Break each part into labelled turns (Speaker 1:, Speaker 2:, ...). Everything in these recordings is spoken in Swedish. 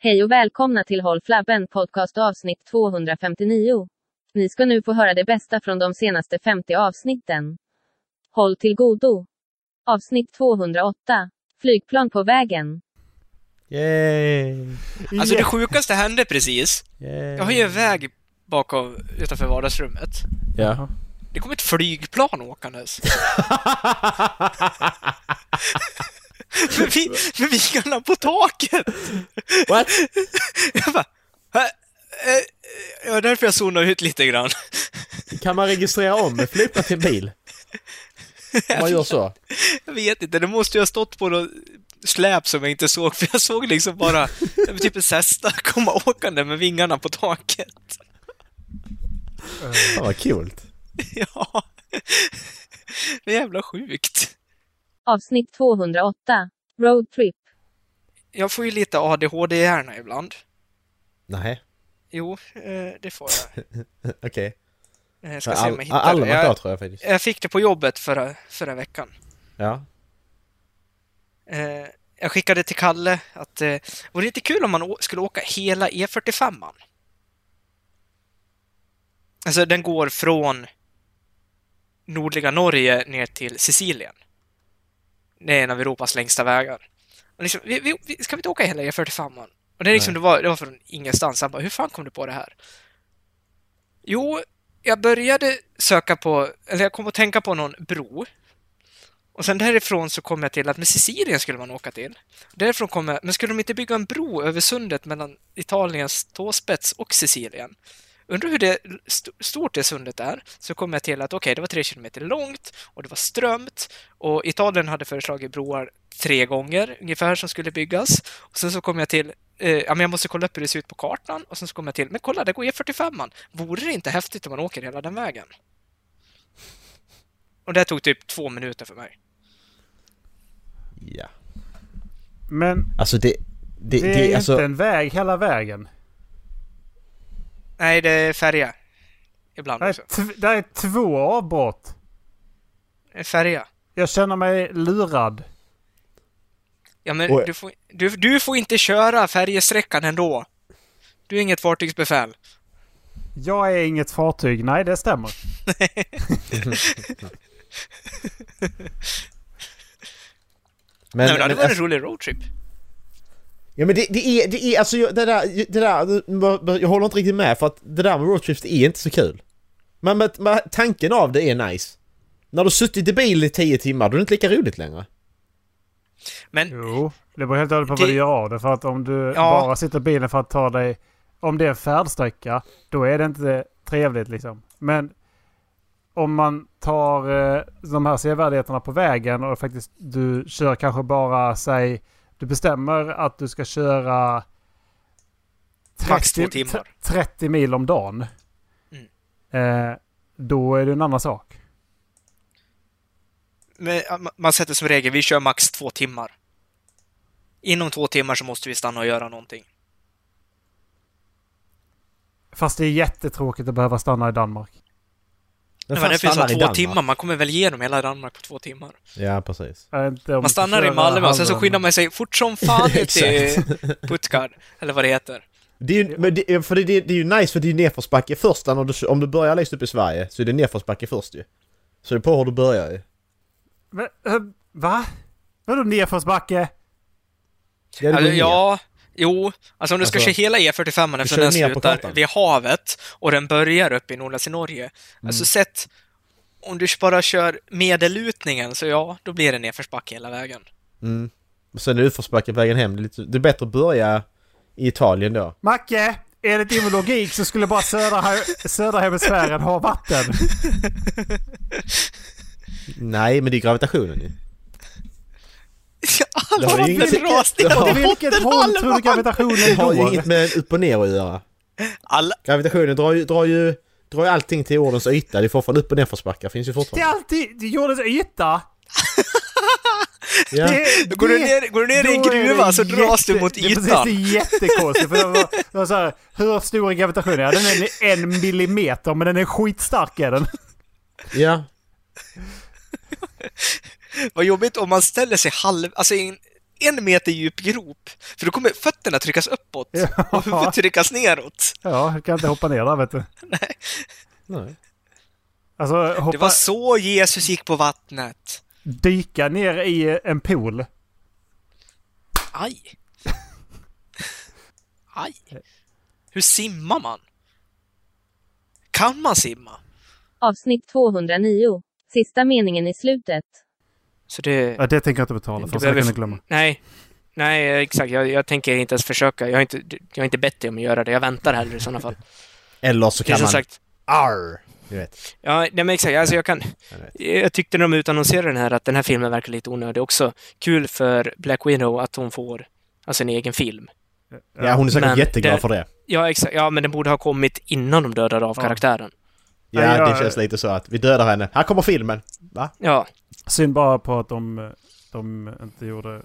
Speaker 1: Hej och välkomna till Håll Flabben Podcast avsnitt 259. Ni ska nu få höra det bästa från de senaste 50 avsnitten. Håll till godo. Avsnitt 208. Flygplan på vägen.
Speaker 2: Yay!
Speaker 3: Alltså det sjukaste hände precis.
Speaker 2: Yay.
Speaker 3: Jag har ju en väg bakom, utanför vardagsrummet.
Speaker 2: Ja.
Speaker 3: Det kom ett flygplan åkandes. Med, vi, med vingarna på taket!
Speaker 2: What?
Speaker 3: Jag bara... "Hä? Eh, Det var därför jag zonade ut lite grann.
Speaker 2: Kan man registrera om en flygplan till bil? Om man gör så?
Speaker 3: Jag vet inte, det måste ju ha stått på något släp som jag inte såg, för jag såg liksom bara ja, men typ en Cessna komma åkande med vingarna på taket.
Speaker 2: Fan vad kul.
Speaker 3: Ja. Det är jävla sjukt.
Speaker 1: Avsnitt 208. Road trip.
Speaker 3: Jag får ju lite ADHD-hjärna ibland.
Speaker 2: Nej,
Speaker 3: Jo, eh, det får jag.
Speaker 2: okej.
Speaker 3: Eh, Jag ska se om jag
Speaker 2: Okay.
Speaker 3: hittar
Speaker 2: Alla
Speaker 3: det.
Speaker 2: varit där
Speaker 3: Jag,
Speaker 2: tror jag faktiskt.
Speaker 3: jag fick det på jobbet förra, förra veckan.
Speaker 2: Ja.
Speaker 3: Eh, Jag skickade till Kalle att eh, vore det inte kul om man å- skulle åka hela E45? Alltså den går från nordliga Norge ner till Sicilien. Det är en av Europas längsta vägar. Och liksom, vi, vi, vi- ska vi inte åka hela E45? Och det, är liksom,
Speaker 2: Nej.
Speaker 3: det, var, det var från ingenstans. Han bara, hur fan kom du på det här? Jo, jag började söka på, eller jag kom att tänka på någon bro. Och sen därifrån så kom jag till att med Sicilien skulle man åka till. Därifrån kom jag, men skulle de inte bygga en bro över sundet mellan Italiens tåspets och Sicilien? Undrar hur det, st- stort det sundet är, så kom jag till att okej, det var tre kilometer långt och det var strömt och Italien hade föreslagit broar tre gånger ungefär som skulle byggas. Och sen så kom jag till, eh, ja men jag måste kolla upp hur det ser ut på kartan och sen så kom jag till, men kolla, där går E45an. Vore det inte häftigt om man åker hela den vägen? Och det tog typ två minuter för mig.
Speaker 2: Ja.
Speaker 4: Men
Speaker 2: Alltså det... Det,
Speaker 4: det,
Speaker 2: det,
Speaker 4: är ju
Speaker 2: alltså...
Speaker 4: inte en väg hela vägen.
Speaker 3: Nej, det är färja. Ibland
Speaker 4: Det är,
Speaker 3: också.
Speaker 4: tv- det är två avbrott.
Speaker 3: En Färja.
Speaker 4: Jag känner mig lurad.
Speaker 3: Ja, men
Speaker 2: Och-
Speaker 3: du får, du, du får inte köra färjesträckan ändå. Du är inget fartygsbefäl.
Speaker 4: Jag är inget fartyg. Nej, det stämmer.
Speaker 2: Men,
Speaker 3: Nej, men det hade
Speaker 2: men,
Speaker 3: varit
Speaker 2: alltså,
Speaker 3: en rolig roadtrip.
Speaker 2: ja men det, det är, det är alltså jag, det där, det där, jag håller inte riktigt med för att det där med roadtrips det är inte så kul. Men, men, men tanken av det är nice. När du har suttit i bil i 10 timmar då är det inte lika roligt längre.
Speaker 3: Men
Speaker 4: Jo, det beror helt och hållet på vad
Speaker 3: Det-
Speaker 4: du gör av det. För att om du
Speaker 3: Ja.
Speaker 4: bara sitter i bilen för att ta dig... Om det är en färdsträcka, då är det inte trevligt liksom. Men om man tar eh, de här sevärdheterna på vägen och faktiskt du kör kanske bara, säg... Du bestämmer att du ska köra...
Speaker 3: Max två
Speaker 4: 30
Speaker 3: timmar.
Speaker 4: t- 30 mil om dagen.
Speaker 3: Mm.
Speaker 4: Eh, då är det en annan sak.
Speaker 3: men, ja, ma- man sätter som regel, vi kör max två timmar. Inom två timmar så måste vi stanna och göra någonting.
Speaker 4: Fast det är jättetråkigt att behöva stanna i Danmark.
Speaker 3: Men
Speaker 2: fan
Speaker 3: det finns
Speaker 2: stannar
Speaker 3: två
Speaker 2: i Danmark?
Speaker 3: timmar, man kommer väl igenom hela Danmark på två timmar.
Speaker 2: Ja precis.
Speaker 4: Eh, inte om
Speaker 3: Man
Speaker 4: du
Speaker 3: stannar i
Speaker 4: kör
Speaker 3: Malmö och sen så
Speaker 4: halva-
Speaker 3: skyndar man sig fort som fan ner till
Speaker 2: Exakt.
Speaker 3: Puttgard, eller vad det heter.
Speaker 2: Det är, ju- men det, eh, för det, det, det är ju nice för det är ju nedförsbacke först när du, om du börjar längst upp i Sverige så är det nedförsbacke först ju. Så det är på hur du börjar ju.
Speaker 4: Men, eh, va? Vadå nedförsbacke?
Speaker 2: Ja, det går
Speaker 3: Alltså,
Speaker 2: ner.
Speaker 3: ja, jo. Alltså om du ska
Speaker 2: Alltså,
Speaker 3: köra hela E45 eftersom
Speaker 2: kör
Speaker 3: den
Speaker 2: ner på
Speaker 3: slutar
Speaker 2: kartan.
Speaker 3: vid havet och den börjar uppe i nordligaste Norge.
Speaker 2: Mm.
Speaker 3: Alltså sett, om du bara kör medellutningen så ja, då blir det nedförsbacke hela vägen.
Speaker 2: Mm. Och sen är det utförsbacke på vägen hem. Det är, lite, det är bättre att börja i Italien då.
Speaker 4: Macke, enligt din logik så skulle bara södra, he- södra hemisfären ha vatten.
Speaker 2: Nej, men det är gravitationen ju.
Speaker 3: Alla
Speaker 2: Det har ju
Speaker 3: vatten
Speaker 2: inget-
Speaker 3: rasar
Speaker 2: Ja.
Speaker 4: Åt
Speaker 3: ner till
Speaker 4: vilket håll tror du
Speaker 3: bottenhalvan!
Speaker 2: Det
Speaker 4: gravitationen
Speaker 2: har ju inget
Speaker 4: går?
Speaker 2: med upp och ner att göra.
Speaker 3: Alla,
Speaker 2: Gravitationen drar ju, drar ju, drar ju allting till jordens yta. Det är fortfarande upp och nerförsbackar. Finns ju
Speaker 4: Det
Speaker 2: fortfarande.
Speaker 4: är alltid jordens yta.
Speaker 2: Ja.
Speaker 4: Det,
Speaker 3: Går du ner- går du ner i en
Speaker 4: då är det
Speaker 3: gruva så dras du mot
Speaker 4: det är Precis,
Speaker 3: ytan.
Speaker 4: det är jättekonstigt. För det var, det var så här, hur stor är gravitationen? Ja, den är en millimeter, men den är skitstark är den.
Speaker 2: ja.
Speaker 3: Vad jobbigt om man ställer sig halv, alltså in, en meter djup grop. För då kommer fötterna tryckas uppåt och huvudet tryckas neråt.
Speaker 4: Ja, jag kan inte hoppa ner där vet du.
Speaker 2: Nej.
Speaker 4: Alltså hoppa,
Speaker 3: Det var så Jesus gick på vattnet.
Speaker 4: dyka ner i en pool.
Speaker 3: Aj! Aj! Hur simmar man? Kan man simma?
Speaker 1: Avsnitt 209. Sista meningen i slutet.
Speaker 3: Så det...
Speaker 4: Ja, det tänker jag inte betala
Speaker 3: Du
Speaker 4: för. Så det
Speaker 3: behöver
Speaker 4: kan du
Speaker 3: f-
Speaker 4: glömma.
Speaker 3: Nej. Nej, eh, exakt. Jag, jag tänker inte ens försöka. Jag har inte, jag har inte bett dig om att göra det. Jag väntar hellre i sådana fall.
Speaker 2: Eller så
Speaker 3: Det är
Speaker 2: kan
Speaker 3: som
Speaker 2: man...
Speaker 3: sagt...
Speaker 2: Arr! Du vet.
Speaker 3: Ja, nej, men exakt. Alltså, jag, kan,
Speaker 2: Jag vet.
Speaker 3: jag tyckte när de utannonserade den här att den här filmen verkar lite onödig också. Kul för Black Widow att hon får alltså, en egen film.
Speaker 2: Ja, hon är säkert
Speaker 3: Men
Speaker 2: jätteglad
Speaker 3: det-
Speaker 2: för det.
Speaker 3: Ja, exakt. Ja, men den borde ha kommit innan de dödade av
Speaker 4: Ja.
Speaker 3: karaktären.
Speaker 2: Ja,
Speaker 4: Nej, jag-
Speaker 2: det känns lite så att vi dödar henne. Här kommer filmen! Va?
Speaker 3: Ja,
Speaker 4: Synd bara på att de, de inte gjorde...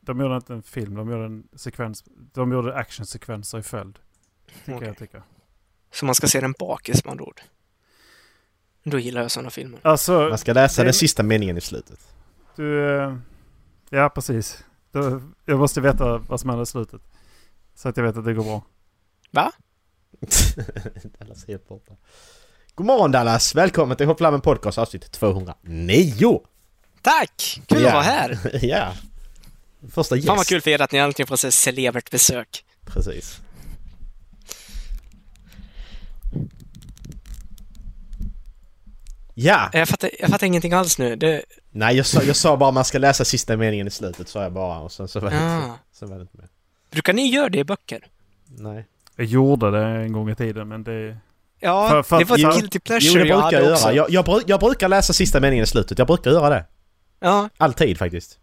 Speaker 4: De gjorde inte en film, de gjorde en sekvens. De gjorde actionsekvenser i följd. Tycker
Speaker 3: Okej.
Speaker 4: jag tycker.
Speaker 3: så man ska se den bakis med andra ord. Då gillar jag sådana filmer.
Speaker 4: Alltså,
Speaker 2: Man ska läsa
Speaker 4: Det-
Speaker 2: den sista meningen i slutet.
Speaker 4: du... eh, Ja, precis. Då- Jag måste veta vad som händer i slutet. Så att jag vet att det går bra.
Speaker 2: Dallas är helt borta. God morgon Dallas! Välkommen till Hopplammen Podcast avsnitt 209!
Speaker 3: Tack! Kul
Speaker 2: Ja.
Speaker 3: att vara här!
Speaker 2: ja! Första gäst.
Speaker 3: Fan vad kul för er att ni äntligen får se celebert besök.
Speaker 2: Precis. Ja!
Speaker 3: Jag fattar, jag fattar ingenting alls nu. Det,
Speaker 2: Nej, jag sa, jag sa bara man ska läsa sista meningen i slutet, sa jag bara och sen så var det,
Speaker 3: Ah.
Speaker 2: inte, sen var det inte mer.
Speaker 3: brukar ni göra det i böcker?
Speaker 2: Nej.
Speaker 4: Jag gjorde det en gång i tiden, men det...
Speaker 3: Ja,
Speaker 4: För- för-
Speaker 3: det var
Speaker 4: jo,
Speaker 3: ett guilty
Speaker 2: Jo,
Speaker 3: pleasure
Speaker 2: det
Speaker 3: jag
Speaker 2: brukar jag
Speaker 3: hade också.
Speaker 2: göra. Jag, jag, bru- jag brukar läsa sista meningen i slutet. Jag brukar göra det.
Speaker 3: Ja,
Speaker 2: Alltid faktiskt.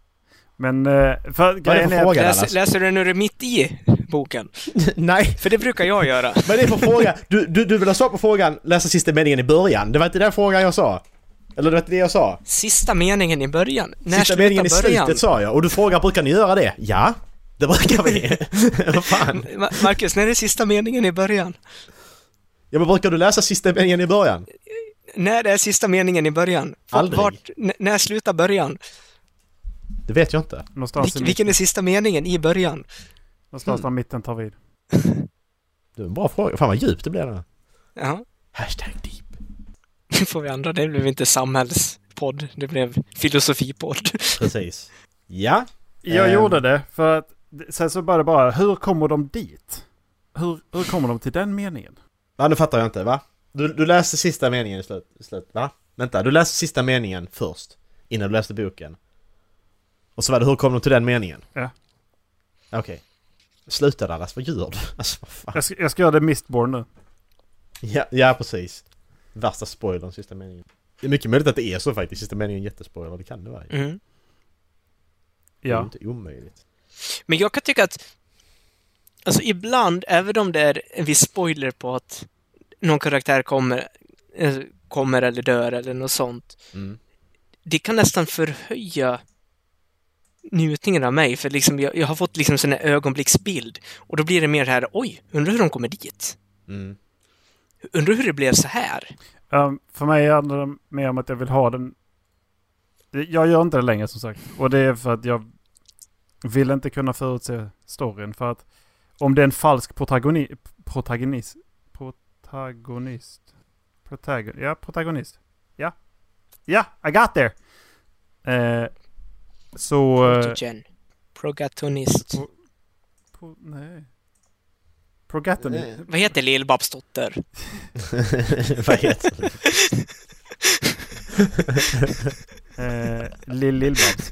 Speaker 4: Men eh, för,
Speaker 2: Vad är det
Speaker 4: grejen
Speaker 2: för
Speaker 4: är...
Speaker 2: fråga
Speaker 3: läser,
Speaker 2: Dallas?
Speaker 3: läser du när du är mitt i boken?
Speaker 2: Nej!
Speaker 3: För det brukar jag göra.
Speaker 2: Vad är det för fråga? Du, du, du vill ha svar på frågan läsa sista meningen i början. Det var inte den frågan jag sa. Eller det var inte det jag sa.
Speaker 3: Sista meningen i början. När
Speaker 2: sista
Speaker 3: slutar
Speaker 2: meningen i
Speaker 3: början?
Speaker 2: slutet sa jag. Och du frågar brukar ni göra det? Ja, det brukar vi. Vad fan?
Speaker 3: Ma- Marcus, när är sista meningen i början?
Speaker 2: Ja men brukar du läsa sista meningen i början?
Speaker 3: När är sista meningen i början? Var-
Speaker 2: Aldrig.
Speaker 3: n- när slutar början?
Speaker 2: Det vet jag inte.
Speaker 4: Någonstans, i,
Speaker 3: Vil-
Speaker 4: mitten-
Speaker 3: vilken är sista meningen i början?
Speaker 4: någonstans
Speaker 2: Mm.
Speaker 4: där mitten tar vid.
Speaker 2: Det är en bra fråga. Fan vad djupt det blev nu.
Speaker 3: Ja,
Speaker 2: Hashtag deep.
Speaker 3: nu får vi andra. Det blev inte samhällspodd, det blev filosofipodd.
Speaker 2: Precis. Ja.
Speaker 4: Jag
Speaker 2: Ehm.
Speaker 4: gjorde det för att sen så bara det bara, hur kommer de dit? Hur, hur kommer de till den meningen?
Speaker 2: Ja nu fattar jag inte va? Du, du läste sista meningen i slut, i slut va? Vänta, du läste sista meningen först. Innan du läste boken. Och så var det hur kom de till den meningen?
Speaker 4: Ja.
Speaker 2: Okej. Sluta Dallas, vad gör du? Alltså vad fan.
Speaker 4: Jag ska, jag ska göra det Mistborn nu.
Speaker 2: Ja, ja precis. Värsta spoilern, sista meningen. Det är mycket möjligt att det är så faktiskt, sista meningen är en jättespoiler, det kan det vara. ju.
Speaker 3: Mm.
Speaker 2: Det är ju
Speaker 4: Ja.
Speaker 2: inte omöjligt.
Speaker 3: Men jag kan tycka att, alltså ibland, även om det är en viss spoiler på att någon karaktär kommer, eh, kommer eller dör eller något sånt,
Speaker 2: Mm.
Speaker 3: det kan nästan förhöja njutningen av mig, för liksom jag, jag har fått liksom sån här ögonblicksbild och då blir det mer det här, oj, undrar hur de kommer dit?
Speaker 2: Mm.
Speaker 3: Undrar hur det blev så här?
Speaker 4: Ehm, för mig handlar det mer om att jag vill ha den. Jag gör inte det längre som sagt. Och det är för att jag vill inte kunna förutse storyn. För att om det är en falsk protagoni, protagonist. Protagonist. Protagon, ja, protagonist. Ja. Ja, I got there! Eh, så... eh,
Speaker 3: Protogen. Progatonist.
Speaker 4: Pro- Pro, nej.
Speaker 2: Eh.
Speaker 4: Progatony.
Speaker 3: Vad heter Lill-Babs dotter?
Speaker 2: vad heter det?
Speaker 4: Eh, Lill Lillbabs.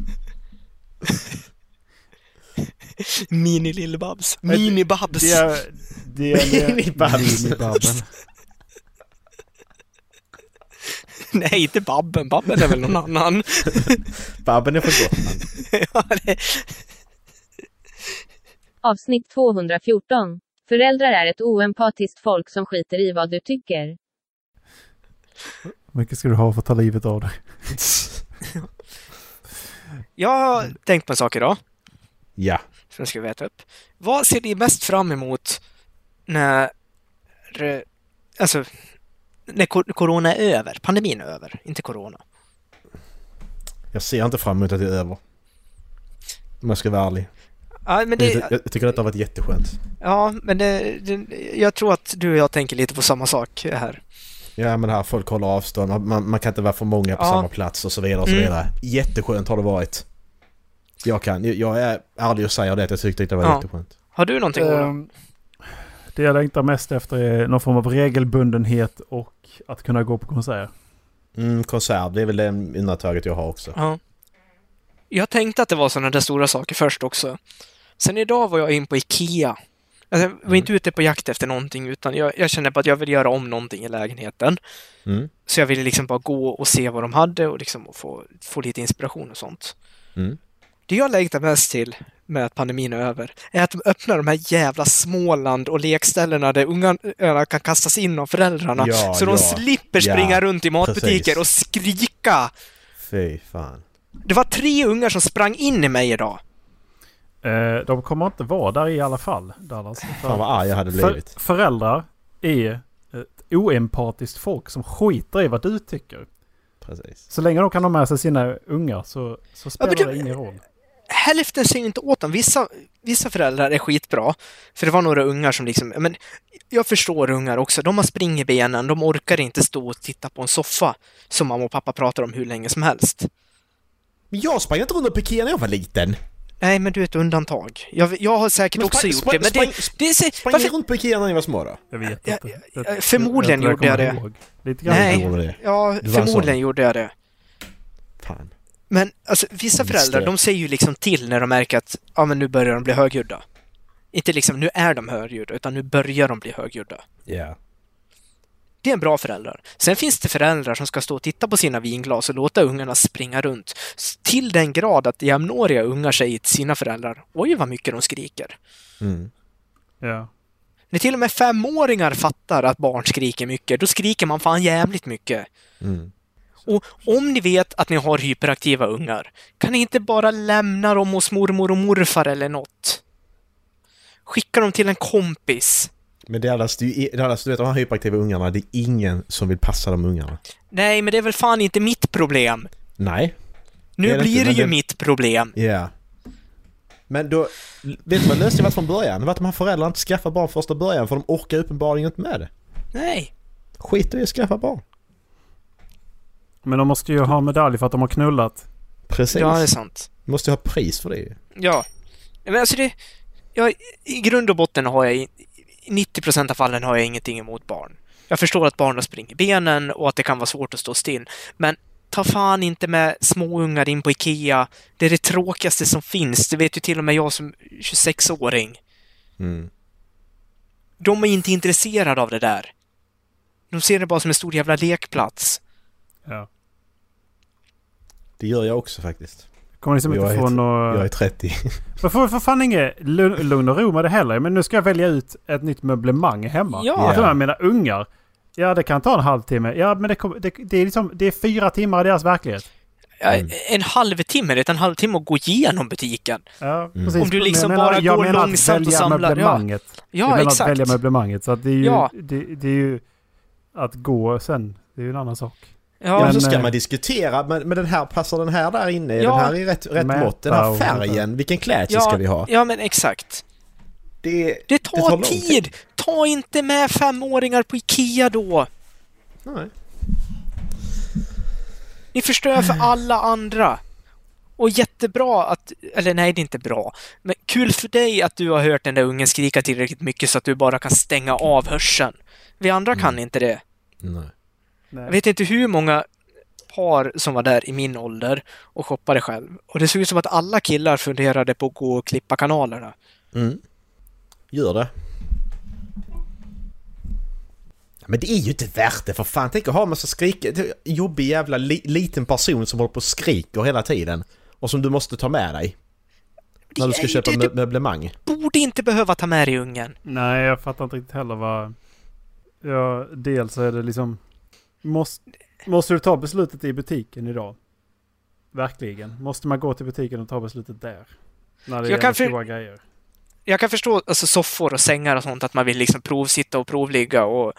Speaker 3: Mini Lill-Babs. Mini-Babs.
Speaker 4: Det är... Det är...
Speaker 2: Minibabs.
Speaker 4: Minibabben.
Speaker 3: Nej, inte Babben. Babben är väl någon annan.
Speaker 2: Babben är från Gotland.
Speaker 3: Ja, det-
Speaker 1: Avsnitt 214. Föräldrar är ett oempatiskt folk som skiter i vad du tycker.
Speaker 4: Hur mycket ska du ha för att ta livet av dig?
Speaker 3: Jag
Speaker 4: Mm.
Speaker 3: har tänkt på en sak idag,
Speaker 2: Ja.
Speaker 3: som jag skulle veta upp. Vad ser ni mest fram emot när, eh, alltså, när cor- corona är över? Pandemin är över, inte corona.
Speaker 2: Jag ser inte fram emot att det är över. Om jag ska vara ärlig.
Speaker 3: Ja, men
Speaker 2: jag,
Speaker 3: det,
Speaker 2: jag tycker detta har varit jätteskönt.
Speaker 3: ja, men det, det, jag tror att du och jag tänker lite på samma sak här.
Speaker 2: Ja men här, folk håller avstånd, man, man, man kan inte vara för många på
Speaker 3: Ja.
Speaker 2: samma plats och så vidare och så
Speaker 3: Mm.
Speaker 2: vidare. Jätteskönt har det varit. Jag kan, jag- jag är ärlig och säger det att jag tyckte det var
Speaker 3: Ja.
Speaker 2: jätteskönt.
Speaker 3: Har du någonting Ola?
Speaker 4: Ehm, Det jag längtar mest efter är någon form av regelbundenhet och att kunna gå på konserter.
Speaker 2: Mm, konserv, det är väl det undantaget jag har också.
Speaker 3: Ja. Jag tänkte att det var sådana där stora saker först också. Sen idag var jag in på IKEA. Alltså, jag var
Speaker 2: Mm.
Speaker 3: inte ute på jakt efter någonting utan jag, jag kände på att jag vill göra om någonting i lägenheten.
Speaker 2: Mm.
Speaker 3: Så jag ville liksom bara gå och se vad de hade och liksom få, få lite inspiration och sånt.
Speaker 2: Mm.
Speaker 3: Det jag längtar mest till med att pandemin är över är att de öppnar de här jävla Småland och lekställena där ungarna kan kastas in av föräldrarna.
Speaker 2: Ja,
Speaker 3: så de
Speaker 2: ja.
Speaker 3: slipper springa
Speaker 2: Ja,
Speaker 3: runt i matbutiker
Speaker 2: precis.
Speaker 3: och skrika.
Speaker 2: Fy fan.
Speaker 3: Det var tre ungar som sprang in i mig idag.
Speaker 4: Eh, De kommer inte vara där i alla fall, Dallas.
Speaker 2: Fan vad arg jag hade
Speaker 4: För,
Speaker 2: blivit.
Speaker 4: föräldrar är ett oempatiskt folk som skiter i vad du tycker.
Speaker 2: Precis.
Speaker 4: Så länge de kan ha med sig sina ungar så, så spelar
Speaker 3: men
Speaker 4: det
Speaker 3: du-
Speaker 4: ingen roll.
Speaker 3: Hälften säger inte åt dem. Vissa, vissa föräldrar är skitbra. För det var några ungar som liksom, men jag förstår ungar också. De har spring i benen. De orkar inte stå och titta på en soffa som mamma och pappa pratar om hur länge som helst.
Speaker 2: Men jag sprang inte runt och pikerade när jag var liten.
Speaker 3: Nej, men du är ett undantag. Jag, jag har säkert
Speaker 2: Men
Speaker 3: också
Speaker 2: sprang-
Speaker 3: gjort
Speaker 2: sprang-
Speaker 3: det, men det...
Speaker 2: sprang-
Speaker 3: det, är så-
Speaker 2: Sprang ni
Speaker 3: varför,
Speaker 2: runt på Ikea när ni var små då?
Speaker 4: Jag vet
Speaker 3: Ja,
Speaker 4: inte.
Speaker 3: ja,
Speaker 4: Det-
Speaker 3: ja, förmodligen
Speaker 4: tror
Speaker 3: gjorde jag
Speaker 4: kommer
Speaker 3: det.
Speaker 4: ihåg. Lite grann.
Speaker 3: Nej.
Speaker 2: Jag gjorde det.
Speaker 3: ja,
Speaker 2: Du var en
Speaker 3: förmodligen gjorde jag det.
Speaker 2: Fan.
Speaker 3: Men alltså, vissa
Speaker 2: Mm, Just
Speaker 3: föräldrar,
Speaker 2: det.
Speaker 3: de säger ju liksom till när de märker att ja, men nu börjar de bli högljudda. Inte liksom nu är de högljudda, utan nu börjar de bli högljudda.
Speaker 2: Ja.
Speaker 3: Det är en bra förälder. Sen finns det föräldrar som ska stå och titta på sina vinglas och låta ungarna springa runt. S- Till den grad att jämnåriga ungar säger till sina föräldrar Oj vad mycket de skriker.
Speaker 2: Mm.
Speaker 4: Ja.
Speaker 3: När till och med femåringar fattar att barn skriker mycket, då skriker man fan jävligt mycket.
Speaker 2: Mm.
Speaker 3: Och om ni vet att ni har hyperaktiva ungar, kan ni inte bara lämna dem hos mormor och morfar eller något? Skicka dem till en kompis.
Speaker 2: Men Dallas, du, Dallas, du vet de här hyperaktiva ungarna, det är ingen som vill passa de ungarna.
Speaker 3: Nej, men det är väl fan inte mitt problem.
Speaker 2: Nej.
Speaker 3: Nu
Speaker 2: Det är det
Speaker 3: blir
Speaker 2: inte,
Speaker 3: det
Speaker 2: men
Speaker 3: ju
Speaker 2: det-
Speaker 3: mitt problem.
Speaker 2: Ja. Men då, vet du vad lösningen var från början? Det var att de här föräldrarna inte skaffar barn första början för de orkar uppenbarligen inte med det.
Speaker 3: Nej.
Speaker 2: Skit i att skaffa barn.
Speaker 4: Men de måste ju ha medalj för att de har knullat.
Speaker 2: Precis.
Speaker 3: Ja, det är sant.
Speaker 2: Måste ju ha pris för det ju.
Speaker 3: Ja. Men alltså det... Jag, I grund och botten har jag... i- I 90 av fallen har jag ingenting emot barn. Jag förstår att barn har spring i benen och att det kan vara svårt att stå still. Men ta fan inte med småungar in på IKEA. Det är det tråkigaste som finns. Det vet ju till och med jag som 26-åring.
Speaker 2: Mm.
Speaker 3: De är inte intresserade av det där. De ser det bara som en stor jävla lekplats.
Speaker 4: Ja.
Speaker 2: Det gör jag också faktiskt.
Speaker 4: Kommer liksom
Speaker 2: Jag
Speaker 4: inte
Speaker 2: är
Speaker 4: få
Speaker 2: ett-
Speaker 4: något...
Speaker 2: Jag är 30.
Speaker 4: Man får för fan inget lu- lugn och ro med det heller. Men nu ska jag välja ut ett nytt möblemang hemma.
Speaker 3: Ja.
Speaker 4: Att de här mina ungar. Ja, det kan ta en halvtimme. Ja, men det, kom, det, det, är liksom, det är fyra timmar i deras verklighet.
Speaker 3: Ja,
Speaker 2: Mm.
Speaker 3: En halvtimme, det är en halvtimme att gå igenom butiken.
Speaker 4: Ja,
Speaker 2: Mm.
Speaker 4: precis.
Speaker 3: Om du
Speaker 4: Men
Speaker 3: liksom
Speaker 4: jag menar,
Speaker 3: bara
Speaker 4: jag
Speaker 3: går
Speaker 4: menar att
Speaker 3: långsamt och
Speaker 4: välja
Speaker 3: samlar, ja.
Speaker 4: Möblemanget. jag
Speaker 3: Ja,
Speaker 4: menar att
Speaker 3: exakt.
Speaker 4: välja möblemanget. Så att det, är ju,
Speaker 3: Ja.
Speaker 4: det, det är ju... Att gå sen, det är ju en annan sak.
Speaker 2: Ja,
Speaker 3: Ja,
Speaker 2: men så ska
Speaker 4: men, eh,
Speaker 2: man diskutera, men, men den här, passar den här där inne?
Speaker 3: Ja.
Speaker 2: Den här är rätt, rätt
Speaker 4: Mäta
Speaker 2: mått, den här
Speaker 4: och-
Speaker 2: färgen, vilken klädsel
Speaker 3: ja,
Speaker 2: ska vi ha?
Speaker 3: ja, men exakt.
Speaker 2: Det,
Speaker 3: Det tar,
Speaker 2: lång
Speaker 3: tid. Ta inte med femåringar på IKEA då!
Speaker 2: Nej.
Speaker 3: Ni förstör för alla andra. Och jättebra att... Eller nej, det är inte bra. Men kul för dig att du har hört den där ungen skrika tillräckligt mycket så att du bara kan stänga av hörseln. Vi andra kan inte det.
Speaker 2: Nej.
Speaker 4: Nej.
Speaker 3: Jag vet inte hur många par som var där i min ålder och shoppade själv. Och det såg ut som att alla killar funderade på att gå och klippa kanalerna.
Speaker 2: Mm. Gör det. Ja, Men det är ju inte värt det för fan. Tänk att ha en massa skrik... Jobbig jävla li, liten person som håller på och skriker hela tiden. Och som du måste ta med dig. När du
Speaker 3: är
Speaker 2: ska
Speaker 3: ju typ-
Speaker 2: köpa
Speaker 3: det-
Speaker 2: mö- möblemang.
Speaker 3: Borde inte behöva ta med dig ungen.
Speaker 4: Nej, jag fattar inte riktigt heller vad... Ja, dels är det liksom... Måste, måste du ta beslutet i butiken idag? Verkligen. Måste man gå till butiken och ta beslutet där? När det
Speaker 3: Jag
Speaker 4: gäller
Speaker 3: kan för-
Speaker 4: stora grejer.
Speaker 3: jag kan förstå alltså, soffor och sängar och sånt, att man vill liksom provsitta och provligga och,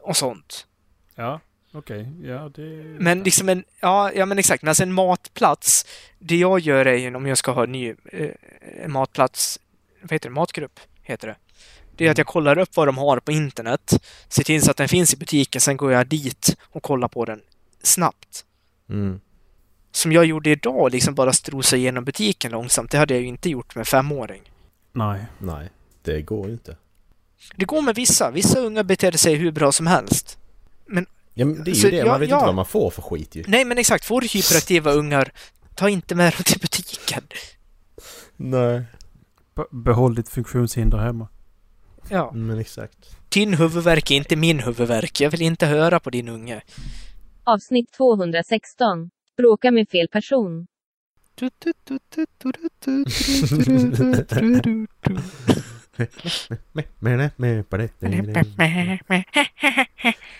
Speaker 3: och sånt.
Speaker 4: Ja.
Speaker 5: Okej, ja det...
Speaker 3: Men liksom en, ja, ja men exakt, men alltså en matplats, det jag gör är ju om jag ska ha en ny eh, en matplats, vad heter det, matgrupp heter det. Det är att jag kollar upp vad de har på internet, ser till så att den finns i butiken, sen går jag dit och kollar på den snabbt.
Speaker 2: Mm.
Speaker 3: Som jag gjorde idag, liksom bara strosa igenom butiken långsamt, det hade jag ju inte gjort med femåring.
Speaker 5: Nej.
Speaker 2: Nej, det går ju inte.
Speaker 3: Det går med vissa, vissa unga beter sig hur bra som helst.
Speaker 2: Ja, men det är ju
Speaker 3: Så
Speaker 2: det,
Speaker 3: jag-
Speaker 2: man vet
Speaker 3: jag-
Speaker 2: inte vad man får för skit ju.
Speaker 3: Nej men exakt, får du hyperaktiva ungar, ta inte med dem till butiken.
Speaker 2: Nej.
Speaker 5: Be- Behåll ditt funktionshinder hemma.
Speaker 3: Ja.
Speaker 2: Men exakt.
Speaker 3: Din huvudvärk är inte min huvudvärk, jag vill inte höra på din unge.
Speaker 1: Avsnitt 216. Bråka med fel person.
Speaker 2: Men nej, men på det.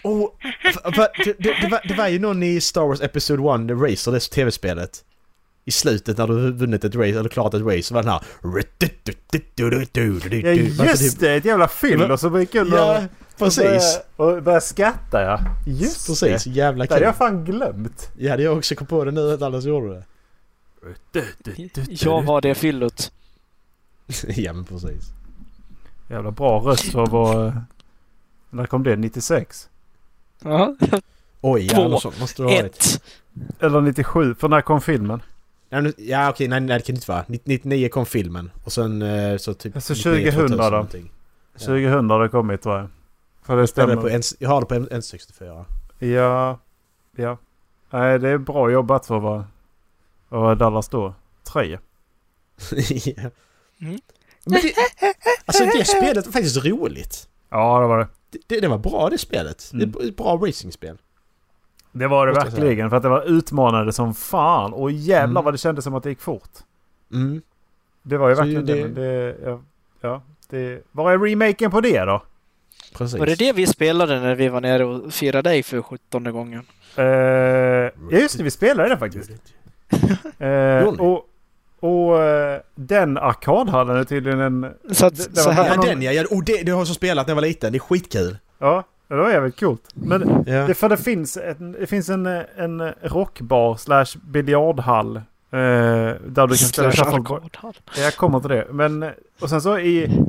Speaker 2: Oh, va- va- det, det, det, var, det var ju någon i Star Wars Episode 1, The Racer, det tv-spelet. I slutet när du vunnit ett race, eller klarat ett race, så var den här...
Speaker 4: Ja just det, ett jävla fyllo som gick under
Speaker 2: Alltså, Ja, precis.
Speaker 4: och började, och började skratta ja. Just
Speaker 2: Precis,
Speaker 4: det.
Speaker 2: jävla
Speaker 4: Det hade
Speaker 2: kul.
Speaker 4: jag fan glömt.
Speaker 2: Ja, hade jag också kom på det nu att alla gjorde det.
Speaker 3: Jag var det fyllot.
Speaker 2: ja, men precis.
Speaker 4: Jävla bra röst för att vara... eh, När kom det? 96?
Speaker 3: Ja.
Speaker 2: Oj,
Speaker 3: Två,
Speaker 2: ja, något sånt måste det ha varit.
Speaker 3: Ett.
Speaker 4: Eller 97? För när kom filmen?
Speaker 2: Ja, nu- ja okej, nej, nej det kan det inte vara. 1999 kom filmen och sen eh, så typ...
Speaker 4: Alltså,
Speaker 2: 99,
Speaker 4: 2000 då?
Speaker 2: någonting.
Speaker 4: 2000 har det kommit tror jag. För det
Speaker 2: Jag har det på
Speaker 4: stämmer.
Speaker 2: en- jag har det på en- en 64
Speaker 4: Ja. Ja. Nej det är bra jobbat för att vara... Vad var Dallas då? Tre?
Speaker 2: ja.
Speaker 3: Mm.
Speaker 2: Men det, alltså det spelet var faktiskt roligt.
Speaker 4: Ja det var det.
Speaker 2: Det- Det, det var bra det spelet.
Speaker 4: Mm.
Speaker 2: Det är ett bra racingspel.
Speaker 4: Det var det
Speaker 2: Måste jag säga.
Speaker 4: verkligen. För att det var utmanande som fan. Och jävlar
Speaker 2: Mm.
Speaker 4: vad det kändes som att det gick fort.
Speaker 2: Mm.
Speaker 4: Det var ju
Speaker 2: Så
Speaker 4: verkligen det.
Speaker 2: det-
Speaker 4: men det ja, ja, det... Var är remaken på det då?
Speaker 2: Precis.
Speaker 3: Var det det vi spelade när vi var nere och firade dig för sjuttonde gången?
Speaker 4: Eh, ja just det, vi spelade den faktiskt. Eh,
Speaker 2: Gjorde ni?
Speaker 4: och och eh, den arkadhallen är tydligen en...
Speaker 3: Så, att,
Speaker 4: Det- det
Speaker 3: så
Speaker 4: var-
Speaker 2: Ja,
Speaker 3: här.
Speaker 2: den ja. ja oh, det, det har jag som spelat när jag var liten. Det är skitkul.
Speaker 4: Ja, det var jävligt coolt. Men
Speaker 2: Ja.
Speaker 4: det, för det finns, en, det finns en, eh, en rockbar slash biljardhall. eh, där du kan spela
Speaker 3: Slash
Speaker 4: shuffleboard.
Speaker 3: alkohol.
Speaker 4: Jag kommer till det. Men, och sen så i...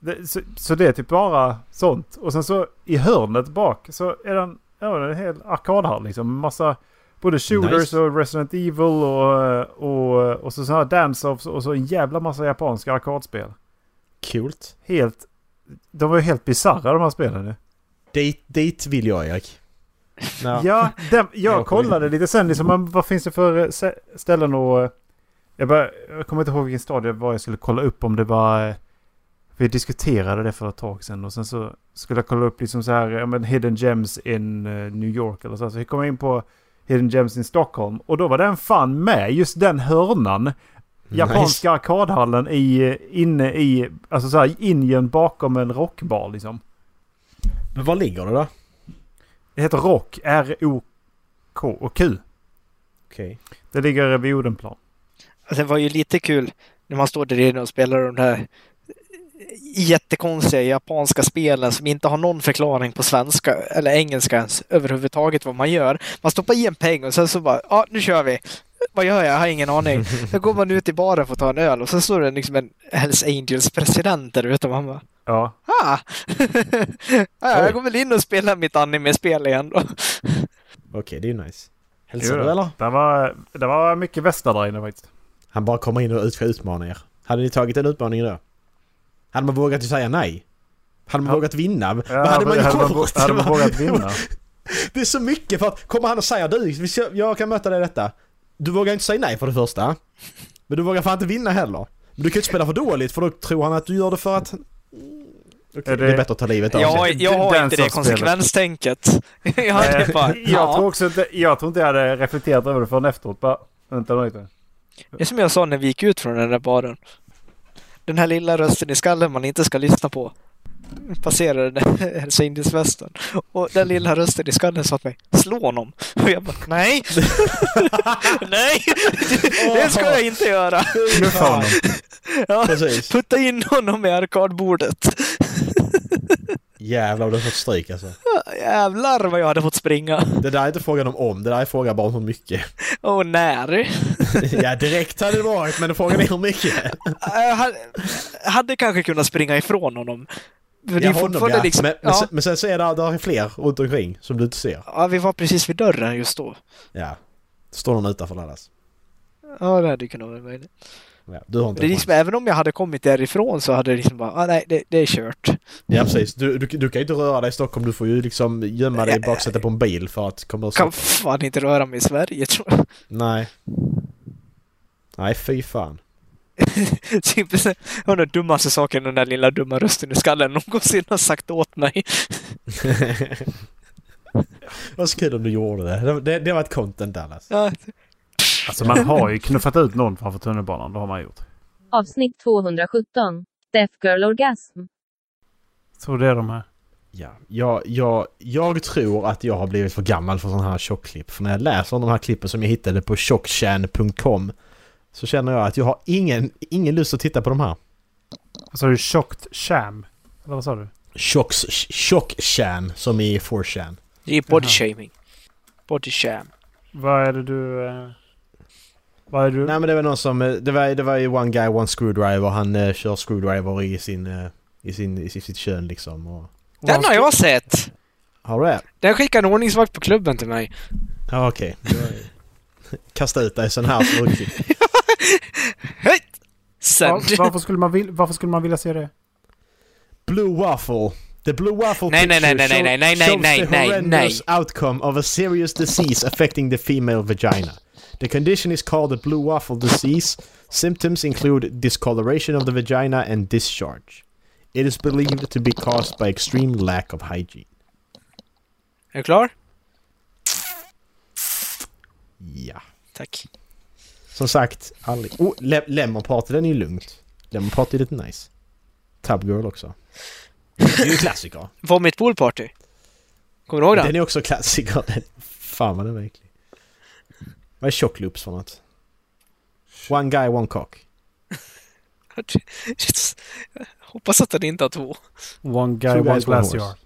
Speaker 4: Det, så, så det är typ bara sånt. Och sen så i hörnet bak så är den, ja, det är en hel arkadhall liksom. Massa både shooters
Speaker 2: Nice.
Speaker 4: och Resident Evil och, och, och så sådana här dance-offs och så en jävla massa japanska arkadspel.
Speaker 2: Coolt.
Speaker 4: Helt... De var ju helt bisarra de här spelen nu.
Speaker 2: Dit, dit vill jag Erik.
Speaker 4: Ja,
Speaker 2: Ja.
Speaker 4: dem, jag
Speaker 2: Jag kommer
Speaker 4: kollade lite sen liksom, men vad finns det för eh, sä- ställen och... eh, Jag, bara, jag kommer inte ihåg vilken stad det var jag skulle kolla upp om det var... eh, Vi diskuterade det för ett tag sedan och sen så skulle jag kolla upp liksom så här, ja men hidden gems in eh, New York eller så. här. Så jag kom in på hidden gems in Stockholm och då var den fan med, just den hörnan. Japanska arkadhallen i, eh, inne i, alltså så här Indien bakom en rockbar liksom.
Speaker 2: Nice. Men var ligger det då?
Speaker 4: Det heter Rock, R-O-K och Q.
Speaker 2: Okej.
Speaker 4: Det ligger vid Odenplan.
Speaker 3: Alltså, Det var ju lite kul när man står där inne och spelar de där jättekonstiga japanska spelen som inte har någon förklaring på svenska eller engelska ens överhuvudtaget vad man gör. Man stoppar i en peng och sen så bara, ja nu kör vi. Vad gör jag? Jag har ingen aning. Sen går man ut i baren för att ta en öl och sen står det liksom en Hells Angels president där ute och man bara,
Speaker 4: Ja.
Speaker 3: ah! ja,
Speaker 2: Oj.
Speaker 3: jag går väl in och spelar mitt anime-spel igen då.
Speaker 2: Okej, det är ju nice.
Speaker 4: Jo
Speaker 2: Hälsar
Speaker 4: då.
Speaker 2: du eller?
Speaker 4: Det var, det var mycket västar där inne faktiskt.
Speaker 2: Han bara kommer in och ut- utmanar er. Hade ni tagit den utmaningen då? Hade man vågat säga nej? Hade man
Speaker 4: Ja.
Speaker 2: vågat vinna?
Speaker 4: Ja,
Speaker 2: Vad hade man
Speaker 4: hade, man,
Speaker 2: gjort?
Speaker 4: vå- hade man vågat vinna?
Speaker 2: Det är så mycket för att kommer han och säger du, vi ska- jag kan möta dig i detta. Du vågar inte säga nej för det första. Men du vågar fan inte vinna heller. Men du kan ju inte spela för dåligt för då tror han att du gör det för att... Mm, Okej,
Speaker 4: Är
Speaker 2: det...
Speaker 4: det-
Speaker 2: är bättre att ta livet av
Speaker 3: Jag har,
Speaker 2: sig.
Speaker 3: jag har inte det
Speaker 4: Dance-off-spelet.
Speaker 3: konsekvenstänket. Jag hade bara,
Speaker 4: Eh, jag, tror
Speaker 3: ja.
Speaker 4: också inte, jag tror inte jag hade reflekterat över det förrän efteråt. Bara, vänta nu lite.
Speaker 3: Det är som jag sa när vi gick ut från den där baren. Den här lilla rösten i skallen man inte ska lyssna på. Passerade Hells Angels-festen. Och den lilla rösten i skallen sa till mig Slå honom! Och jag bara Nej! Nej! Det ska jag inte göra!
Speaker 4: Knuffa honom.
Speaker 3: Ja,
Speaker 2: Precis.
Speaker 3: putta in honom i arkadbordet.
Speaker 2: Jävlar, du har fått stryk alltså.
Speaker 3: Jävlar vad jag hade fått springa.
Speaker 2: Det där är inte frågan om om, det där är frågan bara om hur mycket.
Speaker 3: Och när.
Speaker 2: ja, direkt hade det varit, men frågan är hur mycket.
Speaker 3: Jag hade- hade kanske kunnat springa ifrån honom. För det
Speaker 2: Ja,
Speaker 3: är
Speaker 2: honom,
Speaker 3: fortfarande
Speaker 2: ja.
Speaker 3: liksom...
Speaker 2: men, men,
Speaker 3: ja,
Speaker 2: sen, men sen så är det, där är fler runt omkring som du inte ser.
Speaker 3: ja, vi var precis vid dörren just då.
Speaker 2: Ja. Står någon utanför annars.
Speaker 3: Ja, det hade kunnat vara möjligt.
Speaker 2: Ja, du har inte
Speaker 3: Det är
Speaker 2: en
Speaker 3: liksom,
Speaker 2: chans.
Speaker 3: även om jag hade kommit därifrån så hade det liksom bara, ah, nej, det, det är kört.
Speaker 2: Ja, precis. Du, du, du kan ju inte röra dig i Stockholm, du får ju liksom gömma dig i baksätet på en bil för att komma ur
Speaker 3: Kan fan inte röra mig i Sverige tror jag.
Speaker 2: Nej. Nej, fy fan.
Speaker 3: Typ, det var den dummaste saken den där lilla dumma rösten i skallen någonsin har sagt åt mig.
Speaker 2: Vad så kul om du gjorde det. Det, det, det var ett content Dallas.
Speaker 3: Ja,
Speaker 4: Alltså man har ju knuffat ut någon framför tunnelbanan. Det har man gjort.
Speaker 1: Avsnitt 217. Deaf Girl Orgasm.
Speaker 4: Så det är de här.
Speaker 2: Ja, jag, jag, jag tror att jag har blivit för gammal för sådana här tjockklipp. För när jag läser de här klippen som jag hittade på tjockchan.com så känner jag att jag har ingen, ingen lust att titta på de här.
Speaker 4: Alltså det är tjockt sham. Eller vad sa du?
Speaker 2: Tjocks- Tjockchan som i 4chan.
Speaker 3: det är body shaming. Body sham.
Speaker 4: Vad är det du... eh, Vad är det du...
Speaker 2: Nej men det var någon som, eh, det var, det var ju One Guy One Screwdriver. Han eh, kör screwdriver i sin, eh, i sin, i sitt kön liksom. Och,
Speaker 3: Den har jag sett!
Speaker 2: har du det?
Speaker 3: Den skickade en ordningsvakt på klubben till mig.
Speaker 2: Ja okej. Kasta ut dig i sån här så
Speaker 3: Sen.
Speaker 4: Var, varför, skulle man vil, varför skulle man vilja se det?
Speaker 2: Blue Waffle. The Blue Waffle
Speaker 3: Nej, nej, nej,
Speaker 2: picture
Speaker 3: nej, nej, nej,
Speaker 2: show-
Speaker 3: nej,
Speaker 2: shows
Speaker 3: nej,
Speaker 2: the
Speaker 3: nej,
Speaker 2: horrendous outcome of a serious disease affecting the female vagina. The condition is called the Blue Waffle disease. Symptoms include discoloration of the vagina and discharge. It is believed to be caused by extreme lack of hygiene.
Speaker 3: Är du klar?
Speaker 2: Ja.
Speaker 3: Tack.
Speaker 2: Som sagt, aldrig... Oh, le- Lemon Party, den är ju lugnt. Lemon Party är lite nice. Tab Girl också. Det är ju en klassiker.
Speaker 3: Vomit pool party. Kommer du ihåg den?
Speaker 2: Den är också klassiker. Den. Fan vad den är äcklig. Vad är tjock loops för något? One guy, one cock.
Speaker 3: Hoppas att den inte har två.
Speaker 4: One guy,
Speaker 2: Two
Speaker 4: one
Speaker 2: guys, one
Speaker 4: glass
Speaker 2: horse.
Speaker 4: jar.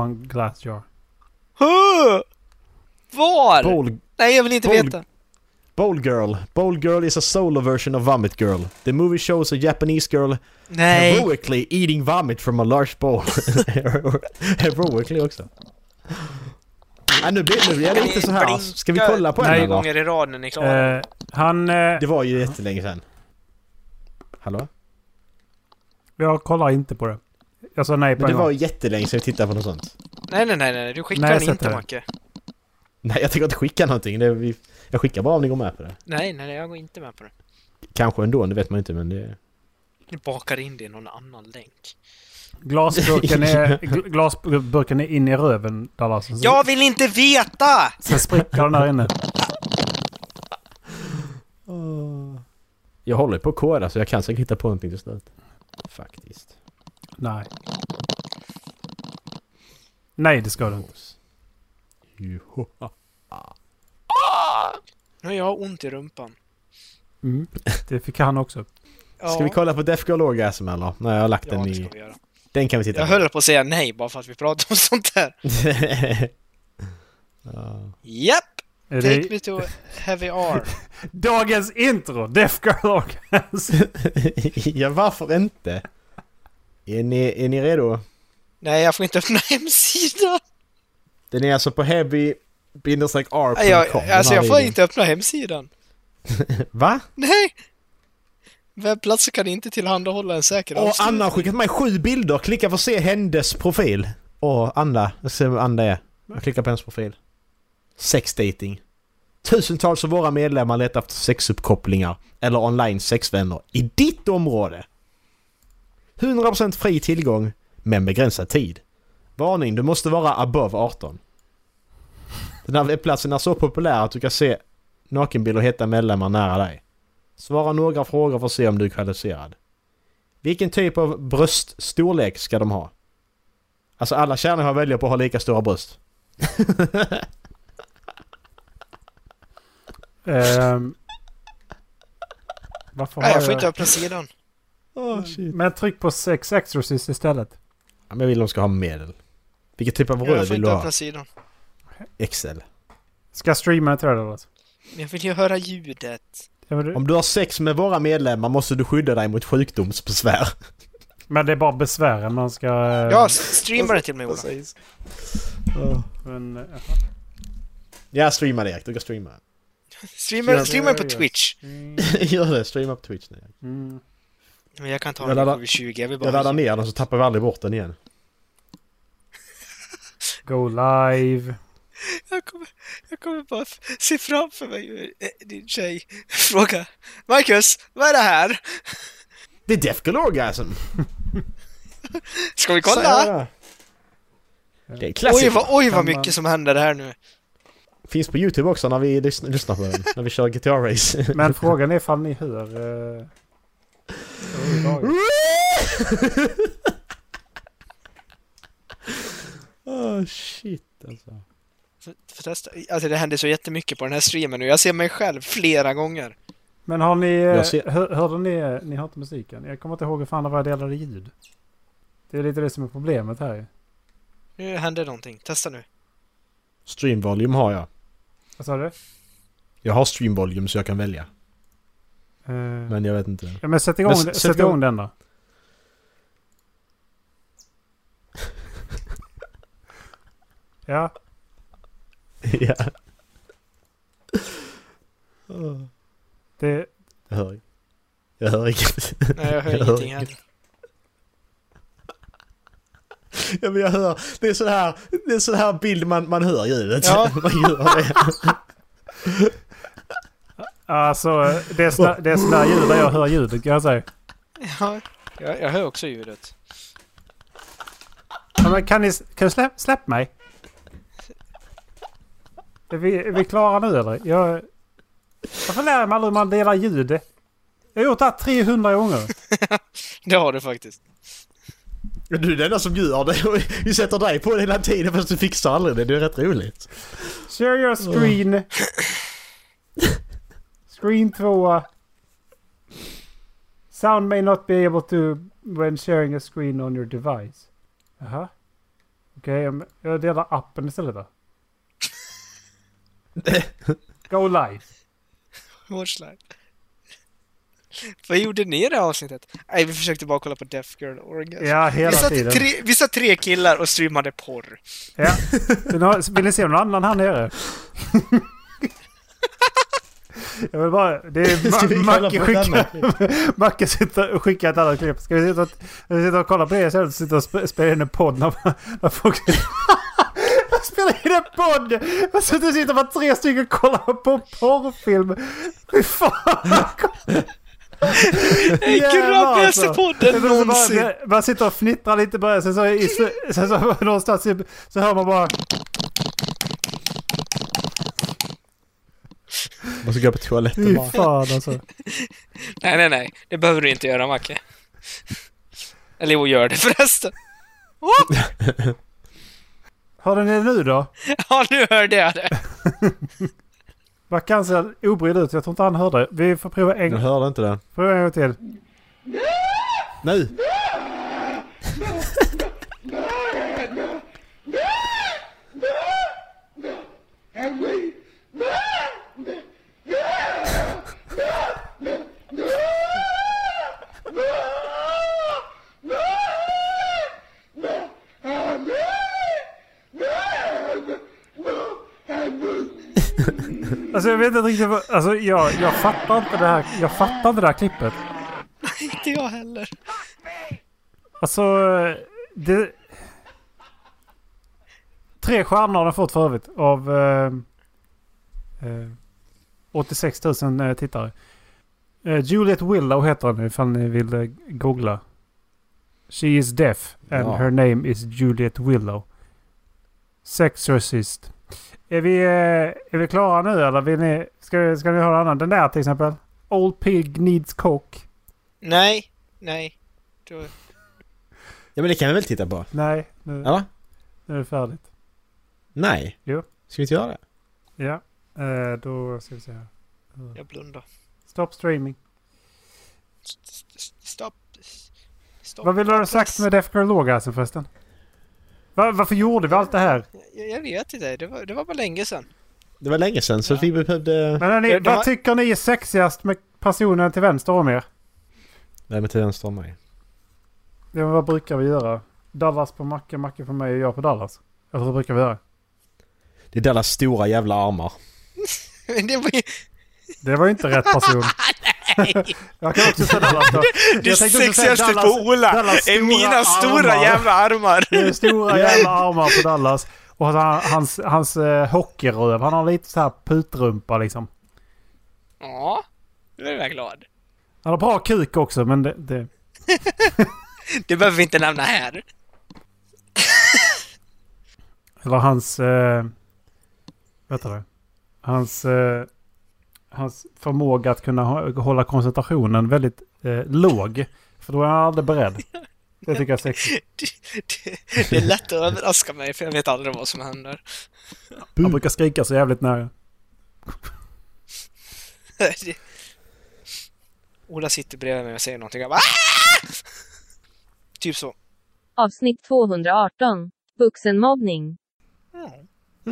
Speaker 4: One glass jar.
Speaker 3: Huh! Var?
Speaker 2: Bowl,
Speaker 3: Nej, jag vill inte
Speaker 2: Boll-
Speaker 3: veta.
Speaker 2: bowl girl. Bowl girl is a solo version of vomit girl. The movie shows a Japanese girl
Speaker 3: Nej.
Speaker 2: heroically eating vomit from a large bowl. heroically också. Ah, nu blir nu blir jag lite så här. Ska vi kolla på den
Speaker 3: Nej,
Speaker 2: eller?
Speaker 3: gånger i rad när ni klarar
Speaker 4: Eh, han... Eh,
Speaker 2: Det var ju jättelänge sedan. Hallå?
Speaker 4: jag kollar inte på det. Jag sa nej på
Speaker 2: Men det
Speaker 4: en
Speaker 2: var
Speaker 4: gång.
Speaker 2: ju jättelänge sedan vi tittade på något sånt.
Speaker 3: Nej, nej, nej, nej. Du skickar
Speaker 4: Nej, jag
Speaker 3: den inte,
Speaker 4: sätter den.
Speaker 3: Macke.
Speaker 2: Nej, jag tänker inte skicka någonting. Det är, vi, jag skickar bara om ni går med på det.
Speaker 3: Nej, nej, nej. Jag går inte med på det.
Speaker 2: Kanske ändå, det vet man inte men det...
Speaker 3: Du bakar in det i någon annan länk.
Speaker 2: Alltså-
Speaker 4: Glasburken är, gl- glasburken är in i röven, Dallas. Sen,
Speaker 3: Jag vill inte veta!
Speaker 4: sen spricker den där inne.
Speaker 2: Jag håller på att koda så jag kan säkert hitta på någonting till slut. Faktiskt.
Speaker 4: Nej. Nej, det ska du inte.
Speaker 2: Juhu.
Speaker 3: Nu har jag ont i rumpan.
Speaker 4: Mm. Det fick han också.
Speaker 3: Ja,
Speaker 2: Ska vi kolla på Death Girl Orgasm eller? Nej, jag har lagt
Speaker 3: ja,
Speaker 2: den
Speaker 3: det ska
Speaker 2: i...
Speaker 3: vi göra.
Speaker 2: Den kan vi titta
Speaker 3: Jag höll på att säga nej bara för att vi pratade om sånt där. Japp!
Speaker 4: Är
Speaker 3: Take
Speaker 4: det
Speaker 3: me to heavy R.
Speaker 4: dagens intro! Deaf Girl Orgasm!
Speaker 2: på. ja, varför inte? Är ni, är ni redo?
Speaker 3: Nej, jag får inte öppna hemsidan.
Speaker 2: Den är alltså på heavy r.com.
Speaker 3: Nej, jag,
Speaker 2: den
Speaker 3: alltså
Speaker 2: här
Speaker 3: jag får
Speaker 2: videon.
Speaker 3: inte öppna hemsidan.
Speaker 2: Va?
Speaker 3: Nej! Webbplatser kan inte tillhandahålla en säker
Speaker 2: Och
Speaker 3: avslut.
Speaker 2: Anna har skickat mig sju bilder. Klicka för att se hennes profil. Och Anna. Jag ser vad Anna är. Jag klickar på hennes profil. Sexdating. Tusentals av våra medlemmar letar efter sexuppkopplingar eller online sexvänner i ditt område. 100% fri tillgång, men begränsad tid. Varning, du måste vara above 18. Den här webbplatsen är så populär att du kan se nakenbilder och heta medlemmar nära dig. Svara några frågor för att se om du är kvalificerad. Vilken typ av bröststorlek ska de ha? Alltså alla kärnor jag väljer på har lika stora bröst.
Speaker 4: Ehm, varför har
Speaker 3: Nej, jag får
Speaker 4: jag...
Speaker 3: inte öppna sidan.
Speaker 2: Oh, shit.
Speaker 4: Men tryck på Sex Exorcist istället.
Speaker 2: Ja, men jag vill de ska ha medel. Vilken typ av
Speaker 3: Jag
Speaker 2: röd
Speaker 3: får
Speaker 2: vill du
Speaker 3: inte
Speaker 2: ha?
Speaker 3: öppna sidan.
Speaker 2: Excel.
Speaker 4: Ska streamen till det då? alltså?
Speaker 3: Men jag vill ju höra ljudet.
Speaker 4: Ja, men, du,
Speaker 2: Om du har sex med våra medlemmar måste du skydda dig mot sjukdomsbesvär.
Speaker 4: men det är bara besvären man ska... eh,
Speaker 3: Ja, streama det till mig Ola.
Speaker 4: men, eh,
Speaker 2: Ja, streama det Erik. Du kan streama.
Speaker 3: Streama, streama på Twitch.
Speaker 2: Gör det. Streama på Twitch nu.
Speaker 4: mm.
Speaker 3: Men jag kan ta
Speaker 2: Jag
Speaker 3: den
Speaker 2: laddar-
Speaker 3: på 20. Jag vill bara...
Speaker 2: Jag laddar ner den så tappar vi aldrig bort den igen.
Speaker 4: Go live.
Speaker 3: Jag kommer, jag kommer bara f- se framför mig eh, din tjej fråga Marcus, vad är det här?
Speaker 2: Det är alltså. Death Galorgasm!
Speaker 3: Ska vi kolla?
Speaker 2: Det är
Speaker 3: Oj
Speaker 2: klassiskt.
Speaker 3: vad, oj vad
Speaker 4: Kan
Speaker 3: mycket
Speaker 4: man-
Speaker 3: som händer här nu.
Speaker 2: Finns på YouTube också när vi lyssn- lyssnar på den. när vi kör Guitar Race.
Speaker 4: Men frågan är ifall ni hör... eh, överhuvudtaget.
Speaker 2: oh, shit alltså.
Speaker 3: Får- får testa. Alltså det händer så jättemycket på den här streamen nu. Jag ser mig själv flera gånger.
Speaker 4: Men har ni... eh,
Speaker 2: Jag ser-
Speaker 4: Hör, hörde ni... eh, Ni hörde musiken? Jag kommer inte ihåg hur fan det var jag delade ljud. Det är lite det som är problemet här ju.
Speaker 3: Nu händer någonting. Testa nu.
Speaker 2: Stream volume har jag.
Speaker 4: Vad sa du?
Speaker 2: Jag har stream volume så jag kan välja.
Speaker 4: Eh,
Speaker 2: Men jag vet inte.
Speaker 4: ja, men sätt igång,
Speaker 2: s-
Speaker 4: sätt
Speaker 2: sätt
Speaker 4: igång
Speaker 2: igång-
Speaker 4: den då. ja.
Speaker 2: ja,
Speaker 4: Det,
Speaker 2: jag hör. Jag hör inget.
Speaker 3: Nej, jag hör ingenting heller.
Speaker 2: Ja, men jag hör. Det är sån här, det är sån här bild man, man hör ljudet.
Speaker 3: Ja.
Speaker 2: man gör det.
Speaker 4: alltså, det är sådär, det är sådär ljud där jag hör ljudet kan jag säga.
Speaker 3: Ja, jag, jag hör också ljudet.
Speaker 4: Ja, men kan ni, kan du släpp, släpp mig? Är vi, är vi klara nu eller? Jag, varför lär jag mig aldrig hur man delar ljud? Jag har gjort det här 300 gånger.
Speaker 3: Det har du faktiskt.
Speaker 2: Du är den enda som gör det. Vi sätter dig på det hela tiden fast du fixar aldrig det. Det är rätt roligt.
Speaker 4: Share your
Speaker 3: Mm.
Speaker 4: screen. Screen 2. Sound may not be able to when sharing a screen on your device. Jaha. Okej, okay, jag delar appen istället då. Go live.
Speaker 3: Watchline. Vad gjorde ni i det här avsnittet? Nej, vi försökte bara kolla på Deaf Girl Orgasm.
Speaker 4: Ja,
Speaker 3: vi,
Speaker 4: hela
Speaker 3: satt
Speaker 4: tiden.
Speaker 3: tre, vi satt tre killar och streamade porr.
Speaker 4: Ja. Vill ni, ha- vill ni se någon annan här nere? Jag vill bara... Det är
Speaker 2: Ska vi
Speaker 4: Ma-
Speaker 2: kalla
Speaker 4: Macke
Speaker 2: på ett
Speaker 4: skickar...
Speaker 2: annat?
Speaker 4: Macke sitter och skickar ett annat klipp. Ska vi sitta och, ska vi sitta och kolla på det istället? Sitta och spe- spela in en podd när, när folk... Jag spelar in en podd! Jag sitter och sitter med tre stycken och kollar på porrfilm. Fy fan!
Speaker 3: Det är
Speaker 4: Jävlar,
Speaker 3: grabbigaste
Speaker 4: alltså.
Speaker 3: podden
Speaker 4: Det är så
Speaker 3: någonsin!
Speaker 4: Bara, det- man sitter och fnittrar lite i början, sen så, i, slu- sen så någonstans i, så hör man bara...
Speaker 2: Måste gå på toaletten
Speaker 4: Fy
Speaker 2: bara.
Speaker 4: fan alltså.
Speaker 3: Nej, nej, nej. Det behöver du inte göra, Macke. Eller jo, gör det förresten. Oh!
Speaker 4: Hörde ni det nu då?
Speaker 3: Ja, nu hörde jag det.
Speaker 4: Mackan ser obrydd ut. Jag tror inte han hörde. Vi får prova en,
Speaker 2: Jag hörde inte det.
Speaker 4: prova en gång till.
Speaker 2: Nu!
Speaker 4: Alltså jag vet inte riktigt vad... Alltså jag, jag fattar inte det här. Jag fattar inte det här klippet.
Speaker 3: Inte jag heller.
Speaker 4: Alltså... Det... Tre stjärnor har den fått för övrigt av... Eh, eh, 86 000 eh, tittare. Eh, Juliet Willow heter hon ifall ni vill eh, googla. She is deaf and
Speaker 2: Ja.
Speaker 4: her name is Juliet Willow. Sexorcist. Är vi, eh, är vi klara nu eller vill ni, ska, ska ni höra annan? Den där till exempel. Old Pig Needs Coke.
Speaker 3: Nej, nej. Då-
Speaker 2: Ja men det kan vi väl titta på?
Speaker 4: Nej, nu,
Speaker 2: Eller?
Speaker 4: nu är det färdigt.
Speaker 2: Nej.
Speaker 4: Jo.
Speaker 2: Ska vi inte göra det?
Speaker 4: Ja, eh, då ska vi se här.
Speaker 3: Jag blundar.
Speaker 4: Stop streaming.
Speaker 3: S- s- Stopp. Stopp.
Speaker 4: Vad vill du ha sagt med Deaf Girl Orgasm förresten? alltså, Va- varför gjorde vi allt det här?
Speaker 3: Jag, jag vet inte, det var, det var bara länge sedan.
Speaker 2: Det var länge sedan så vi behövde...
Speaker 4: Men hörni,
Speaker 3: Det- det
Speaker 4: vad
Speaker 3: var-
Speaker 4: tycker ni är sexigast med personen till vänster om er?
Speaker 2: Nej men till vänster om mig.
Speaker 4: Ja, men vad brukar vi göra? Dallas på Macke, Macke på mig och jag på Dallas. Eller hur brukar vi göra?
Speaker 2: Det är Dallas stora jävla armar.
Speaker 3: Men det var ju...
Speaker 4: Det var ju inte rätt person. jag kan också säga Dallas då.
Speaker 3: Det
Speaker 4: Jag tänkte också säga
Speaker 3: sexigaste
Speaker 4: Dallas-
Speaker 3: på Ola
Speaker 4: Dallas
Speaker 3: är mina stora
Speaker 4: armar.
Speaker 3: jävla armar.
Speaker 4: Det är stora jävla armar på Dallas. Och han, hans, hans eh, hockeyröv. Han har lite så här putrumpa liksom.
Speaker 3: Ja, nu är jag glad.
Speaker 4: Han har bra kuk också men det... det
Speaker 3: Det behöver vi inte nämna här.
Speaker 4: eller hans... Eh, vet du det? Hans... Eh, hans förmåga att kunna hå- hålla koncentrationen väldigt eh, låg. För då är han aldrig beredd. Det tycker jag är sexigt.
Speaker 3: Det, det, det är lätt att överraska mig för jag vet aldrig vad som händer.
Speaker 4: Han brukar skrika så jävligt nära.
Speaker 3: Det- Ola sitter bredvid mig och säger någonting. Jag bara, "Ah!" Typ så.
Speaker 1: Avsnitt 218. Vuxenmobbning.
Speaker 3: Men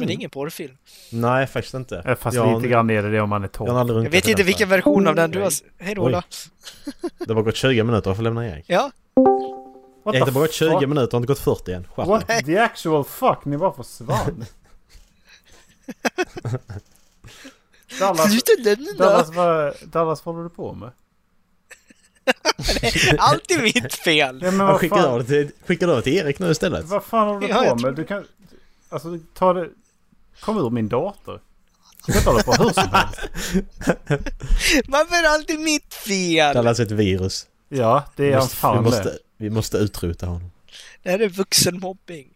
Speaker 4: Mm.
Speaker 3: det är ingen porrfilm.
Speaker 2: Nej faktiskt inte.
Speaker 4: Eh, Fast
Speaker 2: Jag har-
Speaker 4: lite grann är det det om man är
Speaker 2: Jag
Speaker 4: torr.
Speaker 2: har aldrig
Speaker 3: Jag
Speaker 2: runkat
Speaker 3: vet
Speaker 2: till
Speaker 3: inte
Speaker 2: vänster.
Speaker 3: vilken version av den du har... s- Hej då
Speaker 2: Oj.
Speaker 3: Ola.
Speaker 2: Det har bara gått 20 minuter, jag får lämna Erik.
Speaker 3: Ja,
Speaker 4: What
Speaker 2: Erik, det har bara gått 20
Speaker 4: fuck?
Speaker 2: minuter, det har inte gått 40 än. Skärp dig.
Speaker 4: What the actual fuck? Ni bara försvann. Dallas,
Speaker 3: sluta lämna.
Speaker 4: Dallas, vad, Dallas, vad håller du på med?
Speaker 3: Allt är mitt fel.
Speaker 4: Ja, men
Speaker 2: Han
Speaker 4: vad
Speaker 2: skickar över
Speaker 4: fan,
Speaker 2: det till, skickar över till Erik nu istället.
Speaker 4: vad fan håller du
Speaker 3: Ja, jag
Speaker 4: på med? Du kan... Alltså, ta det... Kom ur min dator. Sätt hålla på hur som helst.
Speaker 3: Varför är alltid mitt fel?
Speaker 2: Dallas är alltså ett virus.
Speaker 4: Ja, det
Speaker 2: Vi
Speaker 4: är han
Speaker 2: måste, vi,
Speaker 4: fan det.
Speaker 2: måste, vi måste utrota honom.
Speaker 3: Det här är vuxenmobbing.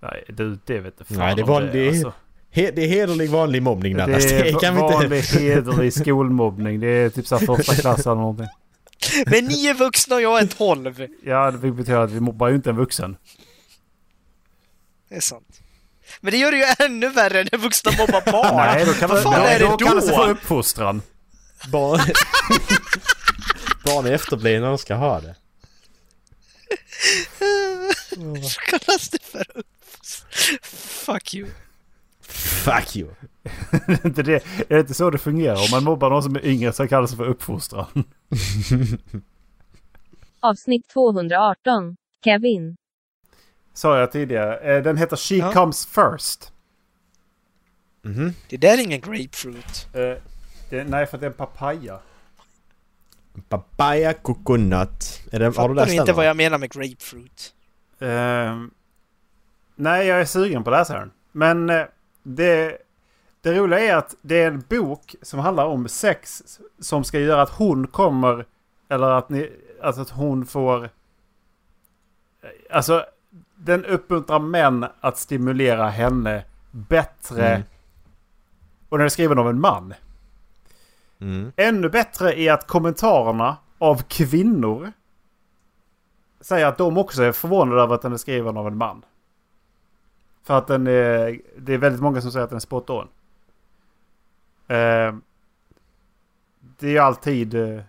Speaker 4: Nej, du, det vet du fan
Speaker 2: Nej, det
Speaker 4: om
Speaker 2: var- det
Speaker 4: är,
Speaker 2: är-
Speaker 4: alltså.
Speaker 2: He, det är hederlig vanlig mobbning
Speaker 4: Det
Speaker 2: Dallas. Det, kan vi
Speaker 4: är
Speaker 2: inte...
Speaker 4: vanlig hederlig skolmobbning. Det är typ så här första klass eller någonting.
Speaker 3: Men ni är vuxna och jag är tolv.
Speaker 4: Ja, det betyder att vi mobbar ju inte en vuxen.
Speaker 3: Det är sant. Men det gör det ju ännu värre när vuxna mobbar barn.
Speaker 4: Nej, då kan man,
Speaker 3: Vad fan
Speaker 4: nej,
Speaker 3: är det
Speaker 4: då kallas det
Speaker 3: då?
Speaker 4: för uppfostran.
Speaker 2: Barn, barn är efterblivna, de ska ha det.
Speaker 3: kallas det för Fuck you.
Speaker 2: Fuck you!
Speaker 4: Är inte det, är det inte så det fungerar? Om man mobbar någon som är yngre så kallas det för uppfostran.
Speaker 1: Avsnitt 218. Kevin.
Speaker 4: Sa jag tidigare. Eh, Den heter She
Speaker 3: Ja.
Speaker 4: Comes First.
Speaker 2: Mhm.
Speaker 3: Det där är ingen grapefruit.
Speaker 4: Eh, Det, nej, för att det är en papaya.
Speaker 2: Papaya coconut. Är det, har du
Speaker 3: Fattar
Speaker 2: läst
Speaker 3: ni inte
Speaker 2: den?
Speaker 3: vad
Speaker 2: va?
Speaker 3: jag menar med grapefruit?
Speaker 4: Ehm, nej, jag är sugen på att läsa den. Men eh, det, det roliga är att det är en bok som handlar om sex som ska göra att hon kommer... Eller att, ni, alltså att hon får... Alltså, den uppmuntrar män att stimulera henne bättre.
Speaker 2: Mm.
Speaker 4: Och den är skriven av en man.
Speaker 2: Mm.
Speaker 4: Ännu bättre är att kommentarerna av kvinnor säger att de också är förvånade över att den är skriven av en man. För att den är, det är väldigt många som säger att den är spot on. Eh, det är ju alltid... Eh,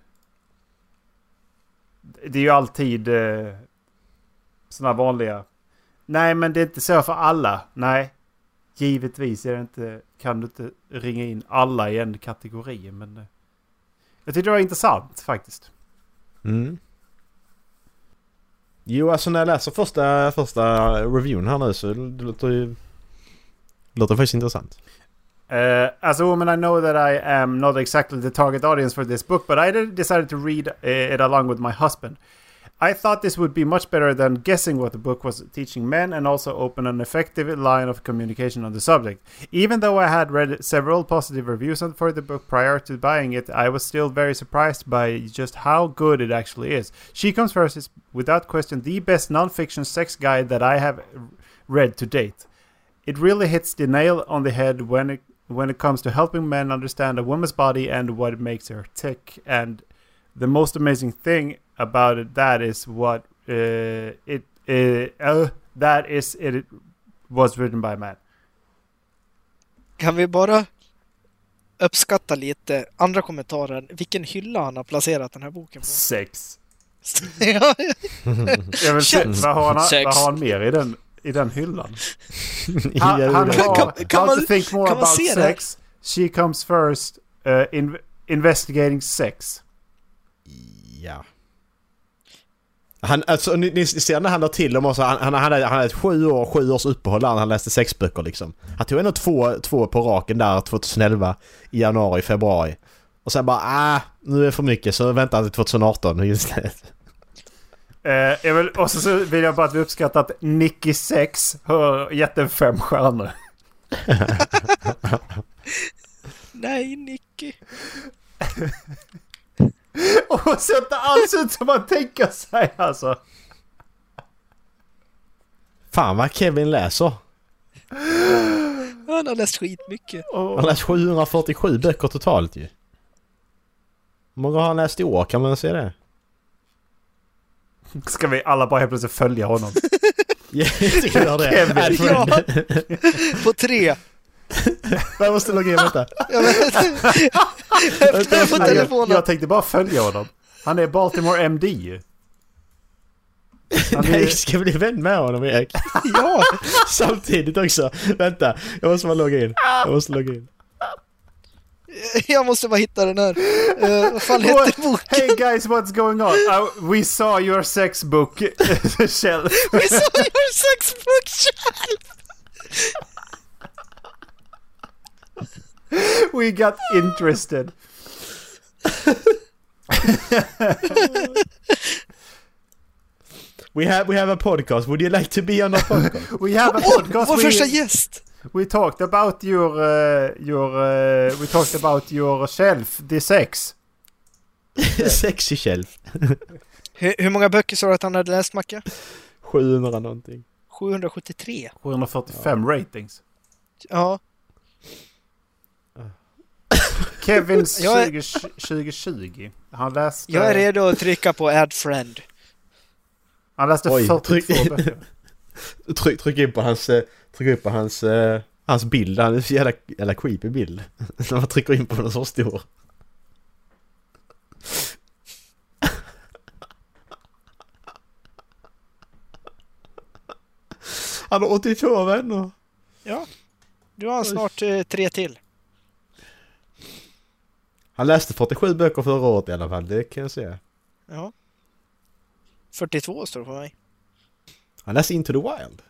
Speaker 4: det är ju alltid eh, sådana vanliga... Nej men det är inte så för alla. Nej. Givetvis är det inte, kan du inte ringa in alla i en kategori men... eh, jag tyckte det var intressant faktiskt.
Speaker 2: Mm. Jo, alltså när jag läser första, första reviewn här nu så det låter ju... Det låter faktiskt intressant.
Speaker 4: Uh, as a woman I know that I am not exactly the target audience for this book, but I did- decided to read eh, it along with my husband. I thought this would be much better than guessing what the book was teaching men and also open an effective line of communication on the subject. Even though I had read several positive reviews on- for the book prior to buying it, I was still very surprised by just how good it actually is. She Comes First is, without question, the best nonfiction sex guide that I have read to date. It really hits the nail on the head when it when it comes to helping men understand a woman's body and what makes her tick. And the most amazing thing about it that is what uh, it uh, uh, that is it, it was written by a man.
Speaker 3: Kan vi bara uppskatta lite andra kommentaren, vilken hylla han har placerat den här boken på?
Speaker 4: Sex.
Speaker 3: ja,
Speaker 4: Jag vill se,
Speaker 3: Sex.
Speaker 4: vad, har han,
Speaker 3: Sex.
Speaker 4: vad har han mer i den i den hyllan. Ah, Han,
Speaker 2: Han,
Speaker 4: han
Speaker 3: Kan-
Speaker 4: har
Speaker 3: kan- kan
Speaker 4: How
Speaker 3: man-
Speaker 4: to think more
Speaker 3: kan man
Speaker 4: about
Speaker 3: se det?
Speaker 4: sex. She comes first. eh, in, investigating sex.
Speaker 2: Ja. Han, alltså, ni, ni ser när han la till dem och så, han, han, han, hade, han hade ett sju, år, sju års uppehåll där han läste sex böcker liksom. Han tog ändå två, två på raken där 2011 i januari, februari. Och sen bara ah, nu är det för mycket så väntar han till 2018 just det.
Speaker 4: Eh, jag vill, och så- så vill jag bara att vi uppskattar att Nicky Sex har gett en fem stjärnor.
Speaker 3: Nej, Nicky.
Speaker 4: Och hon ser inte alls ut som man tänker sig alltså.
Speaker 2: Fan vad Kevin läser.
Speaker 3: Han har läst skitmycket.
Speaker 2: Han har läst 747 böcker totalt ju. Hur många har han läst i år? Kan man se det?
Speaker 4: Ska vi alla bara helt plötsligt följa honom?
Speaker 2: Ja, jag tycker jag gör det. Äh,
Speaker 4: Kevin.
Speaker 2: Add friend.
Speaker 3: Ja. På tre.
Speaker 2: Jag måste logga in, vänta.
Speaker 3: Jag vet inte. Öppnar på
Speaker 4: jag,
Speaker 3: telefonen.
Speaker 4: jag tänkte bara följa honom. Han är Baltimore MD ju. Han
Speaker 2: Jag
Speaker 4: är,
Speaker 2: ska bli vän med honom Erik.
Speaker 3: Ja.
Speaker 2: Samtidigt också. Vänta, jag måste bara logga in. Jag måste logga in.
Speaker 3: Jag måste bara hitta den här. Eh, vad fan
Speaker 4: What-
Speaker 3: hette boken?
Speaker 4: hey guys what's going on? Uh, we saw your sex book. Kjell.
Speaker 3: Vi sa your sex book Kjell!
Speaker 4: We got interested.
Speaker 2: We have, we have a podcast, would you like to be on our podcast?
Speaker 4: We have a
Speaker 3: Åh,
Speaker 4: podcast.
Speaker 3: vår första
Speaker 4: we,
Speaker 3: gäst!
Speaker 4: we talked about your... Uh, your uh, we talked about your shelf, the sex.
Speaker 2: Sexy shelf.
Speaker 3: Hur, hur många böcker sa du att han hade läst, Macke?
Speaker 2: 700 någonting.
Speaker 3: 773.
Speaker 4: 745 ratings.
Speaker 3: Ja.
Speaker 4: Kevin
Speaker 3: Jag är-
Speaker 4: 20, 2020. Han läste...
Speaker 3: Jag är redo att trycka på add friend.
Speaker 4: Han läste
Speaker 2: Oj,
Speaker 4: 42
Speaker 2: tryck-
Speaker 4: böcker.
Speaker 2: Tryck, tryck in på hans, eh, tryck in på hans, eh, hans bild. Han är så jävla, jävla creepy bild. När man trycker in på den så stor. Han har 82 vänner.
Speaker 3: Ja. Du har snart eh, tre till.
Speaker 2: Han läste 47 böcker förra året i alla fall, det kan jag säga.
Speaker 3: Ja. 42 står det på mig.
Speaker 2: Han läste Into the Wild.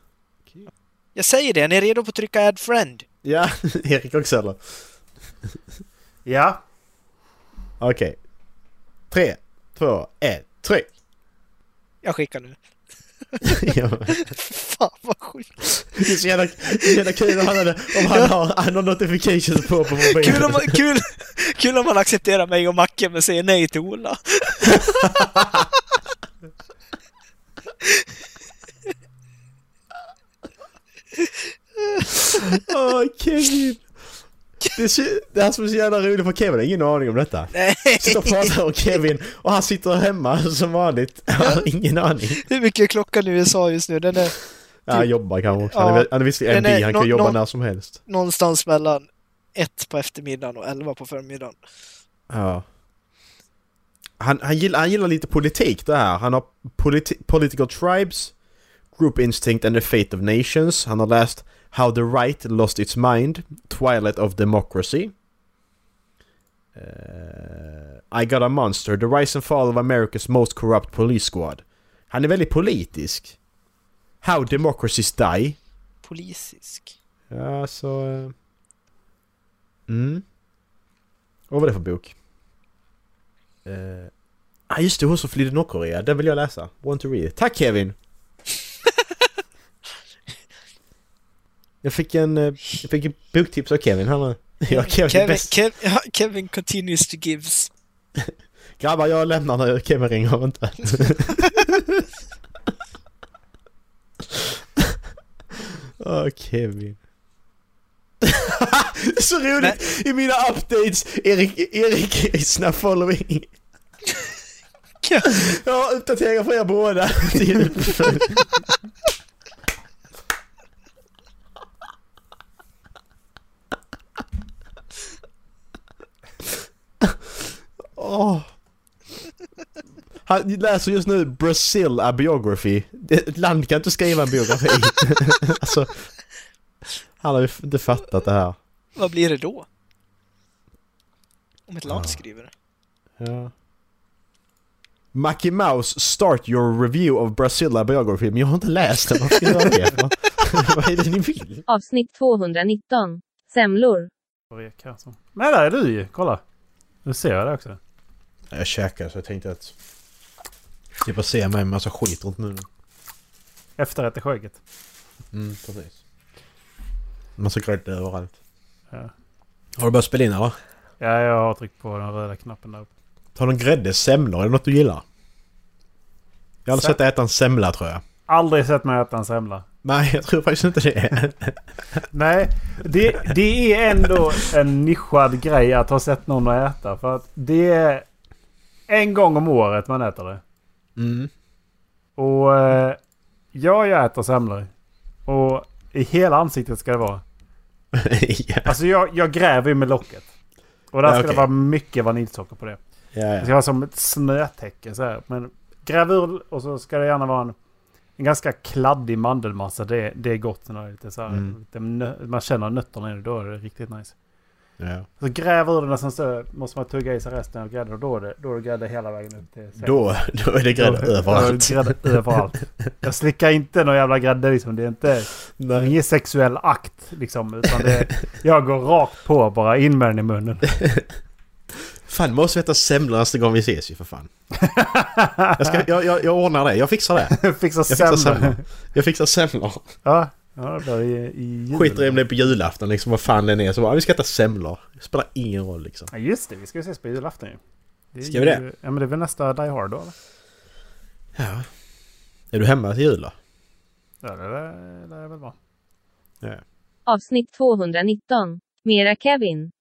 Speaker 3: Jag säger det, ni är redo på att trycka add friend.
Speaker 2: Ja, Erik också eller?
Speaker 4: Ja.
Speaker 2: Okej. Tre, två, ett, tryck!
Speaker 3: Jag skickar nu.
Speaker 2: Ja,
Speaker 3: Fan vad sjukt.
Speaker 2: det är så jävla, det är jävla kul om han, hade, om han har, han har notifications på på mobilen.
Speaker 3: Kul om, man- kul, kul om man accepterar mig och Macke men säger nej till Ola.
Speaker 2: Åh, Kevin! Det är, så, det här som är så jävla roligt för Kevin, har ingen aning om detta.
Speaker 3: Nej.
Speaker 2: Sitter och pratar om Kevin och han sitter hemma som vanligt. Han har ingen aning.
Speaker 3: Hur mycket är klockan i USA just nu? Den är
Speaker 2: Ja, han jobbar kanske också. Han är, väl- han är visserligen
Speaker 3: Ja, eh,
Speaker 2: MD, han kan
Speaker 3: nå-
Speaker 2: jobba
Speaker 3: nå-
Speaker 2: när som helst.
Speaker 3: någonstans mellan ett på eftermiddagen och elva på förmiddagen.
Speaker 2: Ja. Han, han, gillar, han gillar lite politik det här. Han har politi- Political Tribes, Group Instinct and the Fate of Nations. Han har läst How the Right Lost Its Mind, Twilight of Democracy. Eh, I Got a Monster, The Rise and Fall of America's Most Corrupt Police Squad. Han är väldigt politisk. How Democracies Die.
Speaker 3: Polisisk.
Speaker 2: Ja, så... eh, Mm. Och vad var det för bok? Eh, ah, just det, hon som flydde Nordkorea. Den vill jag läsa. Want to read it. Tack Kevin! jag fick en... eh, Jag fick en boktips av Kevin här nu. Ja, Kevin, är
Speaker 3: Kevin,
Speaker 2: bäst.
Speaker 3: Kev, ja, Kevin continues to gives.
Speaker 2: Grabbar, jag lämnar nu. Kevin ringer inte. Åh, Kevin. Det är så roligt! I mina updates, Erik, Erik Isna following. Jag har uppdateringar för er båda. Det är uppföljd. Åh. han läser just nu Brazil a biography. Ett land kan inte skriva en biografi. alltså, han har ju inte fattat det här.
Speaker 3: Vad blir det då? Om ett land
Speaker 2: Ja.
Speaker 3: skriver det.
Speaker 2: Ja. Mackie Mouse, start your review of Brazil a biography. Men jag har inte läst den, vad ska jag göra det för? Vad är det ni vill?
Speaker 1: Avsnitt 219. Semlor.
Speaker 6: Rek här, så.
Speaker 4: Nej, där är du ju. Kolla. Nu ser jag det också.
Speaker 2: Jag käkar så jag tänkte att... Slippa se mig en massa skit runt munnen.
Speaker 4: Efterrätt är skägget.
Speaker 2: Mm, precis. Massa grädde överallt.
Speaker 4: Ja.
Speaker 2: Har du börjat spela in eller?
Speaker 4: Ja, jag har tryckt på den röda knappen där uppe.
Speaker 2: Tar du en grädde, semlor? Är det något du gillar? Jag har aldrig
Speaker 4: Sem-
Speaker 2: sett dig äta en semla tror jag.
Speaker 4: Aldrig sett mig äta en semla.
Speaker 2: Nej, jag tror faktiskt inte det.
Speaker 4: Nej, det, det är ändå en nischad grej att ha sett någon äta. För att det är en gång om året man äter det.
Speaker 2: Mm.
Speaker 4: Och eh, ja, jag äter semlor. Och i hela ansiktet ska det vara.
Speaker 2: ja,
Speaker 4: Alltså jag, jag gräver ju med locket. Och där
Speaker 2: Ja,
Speaker 4: ska det
Speaker 2: okej.
Speaker 4: vara mycket vaniljsocker på det.
Speaker 2: ja,
Speaker 4: Det
Speaker 2: ja.
Speaker 4: ska vara som ett snötäcke så här. Men gräv ur och så ska det gärna vara en, en ganska kladdig mandelmassa. Det, det är gott när det är lite så här.
Speaker 2: Mm.
Speaker 4: Lite nö, man känner nötterna i det. Då är det riktigt nice.
Speaker 2: ja.
Speaker 4: Så gräv ur den och sen så måste man tugga i sig resten av grädden. Och då är det, då är det grädde hela vägen upp till säng.
Speaker 2: Då, då är det grädde
Speaker 4: Då-
Speaker 2: överallt.
Speaker 4: då är det Grädde överallt. Jag slickar inte någon jävla grädde liksom. Det är inte det är
Speaker 2: Nej.
Speaker 4: ingen sexuell akt liksom. Utan det, jag går rakt på bara. In med den i munnen.
Speaker 2: Fan, måste vi äta semlor nästa gång vi ses ju för fan. Jag, ska, jag, jag, jag ordnar det, jag fixar det.
Speaker 4: Fixar
Speaker 2: Jag fixar
Speaker 4: semlor.
Speaker 2: semlor. Jag fixar semlor.
Speaker 4: Ja, ja det blir i, i jul.
Speaker 2: Skiter i om det är på julafton liksom, vad fan den är. Så bara, vi ska äta semlor. Det spelar ingen roll liksom.
Speaker 4: Ja, just det. Vi ska ju ses på julafton ju. Det är
Speaker 2: Ska vi det?
Speaker 4: ju- Ja, men det är väl nästa Die Hard då, eller?
Speaker 2: Ja. Är du hemma till jul då?
Speaker 4: Ja, det lär- lär jag väl vara.
Speaker 1: Avsnitt 219. Mera Kevin.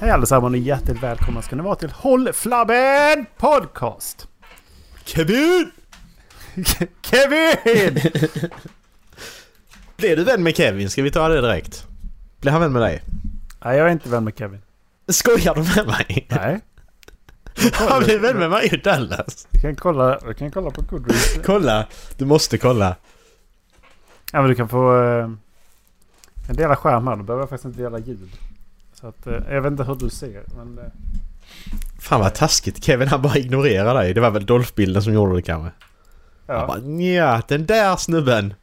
Speaker 4: Hej allesammans och hjärtligt välkomna ska ni vara till Håll Flabben Podcast!
Speaker 2: Kevin!
Speaker 4: Kevin!
Speaker 2: Blev du vän med Kevin? Ska vi ta det direkt? Blev han vän med dig?
Speaker 4: Nej, jag är inte vän med Kevin.
Speaker 2: Skojar du med mig?
Speaker 4: Nej.
Speaker 2: Han blev vän med mig i Dallas.
Speaker 4: Vi kan kolla, vi kan kolla på Goodreads.
Speaker 2: Kolla! Du måste kolla.
Speaker 4: Ja, men du kan få... Eh, en dela skärm här. Då behöver jag faktiskt inte dela ljud. Så att, eh, jag vet inte hur du ser, men... Eh,
Speaker 2: Fan vad taskigt. Kevin han bara ignorerar dig. Det var väl Dolph-bilden som gjorde det kanske? Han
Speaker 4: ja.
Speaker 2: bara nja, den där snubben.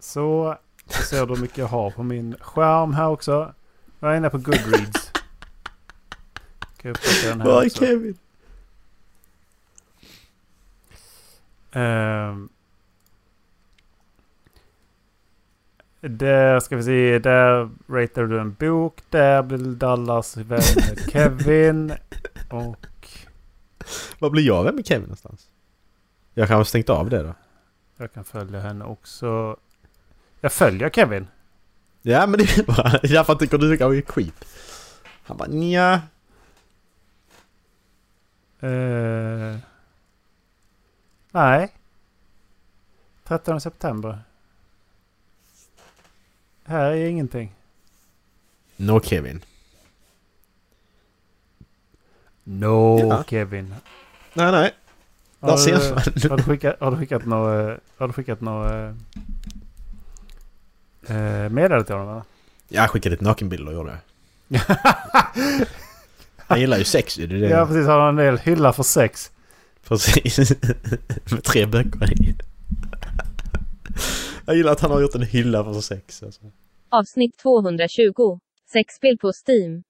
Speaker 4: Så ser du hur mycket jag har på min skärm här också. Jag är inne på Goodreads. Kan jag uppdatera den här
Speaker 2: Var är
Speaker 4: också.
Speaker 2: Kevin?
Speaker 4: Ehm. Där ska vi se. Där ratear du en bok. Där blir Dallas vän med Kevin. Och
Speaker 2: Var blir jag vän med Kevin någonstans? Jag kanske har stängt av det då.
Speaker 4: jag kan följa henne också. Jag följer Kevin.
Speaker 2: Ja men det är bara därför han tycker du kanske är creep. Han bara nja.
Speaker 4: Eh, nej. 13 september. Här är ingenting.
Speaker 2: No Kevin.
Speaker 4: No
Speaker 2: Ja.
Speaker 4: Kevin.
Speaker 2: Nej nej. Där
Speaker 4: Har du-
Speaker 2: ser man.
Speaker 4: Har du skickat, har du skickat något... eh, Har du skickat något... Eh, meddelande till honom eller?
Speaker 2: Jag skickade lite nakenbilder gjorde jag. Han gillar ju sex ju. Det är det.
Speaker 4: Ja precis, har han en del hylla för sex.
Speaker 2: Precis. Med tre böcker i. Jag gillar att han har gjort en hylla för sex. Alltså.
Speaker 1: Avsnitt 220. Sexspel på Steam.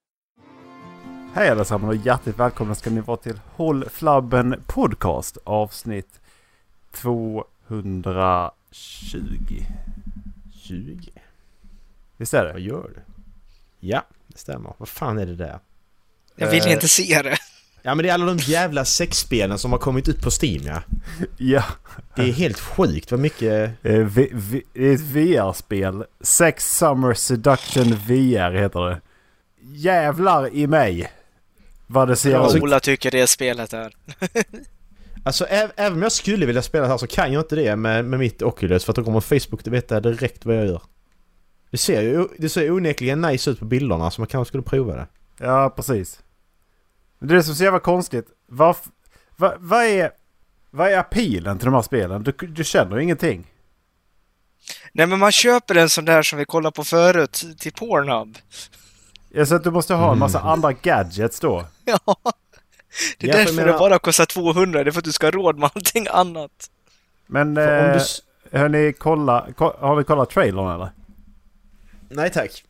Speaker 4: Hej allesammans och hjärtligt välkomna ska ni vara till Håll Flabben Podcast avsnitt 220.
Speaker 2: 20.
Speaker 4: Visst är det?
Speaker 2: Vad gör du? Ja, det stämmer. Vad fan är det där?
Speaker 3: Jag vill
Speaker 4: Eh.
Speaker 3: inte se det.
Speaker 2: Ja men det är alla de jävla sexspelen som har kommit ut på Steam ja.
Speaker 4: Ja.
Speaker 2: Det är helt sjukt vad mycket...
Speaker 4: Eh, vi- vi- Det är ett VR-spel. Sex Summer Seduction VR heter det. Jävlar i mig. Vad det ser
Speaker 2: Alltså-
Speaker 4: ut.
Speaker 3: Ola tycker det spelet är.
Speaker 2: Alltså ä- även om jag skulle vilja spela det här så kan jag inte det med, med mitt Oculus för att då kommer Facebook att veta direkt vad jag gör. Det ser ju det ser onekligen nice ut på bilderna så man kanske skulle prova det.
Speaker 4: Ja, precis. Men det är det som är så jävla konstigt. Vad va, vad är, vad är appealen till de här spelen? Du, du känner ju ingenting.
Speaker 3: Nej, men man köper en sån där som vi kollade på förut till Pornhub.
Speaker 4: Jag ser att du måste ha en massa andra gadgets då.
Speaker 3: Ja. Det är
Speaker 4: Ja, för
Speaker 3: därför
Speaker 4: jag
Speaker 3: det
Speaker 4: menar-
Speaker 3: bara kostar 200, det är för att du ska ha råd med allting annat.
Speaker 4: Men
Speaker 2: För om
Speaker 4: eh,
Speaker 2: du... s-
Speaker 4: hörni, kolla, ko, har vi kollat trailern eller?
Speaker 2: Nej tack.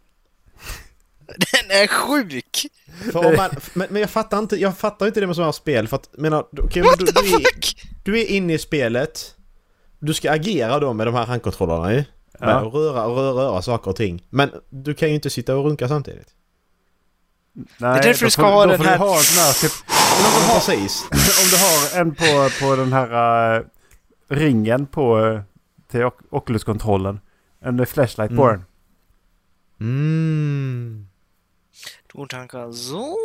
Speaker 3: Den är sjuk!
Speaker 2: För om man, men, men jag fattar inte, jag fattar inte det med sådana här spel för att, menar, du- okej, men
Speaker 3: What
Speaker 2: du,
Speaker 3: the
Speaker 2: du, är,
Speaker 3: fuck!
Speaker 2: du är inne i spelet, du ska agera då med de här handkontrollerna ju.
Speaker 4: Ja.
Speaker 2: Med att röra och röra, röra saker och ting. Men du kan ju inte sitta och runka samtidigt.
Speaker 4: Nej,
Speaker 3: Det är därför
Speaker 4: då
Speaker 3: du ska
Speaker 4: får-
Speaker 3: ha
Speaker 4: då
Speaker 3: den
Speaker 4: får du
Speaker 3: här-
Speaker 4: Ha en sån här typ,
Speaker 2: Ja, precis.
Speaker 4: om du har en på, på den här eh, ringen på eh, till Oc- Oculus-kontrollen. En eh, flashlight på
Speaker 2: Mm.
Speaker 4: den.
Speaker 2: Mm.
Speaker 3: Don't tanka så.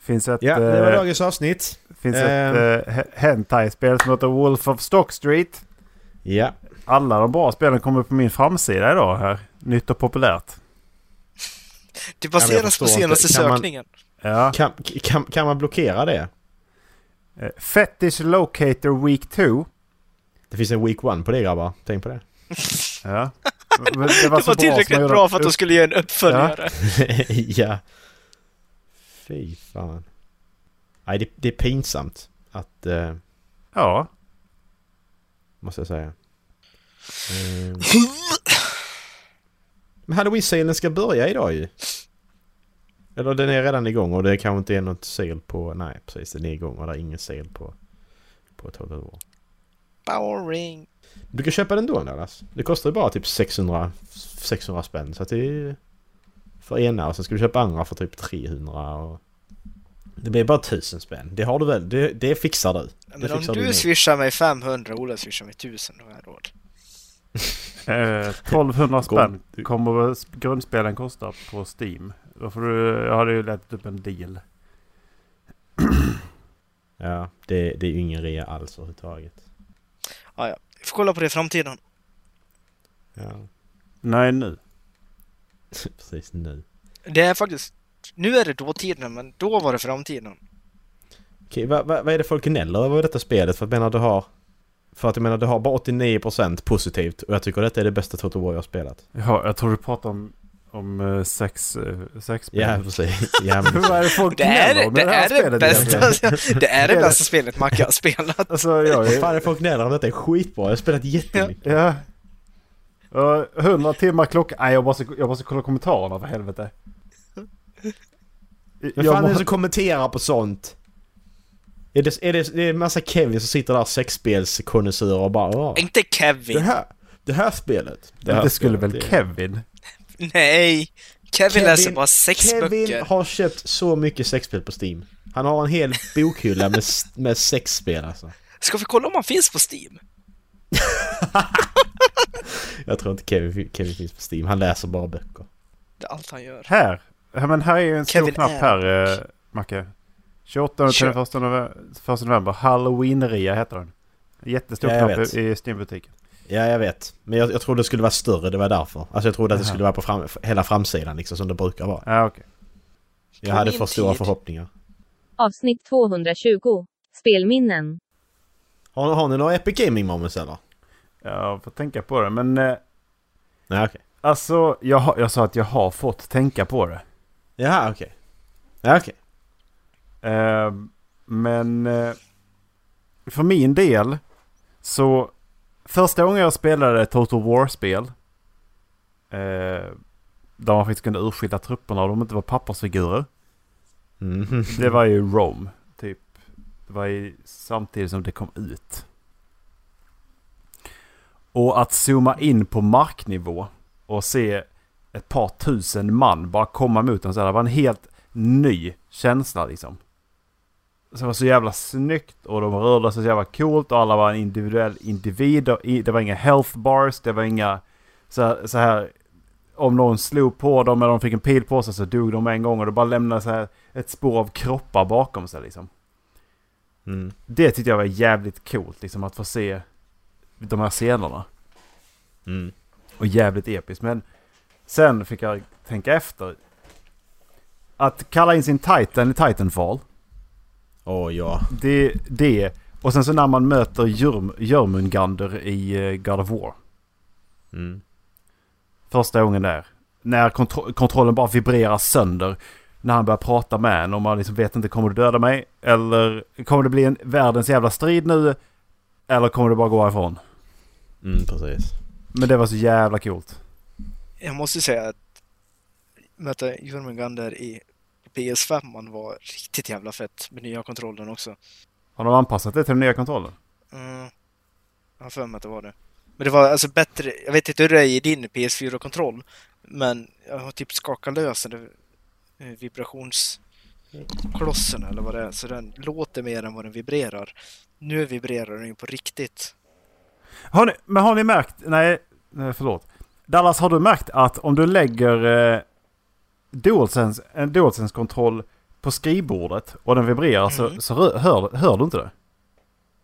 Speaker 4: Finns ett,
Speaker 2: Ja, det var
Speaker 4: eh,
Speaker 2: dagens avsnitt.
Speaker 4: finns
Speaker 2: Ehm.
Speaker 4: ett eh, he- hentai-spel som heter Wolf of Stock Street.
Speaker 2: Ja.
Speaker 4: Alla de bra spelen kommer på min framsida idag här. Nytt och populärt.
Speaker 3: Det
Speaker 2: Ja, men jag
Speaker 3: baseras
Speaker 2: förstår
Speaker 3: på senaste
Speaker 2: inte. Kan man-
Speaker 3: sökningen.
Speaker 4: Ja.
Speaker 2: Kan, kan, kan man blockera det?
Speaker 4: Eh, Fetish Locator Week 2.
Speaker 2: Det finns en week one på det grabbar, tänk på det.
Speaker 4: Ja. Det
Speaker 3: Det var tillräckligt bra för att de skulle göra en uppföljare.
Speaker 2: ja. Fy fan. Nej, det, det är pinsamt att... eh,
Speaker 4: Ja.
Speaker 2: måste jag säga. Ehm. Men halloween-salen ska börja idag ju. Eller den är redan igång och det kanske inte är något sale på... Nej, precis. Den är igång och det är ingen sale på, på ett halvt år.
Speaker 3: Boring.
Speaker 2: Du kan köpa den då Dallas. Det kostar ju bara typ 600, 600 spänn. Så att det är ju för ena och sen ska du köpa andra för typ 300 och... Det blir bara 1000 spänn. Det har du väl? Det, det fixar du.
Speaker 3: Men
Speaker 2: Det
Speaker 3: om
Speaker 2: fixar du
Speaker 3: du
Speaker 2: nog.
Speaker 3: swishar mig 500 Ola swishar mig 1000, då har jag råd.
Speaker 4: Eh, 1200 spänn kommer sp- grundspelen kosta på Steam. Då får du, jag hade ju letat upp en deal.
Speaker 2: Ja, det, det är ju ingen rea alls överhuvudtaget.
Speaker 3: Vi får kolla på det i framtiden.
Speaker 2: Ja,
Speaker 4: Nej nu.
Speaker 2: precis nu.
Speaker 3: Det är faktiskt... Nu är det dåtiden, men då var det framtiden.
Speaker 2: Okej, vad, vad, vad är det folk gnäller över i detta spelet? För att jag menar du har... För att jag menar du har bara 89% positivt och jag tycker detta är det bästa Total War jag har spelat.
Speaker 4: Ja, jag tror du pratar om, om eh, sex, eh, sexspel.
Speaker 2: Ja, precis. Ja, men...
Speaker 4: Vad är det folk
Speaker 3: Det är
Speaker 4: gnäller
Speaker 3: det,
Speaker 4: om i här
Speaker 3: är det
Speaker 4: spelet egentligen?
Speaker 3: bästa, det är det
Speaker 4: Det är
Speaker 3: bästa spelet Macke har spelat.
Speaker 4: Alltså jag
Speaker 2: Vad
Speaker 4: är...
Speaker 2: fan är det folk gnäller om? Detta är skitbra. Jag har spelat jättemycket.
Speaker 4: Ja. Uh, 100 timmar klocka. Nej jag måste, jag måste kolla kommentarerna för helvete.
Speaker 2: Vem
Speaker 4: Jag
Speaker 2: fan är
Speaker 4: må-
Speaker 2: det som kommenterar på sånt? Är det, är det, det är en massa Kevin som sitter där sexspelskonnässörer och bara "Åh,
Speaker 3: Inte
Speaker 2: det
Speaker 3: Kevin.
Speaker 2: här, det här spelet. Det, här
Speaker 4: det skulle
Speaker 2: spelet,
Speaker 4: väl
Speaker 2: det-
Speaker 4: Kevin?
Speaker 3: Nej. Kevin,
Speaker 2: Kevin-
Speaker 3: läser bara sex
Speaker 2: Kevin
Speaker 3: böcker.
Speaker 2: har köpt så mycket sexspel på Steam. Han har en hel bokhylla med, s- med sexspel alltså.
Speaker 3: Ska vi kolla om han finns på Steam?
Speaker 2: Jag tror inte Kevin, fi- Kevin finns på Steam. Han läser bara böcker.
Speaker 3: Det är allt han gör.
Speaker 4: Här! Ja, men här är ju en stor
Speaker 3: Kevin
Speaker 4: knapp
Speaker 3: är-
Speaker 4: här, eh, Macke. 28 och
Speaker 3: Kör.
Speaker 4: 31 november, 1 november. Halloween-ria heter den. Jättestor
Speaker 2: Ja, jag
Speaker 4: knapp
Speaker 2: vet.
Speaker 4: i i Steam-butiken.
Speaker 2: Ja, jag vet. Men jag, jag trodde det skulle vara större, det var därför. Alltså jag trodde att det
Speaker 4: Jaha.
Speaker 2: skulle vara på fram, hela framsidan liksom, som det brukar vara.
Speaker 4: Ja, okej.
Speaker 2: Jag
Speaker 3: På
Speaker 2: hade
Speaker 3: min
Speaker 2: för stora
Speaker 3: tid.
Speaker 2: förhoppningar.
Speaker 1: Avsnitt 220. Spelminnen.
Speaker 2: Har, har ni några Epic Gaming Moments eller?
Speaker 4: Jag får tänka på det. Men eh,
Speaker 2: Nej, okej.
Speaker 4: alltså, jag, har- jag sa att jag har fått tänka på det.
Speaker 2: Jaha, okej. Ja, okej.
Speaker 4: Eh, men eh, för min del så första gången jag spelade Total War-spel eh, där man faktiskt kunde urskilja trupperna och de inte var pappersfigurer.
Speaker 2: Mhm.
Speaker 4: Det var ju Rome, typ. Det var ju samtidigt som det kom ut. Och att zooma in på marknivå och se ett par tusen man bara komma mot en så här, det var en helt ny känsla liksom. Så det var så jävla snyggt och de rörde sig så jävla coolt och alla var en individuell individ. Och i- Det var inga health bars, det var inga så här, så här om någon slog på dem eller de fick en pil på sig så dog de en gång och det bara lämnade så här ett spår av kroppar bakom sig liksom.
Speaker 2: Mm.
Speaker 4: Det tyckte jag var jävligt coolt liksom att få se de här scenerna.
Speaker 2: Mm.
Speaker 4: Och jävligt episkt. Men sen fick jag tänka efter. Att kalla in sin Titan i Titanfall.
Speaker 2: Oj. Åh ja.
Speaker 4: Det, det. Och sen så när man möter Jörm, Jörmungander i eh, God of War.
Speaker 2: Mm.
Speaker 4: Första gången där. När kontro- kontrollen bara vibrerar sönder. När han börjar prata med en och man liksom vet inte kommer du döda mig? Eller kommer det bli en världens jävla strid nu? Eller kommer du bara gå härifrån?
Speaker 2: Mm, precis.
Speaker 4: Men det var så jävla coolt.
Speaker 3: Jag måste säga att möta Jörmungandr i PS5 man var riktigt jävla fett med nya kontrollen också.
Speaker 4: Har de anpassat det till den nya kontrollen?
Speaker 3: Mm. Jag har för mig att det var det. Men det var alltså bättre, jag vet inte hur det är i din PS4-kontroll, men jag har typ skakat lös den där, eh, vibrationsklossen eller vad det är, så den låter mer än vad den vibrerar. Nu vibrerar den ju på riktigt.
Speaker 4: Har ni, men har ni märkt, nej, nej förlåt. Dallas, har du märkt att om du lägger eh, DualSense, en DualSense-kontroll på skrivbordet och den vibrerar så,
Speaker 3: Mm.
Speaker 4: så rö- hör, hör du inte det?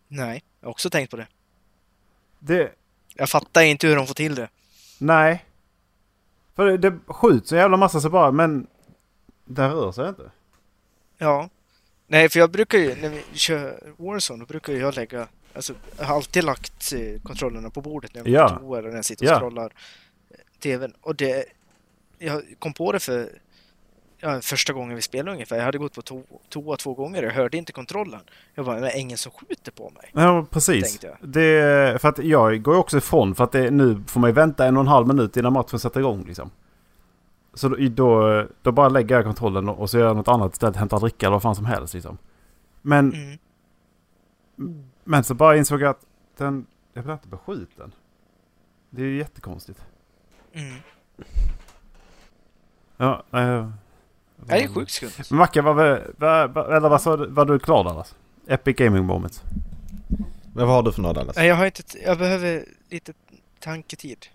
Speaker 3: Nej, jag har också tänkt på det.
Speaker 4: det
Speaker 3: Jag fattar inte hur de får till det.
Speaker 4: nej. För det, det skjuts en jävla massa så bara, men den rör sig inte.
Speaker 3: Ja. Nej, för jag brukar ju, när vi kör Warzone, då brukar ju jag lägga, alltså jag har alltid lagt eh, kontrollerna på bordet när jag går
Speaker 4: Ja.
Speaker 3: på toa eller när jag sitter och
Speaker 4: Ja.
Speaker 3: scrollar eh, TVn. Och det, jag kom på det för ja, första gången vi spelade ungefär. Jag hade gått på to- toa två gånger och jag hörde inte kontrollen. Jag bara, men det är ingen som skjuter på mig.
Speaker 4: Ja, men precis.
Speaker 3: Tänkte
Speaker 4: Det, för att jag går ju också ifrån för att det, nu får man ju vänta en och en halv minut innan matchen sätter igång liksom. Så då, då, då bara lägger jag kontrollen och och så gör jag något annat istället. Hämtar dricka eller vad fan som helst liksom. Men,
Speaker 3: Mm.
Speaker 4: men så bara insåg jag att den... Jag blir inte beskjuten. Det är ju jättekonstigt.
Speaker 3: Mm.
Speaker 4: Ja, äh,
Speaker 3: Det är sjukt skumt.
Speaker 4: Macke, vad, vad, vad, eller vad, sa du- var du klar Dallas? Epic Gaming Moment.
Speaker 2: Men vad har du för några Dallas?
Speaker 3: Nej, jag har inte, t- jag behöver lite tanketid.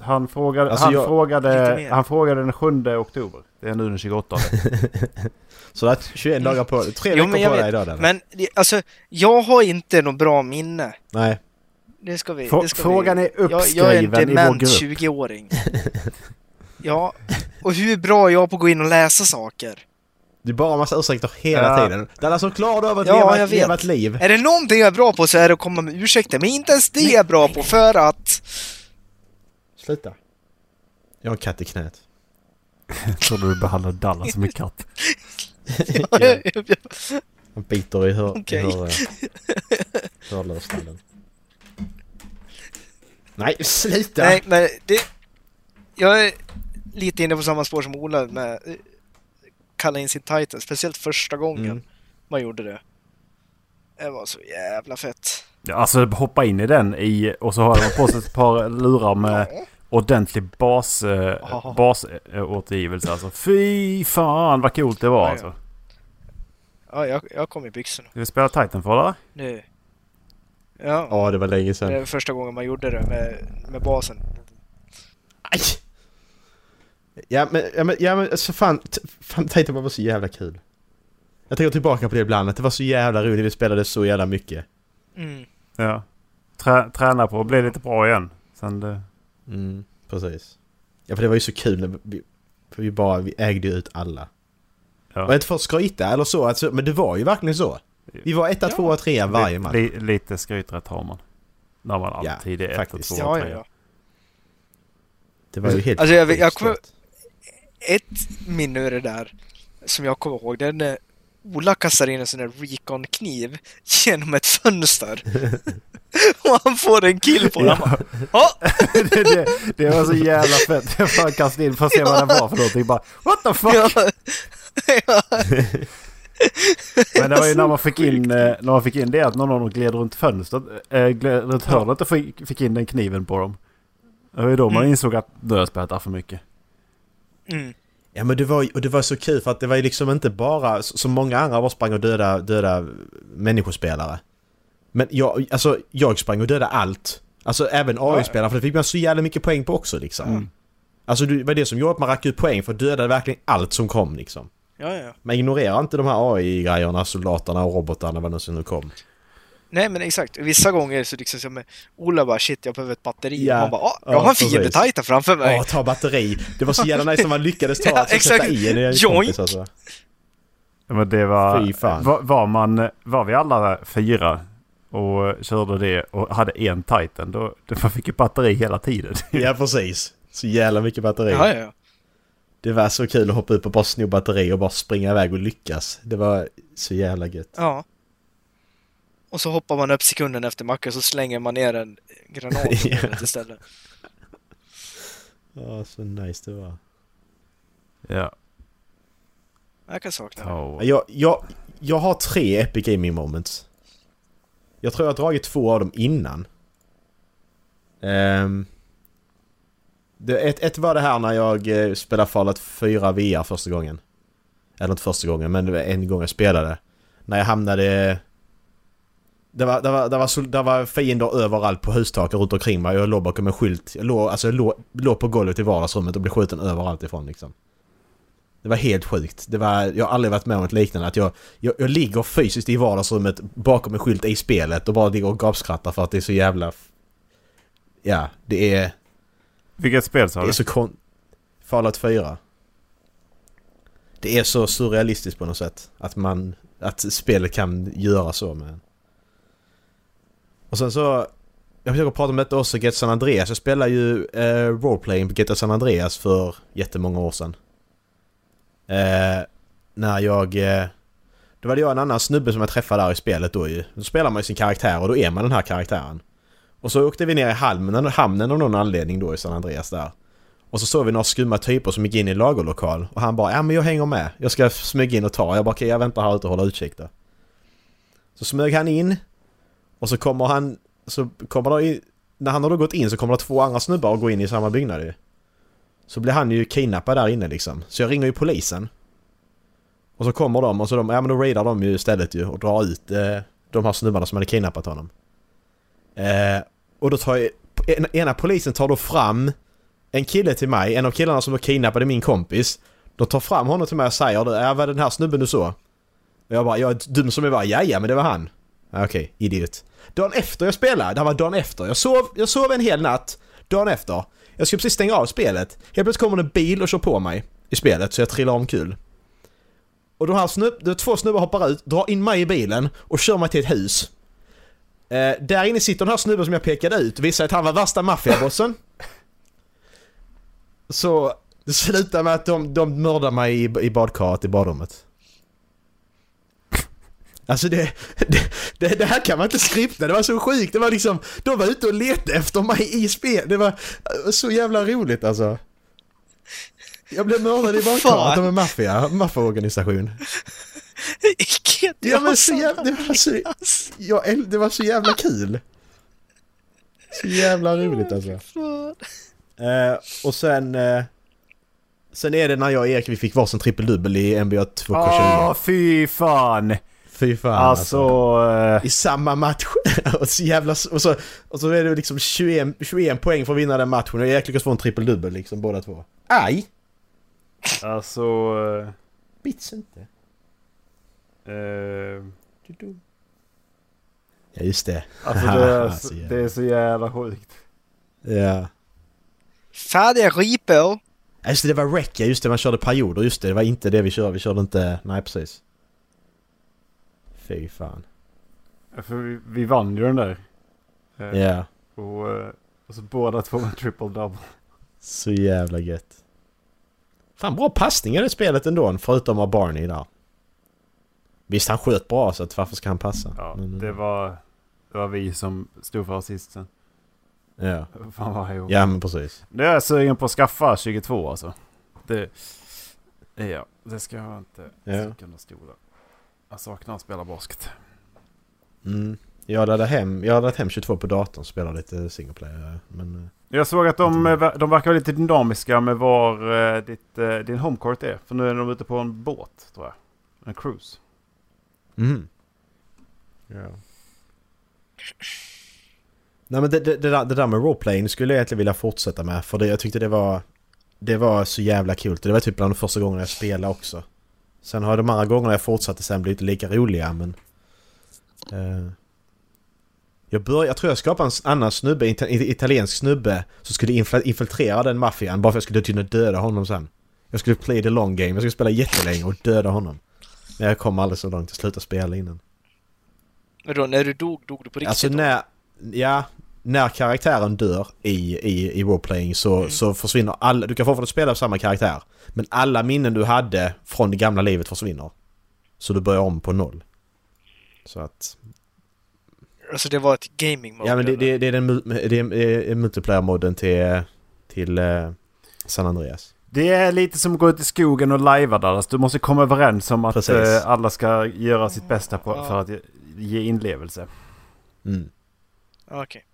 Speaker 4: Han frågade,
Speaker 2: Alltså,
Speaker 4: han,
Speaker 2: jag-
Speaker 4: frågade,
Speaker 3: Lite mer.
Speaker 4: han frågade den 7 oktober. Det är nu den 28.
Speaker 2: Så du har haft 21 dagar på dig. Tre
Speaker 3: Mm. Jo, men
Speaker 2: veckor
Speaker 3: jag
Speaker 2: på dig
Speaker 3: vet.
Speaker 2: idag Dallas.
Speaker 3: Men det- alltså, jag har inte något bra minne.
Speaker 2: Nej.
Speaker 3: Det ska vi,
Speaker 4: Frå-
Speaker 3: det ska
Speaker 4: frågan
Speaker 3: vi.
Speaker 4: är uppskriven
Speaker 3: jag, jag är en
Speaker 4: i vår
Speaker 3: dement
Speaker 4: grupp.
Speaker 3: 20-åring. Ja, och hur bra är jag på att gå in och läsa saker?
Speaker 2: Det är bara en massa ursäkter hela
Speaker 4: Ja.
Speaker 2: tiden. Dallas, hur klarar du av att
Speaker 3: Ja,
Speaker 2: leva,
Speaker 3: jag
Speaker 2: ett,
Speaker 3: vet. Eh.
Speaker 2: leva ett liv?
Speaker 3: Är det någonting jag är bra på så är det att komma med ursäkter, men inte ens det är jag bra på för att...
Speaker 2: Sluta. Jag har en katt i knät.
Speaker 4: Tror du behandlar Dallas som en katt?
Speaker 2: Ja, Han biter i eh, hör...
Speaker 3: Okej.
Speaker 2: hör hörlursnallen. Nej, sluta!
Speaker 3: Nej, men det... Jag är lite inne på samma spår som Ola med eh, kalla in sin titan, speciellt första gången
Speaker 2: Mm.
Speaker 3: man gjorde det. Det var så jävla fett.
Speaker 4: Ja, Alltså hoppa in i den i, och så har de på sig ett par lurar med
Speaker 3: Ja.
Speaker 4: ordentlig bas,
Speaker 3: Ja.
Speaker 4: eh, basåtergivelse. Alltså fy fan vad coolt det
Speaker 3: Ja,
Speaker 4: var
Speaker 3: ja.
Speaker 4: alltså.
Speaker 3: Ja, jag, jag kom i byxorna.
Speaker 4: Ska vi spela Titanfall eller?
Speaker 3: Nu. Ja.
Speaker 2: Ja, det var länge sedan.
Speaker 3: Det är första gången man gjorde det med, med basen.
Speaker 2: Aj! Ja men, ja men, ja men alltså fan, t- fan Titan var så jävla kul. Jag tänker tillbaka på det ibland, att det var så jävla roligt, vi spelade så jävla mycket.
Speaker 3: Mm.
Speaker 4: Ja. Trä, träna på att bli lite bra igen. Sen det,
Speaker 2: Mm, precis. Ja för det var ju så kul när vi, för vi bara, vi ägde ju ut alla.
Speaker 4: Ja.
Speaker 2: Och inte för att skryta eller så, alltså, men det var ju verkligen så. Vi var etta,
Speaker 3: Ja.
Speaker 2: tvåa, trea varje
Speaker 4: li-
Speaker 2: match.
Speaker 4: li, lite skryträtt har man. När man
Speaker 2: Ja,
Speaker 4: alltid är ett och
Speaker 2: faktiskt.
Speaker 4: två
Speaker 3: Ja,
Speaker 4: och
Speaker 3: ja,
Speaker 4: tre.
Speaker 3: ja.
Speaker 2: Det var ju helt
Speaker 3: Alltså, jag- jag
Speaker 2: sjukt
Speaker 3: kommer-
Speaker 2: stort.
Speaker 3: Ett minne ur det där som jag kommer ihåg, det är när Ola kastar in en sån där Recon-kniv genom ett fönster. och han får en kill på den. Han bara, "Ja,
Speaker 4: det, det, det var så jävla fett. Jag bara kastade in för att se vad det var för någonting. Bara, What the fuck?
Speaker 3: ja,
Speaker 4: Men det var ju när man fick in, eh, när man fick in det att någon av dem gled runt fönstret, äh, gled runt hörnet och fick, fick in den kniven på dem. Det var ju då man
Speaker 3: Mm.
Speaker 4: insåg att nu har jag spelat där för mycket.
Speaker 3: Mm.
Speaker 2: Ja men det var, ju- och det var så kul för att det var ju liksom inte bara s- som många andra var sprang och döda, döda människospelare. Men jag, alltså jag sprang och dödade allt. Alltså även AI-spelare för det fick man så jävla mycket poäng på också liksom.
Speaker 4: Mm.
Speaker 2: Alltså det var det som gjorde att man rackade ut poäng för dödade verkligen allt som kom liksom.
Speaker 3: ja, ja.
Speaker 2: Man ignorerar inte de här AI-grejerna, soldaterna och robotarna vad nu som nu kom.
Speaker 3: Nej, men exakt. Vissa gånger så liksom som Ola bara shit, jag behöver ett batteri.
Speaker 2: Ja.
Speaker 3: Och man bara, "Ja, jag
Speaker 2: Ja,
Speaker 3: har en fiende
Speaker 2: precis.
Speaker 3: Titan framför mig.
Speaker 2: Åh, ta batteri! Det var så jävla nice när man lyckades ta
Speaker 3: Ja,
Speaker 2: att sätta
Speaker 3: exakt.
Speaker 2: i en i en
Speaker 3: Joink.
Speaker 2: kompis alltså.
Speaker 4: Men det var,
Speaker 2: Fy fan.
Speaker 4: Var, var, man, var vi alla fyra och körde det och hade en Titan, då, då man fick ju batteri hela tiden.
Speaker 2: Ja, precis. Så jävla mycket batteri.
Speaker 3: Ja, ja, ja.
Speaker 2: Det var så kul att hoppa upp och bara sno batteri och bara springa iväg och lyckas. Det var så jävla gött.
Speaker 3: ja. Och så hoppar man upp sekunden efter macken så slänger man ner en granat
Speaker 2: Ja.
Speaker 3: yeah. istället.
Speaker 2: Ja, så nice det var.
Speaker 4: Ja.
Speaker 3: Jag kan sakna det.
Speaker 4: Oh.
Speaker 2: Jag, jag, jag har tre Epic Gaming Moments. Jag tror jag har dragit två av dem innan. Ehm, det, ett, ett var det här när jag eh, spelade Fallout 4 VR första gången. Eller inte första gången, men det var en gång jag spelade. När jag hamnade... Det var, det, var, det, var, så- det var fiender överallt på hustaken runt omkring mig. Jag låg bakom en skylt. Jag låg, alltså, jag låg, låg på golvet i vardagsrummet och blev skjuten överallt ifrån liksom. Det var helt sjukt. Det var, jag har aldrig varit med om ett liknande. Att jag, jag, jag ligger fysiskt i vardagsrummet bakom en skylt i spelet och bara ligger och gapskrattar för att det är så jävla... f- Ja, det är...
Speaker 4: Vilket spel sa
Speaker 2: Det
Speaker 4: du?
Speaker 2: är så kon... Fallout 4. Det är så surrealistiskt på något sätt. Att man... Att spelet kan göra så med en. Och sen så... Jag försöker prata om detta också, Get San Andreas. Jag spelade ju eh, roleplaying på Get San Andreas för jättemånga år sedan. Eh, när jag... Eh, då var det jag och en annan snubbe som jag träffade där i spelet då ju. Då spelar man ju sin karaktär och då är man den här karaktären. Och så åkte vi ner i hamnen, hamnen av någon anledning då i San Andreas där. Och så såg vi några skumma typer som gick in i en lagerlokal och han bara ja men jag hänger med. Jag ska smyga in och ta. Jag bara okej jag väntar här ute och håller utkik då. Så smög han in och så kommer han, så kommer det in, när han har då gått in så kommer det två andra snubbar och gå in i samma byggnad ju. Så blir han ju kidnappad där inne liksom. Så jag ringer ju polisen. Och så kommer de och så de, ja men då raidar de ju istället ju och drar ut eh, de här snubbarna som hade kidnappat honom. Eh, och då tar jag, en, ena polisen tar då fram en kille till mig, en av killarna som var kidnappade min kompis. De tar fram honom till mig och säger du, är det den här snubben du så? Och jag bara, jag är dum som jag var, ja men det var han. Ja, Okej, idiot. Dagen efter jag spelade, det här var dagen efter, jag sov, jag sov en hel natt, dagen efter. Jag skulle precis stänga av spelet. Helt plötsligt kommer det en bil och kör på mig i spelet så jag trillar omkull. Och de här snubb, de två snubbar hoppar ut, drar in mig i bilen och kör mig till ett hus. Eh, där inne sitter den här snubben som jag pekade ut och visade att han var värsta maffiabossen. Så det slutar med att de, de mördar mig i, i badkaret i badrummet. Alltså det, det, det, det här kan man inte skripta, det var så sjukt. Det var liksom, de var ute och letade efter mig i spel. Det var eh, så jävla roligt alltså. Jag blev mördad i badkaret
Speaker 3: Fan.
Speaker 2: av en maffia, maffiaorganisation.
Speaker 3: Icke, du
Speaker 2: Ja
Speaker 3: har
Speaker 2: men så
Speaker 3: sådana
Speaker 2: jävla, det var så,
Speaker 3: ass.
Speaker 2: jag, äl- det var så jävla kul. Så jävla roligt alltså.
Speaker 3: Fan.
Speaker 2: Eh, och sen... Eh, sen är det när jag och Erik vi fick varsin trippeldubbel i NBA 2K20.
Speaker 4: Åh, fy fan!
Speaker 2: Fy fan
Speaker 4: Alltså... eh,
Speaker 2: I samma match. och, så jävla, och, så, och så är det liksom 21, 21 poäng för att vinna den matchen och Erik lyckas få en trippeldubbel liksom båda två. Aj!
Speaker 4: Alltså...
Speaker 2: Bits inte.
Speaker 4: eh, eh,
Speaker 2: Ja just det.
Speaker 4: alltså det är,
Speaker 2: Så
Speaker 4: så,
Speaker 2: jävla-
Speaker 4: det är så jävla sjukt.
Speaker 2: Ja.
Speaker 3: Färdiga ripor!
Speaker 2: Ja, Just det, det var rec, ja, just det, man körde perioder, just det, det var inte det vi körde, vi körde inte, nej precis. Fy fan.
Speaker 4: För vi, vi vann ju den där. Eh,
Speaker 2: Ja,
Speaker 4: och, eh, och så båda två med triple double.
Speaker 2: så jävla gött. Fan bra passningar i det spelet ändå, förutom av Barney där. Visst, han sköt bra så att varför ska han passa?
Speaker 4: Ja,
Speaker 2: Men,
Speaker 4: det var, det var vi som stod för assisten.
Speaker 2: ja.
Speaker 4: Fan vad jag
Speaker 2: ja, men precis.
Speaker 4: Det är jag sugen på att skaffa 22 alltså. Det... eh, Ja, det ska jag inte
Speaker 2: Ja.
Speaker 4: sticka under stolen. Jag saknar att spela basket.
Speaker 2: Mm. Jag laddade hem, jag laddade hem 22 på datorn och spelade lite single player, men... eh,
Speaker 4: Jag såg att de,
Speaker 2: Mm.
Speaker 4: eh, ver- de verkar vara lite dynamiska med var eh, ditt, eh, din homecourt är. För nu är de ute på en båt, tror jag. En cruise.
Speaker 2: Mm. Ja. Nej men det, det, det, där, det där med roleplaying skulle jag egentligen vilja fortsätta med för det, jag tyckte det var... Det var så jävla kul. Det var typ bland de första gångerna jag spelade också. Sen har de andra gångerna jag fortsatte sen blivit lika roliga men... Eh, jag, började, jag tror jag skapade en s- annan snubbe, ita- i- italiensk snubbe, som skulle infla- infiltrera den maffian bara för att jag skulle kunna döda honom sen. Jag skulle play the long game, jag skulle spela jättelänge och döda honom. Men jag kom aldrig så långt, jag slutade spela innan.
Speaker 3: Men då, när du dog, dog du på riktigt?
Speaker 2: Alltså
Speaker 3: då?
Speaker 2: när, ja, när karaktären dör i, i, i roleplaying så, så försvinner alla, du kan fortfarande spela samma karaktär. Men alla minnen du hade från det gamla livet försvinner. Så du börjar om på noll. Så att,
Speaker 3: Alltså det var ett gaming mode?
Speaker 2: ja men det,
Speaker 3: eller?
Speaker 2: det, det är den mu- det är, eh, multiplayer-modden till, till eh, San Andreas.
Speaker 4: Det är lite som att gå ut i skogen och lajva där. Alltså, du måste komma överens om att
Speaker 2: Precis.
Speaker 4: eh, alla ska göra sitt bästa på,
Speaker 3: Ja.
Speaker 4: för att ge- ge inlevelse.
Speaker 2: Mm.
Speaker 3: Ja, Ah, Okej.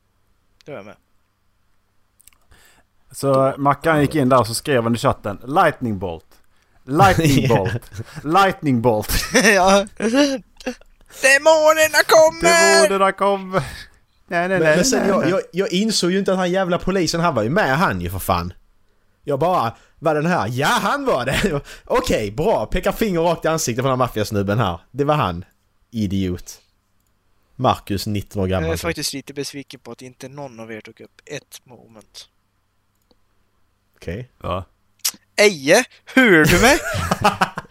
Speaker 3: Då är jag med.
Speaker 4: Så eh, Mackan gick in där och så skrev han i chatten Lightning Bolt. Lightning
Speaker 2: Ja.
Speaker 4: Bolt. Lightning Bolt.
Speaker 3: ja. Demonerna kommer!
Speaker 4: Demonerna kom. Nej, nej, nej.
Speaker 2: Men, men sen
Speaker 4: nej,
Speaker 2: jag,
Speaker 4: nej.
Speaker 2: jag, jag insåg ju inte att han jävla polisen, han var ju med han ju för fan. Jag bara, var den här? Ja, han var det! Okej, bra! Pekar finger rakt i ansiktet på den här maffiasnubben här. Det var han. Idiot. Marcus, 19 år
Speaker 3: Jag är
Speaker 4: Eh,
Speaker 2: gammal.
Speaker 3: faktiskt lite besviken på att inte någon av er tog upp ett moment.
Speaker 2: Okej.
Speaker 4: Ja.
Speaker 3: Eje, hör du mig?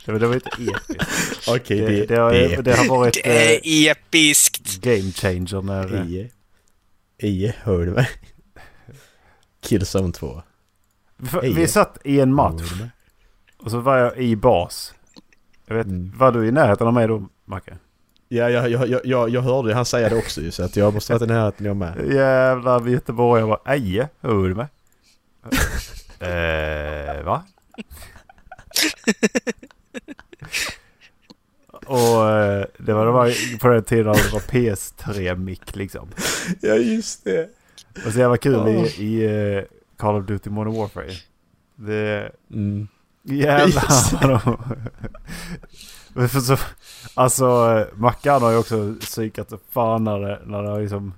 Speaker 4: Det, var- det var inte episkt.
Speaker 2: Okej,
Speaker 4: Det,
Speaker 2: det...
Speaker 4: det, har-
Speaker 2: det-
Speaker 4: det har varit
Speaker 3: Det
Speaker 4: eh,
Speaker 3: är episkt!
Speaker 4: game changer när... eh,
Speaker 2: Ie. Ie, hör du mig? Killzone 2.
Speaker 4: För,
Speaker 2: Hej.
Speaker 4: vi satt i en match
Speaker 2: Hör du mig?
Speaker 4: och så var jag i bas. Jag vet,
Speaker 2: Mm.
Speaker 4: Var du i närheten av mig då, Macke?
Speaker 2: Ja, jag, jag, jag, jag, jag hörde ju han säga det också ju, så att jag måste ha varit i närheten jag med.
Speaker 4: Jävlar vi Göteborg. Jag bara Eje, hör du mig? eh, va? och eh, det var, det var på den tiden det var PS3-mick liksom.
Speaker 2: Ja, just det.
Speaker 4: Och så jävla kul
Speaker 2: Åh.
Speaker 4: i, i eh, Call of Duty Modern Warfare. Det...
Speaker 2: Mm. Just
Speaker 4: Jävlar vad de- Men för så, Alltså eh, Mackan har ju också psykat som fan när, det, när, det har liksom,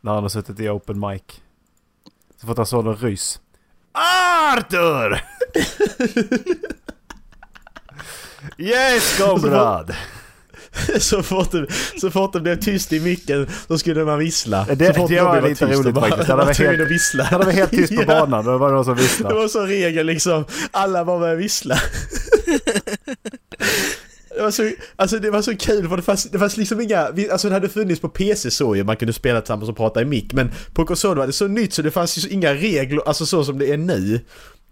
Speaker 4: när han har suttit i open mic. Så fått han sådana rys. Arthur! yes comrade!
Speaker 2: Så fort, det, så fort det blev tyst i micken så skulle man vissla.
Speaker 4: Det-
Speaker 2: så fort
Speaker 4: det
Speaker 2: någon
Speaker 4: var
Speaker 2: blev
Speaker 4: lite
Speaker 2: tyst, då
Speaker 4: roligt
Speaker 2: bara-
Speaker 4: faktiskt.
Speaker 2: Man
Speaker 4: Det
Speaker 2: var
Speaker 4: var
Speaker 2: tvungen
Speaker 4: helt-
Speaker 2: att vissla.
Speaker 4: Han var helt tyst på
Speaker 2: Ja,
Speaker 4: banan och det var någon som
Speaker 2: Det
Speaker 4: visslade.
Speaker 2: var så regel liksom. Alla bara började vissla. Det var, så, alltså det var så kul för det fanns, det fanns liksom inga, vi- alltså det hade funnits på PC så ju, man kunde spela tillsammans och prata i mick men på konsol var det så nytt så det fanns ju så inga regler, alltså så som det är nu.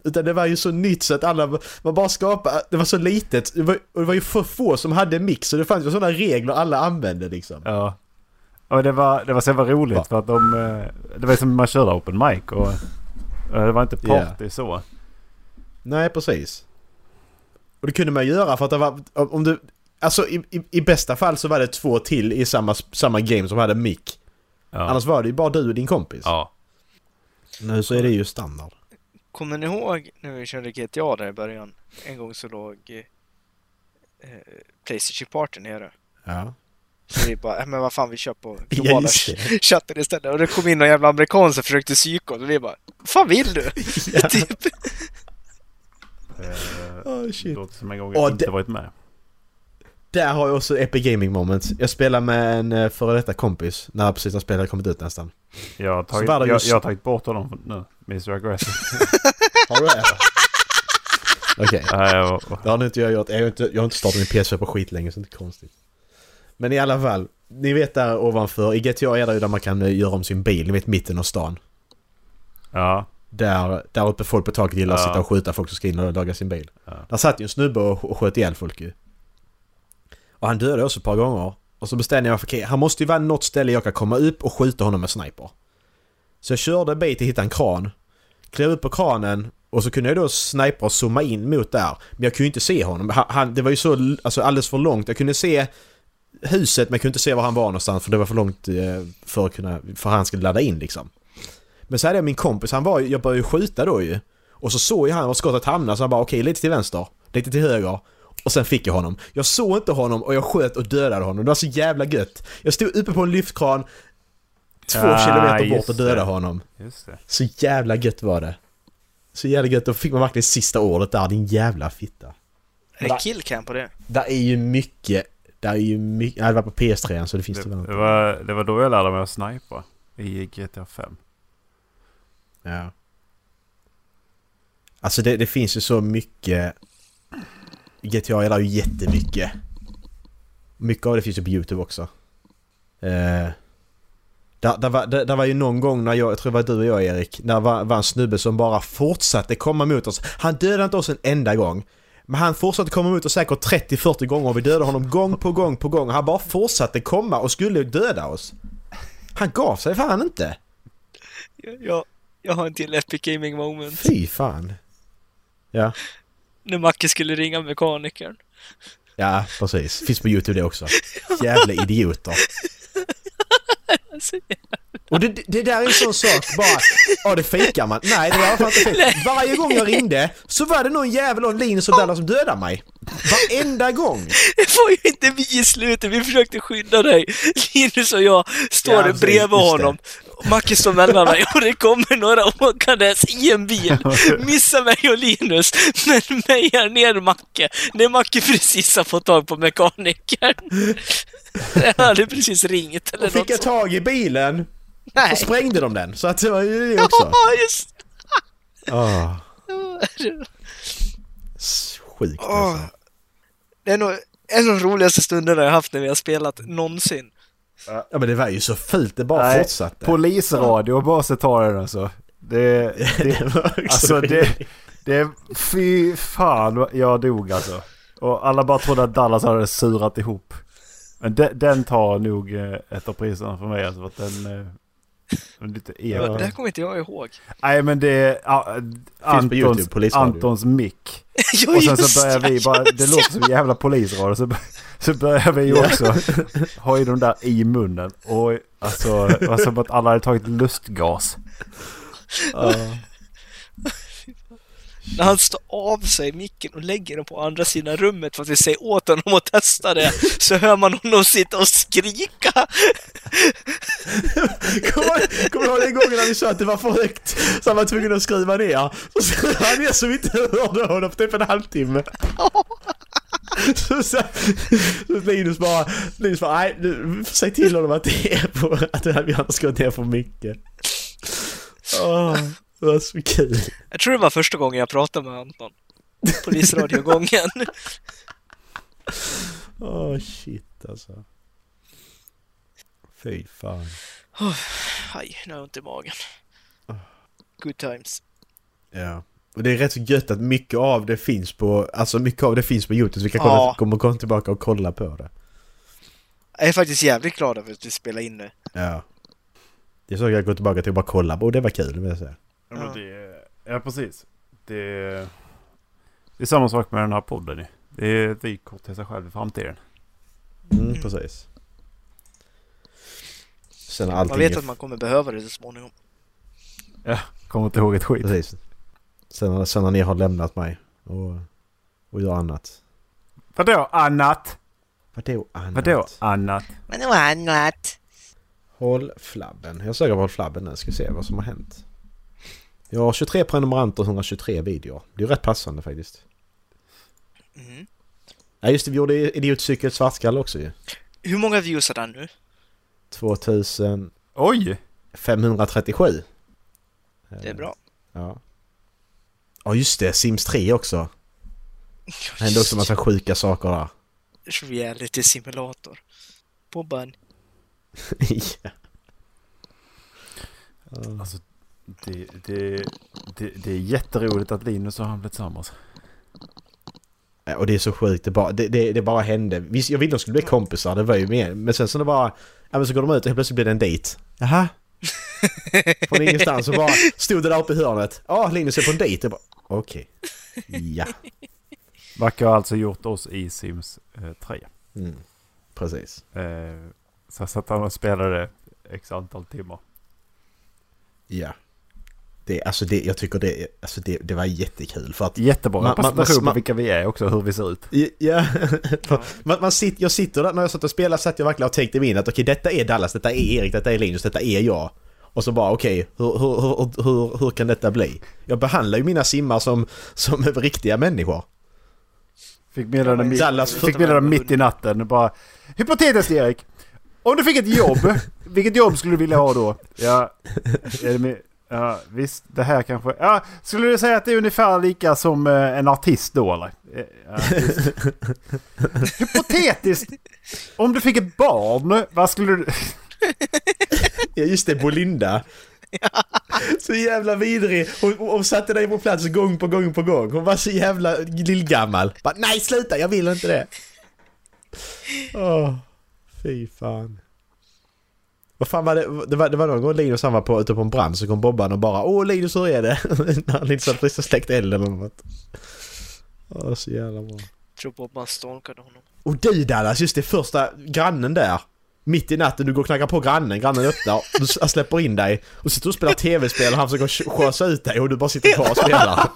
Speaker 2: Utan det var ju så nytt så att alla, man bara skapade, det var så litet, det var, och det var ju för få som hade mick så det fanns ju sådana regler alla använde liksom.
Speaker 4: Ja. Och det var, det var så jävla roligt
Speaker 2: Va?
Speaker 4: för att de... eh, Det var som man körde open mic och... och Det var inte party
Speaker 2: Yeah.
Speaker 4: så.
Speaker 2: Nej, precis. Och det kunde man göra för att det var... Om du... Alltså i, i, i bästa fall så var det två till i samma, samma game som hade mick.
Speaker 4: Ja.
Speaker 2: Annars var det ju bara du och din kompis.
Speaker 4: ja.
Speaker 2: Nu så är det ju standard.
Speaker 3: Kommer ni ihåg när vi körde GTA där i början? En gång så låg eh, eh, Playstation Party nere.
Speaker 2: Ja.
Speaker 3: Så vi bara, "Äh, men vad fan vi kör på
Speaker 2: Ja,
Speaker 3: globala
Speaker 2: just det.
Speaker 3: chatten istället. Och det kom in någon jävla amerikan som försökte psyka oss och vi bara, vad fan vill du? typ.
Speaker 4: Eh,
Speaker 2: Oh, shit.
Speaker 4: Låter som en gång jag
Speaker 2: Åh,
Speaker 4: inte
Speaker 2: det-
Speaker 4: varit med.
Speaker 2: Där har jag också Epic Gaming Moment. Jag spelade med en eh, före detta kompis när precis när spelet hade kommit ut nästan.
Speaker 4: Jag har tagit,
Speaker 2: Så var det
Speaker 4: jag,
Speaker 2: just-
Speaker 4: jag har tagit bort honom nu. Mr Aggressive.
Speaker 2: Har du det? Okej.
Speaker 4: Nej, jag-
Speaker 2: Det har nu inte jag gjort. Jag har inte, jag har inte startat min PS4 på skit länge så det är inte konstigt. Men i alla fall. Ni vet där ovanför, i GTA är det ju där man kan eh, göra om sin bil, ni vet mitten av stan.
Speaker 4: ja.
Speaker 2: Där, där uppe folk på taket gillar att
Speaker 4: Ja.
Speaker 2: sitta och skjuta folk som ska in och laga sin bil.
Speaker 4: Ja.
Speaker 2: Där satt ju en snubbe och, och sköt ihjäl folk ju. Och han dödade oss ett par gånger. Och så bestämde jag mig för okej, han måste ju vara något ställe jag kan komma upp och skjuta honom med sniper. Så jag körde en bit och hittade en kran. Klev upp på kranen och så kunde jag då sniper och zooma in mot där. Men jag kunde ju inte se honom. Han, han, det var ju så l- alltså, alldeles för långt. Jag kunde se huset men jag kunde inte se var han var någonstans för det var för långt eh, för att kunna, för han skulle ladda in liksom. Men så hade jag min kompis, han var ju- jag började ju skjuta då ju. Och så såg jag han var skottet hamnade så han bara okej lite till vänster, lite till höger. Och sen fick jag honom. Jag såg inte honom och jag sköt och dödade honom. Det var så jävla gött. Jag stod uppe på en lyftkran två
Speaker 4: Ah,
Speaker 2: kilometer bort
Speaker 4: just
Speaker 2: och dödade
Speaker 4: det.
Speaker 2: honom.
Speaker 4: Just det.
Speaker 2: Så jävla gött var det. Så jävla gött, då fick man verkligen sista ordet där, din jävla fitta.
Speaker 3: Är det killcam på det?
Speaker 2: Där är ju mycket, där är ju mycket, nej det var på PS3 så det finns
Speaker 4: Det,
Speaker 2: det väl inte.
Speaker 4: det, var, det var då jag lärde mig att snipa. I GTA 5.
Speaker 2: Ja. Alltså det, det finns ju så mycket... GTA är där ju jättemycket. Mycket av det finns ju på YouTube också. Eh, där, där, var, där, där var ju någon gång när jag, jag tror det var du och jag Erik, där var, var en snubbe som bara fortsatte komma mot oss. Han dödade inte oss en enda gång. Men han fortsatte komma mot oss säkert 30-40 gånger och vi dödade honom gång på gång på gång. Han bara fortsatte komma och skulle döda oss. Han gav sig fan inte.
Speaker 3: Jag, jag har en till Epic Gaming Moment.
Speaker 2: Fy fan. Ja,
Speaker 3: När Macke skulle ringa mekanikern.
Speaker 2: ja precis. Finns på YouTube det också. Jävla idioter.
Speaker 3: Alltså,
Speaker 2: Och det, det där är en sån sak bara, ja det fejkar man. Nej det där var fan inte fejk. Varje gång jag ringde så var det någon jävel och Linus och Dallas som dödade mig. Varenda gång!
Speaker 3: Det var ju inte vi i slutet, vi försökte skydda dig. Linus och jag står
Speaker 2: Ja,
Speaker 3: där
Speaker 2: precis,
Speaker 4: alltså,
Speaker 3: bredvid
Speaker 2: just
Speaker 3: honom. Och Macke står mellan mig och det kommer några åkandes i en bil. Missar mig och Linus, men mejar ner Macke. När Macke precis har fått tag på mekanikern. Han hade precis ringt eller
Speaker 2: Och fick
Speaker 3: något.
Speaker 2: jag
Speaker 3: sånt.
Speaker 2: tag i bilen och
Speaker 3: Nej.
Speaker 2: sprängde de den. Så att det var ju det också.
Speaker 3: Ja, just
Speaker 2: Oh,
Speaker 3: det.
Speaker 2: sjukt
Speaker 3: Åh,
Speaker 2: alltså.
Speaker 3: Det är nog en av de roligaste stunderna jag haft när vi har spelat någonsin.
Speaker 2: Ja men det var ju så fult, det bara
Speaker 4: Nej,
Speaker 2: fortsatte.
Speaker 4: Polisradio bara så tar den alltså. Det, det,
Speaker 2: Det var också
Speaker 4: alltså
Speaker 2: skit.
Speaker 4: det, det, fy fan vad- jag dog alltså. Och alla bara trodde att Dallas hade surat ihop. Men de, den tar nog eh, ett av priserna för mig alltså. För att den... eh, den är Lite
Speaker 3: Det här
Speaker 4: er.
Speaker 3: kommer inte jag ihåg.
Speaker 4: Nej men det är ah,
Speaker 2: YouTube,
Speaker 4: Antons,
Speaker 2: polisradio.
Speaker 4: Antons mick.
Speaker 3: Ja,
Speaker 4: Och sen
Speaker 3: just
Speaker 4: så börjar vi bara, det låter som en jävla polisradio, så, så börjar vi ju också ha ju de där i munnen. Och alltså, det var som att alla hade tagit lustgas.
Speaker 3: När han står av sig micken och lägger den på andra sidan rummet för att vi säger åt honom att testa det, så hör man honom sitta och skrika.
Speaker 2: Kommer kommer du ihåg den gången när vi sa att det var för högt? Så han var tvungen att skriva ner. Och så han är så vi inte hörde honom på typ en halvtimme. Så, så, så Linus bara, Linus bara, nej, du, säg till honom att det är på, att det här, vi har skrivit ner för mycket. Åh, det var så kul.
Speaker 3: Jag tror det var första gången jag pratade med Anton. Polisradiogången.
Speaker 2: Åh shit alltså. Fy fan.
Speaker 3: Aj, nu har jag ont i magen. Good times.
Speaker 2: Ja. Och det är rätt så gött att mycket av det finns på, alltså mycket av det finns på YouTube så vi kan kolla,
Speaker 3: Ja.
Speaker 2: komma, komma tillbaka och kolla på det.
Speaker 3: Jag är faktiskt jävligt glad över att vi spelar in nu.
Speaker 2: Ja. Det är så jag går tillbaka till och bara kolla på, och det var kul vill jag säga.
Speaker 3: Ja, men
Speaker 4: ja precis. Det, det är samma sak med den här podden ju. Det är ett vykort till sig själv i framtiden.
Speaker 2: Mm, precis. Sen allting...
Speaker 3: Man vet att man kommer behöva det så småningom.
Speaker 4: Kommer inte ihåg ett skit.
Speaker 2: Precis. Sen, sen när ni har lämnat mig och, och gör annat.
Speaker 4: Vadå annat?
Speaker 2: Vadå annat?
Speaker 4: Vadå annat?
Speaker 3: Men det var annat.
Speaker 2: Håll flabben. Jag söker på Håll flabben nu, ska se vad som har hänt. Jag har 23 prenumeranter och 123 videor. Det är rätt passande faktiskt.
Speaker 3: Mm.
Speaker 2: Ja just det, vi gjorde Idiotcykel svartskalle också ju.
Speaker 3: Hur många views har den nu?
Speaker 2: 2537.
Speaker 4: Oj!
Speaker 3: Det är bra.
Speaker 2: Ja. Ja just det, Sims 3 också. Det hände också en massa sjuka saker där.
Speaker 3: Reality simulator. Bobban.
Speaker 2: ja.
Speaker 4: Alltså, det, det, det, det är jätteroligt att Linus och han blev tillsammans.
Speaker 2: Ja, Och det är så sjukt, det bara, det, det, det bara hände. Visst, jag ville de skulle bli kompisar, det var ju med. Men sen så det bara, ja men så går de ut och helt plötsligt blir det en dejt. Jaha? Från ingenstans så bara stod det där uppe i hörnet. Ja, Linus är på en dejt. Jag bara, Okej. Ja,
Speaker 4: Backe har alltså gjort oss i Sims eh, 3.
Speaker 2: mm. precis.
Speaker 4: Eh, så jag satt han och spelade x antal timmar.
Speaker 2: Ja. Det, alltså det, jag tycker det, alltså det, det var jättekul för att
Speaker 4: Jättebra
Speaker 2: Man- man-
Speaker 4: representation
Speaker 2: man-
Speaker 4: på vilka vi är också, och hur vi ser ut.
Speaker 2: Ja, man, man sitter, jag sitter där, när jag satt och spelade satt jag verkligen och tänkte mig in att okej detta är Dallas, detta är Erik, detta är Linus, detta är jag. Och så bara okej, hur, hur, hur, hur, hur kan detta bli? Jag behandlar ju mina simmar som, som riktiga människor.
Speaker 4: Fick meddelande mitt,
Speaker 2: Dallas
Speaker 4: fick meddelande mitt i natten och bara Hypotetiskt Erik! Om du fick ett jobb, vilket jobb skulle du vilja ha då? Ja, är det med, Ja, visst, det här kanske... Ja, skulle du säga att det är ungefär lika som eh, en artist då eller? Eh, ja, just. Hypotetiskt! Om du fick ett barn, vad skulle du...
Speaker 2: Ja just det, Bolinda. Så jävla vidrig. Hon, hon satte dig på plats gång på gång på gång. Hon var så jävla lillgammal. Bara, Nej sluta, jag vill inte det. Åh, fy fan. Vad fan var det? Det var, det var någon gång Linus han var på, ute på en brand så kom Bobban och bara Åh Linus hur är det? När han liksom precis har släckt elden eller något. Åh så jävla bra.
Speaker 3: tror Bobban stalkade honom.
Speaker 2: Och du Dallas, just det första grannen där. Mitt i natten, du går och knackar på grannen, grannen öppnar, du s- släpper in dig och sitter och spelar tv-spel och han försöker sk- skösa ut dig och du bara sitter kvar och spelar.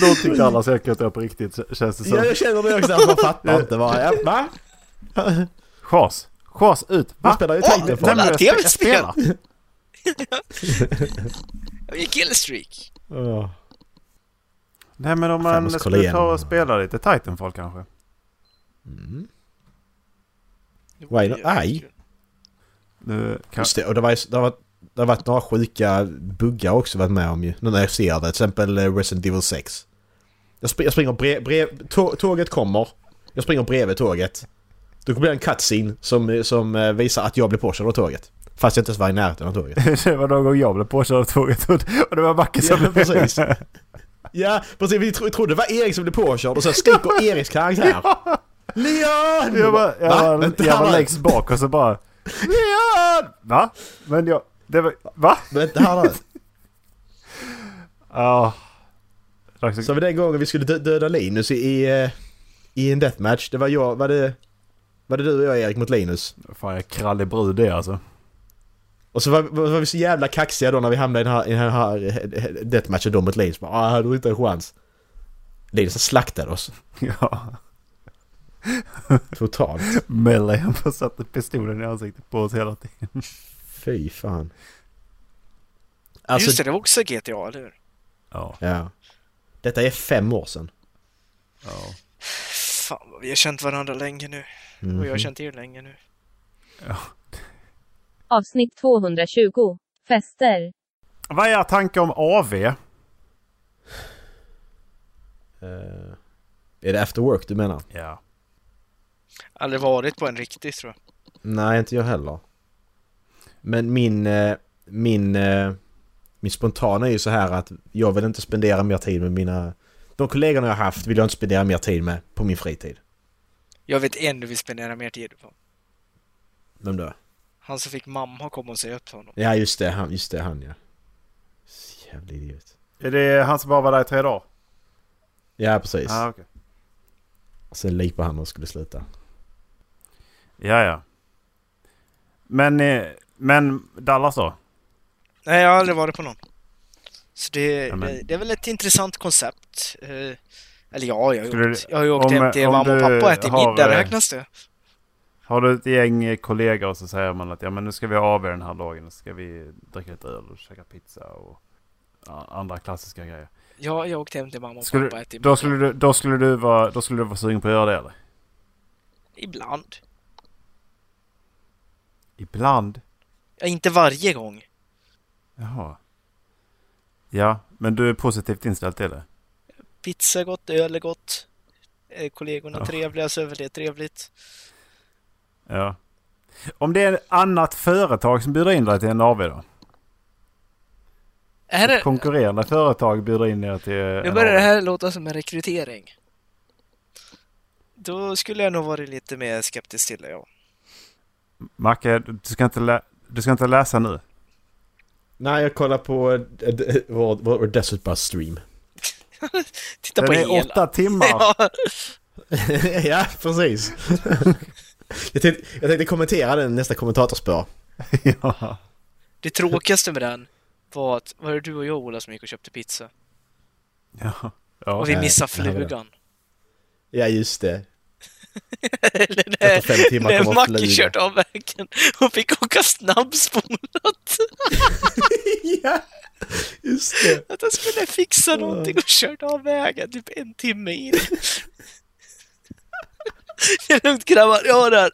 Speaker 4: Då tyckte alla säkert det på riktigt k- känns det
Speaker 2: Ja,
Speaker 4: som.
Speaker 2: jag känner det också, att man fattar inte bara. Ja, va?
Speaker 4: Chas! Chas ut!
Speaker 2: Man
Speaker 4: Va?
Speaker 2: spelar ju
Speaker 3: Åh,
Speaker 2: Titanfall.
Speaker 3: nej,
Speaker 4: men jag spe- jag spelar.
Speaker 3: Jag gick killstreak!
Speaker 2: Åh.
Speaker 4: Nej men om
Speaker 2: Fan, jag
Speaker 4: man
Speaker 2: måste kolla
Speaker 4: skulle ta
Speaker 2: igenom.
Speaker 4: och spela lite Titanfall kanske?
Speaker 3: Det
Speaker 2: Why
Speaker 3: var
Speaker 2: not?
Speaker 3: ju-
Speaker 2: Aj.
Speaker 4: Nu, kan...
Speaker 2: Just det, och det var ju, det har, det har varit några sjuka buggar också varit med om ju. Nu när jag ser det, till exempel eh, Resident Evil 6. Jag, spr- jag springer brev, brev, tå- tåget kommer, jag springer bredvid tåget. Då blir det en cutscene som, som eh, visar att jag blir påkörd av tåget. Fast jag inte ens var i närheten av tåget.
Speaker 4: det var någon gång jag blev påkörd av tåget och och det var Backe som
Speaker 2: Ja, men precis. Ja, precis. Vi tro, trodde det var Erik som blev påkörd och sen skriker Eriks karaktär. Leon!
Speaker 4: Jag var, jag
Speaker 2: Va?
Speaker 4: var,
Speaker 2: Vänta,
Speaker 4: jag var
Speaker 2: han-
Speaker 4: längst bak och så bara... Leon! Va? Men jag... Det var... Va?
Speaker 2: Vänta här nu.
Speaker 4: Ja... Dags att-
Speaker 2: Så var den gången vi skulle dö- döda Linus i, i, eh, i en deathmatch, det var jag, var det, var det du och jag Erik mot Linus?
Speaker 4: Fan jag är krallig brud det alltså.
Speaker 2: Och så var, var, var vi så jävla kaxiga då när vi hamnade i den här, i den här eh, eh, deathmatchen då mot Linus. Bara, ah, hade du inte en chans. Linus han slaktade oss.
Speaker 4: Ja.
Speaker 2: Totalt.
Speaker 4: Mellan han bara satte pistolen i ansiktet på oss hela tiden.
Speaker 2: Fy fan.
Speaker 4: Alltså-
Speaker 2: Alltså,
Speaker 3: Just det, det var också GTA, eller hur?
Speaker 4: Ja.
Speaker 2: Ja. Detta är fem år sedan.
Speaker 4: Ja.
Speaker 3: Fan, vad vi har känt varandra länge nu. Och
Speaker 4: Mhm.
Speaker 3: jag har känt er länge nu.
Speaker 1: Avsnitt 220. Fester.
Speaker 4: Vad är era tankar om AV?
Speaker 2: Eh, är det after work du menar?
Speaker 4: Ja.
Speaker 3: Aldrig varit på en riktig, tror jag.
Speaker 2: Nej, inte jag heller. Men min... eh, Min... eh, Min spontana är ju så här att jag vill inte spendera mer tid med mina... De kollegorna jag har haft vill jag inte spendera mer tid med på min fritid.
Speaker 3: Jag vet en du vill spendera mer tid på.
Speaker 2: Vem då?
Speaker 3: Han som fick mamma komma och säga upp till honom.
Speaker 2: Ja, just det. Han, just det, han ja. Jävla idiot.
Speaker 4: Är det han som bara var där i tre dagar?
Speaker 2: Ja, precis.
Speaker 4: Ja, okej.
Speaker 2: Sen lipade han och skulle sluta.
Speaker 4: Ja, ja. Men, eh, men Dallas då?
Speaker 3: Nej, jag har aldrig varit på någon. Så det,
Speaker 4: Amen.
Speaker 3: det, det är väl ett intressant koncept. Eh, eller ja, jag har,
Speaker 4: Skulle
Speaker 3: ju åkt,
Speaker 4: du-
Speaker 3: jag har ju åkt
Speaker 4: om-
Speaker 3: hem till
Speaker 4: om
Speaker 3: mamma och
Speaker 4: du
Speaker 3: pappa och ätit
Speaker 4: har,
Speaker 3: middag,
Speaker 4: eh,
Speaker 3: räknas det?
Speaker 4: Har du ett gäng eh, kollegor och så säger man att ja men nu ska vi ha AV den här dagen och så ska vi dricka lite öl och käka pizza och ja, andra klassiska grejer.
Speaker 3: Ja, jag har åkt hem till mamma och
Speaker 4: Skulle,
Speaker 3: pappa och ätit
Speaker 4: då,
Speaker 3: middag.
Speaker 4: skulle du, då, skulle du vara, då skulle du vara sugen på att göra det eller?
Speaker 3: Ibland.
Speaker 4: Ibland.
Speaker 3: Ja, inte varje gång.
Speaker 4: Jaha. Ja, men du är positivt inställd till det?
Speaker 3: Pizza är gott, öl är gott. Eh, kollegorna
Speaker 4: Ja.
Speaker 3: trevliga, så är väl det trevligt.
Speaker 4: Ja. Om det är ett annat företag som bjuder in dig till en AV då?
Speaker 3: Är det,
Speaker 4: Ett konkurrerande företag bjuder in er till eh,
Speaker 2: Eh,
Speaker 3: nu
Speaker 4: en
Speaker 3: börjar det
Speaker 4: AV.
Speaker 3: här låta som en rekrytering. Då skulle jag nog varit lite mer skeptisk till det, ja.
Speaker 4: Macke, du ska inte, lä- du ska inte läsa nu.
Speaker 2: Nej, jag kollar på eh, d- vår, vår Desert Bus stream.
Speaker 3: Titta
Speaker 4: Den
Speaker 3: på
Speaker 4: är
Speaker 3: hela.
Speaker 4: åtta timmar.
Speaker 3: Ja,
Speaker 2: ja, precis. jag, tänkte, jag tänkte kommentera den i nästa kommentatorspår.
Speaker 4: ja.
Speaker 3: det tråkigaste med den var att var det du och jag Ola som gick och köpte pizza?
Speaker 4: Ja.
Speaker 3: Och
Speaker 4: ja.
Speaker 3: vi
Speaker 2: nej,
Speaker 3: missade
Speaker 2: det här var det.
Speaker 3: flugan.
Speaker 2: Ja, just det.
Speaker 3: Eller
Speaker 2: Efter
Speaker 3: när,
Speaker 2: fem timmar
Speaker 3: när
Speaker 2: kommer
Speaker 3: Mackie
Speaker 2: flugan.
Speaker 3: körde av vägen och fick åka snabbspolat.
Speaker 2: ja, just det.
Speaker 3: Att han skulle fixa någonting och körde av vägen typ en timme in. Det är lugnt grabbar, jag har den.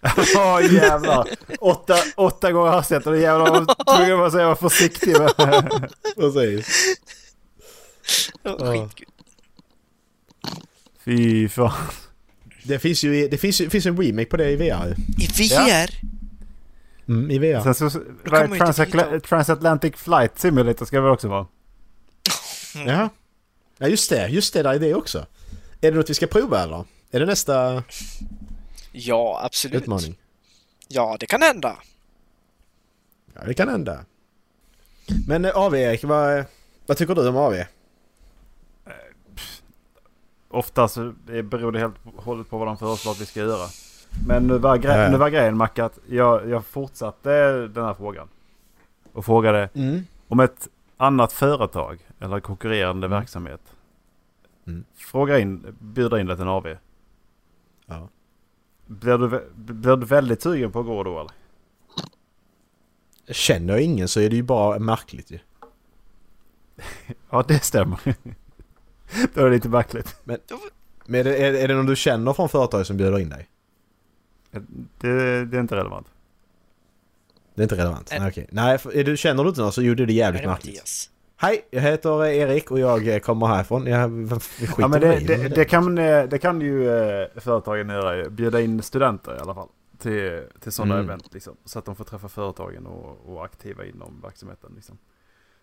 Speaker 4: Åh jävlar. Åtta, åtta gånger hastigheten. Det jävlar var tvungen att säga var försiktig med.
Speaker 2: Precis.
Speaker 3: Det var skitkul.
Speaker 4: Fy fan.
Speaker 2: Det finns ju det finns, ju- finns en remake på det i VR.
Speaker 3: I VR?
Speaker 2: Mm, i VR.
Speaker 4: Sen så, vad är
Speaker 3: man ju inte
Speaker 4: transatla- Transatlantic Flight Simulator ska vi också vara.
Speaker 2: Ja. Ja just det, just det, där är det också. Är det något vi ska prova eller? Är det nästa
Speaker 3: Ja, absolut.
Speaker 2: utmaning?
Speaker 3: Ja, det kan hända.
Speaker 2: Ja, det kan hända. Men eh, AV Erik, vad, vad tycker du om AV?
Speaker 4: Ofta så det beror det helt och hållet på vad de föreslår att vi ska göra. Men nu var, gre-
Speaker 2: Ja.
Speaker 4: nu var grejen Macke att jag, jag fortsatte den här frågan. Och frågade
Speaker 2: Mm.
Speaker 4: om ett annat företag eller konkurrerande verksamhet.
Speaker 2: Mm.
Speaker 4: Fråga in, bjuda in det till en AV.
Speaker 2: Ja.
Speaker 4: Blir du, vä- blir du väldigt sugen på att gå då eller?
Speaker 2: Känner jag ingen så är det ju bara märkligt ju.
Speaker 4: Ja det stämmer. då är det lite märkligt.
Speaker 2: Men är det, är, är det någon du känner från företaget som bjuder in dig?
Speaker 4: Det, det är inte relevant.
Speaker 2: Det är inte relevant.
Speaker 3: Nej.
Speaker 2: Nej, okej. Nej, för, är du, känner du inte någon så gjorde det jävligt
Speaker 3: Är det
Speaker 2: märkligt.
Speaker 3: Mattias?
Speaker 2: Hej, jag heter eh, Erik och jag eh, kommer härifrån. Jag, vad- vi skiter
Speaker 4: Ja, men
Speaker 2: i
Speaker 4: det,
Speaker 2: mig.
Speaker 4: det, det, kan, eh, det kan ju eh, företagen göra. ju. Bjuda in studenter i alla fall. Till, till sådana
Speaker 2: Mm.
Speaker 4: event. Liksom, så att de får träffa företagen och, och aktiva inom verksamheten. Liksom.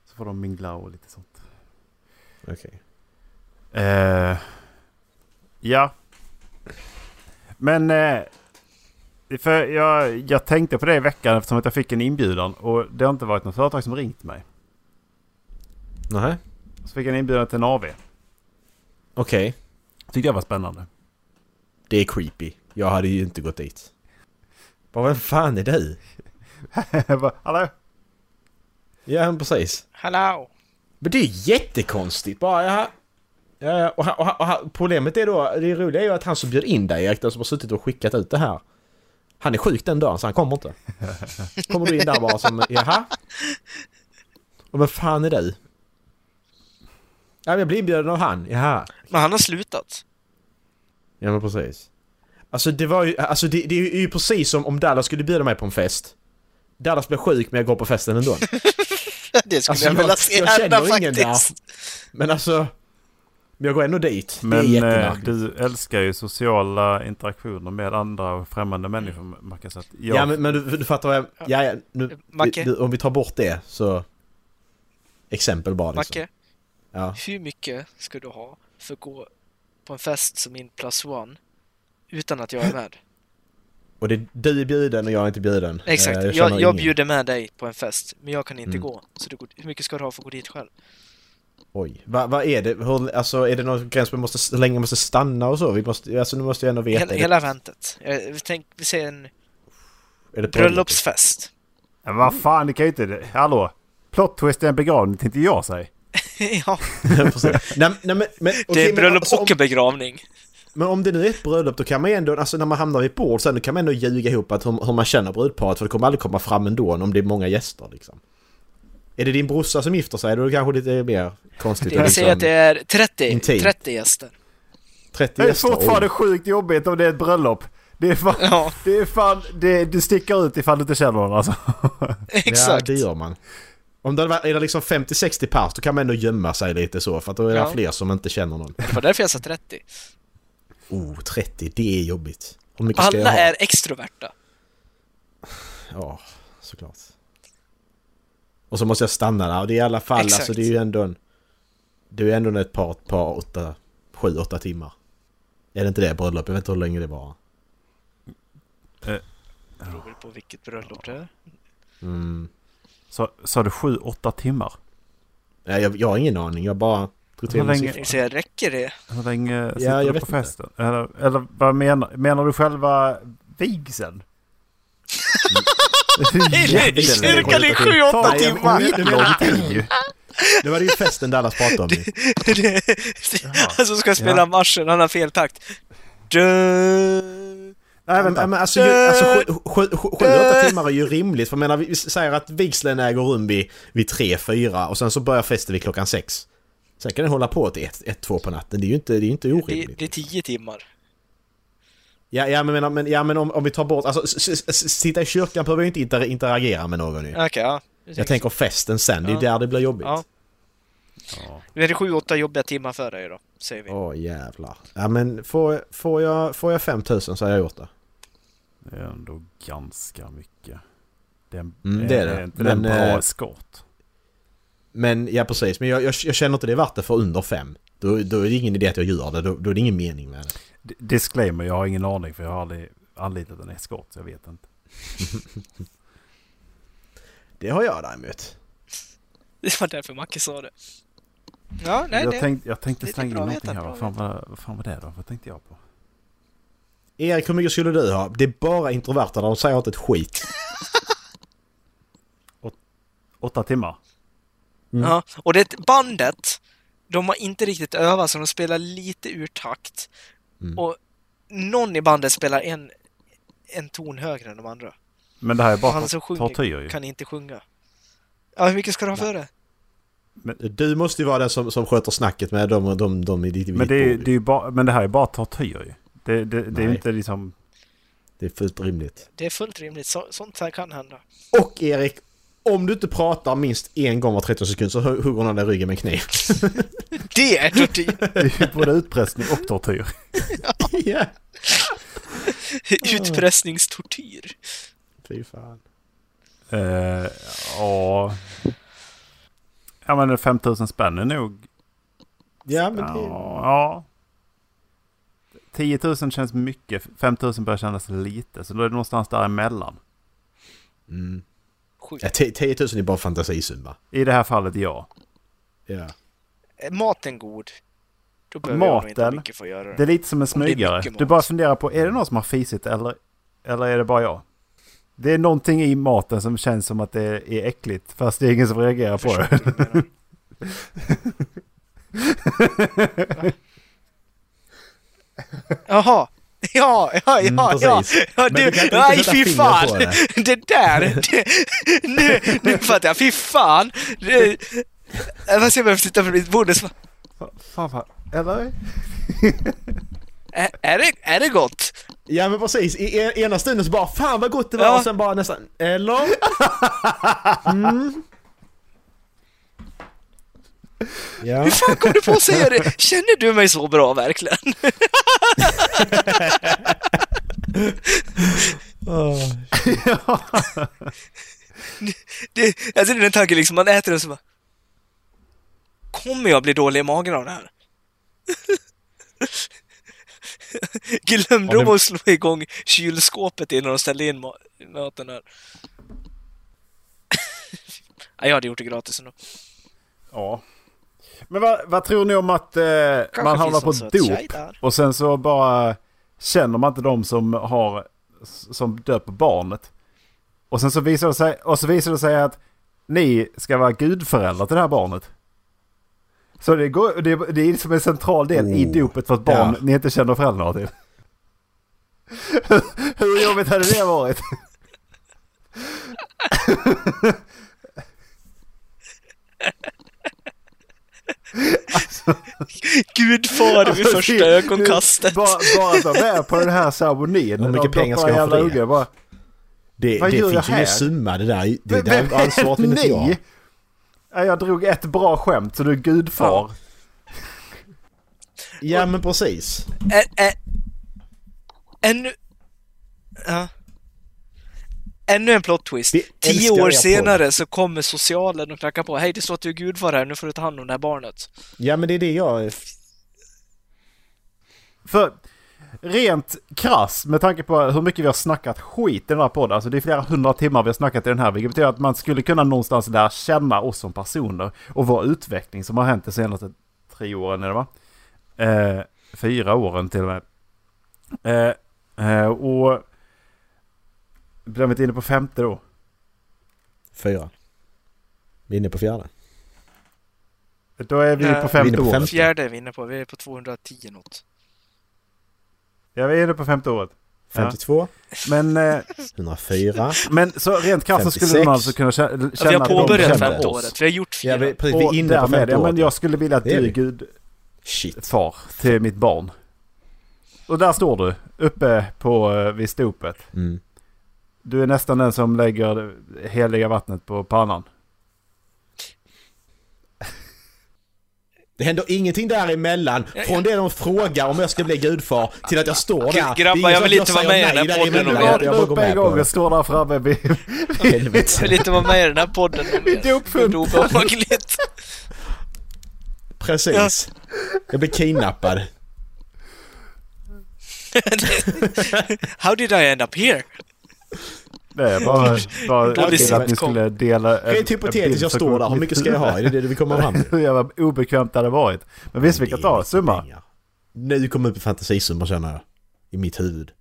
Speaker 4: Så får de mingla och lite sånt.
Speaker 2: Okej.
Speaker 4: Eh, ja. Men eh, för jag, jag tänkte på det i veckan eftersom att jag fick en inbjudan. Och det har inte varit något företag som ringt mig.
Speaker 2: Nähä.
Speaker 4: Så fick jag en inbjudan till en AV.
Speaker 2: Okej.
Speaker 4: Tyckte jag var spännande.
Speaker 2: Det är creepy. Jag hade ju inte gått dit. Bara vem fan är du?
Speaker 4: Jag bara, Hallå?
Speaker 2: Ja, men precis.
Speaker 3: Hallå!
Speaker 2: Men det är ju jättekonstigt bara. Ja, ja, ja. Och, han- och, han- och, han- problemet är då, det roliga är ju att han som bjöd in dig, Erik, den som har suttit och skickat ut det här. Han är sjuk den dagen så han kommer inte. Kommer du in där bara som, jaha? Och vem fan är du? Ja, men jag blir inbjuden av han, jaha.
Speaker 3: Men han har slutat.
Speaker 2: Ja men precis. Alltså det var ju, alltså det, det är ju precis som om Dallas skulle bjuda mig på en fest. Dallas blir sjuk men jag går på festen ändå.
Speaker 3: Det skulle
Speaker 2: Alltså,
Speaker 3: jag
Speaker 2: jag-
Speaker 3: vilja se
Speaker 2: jag
Speaker 3: hända
Speaker 2: känner ingen där.
Speaker 3: faktiskt.
Speaker 2: Men alltså, men jag går ändå dit. det är
Speaker 4: Men eh,
Speaker 2: jättemärkligt.
Speaker 4: du älskar ju sociala interaktioner med andra och främmande människor, Mackan. Så att jag,
Speaker 2: Ja men, men du, du fattar vad jag, ja, ja, nu,
Speaker 3: Macke?
Speaker 2: du, om vi tar bort det så... Exempel bara liksom.
Speaker 3: Macke,
Speaker 2: Ja.
Speaker 3: hur mycket ska du ha för att gå på en fest som min plus one utan att jag är med?
Speaker 2: Och det, du är bjuden och jag är inte bjuden.
Speaker 3: Exakt,
Speaker 2: Eh,
Speaker 3: jag,
Speaker 2: känner
Speaker 3: jag,
Speaker 2: ingen.
Speaker 3: bjuder med dig på en fest, men jag kan inte
Speaker 2: Mm.
Speaker 3: gå. Så du, går- hur mycket ska du ha för att gå dit själv?
Speaker 2: Oj, vad vad är det? Hur, alltså är det någon gräns vi måste, hur länge vi måste stanna och så? Vi måste, alltså nu måste jag ändå veta.
Speaker 3: Hela,
Speaker 2: Är det-
Speaker 3: hela eventet. Eh, vi tänk, vi säger en
Speaker 2: är det
Speaker 3: bröllopsfest.
Speaker 4: Men vad fan, det kan ju inte... Hallå! Plot twist är en begravning, tänkte jag säga.
Speaker 3: ja,
Speaker 2: Precis. nej, nej, men, men,
Speaker 3: det är
Speaker 2: okej, men
Speaker 3: bröllop
Speaker 2: alltså,
Speaker 3: och en begravning.
Speaker 2: om, men om det nu är ett bröllop då kan man ju ändå, alltså när man hamnar vid ett bord sen, då kan man ändå ljuga ihop att hur, hur man känner brudparet för det kommer aldrig komma fram ändå om det är många gäster liksom. Är det din brorsa som gifter sig då är det kanske lite mer konstigt. liksom
Speaker 3: Jag säger att det är 30,
Speaker 2: intimt.
Speaker 3: 30 gäster.
Speaker 2: 30
Speaker 4: Det är
Speaker 2: gäster.
Speaker 4: fortfarande
Speaker 2: oj.
Speaker 4: sjukt jobbigt om det är ett bröllop. Det är fan...
Speaker 3: Ja,
Speaker 4: Det är fan... Det, du sticker ut ifall du inte känner någon alltså.
Speaker 3: exakt.
Speaker 2: Ja, det gör man. Om det var- är det liksom 50-60 pers då kan man ändå gömma sig lite så för att då är det
Speaker 3: Ja.
Speaker 2: fler som inte känner någon.
Speaker 3: Det var därför jag sa 30.
Speaker 2: Oh, 30, det är jobbigt. Hur mycket ska jag
Speaker 3: Alla
Speaker 2: ha?
Speaker 3: är extroverta.
Speaker 2: Ja, såklart. Och så måste jag stanna där. Och det är i alla fall,
Speaker 3: Exakt.
Speaker 2: alltså det är ju ändå en... Det är ju ändå ett par, ett par åtta, sju, åtta timmar. Är det inte det bröllop? Jag vet inte hur länge det var.
Speaker 3: Det beror väl på vilket bröllop det är.
Speaker 2: Mm.
Speaker 4: Så, sa du sju, åtta timmar?
Speaker 2: Nej, Jag, jag har ingen aning, jag bara drog till med
Speaker 4: Hur länge-
Speaker 2: siffror.
Speaker 3: Jag säger, räcker det?
Speaker 4: Hur länge sitter
Speaker 2: jag vet
Speaker 4: du på
Speaker 2: inte.
Speaker 4: festen? Eller, eller vad menar... Menar du själva vigseln?
Speaker 3: I kyrkan i sju, åtta
Speaker 4: Nej, jag-
Speaker 3: timmar!
Speaker 4: Det är lång tid ju.
Speaker 2: Det var det ju festen Dallas pratade om ju.
Speaker 3: Han som Alltså, ska spela
Speaker 4: Ja.
Speaker 3: marschen, han har fel takt. Du...
Speaker 4: Nej vänta.
Speaker 2: Men alltså, ju, alltså sju, sju, sju, sju, åtta timmar är ju rimligt. För jag menar, vi säger att vigseln äger rum vid, vid tre, fyra och sen så börjar festen vid klockan sex. Sen kan den hålla på till ett, ett två på natten. Det är ju inte, det är ju inte
Speaker 3: Det,
Speaker 2: orimligt.
Speaker 3: det är tio timmar.
Speaker 2: Ja, ja, men, menar- men, ja, men om, om vi tar bort... Alltså, s- s- s- sitta i kyrkan behöver ju inte inter- interagera med någon ju.
Speaker 3: Okej, ja.
Speaker 2: Jag tänker festen sen, det är ju där det blir jobbigt.
Speaker 3: Ja. Nu är det sju, åtta jobbiga timmar för dig då, säger vi.
Speaker 2: Åh jävlar. Ja men får, får jag, får jag 5000 så har jag gjort det.
Speaker 4: Det är ändå ganska mycket. Det är, en,
Speaker 2: Mm, det är det.
Speaker 4: inte det en
Speaker 2: Men,
Speaker 4: bra
Speaker 2: eh,
Speaker 4: eskort?
Speaker 2: Men ja precis, men jag, jag, jag känner inte det är värt det för under 5. Då, då är det ingen idé att jag gör det, då, då är det ingen mening med det.
Speaker 4: D- Disclaimer, jag har ingen aning för jag har aldrig anlitat en eskort. så Jag vet inte.
Speaker 2: Det har jag däremot.
Speaker 3: Det var därför Macke sa det. Ja, nej,
Speaker 4: jag,
Speaker 3: det...
Speaker 4: tänkte, jag tänkte
Speaker 3: det är typ
Speaker 4: slänga in
Speaker 3: bra att
Speaker 4: någonting
Speaker 3: veta,
Speaker 4: här.
Speaker 3: bra
Speaker 4: Vad fan, var, vad fan var det då? Vad tänkte jag på?
Speaker 2: Erik, hur mycket skulle du ha? Det är bara introverta, de säger inte ett skit.
Speaker 4: Åtta timmar?
Speaker 3: Ja, och det bandet, de har inte riktigt övat så de spelar lite ur takt.
Speaker 2: Mm.
Speaker 3: Och någon i bandet spelar en, en ton högre än de andra.
Speaker 4: Men det här är bara
Speaker 3: Han som
Speaker 4: tor-
Speaker 3: sjunger
Speaker 4: tortyr ju.
Speaker 3: Kan inte sjunga. Ja, hur mycket ska du ha för det?
Speaker 2: Du måste ju vara den som, som sköter snacket med dem och de, de i ditt
Speaker 4: Men det, är, ju-
Speaker 2: bord.
Speaker 4: det är ju bara, men det här är bara tortyr ju. Det, det, det är ju
Speaker 2: Nej.
Speaker 4: inte liksom...
Speaker 2: det är fullt rimligt.
Speaker 3: Det är fullt rimligt. Så, sånt här kan hända.
Speaker 2: Och Erik, om du inte pratar minst en gång var 30 sekunder så hu- hugger någon dig i ryggen med en kniv.
Speaker 3: Det är tortyr!
Speaker 4: Det är ju både utpressning och tortyr.
Speaker 2: ja.
Speaker 3: Utpressningstortyr.
Speaker 2: Fy fan.
Speaker 4: Eh, ja... Ja men 5000 spänn är nog...
Speaker 2: Ja men
Speaker 4: Ja,
Speaker 2: det...
Speaker 4: ja. 10 000 känns mycket. 5 000 börjar kännas lite. Så då är det någonstans däremellan.
Speaker 2: Mm.
Speaker 3: Sjukt.
Speaker 2: Ja, 10 000 är bara en fantasisumma.
Speaker 4: I det här fallet ja.
Speaker 2: Ja.
Speaker 3: Är maten god? Då behöver jag nog inte
Speaker 4: Maten?
Speaker 3: mycket för att göra
Speaker 4: Det
Speaker 3: det.
Speaker 4: är lite som
Speaker 3: det
Speaker 4: en
Speaker 3: är
Speaker 4: smygare.
Speaker 3: mycket mat.
Speaker 4: Du bara funderar på, är det någon som har fisit eller, eller är det bara jag? Det är någonting i maten som känns som att det är är äckligt. Fast det är ingen som reagerar
Speaker 3: Jag
Speaker 4: på det.
Speaker 3: förstår vad du menar. Jaha! Ja, ja,
Speaker 2: Mm,
Speaker 3: ja, ja!
Speaker 2: precis.
Speaker 3: ja
Speaker 2: Men
Speaker 3: du,
Speaker 2: du kan inte
Speaker 3: nej
Speaker 2: sätta
Speaker 3: fy
Speaker 2: fingret
Speaker 3: fan!
Speaker 2: på
Speaker 3: Det.
Speaker 2: det.
Speaker 3: där! Det, nu, nu fattar jag, fy fan! Det, Äh, jag bara ser mig sitta på mitt bord och så bara,
Speaker 4: Fan, fan. Eller?
Speaker 3: är, är, det, är det gott?
Speaker 2: Ja men precis, i en- ena stunden så bara fan vad gott det var
Speaker 3: Ja.
Speaker 2: och sen bara nästan eller? Mm. Ja.
Speaker 3: Hur fan kom du på att säga det? Känner du mig så bra verkligen? Det, alltså det är den tanken liksom, man äter och så bara... Kommer jag bli dålig i magen av det här? Glömde
Speaker 4: Har ni-
Speaker 3: de att slå igång kylskåpet innan de ställde in ma- maten här? ja, jag hade gjort det gratis ändå.
Speaker 4: Ja. Men vad, vad tror ni om att eh, man hamnar
Speaker 3: finns
Speaker 4: på
Speaker 3: någon söt tjej
Speaker 4: dop
Speaker 3: där.
Speaker 4: och sen så bara känner man inte de som har som döper barnet. Och sen så visar det sig, och så visar det sig att ni ska vara gudföräldrar till det här barnet. Så det, går, det, det är liksom en central del i
Speaker 2: Oh,
Speaker 4: dopet för ett barn
Speaker 2: ja.
Speaker 4: ni inte känner föräldrarna till. Hur jobbigt hade det varit?
Speaker 3: Gudfar vid
Speaker 4: Alltså,
Speaker 3: första
Speaker 4: det-
Speaker 3: ögonkastet.
Speaker 4: Bara, bara att vara med på den här ceremonin.
Speaker 2: Hur mycket
Speaker 4: De
Speaker 2: pengar ska
Speaker 4: doppar
Speaker 2: jag ha för
Speaker 4: jävla
Speaker 2: det?
Speaker 4: ungar Bara,
Speaker 2: Det,
Speaker 4: Vad
Speaker 2: det
Speaker 4: gör jag
Speaker 2: finns ju
Speaker 4: här?
Speaker 2: ingen summa det där, det
Speaker 4: Vem-
Speaker 2: där
Speaker 4: vem är
Speaker 2: ansvaret vill inte
Speaker 4: ni?
Speaker 2: jag.
Speaker 4: Ja, Jag drog ett bra skämt så du är gudfar.
Speaker 2: Ja men precis.
Speaker 3: Ä- ä- Ännu... Ja. Ännu en plot twist.
Speaker 2: Det
Speaker 3: Tio
Speaker 2: älskar
Speaker 3: år
Speaker 2: jag
Speaker 3: senare så kommer socialen och knackar på. Hej, det står att du är gudfar här, nu får du ta hand om det här barnet.
Speaker 2: Ja men det är det jag...
Speaker 4: För rent krass med tanke på hur mycket vi har snackat skit i den här podden. Alltså det är flera hundra timmar vi har snackat i den här. Vilket betyder att man skulle kunna någonstans lära känna oss som personer. Och vår utveckling som har hänt de senaste tre åren är det va? Eh, fyra åren till och med. Eh, eh, och... Blev vi inte inne på femte då?
Speaker 2: Fyra. Vi är inne på fjärde.
Speaker 4: Då är vi
Speaker 3: Nej.
Speaker 4: på
Speaker 2: Eh, Vi är
Speaker 4: femte
Speaker 2: inne på
Speaker 4: året.
Speaker 2: Femte.
Speaker 3: Fjärde är vi inne på. Vi är på 210 något.
Speaker 4: Ja, vi är inne på femte året.
Speaker 2: 52,
Speaker 4: Men, eh,
Speaker 2: 104.
Speaker 4: men så rent krasst så skulle
Speaker 2: 56.
Speaker 4: man alltså kunna kä- känna...
Speaker 3: Ja, vi har
Speaker 4: att de
Speaker 3: påbörjat
Speaker 4: känner
Speaker 3: femte
Speaker 4: oss.
Speaker 3: året. Vi har gjort
Speaker 2: Ja
Speaker 3: fyra.
Speaker 2: vi, precis, vi
Speaker 4: Och
Speaker 2: är inne på
Speaker 4: därmed,
Speaker 2: femte
Speaker 4: ja, men
Speaker 2: året.
Speaker 4: jag skulle vilja att
Speaker 2: Det är
Speaker 4: du är
Speaker 2: vi.
Speaker 4: gudfar
Speaker 2: Shit.
Speaker 4: till mitt barn. Och där står du, uppe på, eh, vid stopet.
Speaker 2: Mm.
Speaker 4: Du är nästan den som lägger det heliga vattnet på pannan.
Speaker 2: Det händer ingenting däremellan. Från det de frågar om jag ska bli gudfar till att jag står där.
Speaker 3: Grabbar,
Speaker 2: Det är
Speaker 3: jag
Speaker 2: inget
Speaker 3: vill
Speaker 2: som
Speaker 3: inte
Speaker 2: säger
Speaker 3: vara med i den
Speaker 2: nej
Speaker 3: här podden
Speaker 2: däremellan.
Speaker 3: om
Speaker 2: Jag-
Speaker 4: Jag,
Speaker 2: jag
Speaker 4: jag
Speaker 2: bara
Speaker 4: upp
Speaker 2: går med
Speaker 4: en
Speaker 2: på
Speaker 4: gång
Speaker 2: det.
Speaker 4: och står där framme vid...
Speaker 3: Jag
Speaker 2: Helvete.
Speaker 3: vill inte vara med i den här podden.
Speaker 4: Inte uppfunnen.
Speaker 3: Det är obehagligt.
Speaker 2: Precis. Jag blir kidnappad.
Speaker 3: How did I end up here?
Speaker 4: Det är bara... bara
Speaker 3: Dålig
Speaker 4: till att ni
Speaker 3: sitcom.
Speaker 4: skulle dela... en-
Speaker 2: Rent
Speaker 4: en bild
Speaker 2: hypotetiskt, jag
Speaker 4: som
Speaker 2: står
Speaker 4: kom
Speaker 2: där. Hur mycket ska jag ha? Är det det vi kommer fram till?
Speaker 4: Hur jävla obekvämt det hade varit. Men visst vi kan ta
Speaker 2: mycket
Speaker 4: summa.
Speaker 2: pengar. Nu kommer upp i fantasisummor känner jag. I mitt huvud.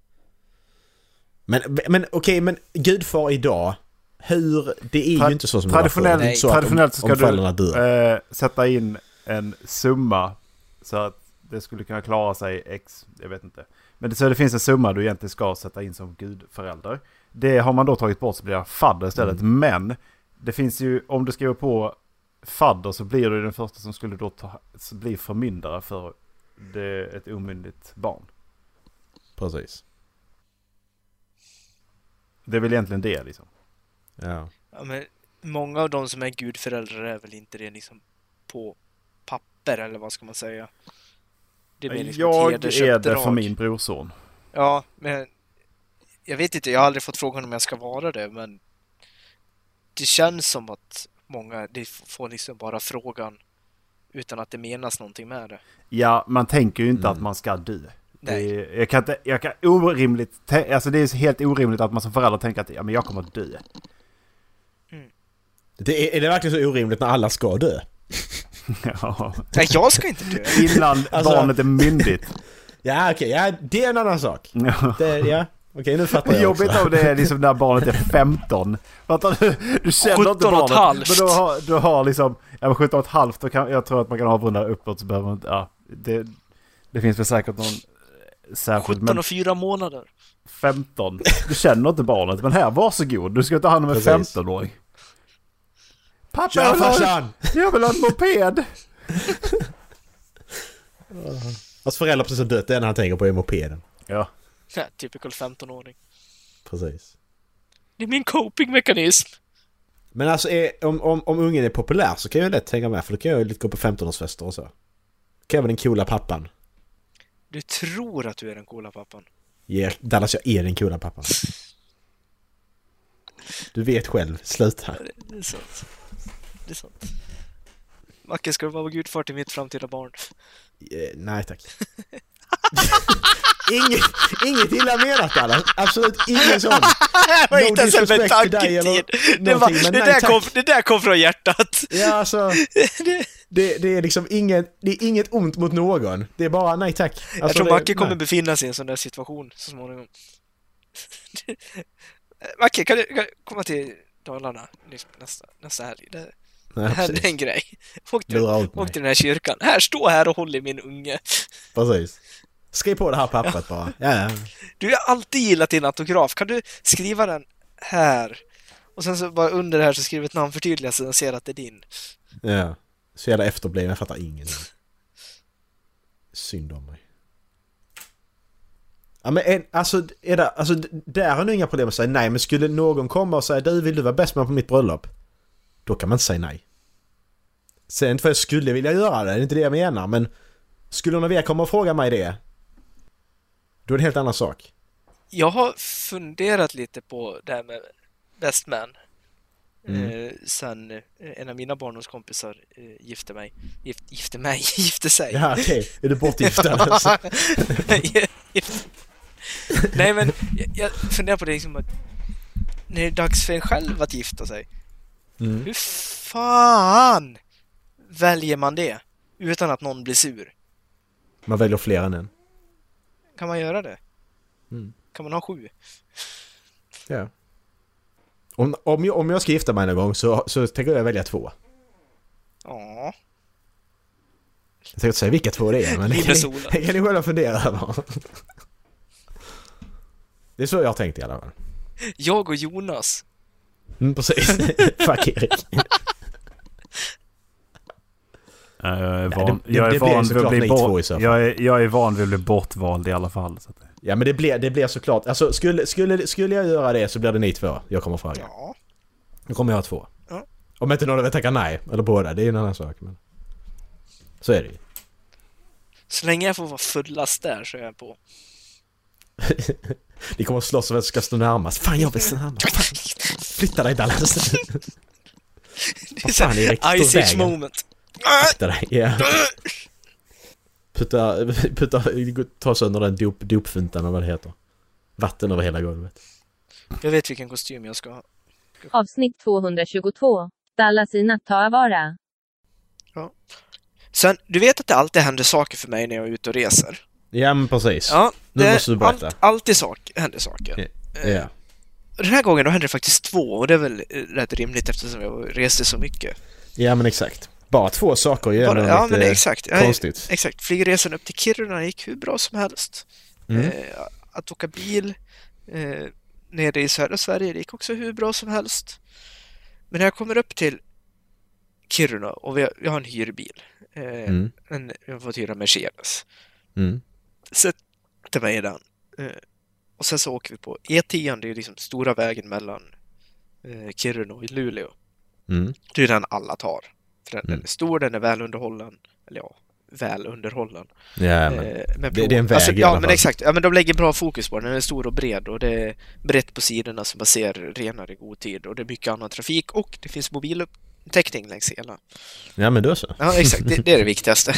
Speaker 2: Men, men okej, men gudfar idag. Hur, det är
Speaker 4: Tra-
Speaker 2: ju inte så som det var förr. Det är
Speaker 4: Traditionellt,
Speaker 2: inte så att
Speaker 4: traditionellt så
Speaker 2: om,
Speaker 4: ska
Speaker 2: om föräldrarna
Speaker 4: du
Speaker 2: dör.
Speaker 4: eh, sätta in en summa så att det skulle kunna klara sig x, jag vet inte. Men det, så det finns en summa du egentligen ska sätta in som gudförälder. Det har man då tagit bort så blir det fadder istället.
Speaker 2: Mm.
Speaker 4: Men det finns ju, om du skriver på fadder så blir du den första som skulle då ta, så bli förmyndare för det, ett omyndigt barn.
Speaker 2: Precis.
Speaker 4: Det är väl egentligen det liksom.
Speaker 2: Ja.
Speaker 3: Ja, men många av de som är gudföräldrar är väl inte det liksom på papper eller vad ska man säga? Det mer liksom ett
Speaker 4: Jag är det för
Speaker 3: hedersuppdrag.
Speaker 4: min brorson.
Speaker 3: Ja, men jag vet inte, jag har aldrig fått frågan om jag ska vara det, men det känns som att många de får liksom bara frågan utan att det menas någonting med det.
Speaker 4: Ja, man tänker ju inte
Speaker 2: Mm.
Speaker 4: att man ska dö.
Speaker 3: Nej.
Speaker 4: Det är, jag kan inte, jag kan orimligt, tä- alltså det är så helt orimligt att man som förälder tänker att ja, men jag kommer att dö.
Speaker 2: Det är, är det verkligen så orimligt när alla ska dö?
Speaker 4: Ja.
Speaker 3: Nej, jag ska inte dö!
Speaker 4: Innan
Speaker 2: Alltså-
Speaker 4: barnet är myndigt.
Speaker 2: Ja, okej, ja, det är en annan sak.
Speaker 4: Ja.
Speaker 2: Det, ja, okej, nu fattar
Speaker 4: Det är
Speaker 2: jag också.
Speaker 4: jobbigt om det är liksom när barnet är 15. Fattar du? Du
Speaker 3: 17
Speaker 4: känner inte
Speaker 3: och ett
Speaker 4: barnet.
Speaker 3: halvt.
Speaker 4: Men du har, du har liksom, ja men 17 och ett halvt, då kan, jag tror att man kan avrunda uppåt så behöver man inte, ja. Det, det finns väl säkert någon särskild,
Speaker 3: 17
Speaker 4: men
Speaker 3: och 4 månader!
Speaker 4: 15. Du känner inte barnet, men här, varsågod. Du ska ta hand om en
Speaker 2: Precis.
Speaker 4: 15-åring. Pappa, jag
Speaker 2: Tja
Speaker 4: vill ha-
Speaker 2: farsan!
Speaker 4: Jag vill ha en moped!
Speaker 2: Hans föräldrar precis har dött, det enda han tänker på är mopeden.
Speaker 4: Ja. eh,
Speaker 3: Ja, typical 15-åring.
Speaker 2: Precis.
Speaker 3: Det är min copingmekanism!
Speaker 2: Men alltså är, om, om, om ungen är populär så kan jag lätt hänga med för då kan jag ju lite gå på 15-årsfester och så. Då kan jag vara den coola pappan.
Speaker 3: Du tror att du är den coola pappan.
Speaker 2: Yeah, Dallas, jag är den coola pappan. Du vet själv, sluta.
Speaker 3: Det är sant. Det är sant. Macke, ska du vara gudfar till mitt framtida barn?
Speaker 2: Eh, nej tack. inget, inget illa menat Dallas, absolut ingen sån.
Speaker 3: Det var
Speaker 2: No
Speaker 3: inte ens en
Speaker 2: disrespect to dig
Speaker 3: tanke
Speaker 2: eller
Speaker 3: till. Det, var,
Speaker 2: någonting,
Speaker 3: det,
Speaker 2: men nej,
Speaker 3: där
Speaker 2: tack.
Speaker 3: kom, det där kom från hjärtat.
Speaker 2: Ja alltså,
Speaker 3: Det,
Speaker 2: det, det är liksom inget, det är inget ont mot någon. Det är bara nej tack. Alltså,
Speaker 3: jag tror
Speaker 2: det-
Speaker 3: Macke kommer
Speaker 2: nej.
Speaker 3: befinna sig i en sån där situation så småningom. Macke, kan du, kan du komma till Dalarna liksom nästa, nästa helg? Det, det
Speaker 2: Nej,
Speaker 3: här är
Speaker 2: precis.
Speaker 3: en grej. Åk till,
Speaker 2: Lura ut mig.
Speaker 3: åk till den här kyrkan. Här, stå här och håll i min unge.
Speaker 2: Precis. Skriv på det här pappret bara. Ja, ja.
Speaker 3: Du har alltid gillat din autograf. Kan du skriva den här? Och sen så bara under det här så skriver ett namn förtydliga så den ser att det är din.
Speaker 2: Ja. Så jävla efterbliven, jag fattar ingenting. Synd om mig. Ja men en, alltså, är det, alltså, d- där har ni inga problem att säga nej men skulle någon komma och säga du vill du vara bäst man på mitt bröllop? Då kan man inte säga nej. Sen inte för jag skulle vilja göra det, det är inte det jag menar men skulle någon av er komma och fråga mig det? Då är det en helt annan sak.
Speaker 3: Jag har funderat lite på det här med best man.
Speaker 2: Mm.
Speaker 3: Eh, sen eh, en av mina barndomskompisar eh, gifte mig. Gift, gifte mig? Gifte sig?
Speaker 2: Ja okej, är du bortgift alltså?
Speaker 3: Gift- Nej men jag, jag funderar på det liksom att när det är dags för en själv att gifta sig.
Speaker 2: Mm.
Speaker 3: Hur fan väljer man det utan att någon blir sur?
Speaker 2: Man väljer fler än en.
Speaker 3: Kan man göra det?
Speaker 2: Mm.
Speaker 3: Kan man ha sju?
Speaker 2: Ja. Om, om, jag, om jag ska gifta mig någon gång så, så tänker jag välja två.
Speaker 3: Ja.
Speaker 2: Jag tänkte säga vilka två det är, men det
Speaker 3: Himla
Speaker 2: kan, ni,
Speaker 3: solen.
Speaker 2: det kan ni själva fundera över. Det är så jag har tänkt i alla fall.
Speaker 3: Jag och Jonas.
Speaker 2: Mm, precis. Fuck Erik.
Speaker 4: Jag är
Speaker 2: det-
Speaker 4: van,
Speaker 2: det-
Speaker 4: jag
Speaker 2: det blir
Speaker 4: är van vid
Speaker 2: såklart
Speaker 4: att bli
Speaker 2: ni två
Speaker 4: bort-
Speaker 2: i så fall.
Speaker 4: jag är- jag är van vid att bli bortvald i alla fall. Så att,
Speaker 2: Ja men det blir, det blir såklart, alltså skulle, skulle, skulle jag göra det så blir det ni två jag kommer fråga.
Speaker 3: Ja.
Speaker 2: Då kommer jag ha två.
Speaker 3: Ja.
Speaker 2: Om inte någon vill tacka nej, eller båda, det är en annan sak. Men... Så är det ju.
Speaker 3: Så länge jag får vara fullast där så är jag på.
Speaker 2: Ni kommer att slåss om vem som ska stå närmast. Fan jag vill stå närmast. Fan. Flytta dig Dallas.
Speaker 3: Det är
Speaker 2: Vad
Speaker 3: så
Speaker 2: fan
Speaker 3: här
Speaker 2: Erik, stå i
Speaker 3: Ice Age
Speaker 2: vägen.
Speaker 3: moment.
Speaker 2: Flytta dig. Ja. Putta, putta, ta sönder den dop, dopfuntan eller vad det heter. Vatten över hela golvet.
Speaker 3: Jag vet vilken kostym jag ska ha.
Speaker 1: Avsnitt 222. Dallas i Nattavara.
Speaker 3: Sen, du vet att det alltid händer saker för mig när jag är ute och reser?
Speaker 2: Ja men precis.
Speaker 3: Ja,
Speaker 2: Nu
Speaker 3: det,
Speaker 2: måste du berätta.
Speaker 3: Allt, alltid sak, händer saker.
Speaker 2: Ja.
Speaker 3: Den här gången då hände det faktiskt två och det är väl eh, rätt rimligt eftersom jag reste så mycket.
Speaker 2: ja men exakt. Bara två saker är ju
Speaker 3: Bara,
Speaker 2: ändå
Speaker 3: ja, men det,
Speaker 2: lite
Speaker 3: exakt. Jag-
Speaker 2: konstigt.
Speaker 3: Exakt, flygresan upp till Kiruna gick hur bra som helst.
Speaker 2: Mm.
Speaker 3: Eh, att åka bil eh, nere i södra Sverige, det gick också hur bra som helst. Men när jag kommer upp till Kiruna och vi har, jag har en hyrbil, eh,
Speaker 2: Mm.
Speaker 3: en, jag har fått hyra Mercedes,
Speaker 2: Mm.
Speaker 3: sätter mig i den. Eh, och sen så åker vi på E10, det är liksom stora vägen mellan eh, Kiruna och Luleå.
Speaker 2: Mm.
Speaker 3: Det är den alla tar. För den,
Speaker 2: Mm.
Speaker 3: den är stor, den är väl underhållen, eller ja, väl underhållen.
Speaker 2: Ja, men.
Speaker 3: Eh, men
Speaker 2: det- det är en väg i
Speaker 3: ja,
Speaker 2: alla
Speaker 3: men
Speaker 2: fall.
Speaker 3: exakt. Ja, men de lägger bra fokus på den. Den är stor och bred och det är brett på sidorna så man ser renare i god tid och det är mycket annan trafik och det finns mobilupptäckning längs hela.
Speaker 2: Ja men då så.
Speaker 3: Ja, exakt. Det, det är det viktigaste.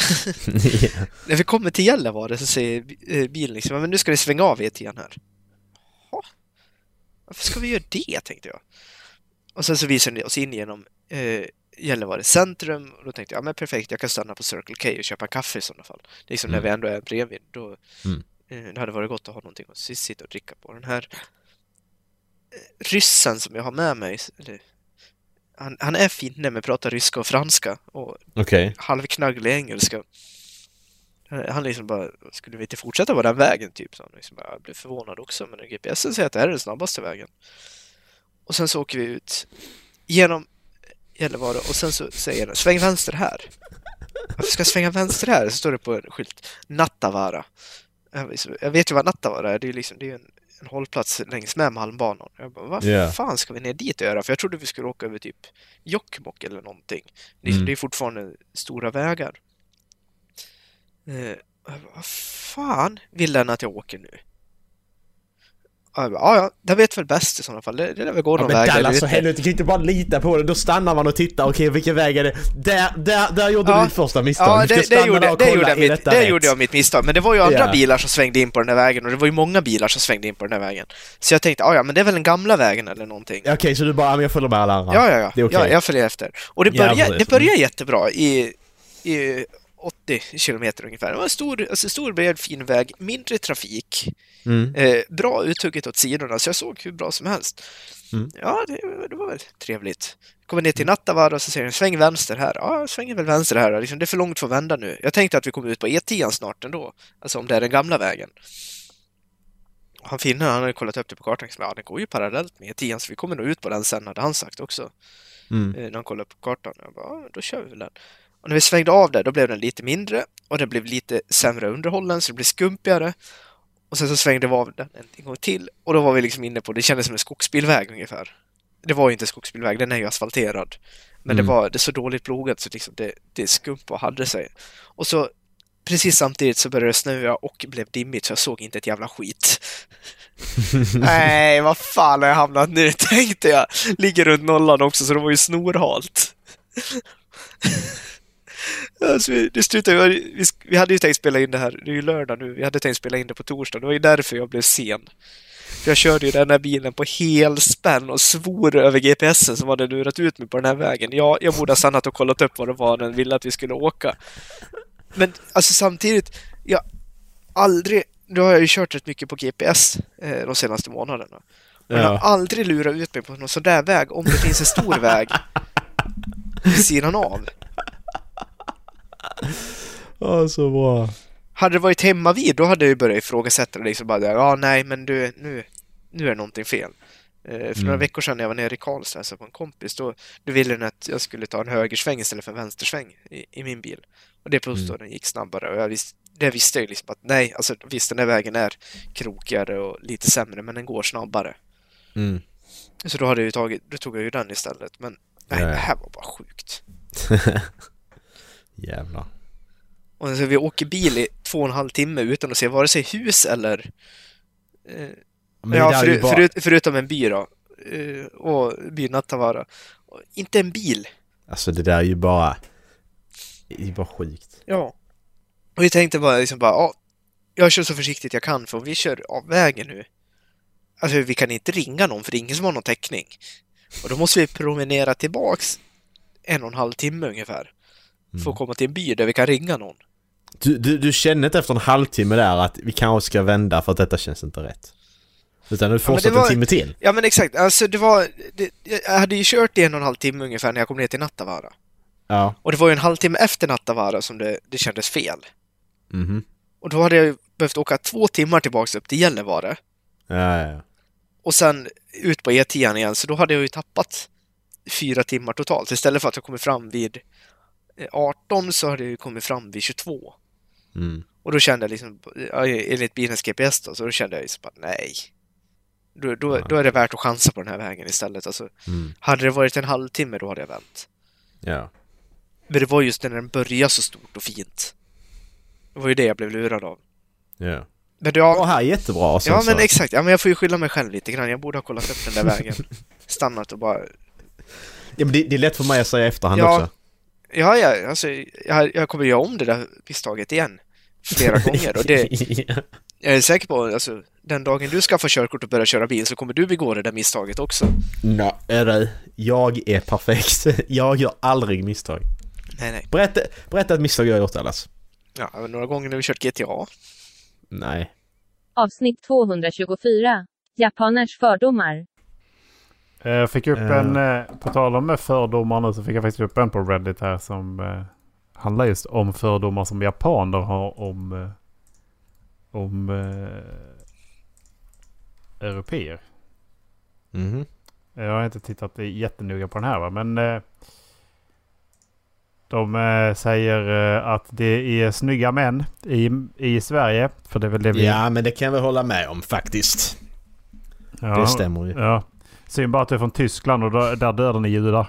Speaker 3: När vi kommer till Gällivare så säger bi- eh, bilen liksom, "Ja, men nu ska det svänga av E10 här. Jaha, varför ska vi göra det, tänkte jag. Och sen så visar den oss in genom eh, Gällivare centrum och då tänkte jag, ja men perfekt, jag kan stanna på Circle K och köpa kaffe i sådana fall. Liksom när
Speaker 2: Mm.
Speaker 3: vi ändå är bredvid, då
Speaker 2: Mm.
Speaker 3: eh, det hade varit gott att ha någonting att s- sitta och dricka på. Den här eh, ryssen som jag har med mig, eller, han, han är finne men pratar ryska och franska och
Speaker 2: Okej.
Speaker 3: halvknagglig engelska. Eh, Han liksom bara, skulle vi inte fortsätta på den vägen typ? Så han liksom bara, jag blev förvånad också, men GPSen säger att det här är den snabbaste vägen. Och sen så åker vi ut genom Gällivare och sen så säger den, sväng vänster här. Varför ska jag svänga vänster här? Så står det på en skylt, Nattavara. Jag vet- Jag vet ju vad Nattavara är, det är ju liksom, det är ju en, en hållplats längs med Malmbanan. Jag bara, vad
Speaker 2: Ja.
Speaker 3: fan ska vi ner dit och göra? För jag trodde vi skulle åka över typ Jokkmokk eller någonting. Liksom,
Speaker 2: Mm.
Speaker 3: Det är fortfarande stora vägar. Eh, och jag bara, vad fan vill den att jag åker nu? Och jag bara, ja, ja, den vet väl bäst i sådana fall. Det, det lär väl gå
Speaker 2: Ja,
Speaker 3: någon
Speaker 2: men
Speaker 3: väg. där
Speaker 2: Dallas
Speaker 3: ute.
Speaker 2: för helvete, du kan inte bara lita på det. Då stannar man och tittar. Okej, vilken väg är det? Där, där, där gjorde
Speaker 3: Ja.
Speaker 2: du ditt första misstag.
Speaker 3: Ja,
Speaker 2: Du ska
Speaker 3: det, det,
Speaker 2: stanna där
Speaker 3: gjorde,
Speaker 2: och
Speaker 3: det,
Speaker 2: kolla,
Speaker 3: gjorde, jag
Speaker 2: är
Speaker 3: mitt,
Speaker 2: detta
Speaker 3: det
Speaker 2: rätt?
Speaker 3: gjorde jag mitt misstag. Men det var ju andra
Speaker 2: Ja.
Speaker 3: bilar som svängde in på den här vägen och det var ju många bilar som svängde in på den här vägen. Så jag tänkte, ja, ja, men det är väl den gamla vägen eller någonting.
Speaker 2: Okej, så du bara, ja, men jag följer med alla andra.
Speaker 3: Ja, ja, ja.
Speaker 2: Det är okej.
Speaker 3: ja jag följer efter. Och det
Speaker 2: Jävlar,
Speaker 3: börjar,
Speaker 2: det är
Speaker 3: det
Speaker 2: så.
Speaker 3: börjar jättebra i, i 80 kilometer ungefär. Det var en stor, alltså stor, bred, fin väg, mindre trafik,
Speaker 2: Mm.
Speaker 3: eh, bra uthugget åt sidorna, så jag såg hur bra som helst.
Speaker 2: Mm.
Speaker 3: Ja, det, det var väl trevligt. Kommer ner till Nattavaara och så säger den sväng vänster här. Ja, jag svänger väl vänster här. då. Liksom, det är för långt för att vända nu. Jag tänkte att vi kommer ut på E10 snart ändå, alltså om det är den gamla vägen. Och Han finner, han hade kollat upp det på kartan, liksom, ja den går ju parallellt med E10 så vi kommer nog ut på den sen hade han sagt också
Speaker 2: Mm.
Speaker 3: eh, när han kollade på kartan. Jag bara, ja, men då kör vi väl den. Och när vi svängde av där, då blev den lite mindre och den blev lite sämre underhållen, så det blev skumpigare. Och sen så svängde vi av den en gång till och då var vi liksom inne på, det kändes som en skogsbilväg ungefär. Det var ju inte en skogsbilväg, den är ju asfalterad. Men
Speaker 2: Mm.
Speaker 3: det var det är så dåligt plogat så liksom det, det skumpa och hade sig. Och så precis samtidigt så började det snöa och blev dimmigt så jag såg inte ett jävla skit. Nej, vad fan har jag hamnat nu, tänkte jag. Ligger runt nollan också, så det var ju snorhalt. alltså, vi- det slutade, vi, vi sk- vi hade ju tänkt spela in det här, det är ju lördag nu, vi hade tänkt spela in det på torsdag. Det var ju därför jag blev sen. För jag körde ju den här bilen på helspänn och svor över GPSen som hade lurat ut mig på den här vägen. Ja, jag borde ha stannat och kollat upp vad det var den ville att vi skulle åka. Men alltså samtidigt, jag aldrig... Nu har jag ju kört rätt mycket på GPS eh, de senaste månaderna. Men jag
Speaker 2: Ja.
Speaker 3: har aldrig lurat ut mig på någon sån där väg om det finns en stor väg vid sidan av.
Speaker 2: Ja, så bra.
Speaker 3: Hade det varit hemma vid, då hade jag ju börjat ifrågasätta det liksom bara där, ja nej men du, nu, nu är någonting fel. Eh, För
Speaker 7: Mm.
Speaker 3: några veckor sedan när jag var nere i Karlstad och hälsade på en kompis, då, då ville den att jag skulle ta en högersväng istället för en vänstersväng i, i min bil. Och det påstod den gick snabbare och jag visste, det visste jag ju liksom att nej, alltså visst den här vägen är krokigare och lite sämre men den går snabbare.
Speaker 2: Mm.
Speaker 3: Så då, hade jag ju tagit, då tog jag ju den istället men nej,
Speaker 2: Ja.
Speaker 3: det här var bara sjukt.
Speaker 2: Jävlar.
Speaker 3: Och så vi åker bil i två och en halv timme utan att se vare sig hus eller eh,
Speaker 2: Men det
Speaker 3: ja,
Speaker 2: där är
Speaker 3: föru-
Speaker 2: ju bara...
Speaker 3: förut, förutom en by då. Eh, och byn Nattavaara. Och Inte en bil.
Speaker 2: Alltså det där är ju bara... Det är ju bara sjukt.
Speaker 3: Ja. Och vi tänkte bara liksom bara, ja, jag kör så försiktigt jag kan för om vi kör av vägen nu. Alltså vi kan inte ringa någon för det är ingen som har någon täckning. Och då måste vi promenera tillbaks en och en halv timme ungefär. För
Speaker 2: Mm.
Speaker 3: att komma till en by där vi kan ringa någon.
Speaker 2: Du, du, du känner inte efter en halvtimme där att vi kanske ska vända för att detta känns inte rätt? Utan du fortsätter
Speaker 3: var-
Speaker 2: en timme till?
Speaker 3: Ja men exakt, alltså det var, det, jag hade ju kört i en och en halv timme ungefär när jag kom ner till Nattavaara.
Speaker 2: Ja.
Speaker 3: Och det var ju en halvtimme efter Nattavaara som det, det kändes fel.
Speaker 2: Mhm.
Speaker 3: Och då hade jag ju behövt åka två timmar tillbaks upp till Gällivare
Speaker 2: Ja, ja, ja.
Speaker 3: och sen ut på E10 igen, så då hade jag ju tappat fyra timmar totalt. Istället för att jag kommer fram vid eh, 18 så hade jag ju kommit fram vid 22.
Speaker 2: Mm.
Speaker 3: Och då kände jag liksom, ja, enligt bilens GPS då, så då kände jag ju så bara nej. Då, då, då är det värt att chansa på den här vägen istället. Alltså,
Speaker 2: Mm.
Speaker 3: hade det varit en halvtimme då hade jag vänt.
Speaker 2: Ja.
Speaker 3: Men det var just när den började så stort och fint. Det var ju det jag blev lurad av.
Speaker 2: Ja.
Speaker 3: Men det, ja,
Speaker 2: Det här är jättebra alltså, och sen
Speaker 3: Ja
Speaker 2: så...
Speaker 3: men exakt, ja, men jag får ju skylla mig själv lite grann. Jag borde ha kollat upp den där vägen. Stannat och bara...
Speaker 2: Ja, men det, det är lätt för mig att säga i efterhand
Speaker 3: Ja.
Speaker 2: också.
Speaker 3: Ja, ja alltså, jag, jag kommer göra om det där misstaget igen. Flera gånger. Och det, jag är säker på alltså, den dagen du skaffar körkort och börjar köra bil så kommer du begå det där misstaget också.
Speaker 2: Nå, är det. Jag är perfekt. Jag gör aldrig misstag.
Speaker 3: Nej, nej.
Speaker 2: Berätta, berätta ett misstag jag har gjort Alice.
Speaker 3: Ja, men några gånger när vi kört GTA.
Speaker 2: Nej.
Speaker 1: Avsnitt 224. Japaners fördomar.
Speaker 4: Eh, Jag fick upp
Speaker 2: Eh.
Speaker 4: en, eh, på tal om eh, fördomar nu så fick jag faktiskt upp en på Reddit här som eh, handlar just om fördomar som japaner har om, eh, om eh, europeer.
Speaker 2: Mhm.
Speaker 4: Eh, Jag har inte tittat jättenoga på den här va, men eh, de eh, säger eh, att det är snygga män i, i Sverige. För det är väl det vi...
Speaker 2: Ja men det kan jag väl hålla med om faktiskt.
Speaker 4: Ja,
Speaker 2: Det stämmer ju.
Speaker 4: Ja. Synd bara att du är från Tyskland och då, där dödar ni judar.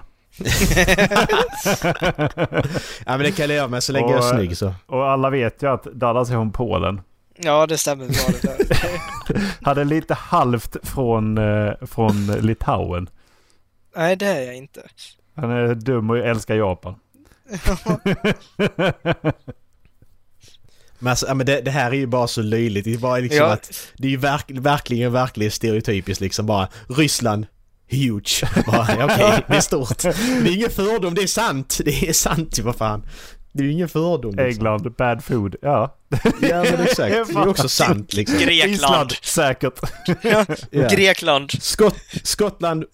Speaker 2: Ja men det kan jag leva med så länge jag
Speaker 4: Och,
Speaker 2: är
Speaker 4: eh,
Speaker 2: snygg så.
Speaker 4: Och alla vet ju att Dallas är från Polen.
Speaker 3: Ja, det stämmer bra det där.
Speaker 4: Hade lite halvt från, eh, från Litauen.
Speaker 3: nej, det är jag inte.
Speaker 4: Han är dum och älskar Japan.
Speaker 2: Men, alltså, ja, men det, det här är ju bara så löjligt. Det är, bara liksom
Speaker 3: Ja.
Speaker 2: att, det är ju verk, verkligen, verkligen stereotypiskt liksom bara Ryssland, huge. Bara, ja, Okej, det är stort. Det är ingen fördom, det är sant. Det är sant ju vad fan. Det är ju ingen fördom. Liksom.
Speaker 4: England, bad food. Ja.
Speaker 2: Ja men exakt. Det är ju också sant liksom.
Speaker 4: Island,
Speaker 8: Grekland!
Speaker 4: säkert.
Speaker 2: Ja.
Speaker 8: Grekland!
Speaker 2: Skott, Skottland,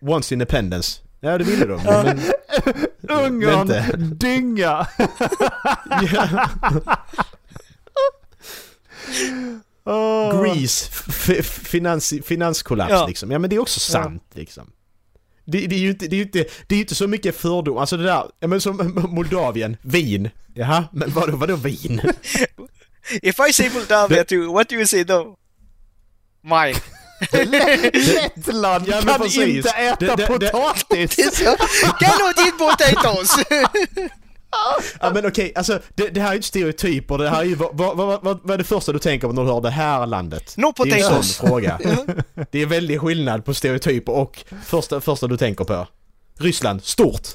Speaker 2: once independence. Ja det ville de. Men,
Speaker 4: Ungern,
Speaker 2: Vänta.
Speaker 4: dynga.
Speaker 2: ja.
Speaker 4: Åh.
Speaker 2: Grease, f- f- finans, finanskollaps
Speaker 8: Ja.
Speaker 2: liksom. Ja men det är också sant liksom. Det, det, är ju inte, det, är ju inte, det är ju inte så mycket fördom, alltså det där, ja men som Moldavien, vin. Jaha, men vadå, vadå vin?
Speaker 3: If I say Moldavia too, what do you say though? Mine.
Speaker 4: Lettland
Speaker 2: Ja, men
Speaker 4: kan
Speaker 2: precis.
Speaker 4: inte äta
Speaker 2: Det- det- det-
Speaker 4: potatis.
Speaker 3: Cannot eat potatoes!
Speaker 2: Ja men okej, alltså det, det här är ju inte stereotyper, det här är ju, vad, vad, vad, vad, vad är det första du tänker på när du hör det här landet?
Speaker 3: No
Speaker 2: Det är ju en
Speaker 3: potatoes.
Speaker 2: sån fråga. Det är väldigt skillnad på stereotyper och första, första du tänker på. Ryssland, stort.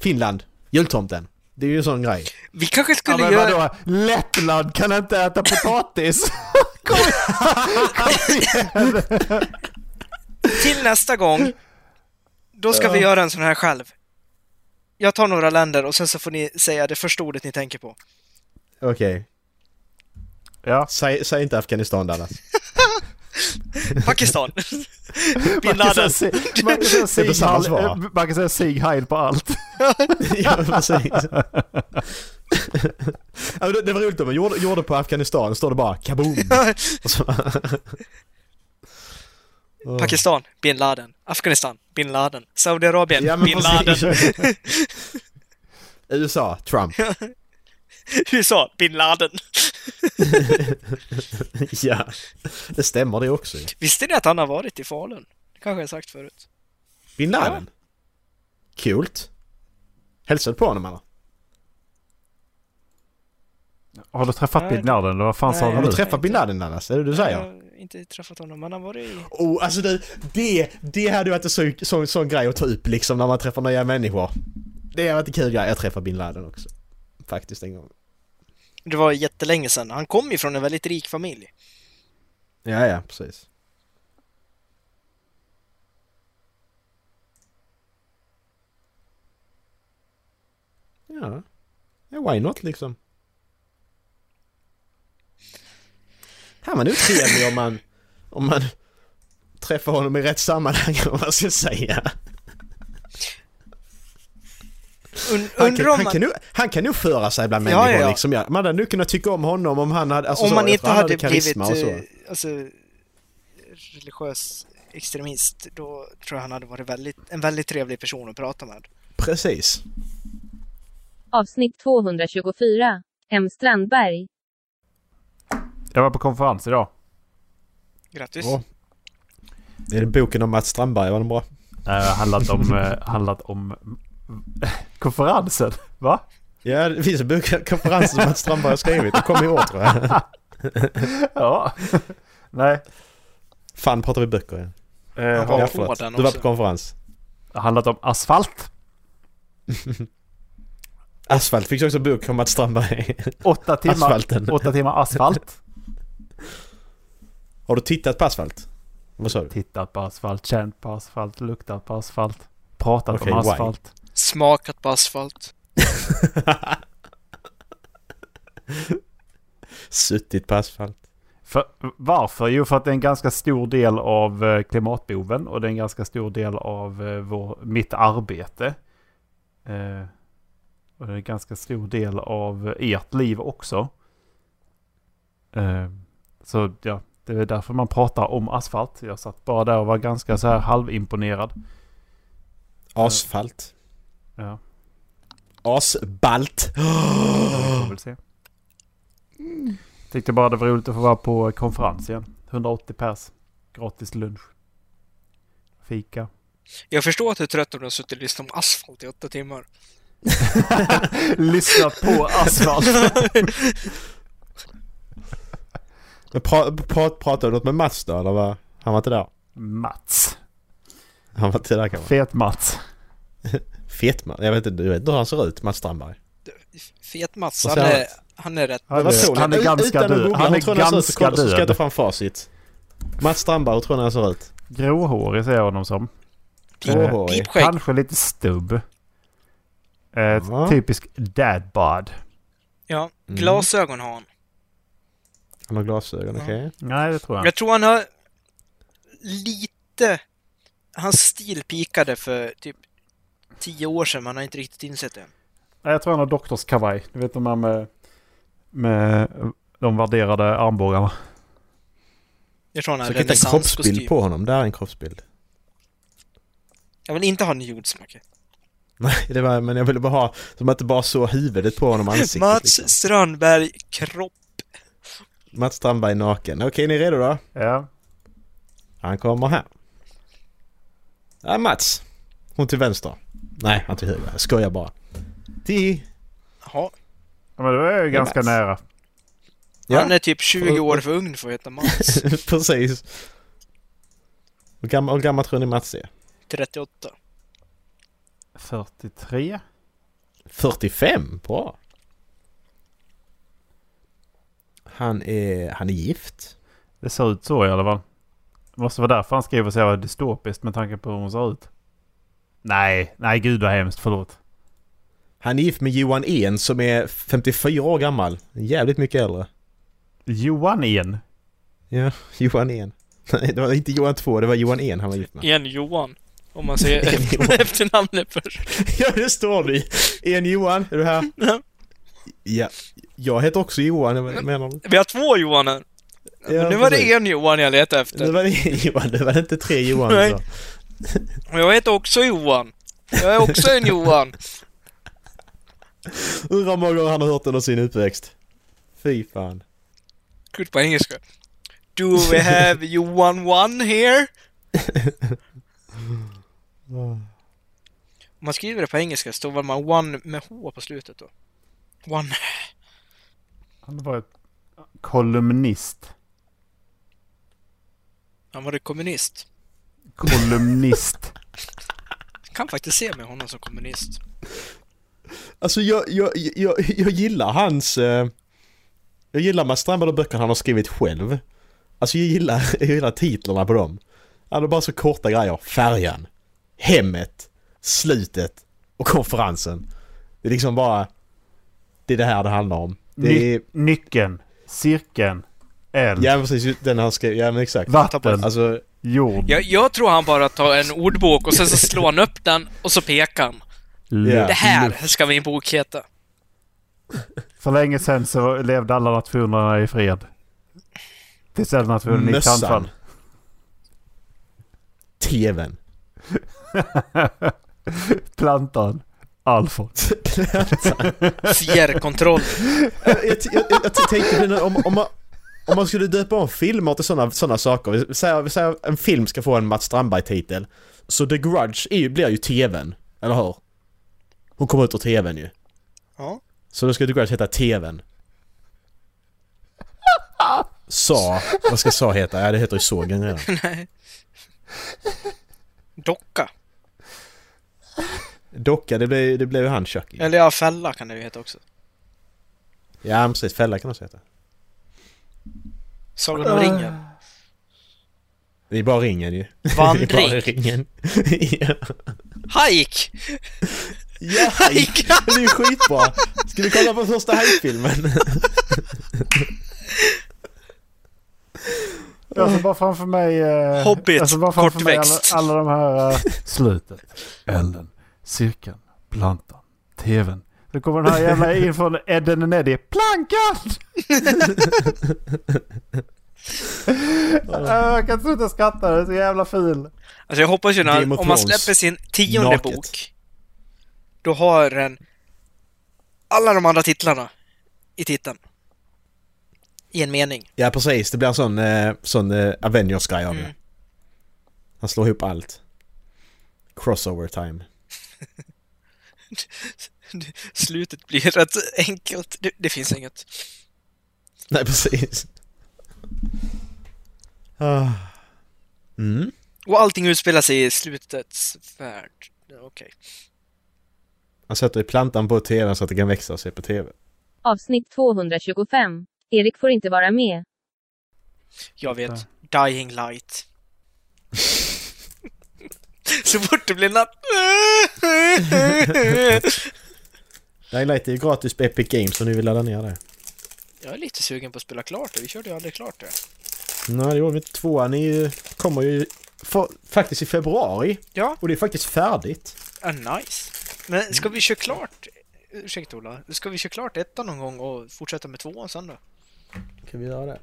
Speaker 2: Finland, jultomten. Det är ju en sån grej.
Speaker 3: Vi kanske
Speaker 4: Ja,
Speaker 3: skulle
Speaker 4: men
Speaker 3: göra...
Speaker 4: vadå? Lettland kan inte äta potatis.
Speaker 3: Till nästa gång, då ska vi göra en sån här själv. Jag tar några länder och sen så får ni säga det första ordet ni tänker på.
Speaker 2: Okej.
Speaker 4: ja.
Speaker 2: Säg, säg inte Afghanistan Dallas.
Speaker 8: Pakistan! Bin
Speaker 4: Man kan
Speaker 8: Laden!
Speaker 4: säga si- man kan säga
Speaker 2: Det är väl
Speaker 4: Sig
Speaker 2: samma
Speaker 4: Heil-
Speaker 2: svar.
Speaker 4: eh, man kan säga Sig Heil på allt.
Speaker 2: ja, precis. ja, men det, det var roligt om man gjorde, gjorde på Afghanistan, står det bara kaboom. Och så,
Speaker 3: Pakistan, bin Laden. Afghanistan, bin Laden. Saudiarabien,
Speaker 2: Ja, men
Speaker 3: bin Laden.
Speaker 2: precis. USA, Trump.
Speaker 3: USA, bin Laden.
Speaker 2: ja, det stämmer det också ju.
Speaker 3: Visste ni att han har varit i Falun? Det kanske jag sagt förut.
Speaker 2: Bin Laden. Coolt. Hälsade på honom eller?
Speaker 4: Har du träffat
Speaker 3: Nej.
Speaker 4: bin Laden? Vad fan sa
Speaker 3: Nej.
Speaker 4: du
Speaker 2: Har du
Speaker 4: nu?
Speaker 3: träff-
Speaker 2: träffat bin Laden Dallas? Är det det du
Speaker 3: Jag
Speaker 2: säger?
Speaker 3: har inte träffat honom, men han har varit i...
Speaker 2: Oh, alltså det, det, det hade varit en sån, sån, sån grej att ta upp liksom när man träffar nya människor. Det hade varit en kul grej. Jag träffade bin Laden också. Faktiskt en gång.
Speaker 3: Det var jättelänge sedan. Han kom ju från en väldigt rik familj.
Speaker 2: Ja, ja, precis. Ja. ja why not liksom? Han var nog trevlig om man, om man träffar honom i rätt sammanhang, om man ska säga.
Speaker 3: Und,
Speaker 2: Han kan,
Speaker 3: undrar om
Speaker 2: han,
Speaker 3: man,
Speaker 2: kan nog, han kan nog föra sig bland
Speaker 3: Ja,
Speaker 2: människor
Speaker 3: ja, ja.
Speaker 2: liksom. Ja. Man hade nog kunnat tycka om honom om han hade... Alltså,
Speaker 3: om
Speaker 2: så,
Speaker 3: man
Speaker 2: jag
Speaker 3: inte
Speaker 2: tror han
Speaker 3: hade blivit
Speaker 2: karisma och så.
Speaker 3: eh, alltså, religiös extremist, då tror jag han hade varit väldigt, en väldigt trevlig person att prata med.
Speaker 2: Precis.
Speaker 1: Avsnitt 224. M. Strandberg.
Speaker 4: Jag var på konferens idag.
Speaker 3: Grattis!
Speaker 2: Ja. Är det boken om Mats Strandberg? Var den bra?
Speaker 4: Eh, handlat om... eh, handlat om... Konferensen? Va?
Speaker 2: Ja, det finns en bok, konferensen som Mats Strandberg har skrivit. Det kom i år tror jag.
Speaker 4: Ja. Nej.
Speaker 2: Fan, pratar vi böcker igen?
Speaker 4: Eh,
Speaker 2: Ja,
Speaker 4: har
Speaker 2: förlåt.
Speaker 3: den
Speaker 2: Du var
Speaker 3: också.
Speaker 2: på konferens.
Speaker 4: handlat om asfalt.
Speaker 2: Asfalt fick också en bok om Mats Strandberg.
Speaker 4: Åtta timmar,
Speaker 2: Asfalten.
Speaker 4: Åtta timmar asfalt.
Speaker 2: Har du tittat på Asfalt? Vad sa du?
Speaker 4: Tittat på asfalt, känt på asfalt, luktat på asfalt. Pratat
Speaker 2: Okej,
Speaker 4: om
Speaker 2: why?
Speaker 4: asfalt.
Speaker 3: Smakat på asfalt.
Speaker 2: Suttit på Asfalt.
Speaker 4: För, varför? Jo, för att det är en ganska stor del av eh, klimatboven och det är en ganska stor del av eh, vår, mitt arbete. Eh, och det är en ganska stor del av ert liv också. Eh, så ja, det är därför man pratar om asfalt. Jag satt bara där och var ganska så här halvimponerad.
Speaker 2: Asfalt.
Speaker 4: Ja,
Speaker 2: Asbalt.
Speaker 4: vi får väl se. Tyckte bara det var roligt att få vara på konferens igen. 180 pers. Gratis lunch. Fika.
Speaker 3: Jag förstår att du är trött om du har suttit och lyssnat om asfalt i åtta timmar.
Speaker 4: Lyssna på asfalt.
Speaker 2: Men pra, pra, pratade du något med Mats då, eller vad? Han var inte där?
Speaker 4: Mats.
Speaker 2: Han var inte där kanske?
Speaker 4: Fet Mats.
Speaker 2: Fet man. Jag vet inte, du vet inte hur han ser ut, Mats Strandberg.
Speaker 3: Fet Mats,
Speaker 2: Och
Speaker 3: han
Speaker 2: sen-
Speaker 3: är, han är rätt...
Speaker 2: Eh,
Speaker 4: Han är, Eh, han är
Speaker 2: Utan att
Speaker 4: ganska död.
Speaker 2: googla,
Speaker 4: Han
Speaker 2: hur tror
Speaker 4: är
Speaker 2: ni ser ut, så
Speaker 4: ganska
Speaker 2: kolla- Så ska jag ta
Speaker 4: död.
Speaker 2: fram facit. Mats Strandberg, hur tror ni han ser ut?
Speaker 4: Gråhårig ser jag honom som. Eh,
Speaker 3: Pip-
Speaker 2: Åhåj.
Speaker 3: Pipskägg.
Speaker 4: Kanske lite stubb. Ett
Speaker 2: Ja.
Speaker 4: typisk dadbod.
Speaker 3: Ja,
Speaker 2: Mm.
Speaker 3: glasögon har han.
Speaker 2: Han har glasögon,
Speaker 3: Ja.
Speaker 2: okej?
Speaker 4: Nej, det tror jag
Speaker 3: Jag tror han har lite... Hans stil pikade för typ tio år sedan, men han har inte riktigt insett det.
Speaker 4: Nej, jag tror han har doktorskavaj. Du vet de här med, med de värderade armbågarna.
Speaker 3: Jag tror han har
Speaker 2: Sök inte en kroppsbild
Speaker 3: renässanskostym.
Speaker 2: på honom. Där är en kroppsbild.
Speaker 3: Jag vill inte ha nudesmacke.
Speaker 2: Nej, det var, men jag ville bara ha, som att det bara så huvudet på honom, ansiktet
Speaker 3: Mats
Speaker 2: liksom.
Speaker 3: Strandberg, kropp.
Speaker 2: Mats Strandberg naken. Okej, ni är redo då?
Speaker 4: Ja.
Speaker 2: Han kommer här. Ja, Mats. Hon till vänster. Nej, han till höger. Jag skojar bara. Till...
Speaker 3: Ja.
Speaker 4: Ja, Men det var ju ganska
Speaker 2: Mats.
Speaker 4: nära.
Speaker 2: Ja.
Speaker 3: Han är typ 20 år för ung för att heta Mats.
Speaker 2: Precis. Hur gammal, hur gammal tror ni Mats är?
Speaker 3: 38.
Speaker 4: 43?
Speaker 2: 45? Bra. Han är, han är gift.
Speaker 4: Det ser ut så i alla fall. Det måste vara därför han skriver så jävla dystopiskt med tanke på hur hon ser ut. Nej, nej gud vad hemskt, förlåt.
Speaker 2: Han är gift med Johan En som är 54 år gammal. Jävligt mycket äldre.
Speaker 4: Johan igen.
Speaker 2: Ja, Johan En. Nej, det var inte Johan 2, det var Johan En han var gift med.
Speaker 3: En Johan. Om man säger efter, efternamnet först.
Speaker 2: Ja, det står du i. En Johan, är du här? Ja. Jag heter också Johan, vad menar du?
Speaker 3: Vi har två Johaner.
Speaker 2: Ja,
Speaker 3: Men nu var det
Speaker 2: precis.
Speaker 3: en Johan jag letade
Speaker 2: Nu
Speaker 3: efter.
Speaker 2: var det en Johan, nu var det inte tre Johan
Speaker 3: Nej.
Speaker 2: idag.
Speaker 3: Och jag heter också Johan. Jag är också en Johan.
Speaker 2: Undrar hur många gånger han har hört under sin uppväxt. Fy fan.
Speaker 3: Kul på engelska. Do we have Johan one here? Om man skriver det på engelska så var man one med H på slutet då. One.
Speaker 4: Han var ett kolumnist.
Speaker 3: Han var det kommunist.
Speaker 4: Kolumnist.
Speaker 3: Kan faktiskt se mig honom som kommunist.
Speaker 2: Alltså jag, jag, jag, jag gillar hans... Eh, jag gillar Mats Strandberg och böckerna han har skrivit själv. Alltså jag gillar, jag gillar titlarna på dem. Han har bara så korta grejer. Färjan, hemmet, slutet och konferensen. Det är liksom bara... Det är det här det handlar om. Det är...
Speaker 4: Ny- nyckeln. Cirkeln. Eld.
Speaker 2: Ja precis, just den han skrev. Ja men exakt.
Speaker 4: Vatten.
Speaker 2: Alltså...
Speaker 4: Jord.
Speaker 3: Jag, jag tror han bara tar en ordbok och sen så slår han upp den och så pekar han.
Speaker 2: Ja.
Speaker 3: Det här ska min bok heta.
Speaker 4: För länge sedan så levde alla nationerna i fred. Tills den nationen gick handfall.
Speaker 2: TVn.
Speaker 4: Plantan. Alfon.
Speaker 3: Fjärrkontroll.
Speaker 2: jag, jag, jag, jag tänkte på det nu, om, om, man, om man skulle döpa om filmer till sådana såna saker. Vi säger, vi säger en film ska få en Mats Strandberg-titel. Så The Grudge är ju, blir ju TVn, eller hur? Hon kommer ut ur TVn ju.
Speaker 3: Ja.
Speaker 2: Så då ska The Grudge heta TVn. Sa. Vad ska Sa heta? Ja, det heter ju sågen redan.
Speaker 3: Docka.
Speaker 2: Docka, det blev, det blev ju han Chucky.
Speaker 3: Eller ja, fälla kan det ju heta också.
Speaker 2: Ja, men precis. Fälla kan också heta.
Speaker 3: Sagan om ringen.
Speaker 2: Det är bara ringen ju. Det är bara
Speaker 3: Vandring.
Speaker 2: ringen. ja.
Speaker 3: Hajk!
Speaker 2: Ja,
Speaker 3: Hajk!
Speaker 2: det är ju skitbra! Ska vi kolla på första hajfilmen?
Speaker 4: Jag ser bara framför mig... Eh,
Speaker 3: Hobbit,
Speaker 4: jag ser bara framför mig alla,
Speaker 3: kortväxt.
Speaker 4: alla de här... Eh, slutet. Elden. Cirkeln. Plantan. TVn. Nu kommer den här jävla in från Edden och Neddy. Plankan! Eh, jag kan inte sluta skratta. Det är så jävla ful.
Speaker 3: Alltså jag hoppas ju när
Speaker 2: Game of
Speaker 3: om man
Speaker 2: Thrones.
Speaker 3: släpper sin tionde
Speaker 2: Naket.
Speaker 3: bok, då har den alla de andra titlarna i titeln. I en mening.
Speaker 2: Ja precis, det blir en sån, eh, sån eh, Avengers-grej av
Speaker 3: Mm.
Speaker 2: det. Han slår ihop allt. Crossover time.
Speaker 3: Slutet blir rätt enkelt. Det, det finns inget.
Speaker 2: Nej precis. Ah. Mm.
Speaker 3: Och allting utspelar sig i slutets värld. Ja, Okej.
Speaker 2: Han sätter ju plantan på tvn så att det kan växa och se på tv.
Speaker 1: Avsnitt 225. Erik får inte vara med.
Speaker 3: Jag vet. Dying light. Så fort det blir natt...
Speaker 2: Dying Light är ju gratis på Epic Games om ni vill ladda ner det.
Speaker 3: Jag är lite sugen på att spela klart det. Vi körde ju aldrig klart det.
Speaker 2: Nej det gjorde vi inte. Tvåan är ju, kommer ju fa- faktiskt i februari.
Speaker 3: Ja.
Speaker 2: Och det är faktiskt färdigt.
Speaker 3: Ah, nice. Men ska vi köra klart... Ursäkta Ola. Ska vi köra klart ettan någon gång och fortsätta med tvåan sen då?
Speaker 2: Kan vi göra det?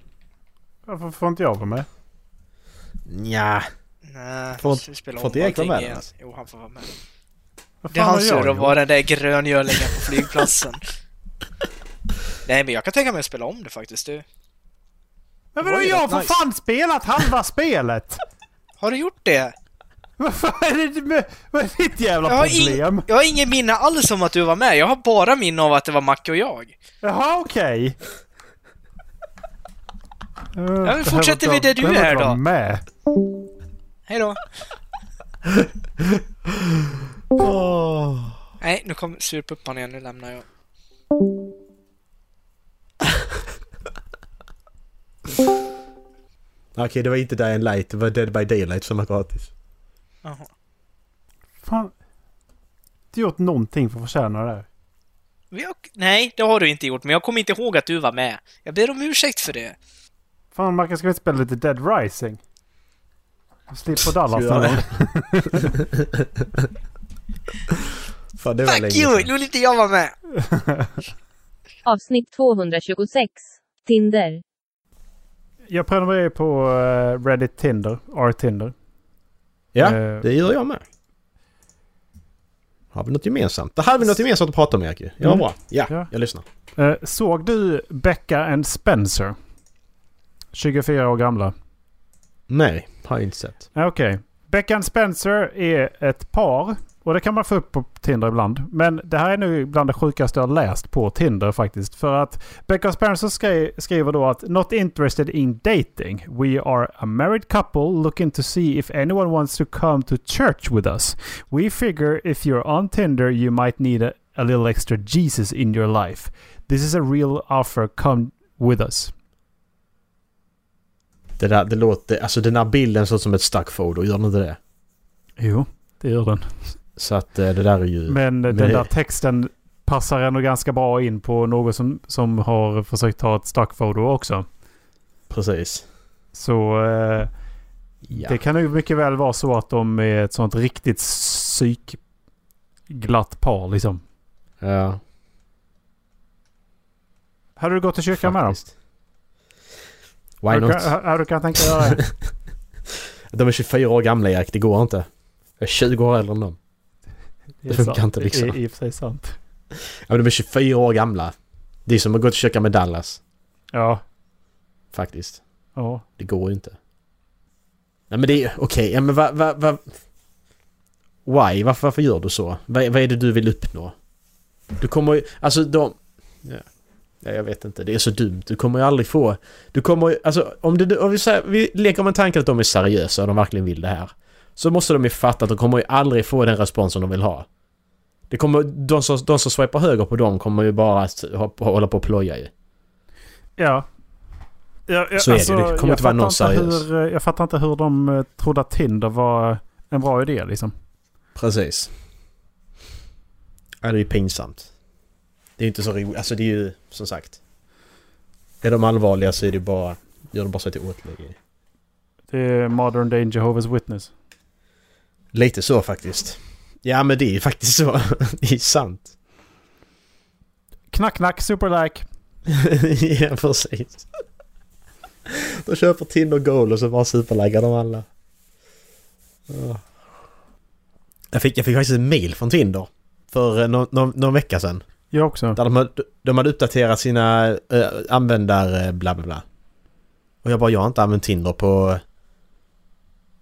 Speaker 4: Varför får inte jag vara med?
Speaker 2: Nja.
Speaker 3: Nej,
Speaker 2: Får-
Speaker 3: måste vi spela
Speaker 2: får
Speaker 3: om
Speaker 2: inte Erik vara
Speaker 3: allting
Speaker 2: med
Speaker 3: igen.
Speaker 2: alltså?
Speaker 3: Jo, han får vara med.
Speaker 4: Vad
Speaker 3: Det är
Speaker 4: fan
Speaker 3: hans
Speaker 4: har jag
Speaker 3: tur att
Speaker 4: gjort?
Speaker 3: vara den där gröngölingen på flygplatsen. Nej, men jag kan tänka mig att spela om det faktiskt. Du.
Speaker 4: Men
Speaker 3: Det var
Speaker 4: vadå
Speaker 3: ju
Speaker 4: jag har
Speaker 3: rätt
Speaker 4: för
Speaker 3: nice.
Speaker 4: fan spelat halva spelet!
Speaker 3: Har du gjort det?
Speaker 4: Vad fan är det med... Vad är ditt jävla
Speaker 3: Jag har,
Speaker 4: problem?
Speaker 3: ing- jag har ingen minne alls om att du var med. Jag har bara minne av att det var Macke och jag.
Speaker 4: Jaha, okej.
Speaker 3: men
Speaker 4: Eh,
Speaker 3: fortsätter
Speaker 4: behöver
Speaker 3: vi det
Speaker 4: inte-
Speaker 3: du
Speaker 4: behöver
Speaker 3: är
Speaker 4: inte vara
Speaker 3: då?
Speaker 4: Med.
Speaker 3: Hej då. Nej, nu kom surpuppan igen. Nu lämnar jag.
Speaker 2: Okej, det var inte Dying Light, det var Dead by Daylight som var gratis.
Speaker 3: Jaha.
Speaker 4: Fan. Inte gjort någonting för att förtjäna det här.
Speaker 3: Vi har... Nej, det har du inte gjort, men jag kommer inte ihåg att du var med. Jag ber om ursäkt för det.
Speaker 4: Fan, Marcus, ska vi inte spela lite Dead Rising? Och Slipper Dallas
Speaker 2: Ska vi göra
Speaker 4: någon gång.
Speaker 2: det? Fan, det var länge
Speaker 3: Fuck you!
Speaker 2: sedan.
Speaker 3: Nu vill inte jag vara med!
Speaker 1: Avsnitt 226. Tinder.
Speaker 4: jag prenumererar på eh, Reddit Tinder, R-Tinder.
Speaker 2: Ja,
Speaker 4: Eh.
Speaker 2: det gör jag med. Har vi något gemensamt? Det här har vi något gemensamt att prata om, Erik. ju. Ja,
Speaker 4: Mm.
Speaker 2: bra. Ja,
Speaker 4: Ja.
Speaker 2: jag lyssnar.
Speaker 4: Eh, såg du Becca and Spencer? 24 år gamla.
Speaker 2: Nej, har jag inte sett.
Speaker 4: Ja, Okej. Becca and Spencer är ett par. Och det kan man få upp på Tinder ibland. Men det här är nu bland det sjukaste jag har läst på Tinder faktiskt. För att Becca and Spencer skri- skriver då att Not interested in dating. We are a married couple looking to see if anyone wants to come to church with us. We figure if you're on Tinder you might need a, a little extra Jesus in your life. This is a real offer. Come with us.
Speaker 2: Det där, det låter... Alltså den där bilden ser ut som ett stackfoto, gör den inte det?
Speaker 4: Jo, det gör den.
Speaker 2: Så att eh, det där är ju...
Speaker 4: Men den
Speaker 2: det-
Speaker 4: där texten passar ändå ganska bra in på något som, som har försökt ta ett stackfoto också.
Speaker 2: Precis.
Speaker 4: Så eh,
Speaker 2: Ja.
Speaker 4: det kan ju mycket väl vara så att de är ett sånt riktigt psykglatt par liksom.
Speaker 2: ja.
Speaker 4: Hade du gått till kyrkan med dem?
Speaker 2: faktiskt. Why
Speaker 4: Hade
Speaker 2: not?
Speaker 4: du kan- Hade du kunnat tänka dig göra det?
Speaker 2: De är 24 år gamla Erik, det går inte. Jag är 20 år äldre än dem.
Speaker 4: är
Speaker 2: funkar
Speaker 4: sant.
Speaker 2: inte liksom.
Speaker 4: Det är i och för sig sant.
Speaker 2: Ja, men de är 24 år gamla. Det är som att gå till köka med Dallas,
Speaker 4: Ja.
Speaker 2: faktiskt.
Speaker 4: ja.
Speaker 2: Det går ju inte. Nej men det är okej, ja men vad... Va, va, why? Varför, varför gör du så? Vad, vad är det du vill uppnå? Du kommer ju... Alltså de... Ja. ja, jag vet inte. Det är så dumt. Du kommer ju aldrig få... Du kommer ju... Alltså om, det, om vi, säger, vi leker med tanken att de är seriösa och de verkligen vill det här. Så måste de ju fatta att de kommer ju aldrig få den respons som de vill ha. Det kommer... De som, de som swipar höger på dem kommer ju bara att hå- hålla på och ploja ju.
Speaker 4: Ja. Ja, ja, alltså,
Speaker 2: Så är det ju. Det kommer
Speaker 4: jag
Speaker 2: inte vara någon
Speaker 4: fattar inte
Speaker 2: seriös.
Speaker 4: hur, eh, Jag fattar inte hur de eh, trodde att Tinder var en bra idé liksom.
Speaker 2: Precis. Ja, det är ju pinsamt. Det är ju inte så roligt. Alltså det är ju, som sagt. Är de allvarliga så är det ju bara, gör de bara sig till åtlöje.
Speaker 4: Det är modern day Jehovah's Witness.
Speaker 2: Lite så faktiskt. Ja men det är ju faktiskt så. Det är ju sant.
Speaker 4: Knack, knack, superlike.
Speaker 2: ja precis. De köper Tinder Gold och så bara superlaggar de alla. Ja. Jag fick, jag fick faktiskt en mail från Tinder. För eh, nå- nå- någon vecka sedan.
Speaker 4: Jag också.
Speaker 2: Där de, hade- de hade uppdaterat sina eh, användare bla bla bla. Och jag bara, jag har inte använt Tinder på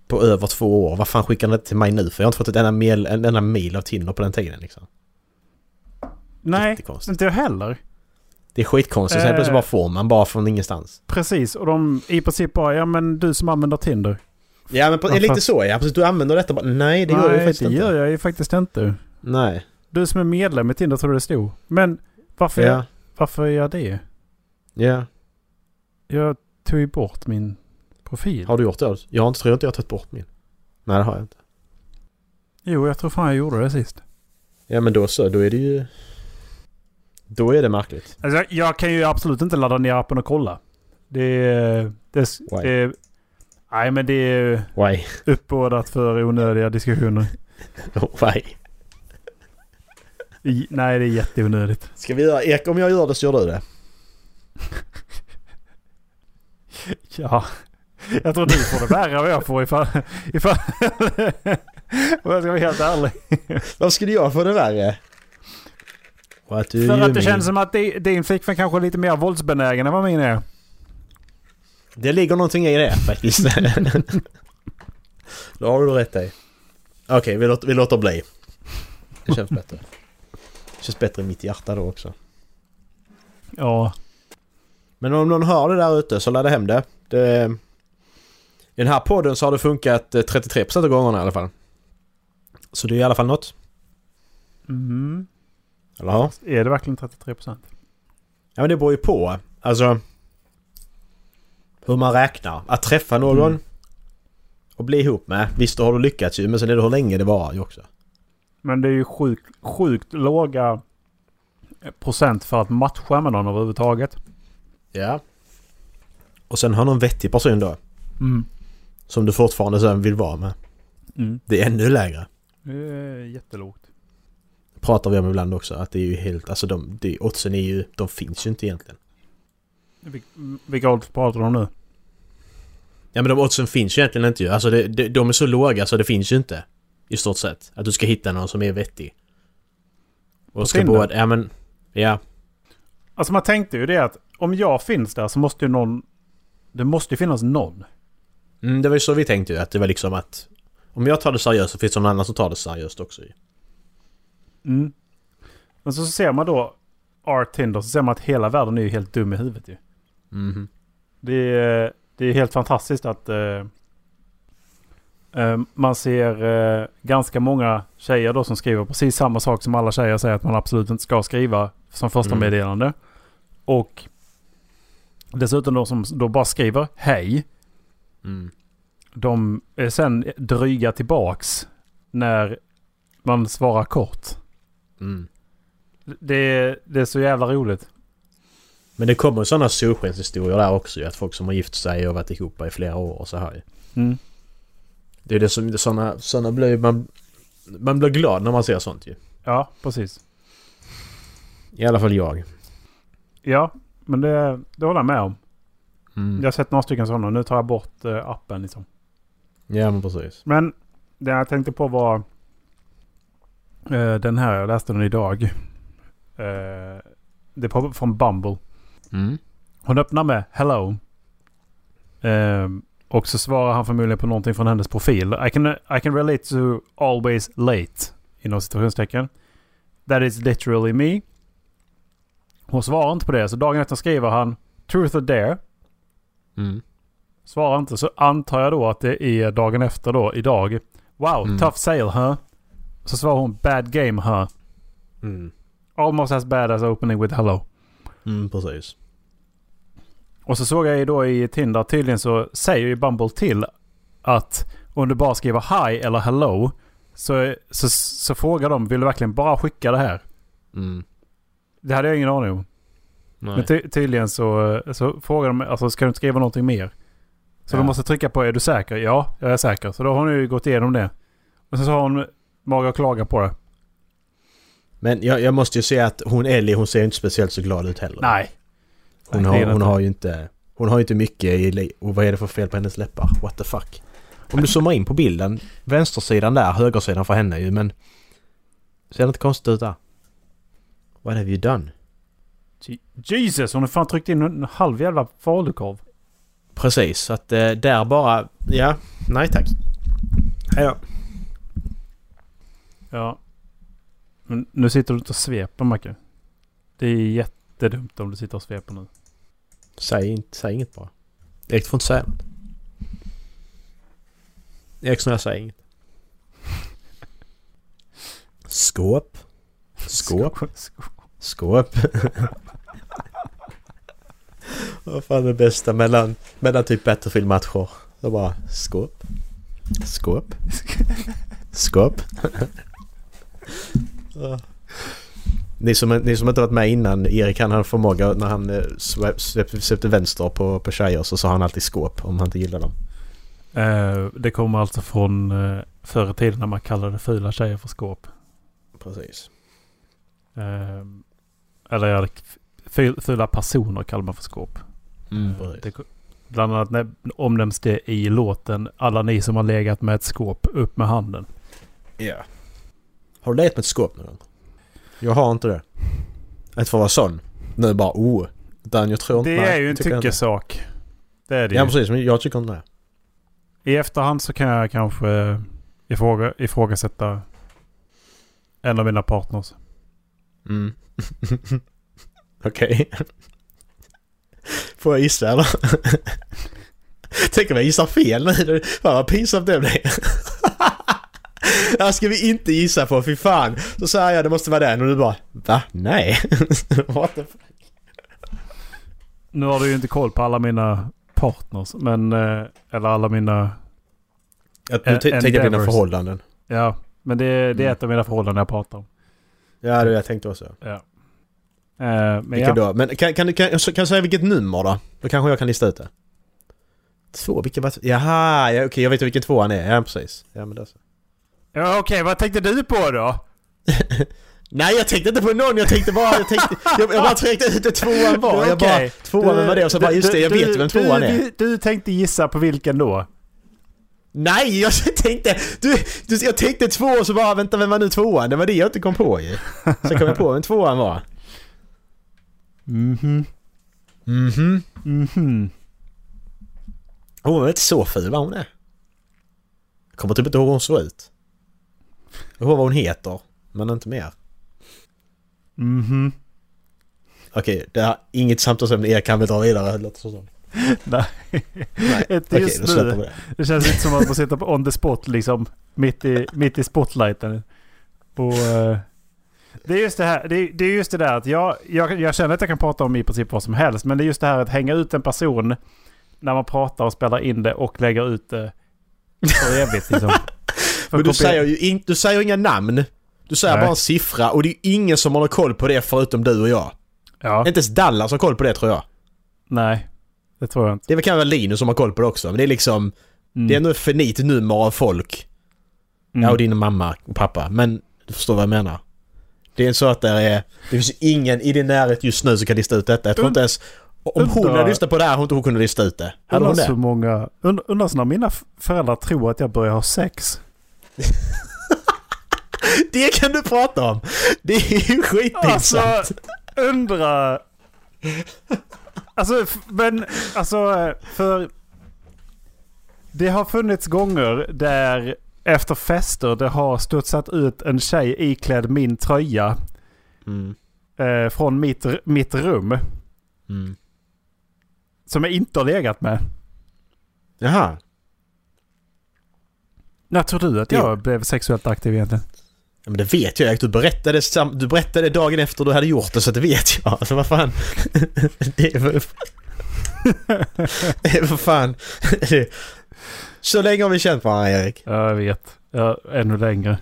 Speaker 2: på över två år. Vad fan skickar ni det till mig nu? För jag har inte fått ett enda mail, en enda mail av Tinder på den tiden liksom.
Speaker 4: Nej,
Speaker 2: Jättekonstigt.
Speaker 4: inte jag heller.
Speaker 2: Det är skitkonstigt. Sen
Speaker 4: Eh.
Speaker 2: plötsligt bara får man bara från ingenstans.
Speaker 4: Precis, och de i princip bara, ja men du som använder Tinder.
Speaker 2: Ja men på,
Speaker 4: Ja,
Speaker 2: lite
Speaker 4: fast-
Speaker 2: så ja. Precis, du använder detta bara. Nej det gör
Speaker 4: Nej,
Speaker 2: jag ju faktiskt
Speaker 4: det gör
Speaker 2: inte.
Speaker 4: jag ju faktiskt inte.
Speaker 2: Nej.
Speaker 4: Du som är medlem i Tinder tror det stod. Men varför,
Speaker 2: Ja.
Speaker 4: varför gör jag det?
Speaker 2: Ja.
Speaker 4: Jag tog ju bort min profil.
Speaker 2: Har du gjort det? Jag har inte, tror inte jag har tagit bort min. Nej det har jag inte.
Speaker 4: Jo, jag tror fan jag gjorde det sist.
Speaker 2: Ja men då så. Då är det ju... Då är det märkligt.
Speaker 4: Alltså, jag, jag kan ju absolut inte ladda ner appen och kolla. Det är... Det, är-
Speaker 2: Why?
Speaker 4: det, är- nej, men det är
Speaker 2: Why?
Speaker 4: uppbådat för onödiga diskussioner.
Speaker 2: Why?
Speaker 4: I, nej, det är jätteonödigt.
Speaker 2: Ska vi göra, Ek, om jag gör det så gör du det.
Speaker 4: Ja. Jag tror du får det värre än vad jag får ifall... ifall om jag ska vara helt ärlig.
Speaker 2: Varför skulle jag få det värre? What do
Speaker 4: För
Speaker 2: you
Speaker 4: att det
Speaker 2: mean?
Speaker 4: känns som att di- din flickvän kanske är lite mer våldsbenägen än vad min är.
Speaker 2: Det ligger någonting i det faktiskt. Då har du rätt i. Okej, vi, låter, vi låter bli. Det känns bättre. Det känns bättre i mitt hjärta då också.
Speaker 4: Ja.
Speaker 2: Men om någon hör det där ute så ladda hem det. det. I den här podden så har det funkat eh, 33% av gångerna i alla fall. Så det är i alla fall något.
Speaker 4: Mm.
Speaker 2: Eller hur?
Speaker 4: Är det verkligen 33 procent?
Speaker 2: Ja men det beror ju på. Alltså... Hur man räknar. Att träffa någon
Speaker 4: Mm.
Speaker 2: och bli ihop med. Visst, då har du lyckats ju. Men sen är det hur länge det var ju också.
Speaker 4: Men det är ju sjuk, sjukt låga procent för att matcha med någon överhuvudtaget.
Speaker 2: Ja. Och sen har någon vettig person då.
Speaker 4: Mm.
Speaker 2: Som du fortfarande sen vill vara med.
Speaker 4: Mm.
Speaker 2: Det är ännu lägre.
Speaker 4: Det är jättelågt.
Speaker 2: Pratar vi om ibland också. Att det är ju helt... Alltså de... Det, oddsen är ju... De finns ju inte egentligen.
Speaker 4: Vil- Vilka odds pratar du om nu?
Speaker 2: Ja men de oddsen finns ju egentligen inte ju. Alltså det, det, de är så låga så det finns ju inte. I stort sett. Att du ska hitta någon som är vettig.
Speaker 4: På
Speaker 2: Och ska
Speaker 4: Tinder?
Speaker 2: både... Ja men... Ja.
Speaker 4: Alltså man tänkte ju det att om jag finns där så måste ju någon... Det måste ju finnas någon.
Speaker 2: Mm, det var ju så vi tänkte ju. Att det var liksom att... Om jag tar det seriöst så finns det någon annan som tar det seriöst också ju.
Speaker 4: Mm. Men så, så ser man då Art Tinder så ser man att hela världen är ju helt dum i huvudet ju.
Speaker 2: Mhm.
Speaker 4: Det är, det är helt fantastiskt att eh, eh, man ser eh, ganska många tjejer då som skriver precis samma sak som alla tjejer säger att man absolut inte ska skriva som första
Speaker 2: Mm.
Speaker 4: meddelande. Och dessutom de som då bara skriver hej.
Speaker 2: Mm.
Speaker 4: De är sen dryga tillbaks när man svarar kort.
Speaker 2: Mm.
Speaker 4: Det är, det är så jävla roligt.
Speaker 2: Men det kommer sådana solskenshistorier där också ju. Att folk som har gift sig och varit ihop i flera år och så här ju.
Speaker 4: Mm.
Speaker 2: Det är det som... Sådana, sådana blir man... Man blir glad när man ser sånt ju.
Speaker 4: Ja, precis.
Speaker 2: I alla fall jag.
Speaker 4: Ja, men det, det håller jag med om.
Speaker 2: Mm.
Speaker 4: Jag har sett några stycken sådana. Nu tar jag bort eh, appen liksom.
Speaker 2: Ja men precis.
Speaker 4: Men det jag tänkte på var eh, den här. Jag läste den idag. Eh, det är på, från Bumble.
Speaker 2: Mm.
Speaker 4: Hon öppnar med Hello. Ehm, och så svarar han förmodligen på någonting från hennes profil. I can, I can relate to always late. Inom citationstecken. That is literally me. Hon svarar inte på det. Så dagen efter skriver han Truth or Dare.
Speaker 2: Mm.
Speaker 4: Svarar inte. Så antar jag då att det är dagen efter då. Idag. Wow,
Speaker 2: Mm.
Speaker 4: tough sale huh? Så svarar hon Bad game huh?
Speaker 2: Mm.
Speaker 4: Almost as bad as opening with hello.
Speaker 2: Mm, precis.
Speaker 4: Och så såg jag ju då i Tinder tydligen så säger ju Bumble till att om du bara skriver hi eller hello så, så, så frågar de vill du verkligen bara skicka det här?
Speaker 2: Mm.
Speaker 4: Det hade jag ingen aning om. Men
Speaker 2: Nej.
Speaker 4: ty tydligen så, så frågar de alltså ska du inte skriva någonting mer? Så
Speaker 2: Ja.
Speaker 4: du måste trycka på är du säker? Ja, jag är säker. Så då har hon ju gått igenom det. Och sen så har hon mage att klaga på det.
Speaker 2: Men jag, jag måste ju säga att hon Ellie, hon ser ju inte speciellt så glad ut heller.
Speaker 4: Nej.
Speaker 2: Hon
Speaker 4: Nej, det
Speaker 2: har,
Speaker 4: är det
Speaker 2: hon
Speaker 4: inte.
Speaker 2: har ju inte... Hon har ju inte mycket i... li- Och vad är det för fel på hennes läppar? What the fuck? Om du zoomar in på bilden, vänstersidan där, högersidan för henne ju, men... Ser det inte konstigt ut där? What have you done?
Speaker 4: Je- Jesus, hon har fan tryckt in en halv jävla falukorv.
Speaker 2: Precis, så att eh, där bara... Ja, nej tack. Hej då.
Speaker 4: Ja. Men nu sitter du inte och sveper, Macke. Det är jättedumt om du sitter och sveper nu.
Speaker 2: Säg, inte, säg inget bara. Erik får inte säga något. Erik snälla säg inget. Skåp. Skåp. Skåp. Vad fan är det bästa mellan, mellan typ Battlefield-matcher? Det bara skåp. Skåp. Skåp. Ni som, ni som inte varit med innan, Erik han hade förmåga när han eh, svep- svep- svepte vänster på, på tjejer så sa han alltid skåp om han inte gillade dem.
Speaker 4: Eh, det kommer alltså från uh, förr i tiden när man kallade fula tjejer för skåp.
Speaker 2: Precis.
Speaker 4: Eh, eller ja, ful- fula personer kallar man för skåp. Eh,
Speaker 2: precis.
Speaker 4: det, bland annat när, omnämns det i låten Alla ni som har legat med ett skåp, upp med handen.
Speaker 2: Ja. Har du legat med ett skåp någon gång? Jag har inte det. Inte för att vara sån. Nu bara oh. Utan jag tror inte...
Speaker 4: Det
Speaker 2: nej,
Speaker 4: är ju en
Speaker 2: tycker jag inte.
Speaker 4: tyckesak. Det är det
Speaker 2: Ja
Speaker 4: ju.
Speaker 2: precis, men jag tycker inte det.
Speaker 4: I efterhand så kan jag kanske ifråga, ifrågasätta en av mina partners.
Speaker 2: Mm. Okej. Får jag gissa eller? Tänk om jag gissar fel nu. Fan vad pinsamt det blev. Det här ska vi inte gissa på, fy fan. Så säger jag det måste vara den och du bara va? Nej. What the fuck?
Speaker 4: Nu har du ju inte koll på alla mina partners, men... eh, Eller alla mina...
Speaker 2: Jag, nu t- tänkte
Speaker 4: En-
Speaker 2: jag på dina
Speaker 4: endeavors.
Speaker 2: förhållanden.
Speaker 4: Ja, men det,
Speaker 2: Mm.
Speaker 4: det är ett av mina förhållanden jag pratar om.
Speaker 2: Ja, det jag tänkte också.
Speaker 4: Eh, Men
Speaker 2: Vilka
Speaker 4: ja,
Speaker 2: då? Men kan, kan, du- kan, så- kan du säga vilket nummer då? Då kanske jag kan lista ut det. Två, vilka var... Jaha, ja, okej jag vet vilken två han är. Ja, precis. Ja, men det så.
Speaker 4: ja okej, vad tänkte du på då?
Speaker 2: Nej jag tänkte inte på någon, jag tänkte bara... Jag, tänkte, jag, jag bara träckte ut det tvåan var. Jag bara...
Speaker 4: Okej.
Speaker 2: Tvåan, vem var det? Och så bara just det, jag vet ju vem tvåan är.
Speaker 4: Du, du tänkte gissa på vilken då?
Speaker 2: Nej, jag tänkte... Du, du, jag tänkte två och så bara vänta, vem var nu tvåan? Det var det jag inte kom på ju. Sen kom jag på vem tvåan var.
Speaker 4: Mhm.
Speaker 2: Mhm.
Speaker 4: Mhm.
Speaker 2: Hon var inte så ful var hon det? Jag kommer typ inte ihåg hur hon såg ut. Jag ihåg vad hon heter, men inte mer.
Speaker 4: Mhm.
Speaker 2: Okej, det här inget samtalsämne er kan vi dra vidare, låter det som.
Speaker 4: Nej.
Speaker 2: Nej,
Speaker 4: Inte
Speaker 2: okej,
Speaker 4: just
Speaker 2: då släpper vi
Speaker 4: nu.
Speaker 2: det.
Speaker 4: Det känns lite som att man sitter på on the spot liksom. Mitt i, mitt i spotlighten. Och... eh, Det är just det här. Det är, det är just det där att jag, jag, jag känner att jag kan prata om i princip vad som helst. Men det är just det här att hänga ut en person när man pratar och spelar in det och lägger ut det för evigt liksom. För
Speaker 2: Men du
Speaker 4: kopier-
Speaker 2: säger ju in, du säger inga namn. Du säger
Speaker 4: Nej.
Speaker 2: bara en siffra och det är ju ingen som har någon koll på det förutom du och jag.
Speaker 4: Ja,
Speaker 2: Inte ens Dallas har koll på det tror jag.
Speaker 4: nej. Det tror jag inte.
Speaker 2: Det är väl kanske Linus som har koll på det också, men det är liksom...
Speaker 4: Mm.
Speaker 2: Det är ändå ett finit nummer av folk. Ja, och din mamma och pappa. Men du förstår vad jag menar. Det är så att det är... Det finns ju ingen i din närhet just nu som kan lista ut detta. Jag tror inte ens... Om hon
Speaker 4: undrar-
Speaker 2: hade lyssnat på det här, hon inte hon kunde lista ut det. Hade
Speaker 4: Undrar
Speaker 2: hon
Speaker 4: så
Speaker 2: det?
Speaker 4: många... und- Undrar så när mina f- föräldrar tror att jag börjar ha sex.
Speaker 2: Det kan du prata om! Det är ju skitintressant.
Speaker 4: Alltså, undra... Alltså, f- men alltså för... Det har funnits gånger där efter fester det har studsat ut en tjej iklädd min tröja
Speaker 2: Mm,
Speaker 4: eh, från mitt, r- mitt rum.
Speaker 2: mm.
Speaker 4: Som jag inte har legat med.
Speaker 2: Jaha.
Speaker 4: När tror du att jag blev sexuellt aktiv egentligen?
Speaker 2: Ja, men det vet jag. Du berättade, sam- du berättade dagen efter du hade gjort det, så det vet jag. Alltså vad fan. det är väl... det är vad fan. så länge har vi känt varandra, Erik.
Speaker 4: Ja, jag vet. Ja, ännu längre.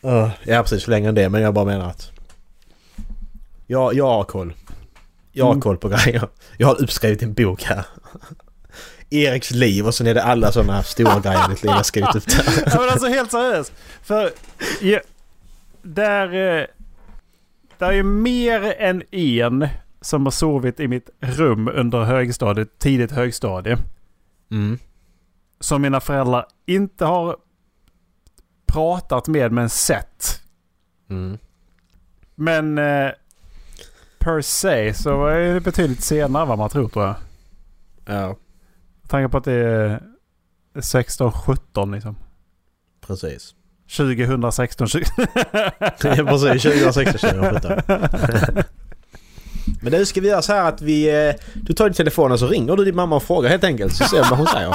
Speaker 2: Ja, ja, precis. Längre än det, men jag bara menar att... Jag, jag har koll. Jag har koll på grejer. Jag har uppskrivit en bok här. Eriks liv och sen är det alla sådana här stora grejer i mitt liv jag har skrivit upp där.
Speaker 4: ja, men alltså helt seriöst. För ja, där, eh, där är ju mer än en som har sovit i mitt rum under högstadiet, tidigt högstadie.
Speaker 2: Mm.
Speaker 4: Som mina föräldrar inte har pratat med men sett.
Speaker 2: Mm.
Speaker 4: Men eh, per se så är det betydligt senare än vad man tror tror jag.
Speaker 2: Ja,
Speaker 4: Med tanke på att det är 16, 17 liksom.
Speaker 2: precis.
Speaker 4: 2016, 20...
Speaker 2: precis, 2016, 2017. Men nu ska vi göra så här att vi... eh, Du tar din telefon och så ringer du din mamma och frågar helt enkelt så ser vi vad hon säger.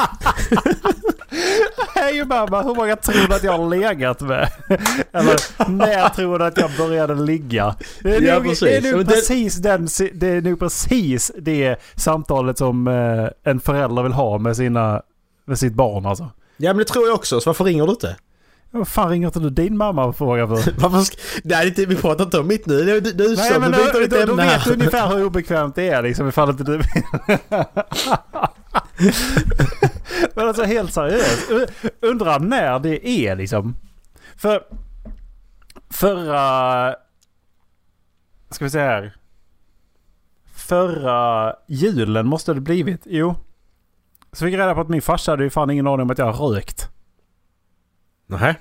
Speaker 4: Hej mamma, hur många tror du att jag har legat med? Eller när tror du att jag började ligga? Det är,
Speaker 2: Ja,
Speaker 4: nog,
Speaker 2: precis.
Speaker 4: Det är, nog
Speaker 2: Men det-
Speaker 4: precis den, si- det är nog precis det samtalet som eh, en förälder vill ha med, sina, med sitt barn alltså.
Speaker 2: Ja men det tror jag också, så varför ringer du inte?
Speaker 4: Ja, Vad fan ringer inte du din mamma och frågar för?
Speaker 2: Varför sk- Nej, det är inte, vi pratar inte om mitt nu. Du, du, du,
Speaker 4: Nej
Speaker 2: så,
Speaker 4: men
Speaker 2: du
Speaker 4: då,
Speaker 2: byter ditt
Speaker 4: då, då
Speaker 2: ämne
Speaker 4: vet du
Speaker 2: här.
Speaker 4: ungefär hur obekvämt det är liksom ifall inte du Men alltså helt seriöst. U- Undrar när det är liksom. För förra... Ska vi se här. Förra julen måste det blivit. Jo. Så fick jag reda på att min farsa hade ju fan ingen aning om att jag har rökt.
Speaker 2: Nej.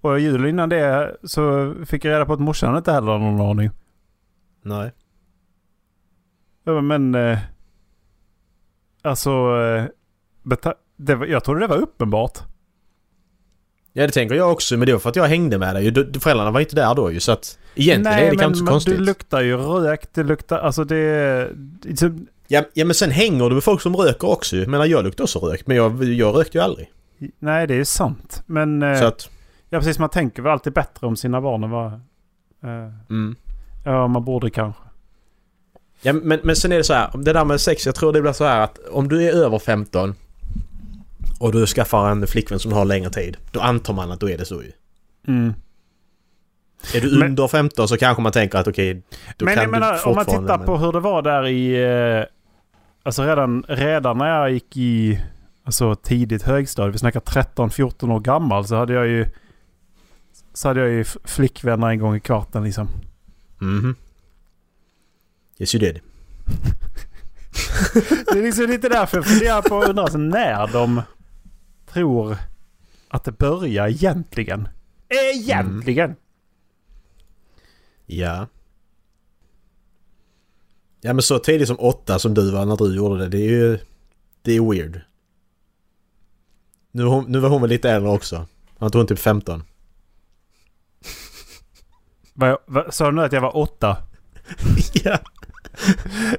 Speaker 4: Och julen innan det så fick jag reda på att morsan inte heller hade någon aning.
Speaker 2: Nej.
Speaker 4: Ja, men, men... eh, Alltså... eh, Beta- det var, jag trodde det var uppenbart.
Speaker 2: Ja det tänker jag också, men det var för att jag hängde med dig. ju. Du- du- Föräldrarna var inte där då ju så att... Egentligen är det kanske inte så
Speaker 4: men
Speaker 2: konstigt.
Speaker 4: du luktar ju rök. Det luktar... Alltså det... liksom-
Speaker 2: ja, ja men sen hänger du med folk som röker också ju. Jag menar jag luktar också rök, men jag, jag rökte ju aldrig.
Speaker 4: Nej, det är ju sant. Men... eh,
Speaker 2: Så att...
Speaker 4: Ja, precis. Man tänker väl alltid bättre om sina barn än vad... eh,
Speaker 2: Mm.
Speaker 4: Ja, man borde kanske.
Speaker 2: Ja, men, men sen är det så här, det där med sex, jag tror det blir så här att om du är över 15 och du skaffar en flickvän som du har längre tid, då antar man att då är det så ju.
Speaker 4: Mm.
Speaker 2: Är du
Speaker 4: Men-
Speaker 2: under 15 så kanske man tänker att okej, då
Speaker 4: men
Speaker 2: kan
Speaker 4: jag menar,
Speaker 2: du
Speaker 4: om man
Speaker 2: fortfarande...
Speaker 4: tittar på hur det var där i... eh, Alltså redan, redan när jag gick i alltså tidigt högstadiet, vi snackar 13-14 år gammal, så hade jag ju så hade jag ju f- flickvänner en gång i kvarten liksom.
Speaker 2: Mhm. Yes you did.
Speaker 4: Det är liksom lite därför jag funderar på undrar alltså, när de tror att det börjar egentligen. Mm. Egentligen!
Speaker 2: Ja. Ja men så tidigt som åtta som du var när du gjorde det, det är ju... Det är weird. Nu, var hon, nu var hon väl lite äldre också. Var inte hon typ 15?
Speaker 4: Vad jag- vad- Sa du nu att jag var åtta?
Speaker 2: ja.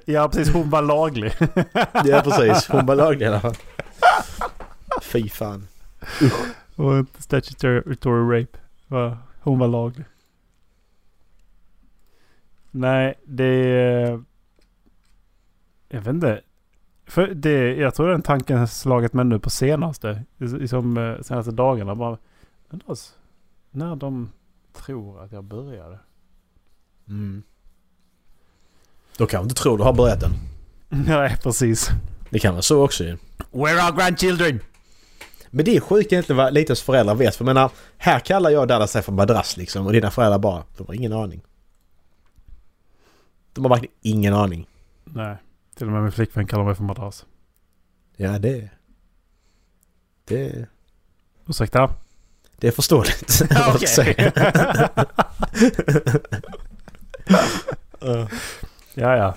Speaker 4: Ja precis, hon var laglig.
Speaker 2: ja, precis. Hon var laglig i alla fall. Fy fan.
Speaker 4: Och inte statutory rape. Va? Hon var laglig. Nej, det... Jag vet inte. För det, jag tror den tanken har slagit mig nu på senaste. Liksom eh, senaste dagarna. Bara, undrar oss när de tror att jag började.
Speaker 2: Mm. Då kan inte tro du har börjat den.
Speaker 4: Nej, precis.
Speaker 2: Det kan vara så också ju.
Speaker 4: Where are grandchildren?
Speaker 2: Men det är sjukt egentligen vad Litas föräldrar vet. För jag menar, här kallar jag Dallas sig för madrass liksom. Och dina föräldrar bara, de har ingen aning. De har verkligen ingen aning.
Speaker 4: Nej, till och med min flickvän kallar mig för madrass.
Speaker 2: Ja, det... Det,
Speaker 4: Ursäkta?
Speaker 2: det är förståeligt. vad jag säger.
Speaker 4: Ja, ja.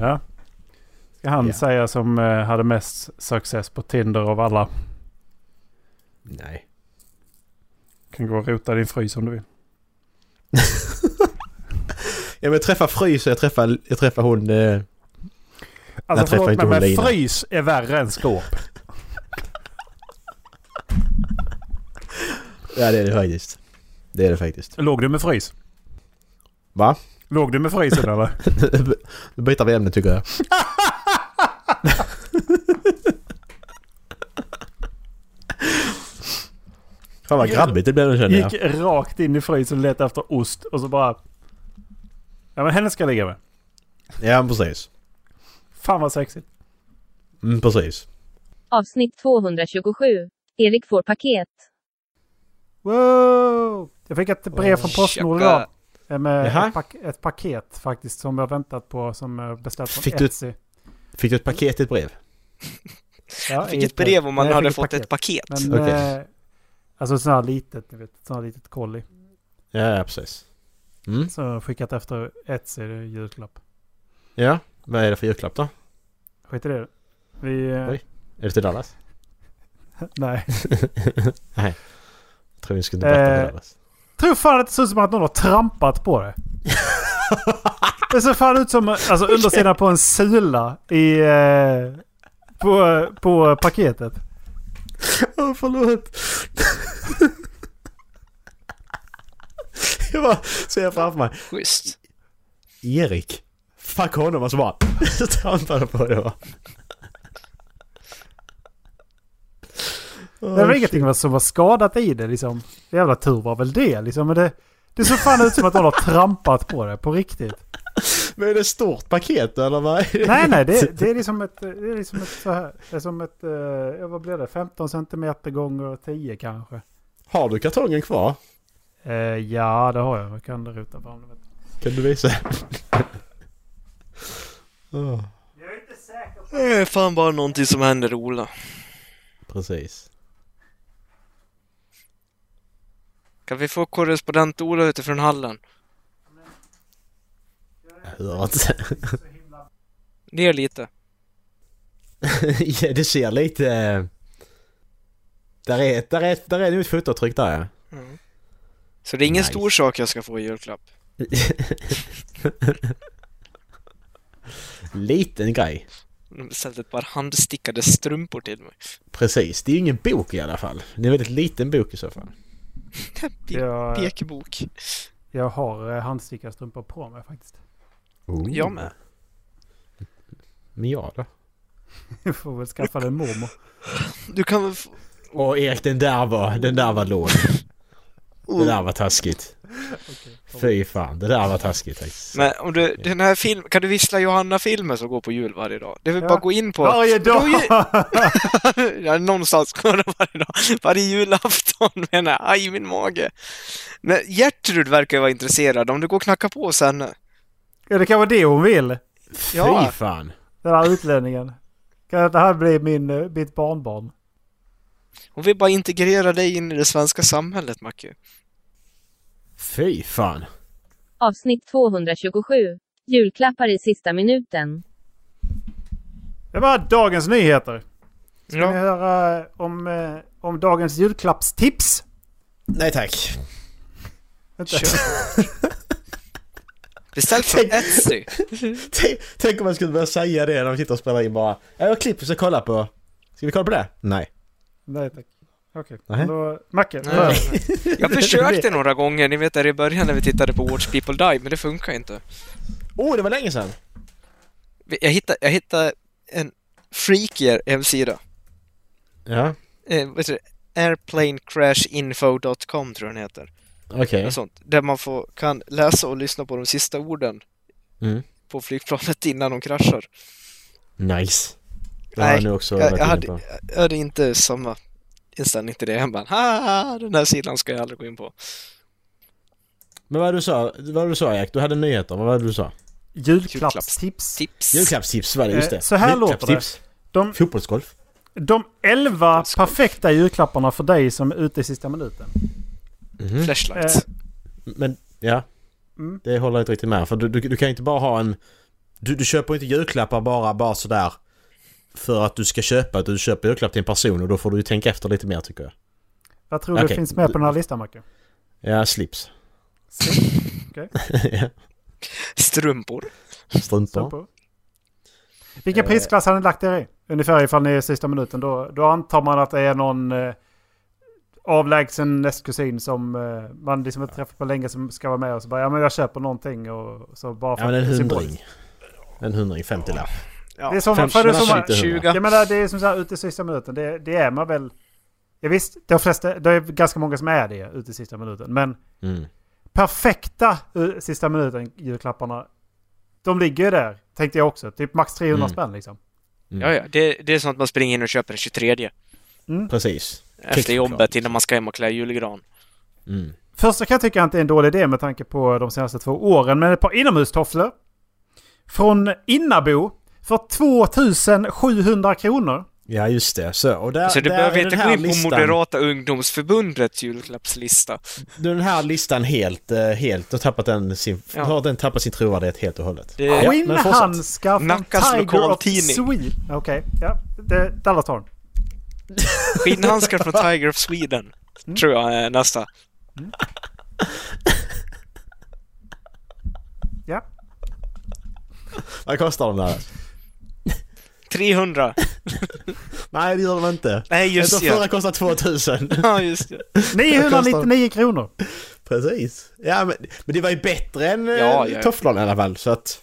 Speaker 4: ja. Ska han
Speaker 2: Ja.
Speaker 4: säga som eh, hade mest success på Tinder av alla.
Speaker 2: Nej.
Speaker 4: Kan gå och rota din frys om du vill.
Speaker 2: Ja, men jag träffar Frys och jag träffar, jag träffar hon... Eh, träffar
Speaker 4: Alltså förlåt
Speaker 2: inte
Speaker 4: mig,
Speaker 2: hon
Speaker 4: men
Speaker 2: Lina.
Speaker 4: frys är värre än skåp.
Speaker 2: ja, det är det faktiskt. Det är det faktiskt.
Speaker 4: Låg du med frys?
Speaker 2: Va?
Speaker 4: Låg du med frysen eller?
Speaker 2: Nu byter vi ämne tycker jag. Fan vad grabbigt det blev nu känner jag.
Speaker 4: Gick rakt in i frysen och letade efter ost och så bara... Ja men henne ska jag ligga med.
Speaker 2: Ja, precis.
Speaker 4: Fan vad sexigt.
Speaker 2: Mm, precis.
Speaker 1: Avsnitt 227. Erik får paket.
Speaker 9: Wow! Jag fick ett brev från Postnord
Speaker 3: Tjocka.
Speaker 9: idag. eh, Med
Speaker 2: Jaha.
Speaker 9: ett, pak- ett paket faktiskt som jag väntat på som eh, beställt från
Speaker 2: Fick du-
Speaker 9: Etsy.
Speaker 2: Fick du ett paket i ett brev?
Speaker 9: Ja,
Speaker 3: fick
Speaker 9: i
Speaker 3: ett brev om man
Speaker 9: nej, jag
Speaker 3: hade
Speaker 9: fick
Speaker 3: fått ett paket.
Speaker 9: Men,
Speaker 2: Okej.
Speaker 9: eh, alltså sån här litet, ni vet. Sån här litet kolli.
Speaker 2: Ja, ja precis. Mm.
Speaker 9: Så jag har skickat efter Etsy det är julklapp.
Speaker 2: Ja, vad är det för julklapp då?
Speaker 9: Skit i det. Vi... eh,
Speaker 2: Oj. Är det till Dallas?
Speaker 9: Nej.
Speaker 2: Nej. Jag tror vi skulle inte berätta
Speaker 9: Eh.
Speaker 2: för Dallas.
Speaker 9: Tror fan att det ser ut som att någon har trampat på det. Det ser fan ut som alltså, undersidan på en sula i... eh, På, på paketet.
Speaker 2: Åh, förlåt. jag bara ser framför mig.
Speaker 3: Schysst.
Speaker 2: Erik. Fuck honom och så bara trampade på det va.
Speaker 9: Det var ingenting som var skadat i det liksom. Jävla tur var väl det liksom. Men det, det såg fan ut som att någon har trampat på det på riktigt.
Speaker 2: Men är det ett stort paket eller vad? är det?
Speaker 9: Nej, nej, det, det är liksom ett... Det är liksom ett så här. Det är som ett... eh, ja, vad blir det? 15 centimeter gånger 10 kanske.
Speaker 2: Har du kartongen kvar?
Speaker 9: Eh, ja, det har jag. Jag kan ruta fram det.
Speaker 2: Kan du visa? Åh,
Speaker 3: Det är fan bara någonting som händer Ola.
Speaker 2: precis.
Speaker 3: Kan vi få korrespondent Ola utifrån hallen?
Speaker 2: Jag hör inte.
Speaker 3: Ner lite.
Speaker 2: ja, det ser lite... eh, Där är, där är, där är nu ett fotavtryck där ja.
Speaker 3: Så det är ingen
Speaker 2: Nice.
Speaker 3: stor sak jag ska få i julklapp.
Speaker 2: Liten grej.
Speaker 3: De beställde ett par handstickade strumpor till mig.
Speaker 2: Precis, det är ju ingen bok i alla fall. Det är en väldigt liten bok i så fall.
Speaker 9: Jag,
Speaker 3: Pekbok.
Speaker 9: jag har eh, handstickarstrumpor på mig faktiskt.
Speaker 3: Jag med.
Speaker 2: Men jag då?
Speaker 9: Jag får väl skaffa den mormor.
Speaker 3: Du kan väl få...
Speaker 2: Åh Erik, den där var, den där var låg. Det där var taskigt. Fy fan, det där var taskigt faktiskt.
Speaker 3: Men om du, den här film, kan du vissla Johanna-filmen som går på jul varje dag? Det vill bara gå in på...
Speaker 4: Varje dag!
Speaker 3: Då ju- ja, någonstans går det varje dag. Varje julafton menar jag. Aj, min mage. Men Gertrud verkar ju vara intresserad. Om du går och knackar på hos henne.
Speaker 4: Ja, det kan vara det hon vill.
Speaker 3: Ja.
Speaker 2: Fy fan.
Speaker 4: Den här utlänningen. Kan det här bli min, eh, mitt barnbarn?
Speaker 3: Hon vill bara integrera dig in i det svenska samhället, Macke.
Speaker 2: Fy fan.
Speaker 1: Avsnitt 227. Julklappar i sista minuten.
Speaker 4: Det var dagens nyheter.
Speaker 3: Ja.
Speaker 4: Ska ni höra eh, om, eh, om dagens julklappstips?
Speaker 2: Nej tack.
Speaker 4: Vänta.
Speaker 3: Beställt från Etsy.
Speaker 2: Tänk- Tänk om man skulle börja säga det när vi sitter och spelar in bara. "Ja, Jag klipper så kolla på... Ska vi kolla på det? Nej.
Speaker 4: Nej tack. Okej,
Speaker 2: Nej.
Speaker 4: då... Macke,
Speaker 3: Nej,
Speaker 4: hör.
Speaker 3: nej, nej. Jag försökte några gånger, ni vet där i början när vi tittade på Watch People Die, men det funkar inte.
Speaker 2: Åh, oh, det var länge sedan.
Speaker 3: Jag hittade, jag hittade en freakier hemsida.
Speaker 2: Ja,
Speaker 3: Eh, vad heter det? Airplanecrashinfo.com tror jag den heter.
Speaker 2: okej.
Speaker 3: Något Sånt, där man får, kan läsa och lyssna på de sista orden
Speaker 2: Mm.
Speaker 3: på flygplanet innan de kraschar.
Speaker 2: Nice. Det har
Speaker 3: Nej,
Speaker 2: jag nu också
Speaker 3: Jag,
Speaker 2: varit
Speaker 3: jag,
Speaker 2: inne
Speaker 3: hade,
Speaker 2: på.
Speaker 3: jag hade inte samma inställning till det. Jag bara, "Ah, den här sidan ska jag aldrig gå in på.
Speaker 2: Men vad du sa, vad du sa Jack? Du hade nyheter, vad var det du sa?
Speaker 4: Julklappstips.
Speaker 3: Tips!
Speaker 2: Julklappstips var det, just
Speaker 4: Eh,
Speaker 2: det.
Speaker 4: så här låter det.
Speaker 2: Julklappstips.
Speaker 4: De-
Speaker 2: Fotbollsgolf.
Speaker 4: De 11 perfekta julklapparna för dig som är ute i sista minuten.
Speaker 2: Mhm.
Speaker 3: Flashlights.
Speaker 4: Eh,
Speaker 2: Men, ja.
Speaker 4: Mm.
Speaker 2: Det håller jag inte riktigt med för du, du, du kan inte bara ha en... Du, du köper inte julklappar bara, bara sådär för att du ska köpa, utan du köper julklapp till en person och då får du ju tänka efter lite mer tycker jag.
Speaker 4: Vad tror du
Speaker 2: Okej.
Speaker 4: finns med på den här listan, Macke?
Speaker 2: Ja, slips.
Speaker 4: Okej.
Speaker 2: ja,
Speaker 3: Strumpor.
Speaker 2: strumpor.
Speaker 4: Strumpor.
Speaker 2: Eh.
Speaker 4: Vilken prisklass har ni lagt er i? Ungefär ifall ni är i sista minuten. Då, då antar man att det är någon eh, avlägsen nästkusin som eh, man liksom inte träffat på länge som ska vara med och så bara ja men jag köper någonting och så bara
Speaker 2: Ja, men en
Speaker 4: att-
Speaker 2: hundring. En hundring, 50 lapp.
Speaker 4: Det är som,
Speaker 2: Fem-
Speaker 4: för det är som,
Speaker 2: mellan
Speaker 4: man-
Speaker 2: 20 och 100.
Speaker 4: jag menar det är som så här ute i sista minuten. Det, det är man väl. Ja, visst, de flesta, det är ganska många som är det ute i sista minuten. Men
Speaker 2: Mm.
Speaker 4: perfekta eh, sista minuten julklapparna. De ligger ju där, tänkte jag också. Typ max 300
Speaker 2: Mm.
Speaker 4: spänn liksom.
Speaker 2: Mm.
Speaker 3: Ja, ja. Det, det är sånt man springer in och köper den 23
Speaker 2: Precis.
Speaker 3: efter
Speaker 2: Kexchoklad.
Speaker 3: jobbet innan man ska hem och klä julgran.
Speaker 2: Mm.
Speaker 4: Första kan jag tycka inte är en dålig idé med tanke på de senaste två åren. Men ett par inomhustofflor. Från Innabo. För 2700 kronor.
Speaker 2: Ja, just det. Så, och där,
Speaker 3: Så du
Speaker 2: där
Speaker 3: behöver
Speaker 2: är
Speaker 3: inte
Speaker 2: den
Speaker 3: gå
Speaker 2: här
Speaker 3: in på
Speaker 2: listan,
Speaker 3: Moderata ungdomsförbundets julklappslista.
Speaker 2: Nu är den här listan helt, eh, helt, har tappat den sin,
Speaker 3: Ja.
Speaker 2: har den tappat sin trovärdighet helt och hållet.
Speaker 3: Det, ja.
Speaker 2: men fortsätt.
Speaker 4: Skinnhandskar från
Speaker 3: Nackas
Speaker 4: Tiger of
Speaker 3: lokaltidning.
Speaker 4: Sweden. Okej, ja. Det, Dallas tar den.
Speaker 3: Skinnhandskar från Tiger of Sweden.
Speaker 2: Mm.
Speaker 3: Tror jag är nästa.
Speaker 4: Ja.
Speaker 2: Vad kostar de där?
Speaker 3: 300.
Speaker 2: Nej, det gör de inte.
Speaker 3: Nej, just
Speaker 4: Alltså,
Speaker 2: det. Förra
Speaker 3: det.
Speaker 2: kostade 2000.
Speaker 3: Ja, just det.
Speaker 4: 999 kronor.
Speaker 2: Precis. Ja, men, men det var ju bättre än ja,
Speaker 3: Ja, ja.
Speaker 2: tofflorna i alla fall, så att...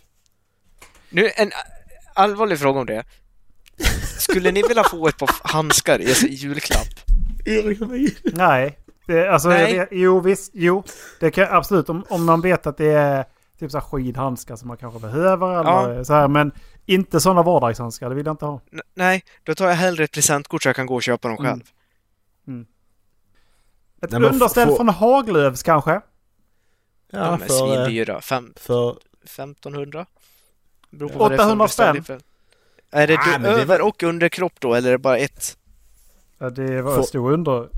Speaker 3: Nu en allvarlig fråga om det. Skulle ni vilja få ett par handskar i i julklapp?
Speaker 4: Nej. Det, alltså,
Speaker 3: Nej.
Speaker 4: Jag vet, jo, visst. Jo. Det kan absolut. Om, om man vet att det är typ så här skidhandskar som man kanske behöver eller så här. Men inte sådana vardagshandskar. Det vill jag inte ha.
Speaker 3: N- nej, då tar jag hellre ett presentkort så jag kan gå och köpa dem
Speaker 2: Mm.
Speaker 3: själv.
Speaker 4: Ett
Speaker 2: Nej, men f-
Speaker 4: underställ
Speaker 2: få-
Speaker 4: från Haglöfs kanske?
Speaker 2: Ja,
Speaker 3: De är
Speaker 2: för, eh,
Speaker 3: svindyra. Fem,
Speaker 2: för...
Speaker 3: 1500? Beror på
Speaker 4: Ja.
Speaker 3: vad det är för
Speaker 4: 800 spänn.
Speaker 3: beställning för- Är det
Speaker 2: Ah, men
Speaker 3: du
Speaker 2: det
Speaker 3: över och underkropp då, eller är det bara ett?
Speaker 4: Ja, det var
Speaker 2: Få-
Speaker 4: en stor under...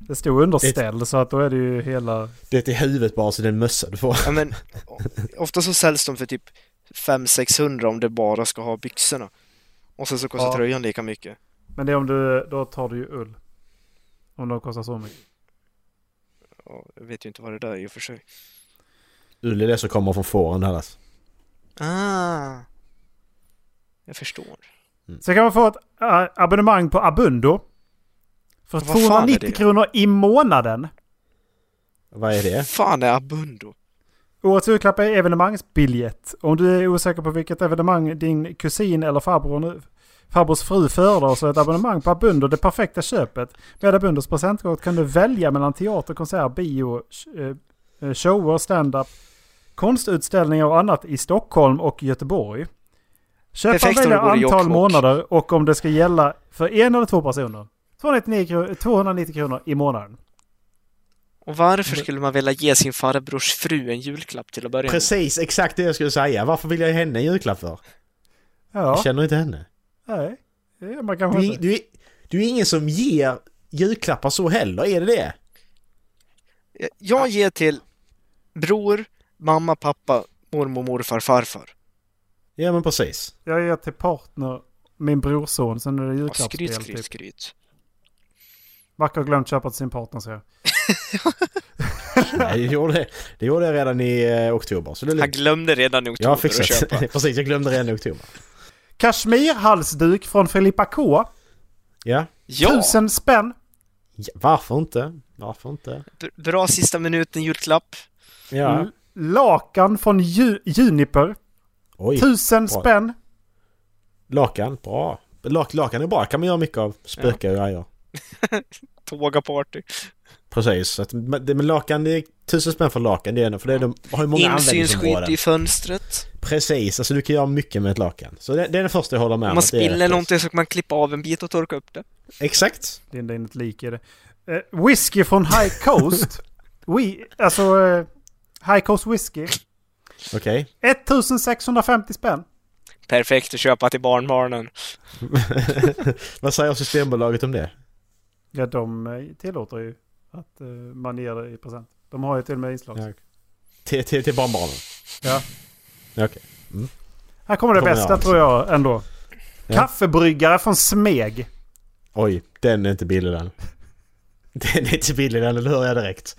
Speaker 4: Det stod underställ så att då är det ju hela...
Speaker 2: Det är huvudet bara, så det är en mössa du får.
Speaker 3: Ja, men, o- ofta så säljs de för typ 500-600 om du bara ska ha byxorna. Och sen så kostar
Speaker 4: Ja.
Speaker 3: tröjan lika mycket.
Speaker 4: Men det är om du... Då tar du ju ull. Om de kostar så mycket.
Speaker 3: Ja, Jag vet ju inte vad det där är i och för sig.
Speaker 2: Ull är det som kommer från fåren annars.
Speaker 3: Ah! Jag förstår.
Speaker 4: Så kan man få ett äh, abonnemang på Abundo. För
Speaker 3: Vad fan är det?
Speaker 4: 290 kronor i månaden.
Speaker 2: Vad är det?
Speaker 3: Fan är Abundo?
Speaker 4: Årets julklapp är evenemangsbiljett. Om du är osäker på vilket evenemang din kusin eller farbror nu Farbrors fru föredrar så ett abonnemang på Abundo det perfekta köpet. Med Abundos presentkort kan du välja mellan teater, konsert, bio, sh- eh, shower, stand-up, konstutställningar och annat i Stockholm och Göteborg. Köparen
Speaker 3: Perfekt om
Speaker 4: väljer
Speaker 3: det vore
Speaker 4: antal
Speaker 3: Jokkmokk.
Speaker 4: månader och om det ska gälla för en eller två personer. 299 kronor, 290 kronor i månaden.
Speaker 3: Och varför skulle man vilja ge sin farbrors fru en julklapp till att börja med?
Speaker 2: Precis, exakt det jag skulle säga. Varför vill jag ge henne en julklapp för? Jag
Speaker 4: Ja,
Speaker 2: känner inte henne.
Speaker 4: nej. Det gör man kanske
Speaker 2: Du, är-
Speaker 4: inte.
Speaker 2: du, är- du är ingen som ger julklappar så heller, är det det?
Speaker 3: Jag ger till bror, mamma, pappa, mormor, morfar, farfar.
Speaker 2: Ja men precis.
Speaker 4: Jag ger till partner min brorson, sen är det
Speaker 3: Ja, skryt,
Speaker 4: julklappsspel.
Speaker 3: skryt,
Speaker 4: Typ.
Speaker 3: skryt.
Speaker 4: Macke har glömt köpa till sin partner så jag.
Speaker 2: Nej, jag gjorde, det gjorde jag redan i eh, oktober. Så det är
Speaker 3: Han
Speaker 2: lugnt.
Speaker 3: glömde redan i oktober
Speaker 2: Jag har
Speaker 3: att
Speaker 2: fixat.
Speaker 3: köpa.
Speaker 2: precis, jag glömde redan i oktober.
Speaker 4: Kashmirhalsduk från Filippa K.
Speaker 2: Ja.
Speaker 3: Ja!
Speaker 4: Tusen spänn.
Speaker 2: ja. Varför inte? Varför inte?
Speaker 3: b- Bra sista minuten julklapp.
Speaker 2: Ja.
Speaker 4: L- Mm. Lakan från ju- Juniper.
Speaker 2: Oj.
Speaker 4: Tusen
Speaker 2: Bra.
Speaker 4: spänn.
Speaker 2: Lakan, bra. Lak, lakan är bra, kan man göra mycket av. Spöka och grejer.
Speaker 3: Tågaparty.
Speaker 2: Precis. Så att, men det- men lakan, det är tusen spänn för lakan. Det är det, för det är, de har ju många
Speaker 3: Insynsskydd
Speaker 2: användningsområden.
Speaker 3: i fönstret.
Speaker 2: Precis, alltså du kan göra mycket med ett lakan. Så det, det är det första jag håller med
Speaker 3: Om
Speaker 2: om.
Speaker 3: man
Speaker 2: att det är
Speaker 3: spiller
Speaker 2: rätt.
Speaker 3: någonting så kan man klippa av en bit och torka upp det.
Speaker 2: Exakt.
Speaker 4: Linda in ett lik i det. Eh, whisky från High Coast. We, alltså eh, High Coast Whisky.
Speaker 2: Okej.
Speaker 4: 1650 spänn.
Speaker 3: Perfekt att köpa till barnbarnen.
Speaker 2: Vad säger Systembolaget om det?
Speaker 4: Ja, de eh, tillåter ju att eh, man ger det i present. De har ju till och med inslag.
Speaker 2: Ja. Till, till, till barnbarnen?
Speaker 4: Ja.
Speaker 2: Okej.
Speaker 4: Här kommer det
Speaker 2: Kommer
Speaker 4: bästa
Speaker 2: jag.
Speaker 4: tror jag ändå.
Speaker 2: Ja.
Speaker 4: Kaffebryggare från Smeg.
Speaker 2: Oj, den är inte billig den. Den är inte billig den, eller hör jag direkt.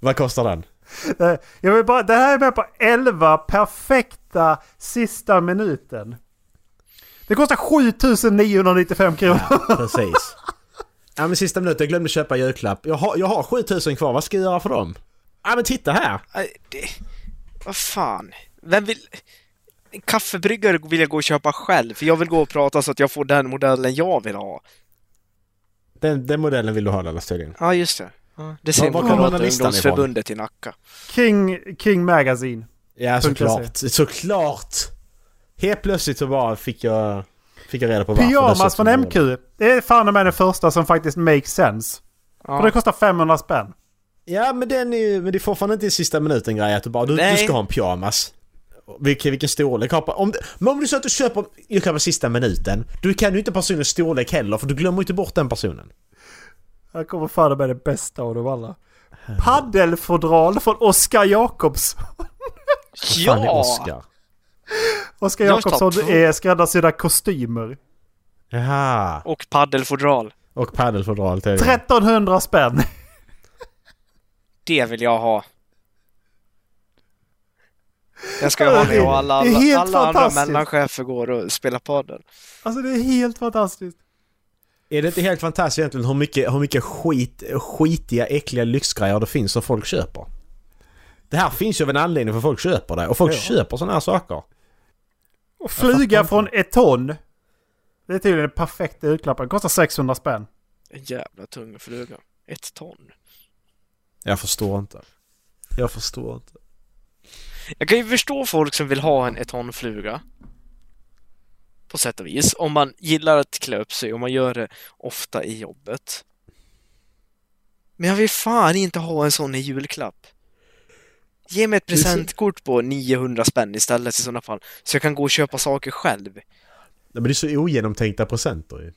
Speaker 2: Vad kostar den?
Speaker 4: Eh, Jag vill bara, det här är med på 11 perfekta sista minuten. Det kostar 7995 kronor.
Speaker 2: Precis. Ja men sista minuten, jag glömde köpa julklapp. Jag har, jag har 7000 kvar, vad ska jag göra för dem? Ja men titta här!
Speaker 3: Nej, det... Vad fan. Vem vill... En kaffebryggare vill jag gå och köpa själv, för jag vill gå och prata så att jag får den modellen jag vill ha.
Speaker 2: Den, den modellen vill du ha Dallas tydligen.
Speaker 3: Ja, just det. Ja, det
Speaker 2: Ja, var
Speaker 3: ser man
Speaker 2: kommer
Speaker 3: Moderata
Speaker 2: den listan ifrån?
Speaker 3: ungdomsförbundet i Nacka.
Speaker 4: King, King Magazine.
Speaker 2: Ja
Speaker 4: Punkt
Speaker 2: såklart, såklart! Helt plötsligt så bara fick jag, fick jag reda på varför.
Speaker 4: Pyjamas
Speaker 2: dessutom.
Speaker 4: från MQ. Det är fan och med den första som faktiskt makes sense. För det
Speaker 3: Ja.
Speaker 4: kostar 500 spänn.
Speaker 2: Ja men den är ju, men det är fortfarande inte i sista minuten grej att du bara, du, du
Speaker 3: Nej.
Speaker 2: ska ha en pyjamas. Vilken, vilken storlek har på- om, det- Men om du säger att du köper julklappar sista minuten, du kan ju inte personens storlek heller för du glömmer ju inte bort den personen.
Speaker 4: Här kommer fan och med det bästa av dem alla. Paddelfodral från Oskar Jakobsson.
Speaker 2: Fan, det är
Speaker 3: ja.
Speaker 2: Oscar.
Speaker 4: Oskar
Speaker 3: Jag tar
Speaker 4: Jakobsson
Speaker 3: två.
Speaker 4: är skräddarsydda kostymer.
Speaker 2: Jaha.
Speaker 3: Och paddelfodral.
Speaker 2: Och paddelfodral till.
Speaker 4: 1300 spänn.
Speaker 3: Det vill jag ha. Den ska jag ha när jag och alla,
Speaker 4: Det är
Speaker 3: alla,
Speaker 4: helt
Speaker 3: alla andra
Speaker 4: fantastiskt.
Speaker 3: mellanchefer går och spelar padel.
Speaker 4: Alltså det är helt fantastiskt.
Speaker 2: Är det inte helt fantastiskt egentligen hur mycket, hur mycket skit, skitiga, äckliga lyxgrejer det finns som folk köper? Det här finns ju av en anledning för folk köper det och folk köper sådana här saker.
Speaker 4: Och
Speaker 2: fattar
Speaker 4: flyga
Speaker 2: inte.
Speaker 4: från ett ton. Det är tydligen den perfekta julklappen. Kostar 600 spänn.
Speaker 3: En jävla tung fluga. Ett ton.
Speaker 2: Jag förstår inte. Jag förstår inte.
Speaker 3: Jag kan ju förstå folk som vill ha en etonfluga. På sätt och vis. Om man gillar att klä upp sig och man gör det ofta i jobbet. Men jag vill fan inte ha en sån i julklapp. Ge mig ett
Speaker 2: är så-
Speaker 3: presentkort på 900 spänn istället i sådana fall. Så jag kan gå och köpa saker själv.
Speaker 2: Nej, men det är så ogenomtänkta presenter ju.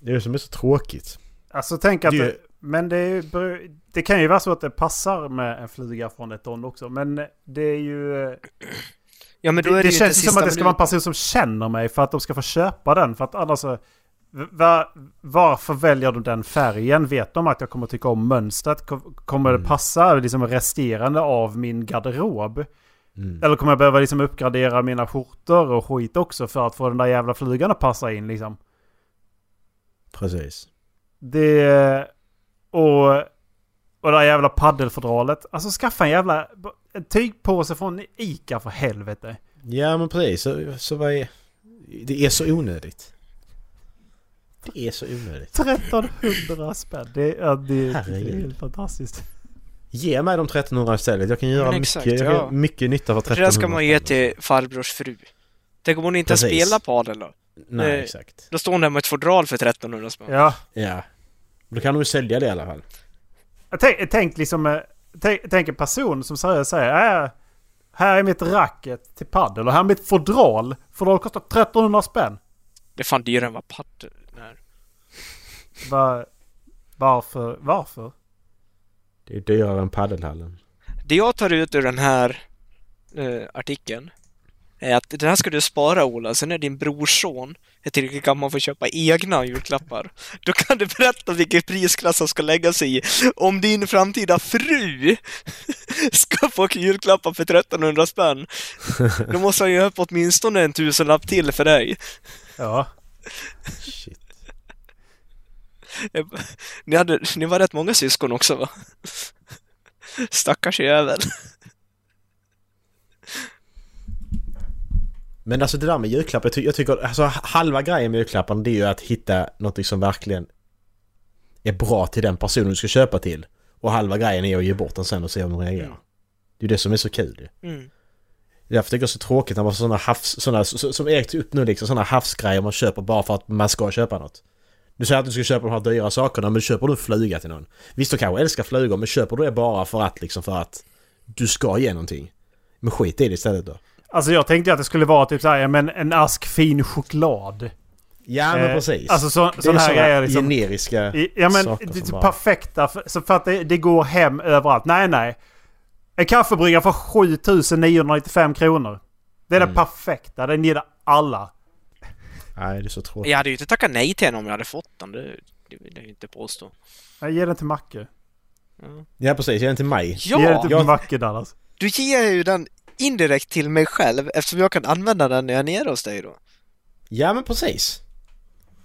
Speaker 2: Det är det som är så tråkigt.
Speaker 4: Alltså tänk att...
Speaker 2: Det är
Speaker 4: Det,
Speaker 2: ju-
Speaker 4: men det, är, ju bru- det kan ju vara så att det passar med en flyga från ett ton också. Men det är ju... eh,
Speaker 3: Ja men då är
Speaker 4: Det,
Speaker 3: det,
Speaker 4: det
Speaker 3: ju
Speaker 4: känns ju
Speaker 3: inte
Speaker 4: som att det ska vara en
Speaker 3: minuten.
Speaker 4: person som känner mig för att de ska få köpa den. För att annars så... v- va- varför väljer de den färgen? Vet de att jag kommer tycka om mönstret? Ko- Kommer
Speaker 3: Mm.
Speaker 4: det passa liksom resterande av min garderob?
Speaker 3: Mm.
Speaker 4: Eller kommer jag behöva liksom uppgradera mina skjortor och skit också för att få den där jävla flugan att passa in liksom?
Speaker 2: Precis.
Speaker 4: Det... Och... Och det där jävla paddelfodralet. Alltså skaffa en jävla... En tygpåse från Ica för helvete.
Speaker 2: Ja men precis, så, så vad är... Det är så onödigt. Det är så onödigt.
Speaker 10: 1300 spänn. Det är, det, är- det är
Speaker 2: Herregud.
Speaker 10: helt fantastiskt.
Speaker 2: Ge mig de 1300 istället. Jag kan göra
Speaker 3: Men exakt,
Speaker 2: mycket, jag
Speaker 3: ja.
Speaker 2: kan göra mycket nytta för
Speaker 3: Det
Speaker 2: 1300
Speaker 3: där ska man ge
Speaker 2: spänn.
Speaker 3: till farbrors fru. Tänk om hon inte
Speaker 2: Precis.
Speaker 3: spelar padel då?
Speaker 2: Nej,
Speaker 3: eh,
Speaker 2: exakt.
Speaker 3: Då står hon där med ett fodral för 1300 spänn.
Speaker 4: Ja.
Speaker 2: Ja. Då kan de ju sälja det i alla fall.
Speaker 4: Tänk, tänk liksom... eh, Tänk, tänk en person som seriöst säger äh, Här är mitt racket till paddel och här är mitt fodral. Fodral kostar 1300 spänn.
Speaker 3: Det är fan dyrare än vad padel är.
Speaker 4: Va, varför? Varför?
Speaker 2: Det är dyrare än paddelhallen.
Speaker 3: Det jag tar ut ur den här eh, artikeln är att det här ska du spara Ola, sen när din brorson är tillräckligt gammal för att köpa egna julklappar, då kan du berätta vilken prisklass han ska lägga sig i om din framtida fru ska få julklappar för 1300 spänn. Då måste han ju upp åtminstone en tusenlapp till för dig.
Speaker 4: Ja.
Speaker 2: Shit.
Speaker 3: Eh, Ni, hade, ni var rätt många syskon också va? Stackars jävel.
Speaker 2: Men alltså det där med julklappar, jag, ty- jag tycker alltså halva grejen med julklapparna det är ju att hitta något som verkligen är bra till den personen du ska köpa till. Och halva grejen är att ge bort den sen och se om de reagerar. Det är ju det som är så kul ju.
Speaker 3: Mm.
Speaker 2: Därför tycker jag det är så tråkigt när man sådana havs, sådana, så- som Erik tog upp nu liksom, sådana havsgrejer man köper bara för att man ska köpa något. Du säger att du ska köpa de här dyra sakerna, men köper du en fluga till någon? Visst, du kanske älskar flugor, men köper du det bara för att liksom för att du ska ge någonting? Men skit i det istället då.
Speaker 4: Alltså jag tänkte ju att det skulle vara typ så här, ja, men en ask fin choklad.
Speaker 2: Ja, men
Speaker 4: Eh,
Speaker 2: precis.
Speaker 4: Alltså så,
Speaker 2: Det är
Speaker 4: sån här
Speaker 2: såna
Speaker 4: grejer liksom.
Speaker 2: generiska
Speaker 4: I- Ja men
Speaker 2: saker
Speaker 4: det är typ
Speaker 2: som
Speaker 4: så
Speaker 2: bara...
Speaker 4: perfekta för, så för att det, det går hem överallt. Nej nej. En kaffebryggare för 7995 kronor. Det är
Speaker 2: Mm.
Speaker 4: det perfekta. Den gillar alla.
Speaker 2: Nej, det är så tråkigt.
Speaker 3: Jag hade ju inte tackat nej till henne om jag hade fått den, det, det vill jag ju inte påstå.
Speaker 4: Jag ger den till Macke.
Speaker 2: Ja, precis. Ge den till mig.
Speaker 4: Ge den
Speaker 3: Ja!
Speaker 4: till
Speaker 2: Jag-
Speaker 4: Macke Dallas.
Speaker 3: Du ger ju den indirekt till mig själv eftersom jag kan använda den när jag är nere hos dig då.
Speaker 2: Ja, men precis.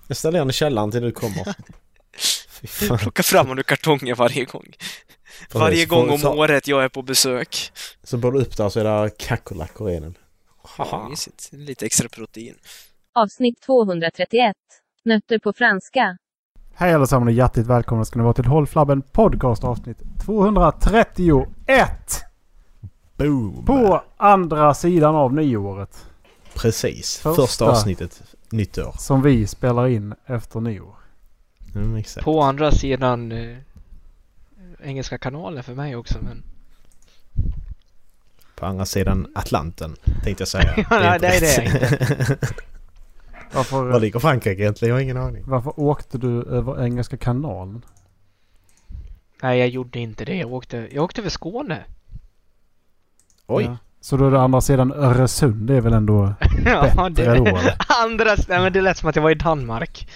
Speaker 2: Jag ställer den i källaren till du kommer. Fy fan.
Speaker 3: Plocka fram den ur kartongen varje gång. Varje
Speaker 2: Precis.
Speaker 3: gång om
Speaker 2: Så-
Speaker 3: året jag är på besök.
Speaker 2: Så bor du upp där så är det kackerlackor i den.
Speaker 3: Haha. Mysigt. Lite extra protein.
Speaker 1: Avsnitt 231. Nötter på franska.
Speaker 4: Hej allesammans och hjärtligt välkomna ska ni vara till Håll Flabben Podcast avsnitt 231.
Speaker 2: Boom!
Speaker 4: På andra sidan av nyåret.
Speaker 2: Precis.
Speaker 4: Första.
Speaker 2: Första, avsnittet. Nytt år.
Speaker 4: Som vi spelar in efter nyår.
Speaker 2: Mm, exakt.
Speaker 3: På andra sidan eh, Engelska kanalen för mig också men...
Speaker 2: På andra sidan Atlanten, tänkte jag säga. Det
Speaker 3: nej,
Speaker 2: inte
Speaker 3: det är det
Speaker 2: rätt. Var
Speaker 4: Varför,
Speaker 2: ligger Frankrike egentligen? Jag har ingen aning.
Speaker 4: varför åkte du över Engelska kanalen?
Speaker 3: Nej jag gjorde inte det. Jag åkte, jag åkte över Skåne.
Speaker 2: Oj!
Speaker 4: Ja. Så då är det andra sidan Öresund. Det är väl ändå
Speaker 3: ja,
Speaker 4: bättre då eller?
Speaker 3: Andra... Nej men det lät som att jag var i Danmark.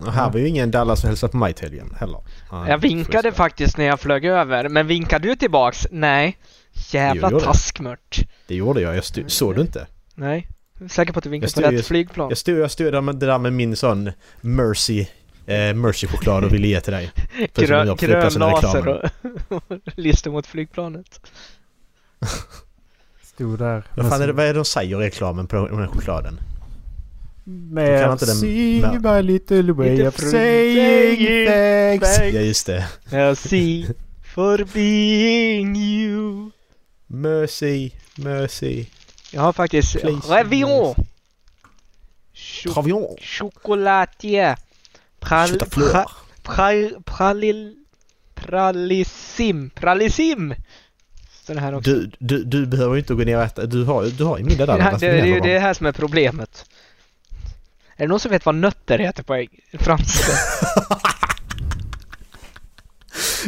Speaker 2: Och här var ju ingen Dallas som hälsade på mig till helgen heller. Nej,
Speaker 3: Jag vinkade
Speaker 2: schysst.
Speaker 3: faktiskt när jag flög över, men vinkade du tillbaks? Nej. Jävla
Speaker 2: Jo, jo, det.
Speaker 3: taskmört.
Speaker 2: Det gjorde jag. jag stu- såg du inte?
Speaker 3: Nej. Jag är Säker på att du vinkade
Speaker 2: Jag
Speaker 3: på
Speaker 2: stod
Speaker 3: rätt
Speaker 2: ju-
Speaker 3: flygplan.
Speaker 2: Jag stod, jag stod där, med, det där med min sån Mercy eh, Mercy-choklad och ville ge till dig. Precis som
Speaker 3: Grön,
Speaker 2: jag på flygplatsen
Speaker 3: grön
Speaker 2: i reklamen.
Speaker 3: laser och lister mot flygplanet.
Speaker 4: Stod där.
Speaker 2: Vad fan är det, vad är det de säger i reklamen på den här chokladen?
Speaker 4: Med
Speaker 2: Då kan inte den-
Speaker 4: Sing my little way
Speaker 3: Lite
Speaker 4: of
Speaker 3: fru-
Speaker 4: saying
Speaker 3: saying
Speaker 4: thanks.
Speaker 2: Ja just det.
Speaker 3: Jag see for being you.
Speaker 2: Mercy, mercy.
Speaker 3: Jag har faktiskt
Speaker 2: Please,
Speaker 3: Revillon.
Speaker 2: please.
Speaker 3: Cho-
Speaker 2: Travion.
Speaker 3: Chocolatier. Pral, pra,
Speaker 2: Choutafleur.
Speaker 3: pral, pralil, pralissim. Pralissim! Den här också.
Speaker 2: Du, du, du behöver ju inte gå ner och äta. Du har, du har ju middag där.
Speaker 3: Ja,
Speaker 2: Dallas.
Speaker 3: det, det är ju
Speaker 2: Mina
Speaker 3: det här som är problemet. Är det någon som vet vad nötter heter på eng- franska?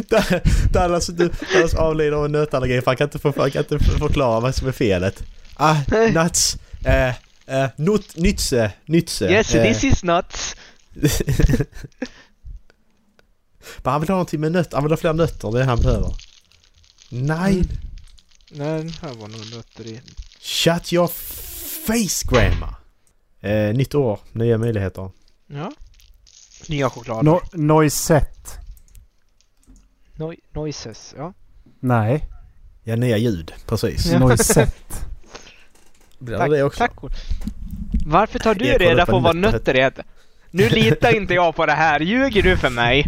Speaker 2: barn. Dallas, alltså du, Dallas avlider av en nötallergi för han kan inte, för, han kan inte för- förklara vad som är felet. Ah, nuts. Eh, eh, nut, nytse, nytse.
Speaker 3: yes,
Speaker 2: eh,
Speaker 3: this is nuts.
Speaker 2: Men han vill ha någonting med nötter, han vill ha fler nötter, det är det han behöver. Nej!
Speaker 3: Mm. Nej, den här var nog nötter i.
Speaker 2: Shut your face grandma! Eh, nytt år, nya möjligheter.
Speaker 3: Ja. Nya choklad.
Speaker 4: No, noisette.
Speaker 3: No- noises, ja.
Speaker 4: Nej,
Speaker 2: Ja, nya ljud, precis.
Speaker 3: Ja.
Speaker 4: noisette.
Speaker 2: Blir det
Speaker 3: Tack,
Speaker 2: det också?
Speaker 3: tack.
Speaker 11: Varför tar du
Speaker 2: Jag kollar
Speaker 11: reda
Speaker 2: på
Speaker 11: på vad
Speaker 2: nötter.
Speaker 11: nötter heter? Nu litar inte jag på det här. Ljuger du för mig?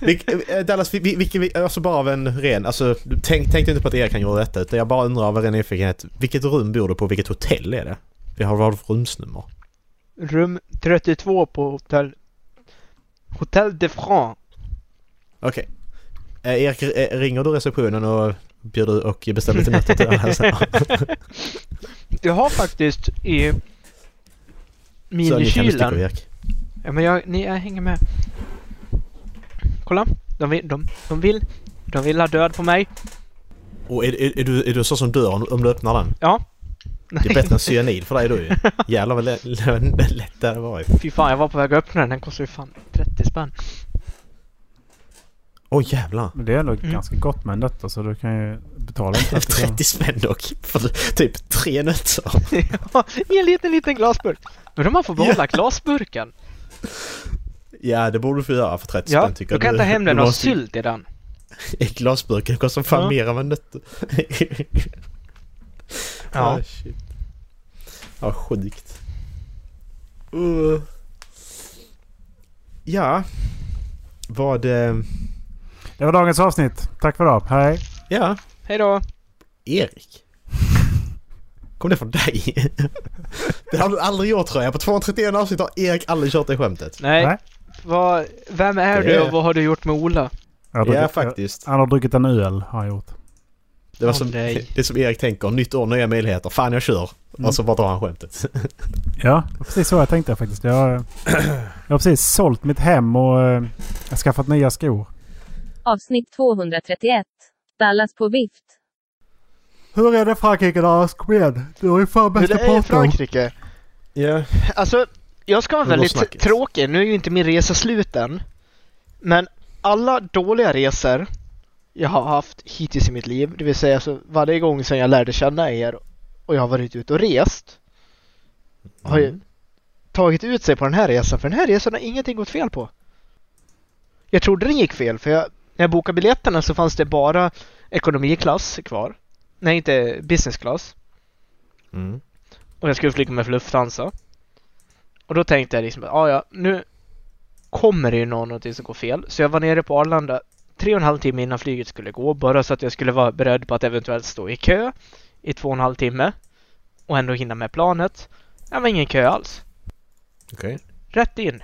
Speaker 2: Vilk- eh, Dallas, vi- vi- vilken, vi- alltså bara av en ren, alltså du- tänk, tänkte inte på att Erkan gjorde detta utan jag bara undrar av en ren nyfikenhet, vilket rum bor du på, vilket hotell är det? Vi har vad för rumsnummer?
Speaker 11: Rum 32 på hotell... Hotell de France.
Speaker 2: Okej. Eh, Erik, eh, ringer du receptionen och bjuder och beställer lite nötter till Dallas?
Speaker 11: Jag har faktiskt i
Speaker 2: Så nu kan du sticka
Speaker 11: minikylen.
Speaker 2: Erik.
Speaker 11: Ja, men jag, ni, jag hänger med. Kolla. De vill, de, de vill, de vill ha död på mig.
Speaker 2: Och är, är, är, du, är du så som dör om, om du öppnar den?
Speaker 11: Ja.
Speaker 2: Det är bättre än cyanid för dig då ju. Jävlar vad lä- lä- lätt det hade varit.
Speaker 11: Fy fan, jag var på väg att öppna den. Den kostar ju fan 30 spänn.
Speaker 2: Åh jävlar.
Speaker 6: Men det är ändå
Speaker 11: Mm.
Speaker 6: ganska gott med nötter så du kan ju betala inte
Speaker 2: 30 spänn dock. För typ tre nötter.
Speaker 11: Ja, I en liten, liten glasburk. Men de har fått behålla glasburken.
Speaker 2: Ja det borde du få göra för 30
Speaker 11: Ja,
Speaker 2: spänn tycker
Speaker 11: då kan jag
Speaker 2: du.
Speaker 11: ta hem den
Speaker 2: Du
Speaker 11: och ha
Speaker 2: måste ju-
Speaker 11: sylt i den.
Speaker 2: Glasburken kostar fan
Speaker 11: Ja.
Speaker 2: mer än vad nötter.
Speaker 11: Ja.
Speaker 2: Ah, shit. Ja, sjukt. Uh. Ja. Vad... eh,
Speaker 6: Det var dagens avsnitt. Tack för idag. Hej.
Speaker 2: Ja,
Speaker 11: Hej då.
Speaker 2: Erik. Kom det från dig? Det har du aldrig gjort tror jag. På 231 avsnitt har Erik aldrig kört det skämtet.
Speaker 11: Nej.
Speaker 6: Nej.
Speaker 11: Vad, vem är
Speaker 2: Det
Speaker 11: du
Speaker 2: är-
Speaker 11: och vad har du gjort med Ola?
Speaker 6: Jag har
Speaker 2: Ja,
Speaker 6: druckit-
Speaker 2: faktiskt.
Speaker 6: Han har druckit en öl har han gjort.
Speaker 2: Det var
Speaker 11: Åh,
Speaker 2: som,
Speaker 11: nej.
Speaker 2: det är som Erik tänker. Nytt år, nya möjligheter. Fan, jag kör.
Speaker 11: Mm.
Speaker 2: Och så bara drar han skämtet.
Speaker 6: Mm. Ja, det var precis så jag tänkte faktiskt. Jag, har- jag har precis sålt mitt hem och eh, jag har skaffat nya skor.
Speaker 1: Avsnitt 231. Dallas på vift.
Speaker 4: Hur är det Frankrike Dallas? Kom igen. Du har ju fan
Speaker 11: Hur
Speaker 4: bästa
Speaker 11: är det i
Speaker 4: parten.
Speaker 11: Frankrike?
Speaker 2: Ja.
Speaker 11: Alltså, jag ska vara
Speaker 2: Men då
Speaker 11: väldigt
Speaker 2: snackis.
Speaker 11: tråkig. Nu är ju inte min resa slut än. Men alla dåliga resor jag har haft hittills i mitt liv, det vill säga så varje gång sedan jag lärde känna er och jag har varit ute och rest, har ju tagit ut sig på den här resan. För den här resan har ingenting gått fel på. Jag trodde den gick fel, för jag, när jag bokade biljetterna så fanns det bara ekonomiklass kvar. Nej, inte business class.
Speaker 2: Mm.
Speaker 11: Och jag skulle flyga med Lufthansa. Och då tänkte jag liksom att "Ah, ja, nu kommer det ju nå- någonting som går fel. Så jag var nere på Arlanda tre och en halv timme innan flyget skulle gå. Bara så att jag skulle vara beredd på att eventuellt stå i kö i två och en halv timme. Och ändå hinna med planet. Det var ingen kö alls.
Speaker 2: Okej.
Speaker 11: Rätt in.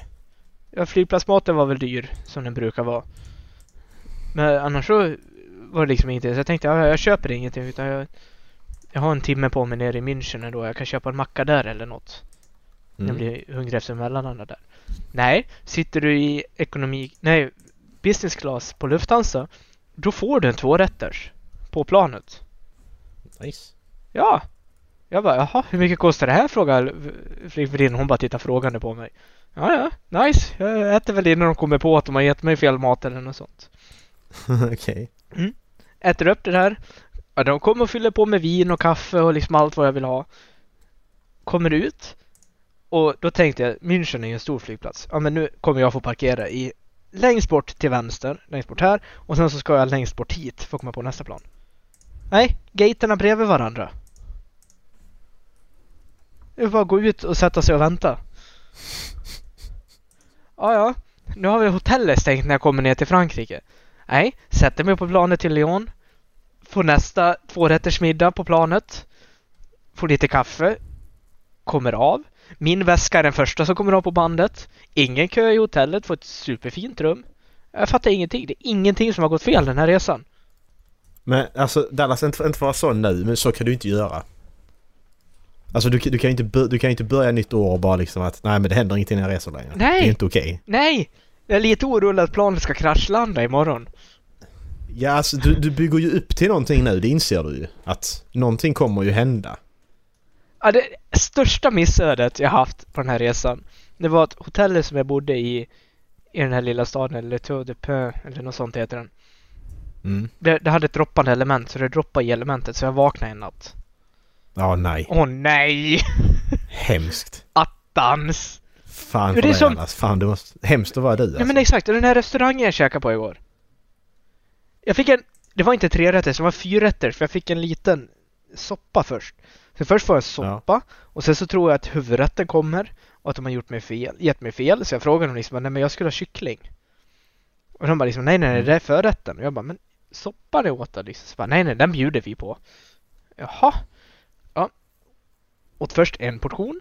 Speaker 11: Ja, flygplatsmaten var väl dyr som den brukar vara. Men annars så var det liksom ingenting. Så jag tänkte ja, jag köper ingenting utan jag, jag har en timme på mig nere i München ändå. Jag kan köpa en macka där eller något.
Speaker 2: Mm.
Speaker 11: Jag blir hungrig efter mellanlanda där. Nej, sitter du i ekonomi... Nej, business class på Lufthansa, då får du en tvårätters på planet.
Speaker 2: Nice.
Speaker 11: Ja! Jag bara, jaha, hur mycket kostar det här? frågar flygvärdinnan. Hon bara tittar frågande på mig. Ja, ja, nice. Jag äter väl innan de kommer på att de har gett mig fel mat eller något sånt.
Speaker 2: Okej.
Speaker 11: Äter upp det där. Ja, de kommer och fyller på med vin och kaffe och liksom allt vad jag vill ha. Kommer ut. Och då tänkte jag, München är ju en stor flygplats. Ja, men nu kommer jag få parkera i längst bort till vänster, längst bort här. Och sen så ska jag längst bort hit för att komma på nästa plan. Nej, gaterna bredvid varandra. Det är bara att gå ut och sätta sig och vänta. Ja, ja. Nu har vi hotellet stängt när jag kommer ner till Frankrike. Nej, sätter mig på planet till Lyon. Får nästa tvårättersmiddag på planet. Får lite kaffe. Kommer av. Min väska är den första som kommer av på bandet. Ingen kö i hotellet. Får ett superfint rum. Jag fattar ingenting. Det är ingenting som har gått fel den här resan.
Speaker 2: Men alltså Dallas, inte, inte vara sån nu, men så kan du inte göra. Alltså du, du, kan ju inte, bör- du kan ju inte börja nytt år och bara liksom att nej men det händer ingenting när jag reser längre.
Speaker 11: Nej.
Speaker 2: Det är inte okej.
Speaker 11: Nej! Jag är lite orolig att planet ska kraschlanda imorgon.
Speaker 2: Ja alltså du, du bygger ju upp till någonting nu, det inser du ju. Att någonting kommer ju hända.
Speaker 11: Ja, det största missödet jag haft på den här resan, det var att hotellet som jag bodde i, i den här lilla staden, Le Tour de Pin, eller något sånt heter den.
Speaker 2: Mm.
Speaker 11: Det, det hade ett droppande element, så det droppade i elementet, så jag vaknade en natt.
Speaker 2: Ja nej,
Speaker 11: Åh nej!
Speaker 2: hemskt.
Speaker 11: Attans!
Speaker 2: Fan
Speaker 11: Men
Speaker 2: för
Speaker 11: det är
Speaker 2: dig
Speaker 11: som-
Speaker 2: Dallas, fan det måste... Hemskt att vara du alltså.
Speaker 11: Nej men exakt, och den här restaurangen jag käkade på igår. Jag fick en, det var inte tre rätter, det var fyra rätter för jag fick en liten soppa först. Så först får jag en soppa och sen så tror jag att huvudrätten kommer och att de har gjort mig fel, gett mig fel. Så jag frågar dem liksom, nej men jag skulle ha kyckling. Och de bara liksom, nej nej, nej det är förrätten. Och jag bara, men soppan är åt liksom. Så bara, nej nej, den bjuder vi på. Jaha. Ja. Åt först en portion.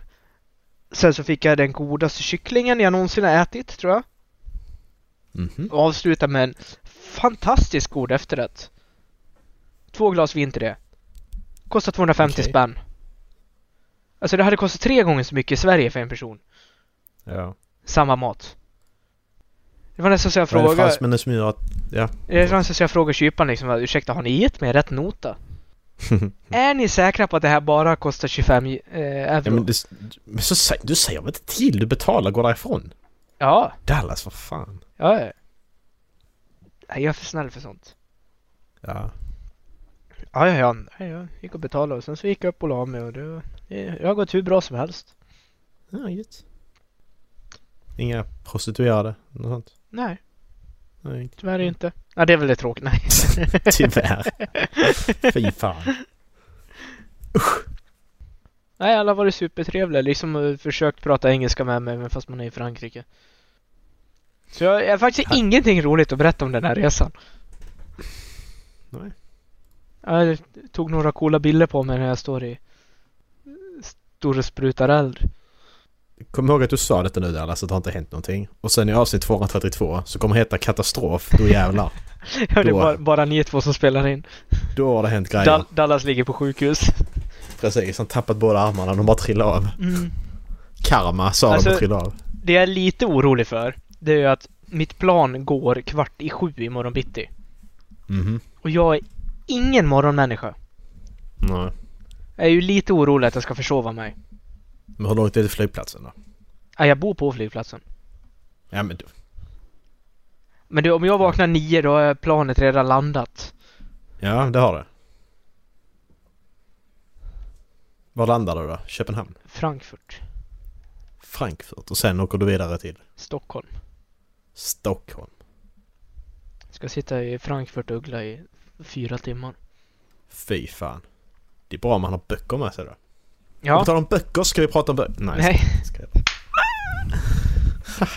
Speaker 11: Sen så fick jag den godaste kycklingen jag någonsin har ätit, tror jag.
Speaker 2: Mhm.
Speaker 11: Och avsluta med en fantastiskt god efterrätt. Två glas vin till det. Kostar 250
Speaker 2: Okej.
Speaker 11: spänn. Alltså det hade kostat tre gånger så mycket i Sverige för en person.
Speaker 2: Ja.
Speaker 11: Samma mat. Det var nästan så jag
Speaker 2: Fråga... Vad är det
Speaker 11: frågade...
Speaker 2: fransmännen som gör att... Ja.
Speaker 11: Det var nästan så jag frågade kyparen liksom, ursäkta har ni gett mig rätt nota? är ni säkra på att det här bara kostar 25 eh, euro?
Speaker 2: ja men, det, men så, sä- du säger väl inte till? Du betalar, går därifrån.
Speaker 11: ja,
Speaker 2: Dallas, vad fan.
Speaker 11: ja. ja. Nej, jag är för snäll för sånt.
Speaker 2: Ja.
Speaker 11: Ja, ja, ja. Nej, Jag gick och betalade och sen så gick jag upp och la mig och det, var- det jag har gått hur bra som helst.
Speaker 2: Ja, gött. Inga prostituerade? Något sånt?
Speaker 11: Nej,
Speaker 2: Nej,
Speaker 11: tyvärr inte. Nej, det är väl det tråkiga. Nej.
Speaker 2: tyvärr. Fy fan.
Speaker 11: Nej, alla har varit supertrevliga. Liksom eh, försökt prata engelska med mig, även fast man är i Frankrike. Så jag, jag har faktiskt ingenting roligt att berätta om den här resan.
Speaker 2: Nej.
Speaker 11: Jag tog några coola bilder på mig när jag står i stor och sprutar eld.
Speaker 2: Kom ihåg att du sa detta nu Dallas, att det har inte hänt någonting. Och sen i avsnitt 232 så kommer det heta katastrof, då jävlar.
Speaker 11: Ja, det är
Speaker 2: Då-
Speaker 11: bara, bara ni två som spelar in.
Speaker 2: Då har det hänt grejer.
Speaker 11: Dal- Dallas ligger på sjukhus.
Speaker 2: Precis, han tappat båda armarna, de bara trillar av. Karma sa
Speaker 11: Alltså-
Speaker 2: de och trillade av.
Speaker 11: Det jag är lite orolig för, det är ju att mitt plan går kvart i sju imorgon bitti.
Speaker 2: Mhm.
Speaker 11: Och jag är ingen morgonmänniska.
Speaker 2: Nej.
Speaker 11: Jag är ju lite orolig att jag ska försova mig.
Speaker 2: Men hur långt är det till flygplatsen då?
Speaker 11: Ja, jag bor på flygplatsen.
Speaker 2: Ja men du.
Speaker 11: Men du, om jag vaknar nio då har planet redan landat.
Speaker 2: Ja, det har det. Var landar du då? Köpenhamn?
Speaker 11: Frankfurt,
Speaker 2: Frankfurt? Och sen åker du vidare till
Speaker 11: Stockholm.
Speaker 2: Stockholm?
Speaker 11: Ska sitta i Frankfurt och uggla i fyra timmar.
Speaker 2: Fy fan. Det är bra om man har böcker med sig då. På
Speaker 11: Ja.
Speaker 2: tal om böcker, ska vi prata om böcker? Nej.
Speaker 11: Nej.
Speaker 2: Ska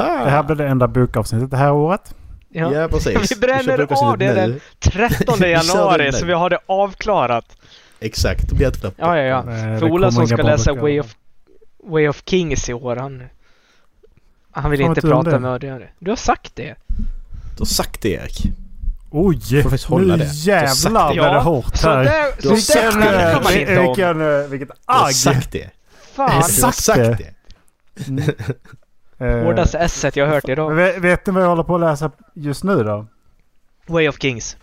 Speaker 4: Det här blir det enda bokavsnittet det här året.
Speaker 11: Ja.
Speaker 2: Ja, precis.
Speaker 11: Vi bränner
Speaker 2: kör bokavsnittet
Speaker 11: av det
Speaker 2: nu.
Speaker 11: den 13
Speaker 2: Vi kör det nu.
Speaker 11: januari så vi har det avklarat.
Speaker 2: Exakt, då blir det ett
Speaker 11: Ja, ja, ja.
Speaker 4: Nej, Eh, det
Speaker 11: För
Speaker 4: kommer
Speaker 11: Ola som
Speaker 4: inga
Speaker 11: ska
Speaker 4: bra
Speaker 11: läsa
Speaker 4: böcker.
Speaker 11: Way of, Way of Kings i år, han... Han vill
Speaker 4: Fan,
Speaker 11: inte
Speaker 4: vad tror du om
Speaker 11: prata
Speaker 4: det?
Speaker 11: med dig. Du har sagt det.
Speaker 2: Du har sagt det Erik.
Speaker 4: Oj!
Speaker 2: faktiskt hålla
Speaker 4: nu
Speaker 2: det. Så
Speaker 4: jävlar
Speaker 2: sagt
Speaker 4: blev
Speaker 11: det.
Speaker 4: det
Speaker 11: Ja,
Speaker 4: hårt
Speaker 11: Så
Speaker 4: här. Eh,
Speaker 11: där,
Speaker 2: Du har
Speaker 11: så där
Speaker 2: sagt det.
Speaker 11: snackar man
Speaker 4: Vilken,
Speaker 11: inte om.
Speaker 4: vilken, vilket
Speaker 2: Du har
Speaker 4: agg!
Speaker 2: sagt det.
Speaker 4: Jag
Speaker 2: Du
Speaker 11: Fan!
Speaker 4: sa-
Speaker 2: har
Speaker 4: sagt
Speaker 2: sagt det.
Speaker 4: Eh,
Speaker 11: Hårdaste esset jag har hört
Speaker 4: men
Speaker 11: idag.
Speaker 4: vet, vet ni vad jag håller på att läsa just nu då?
Speaker 11: Way of Kings.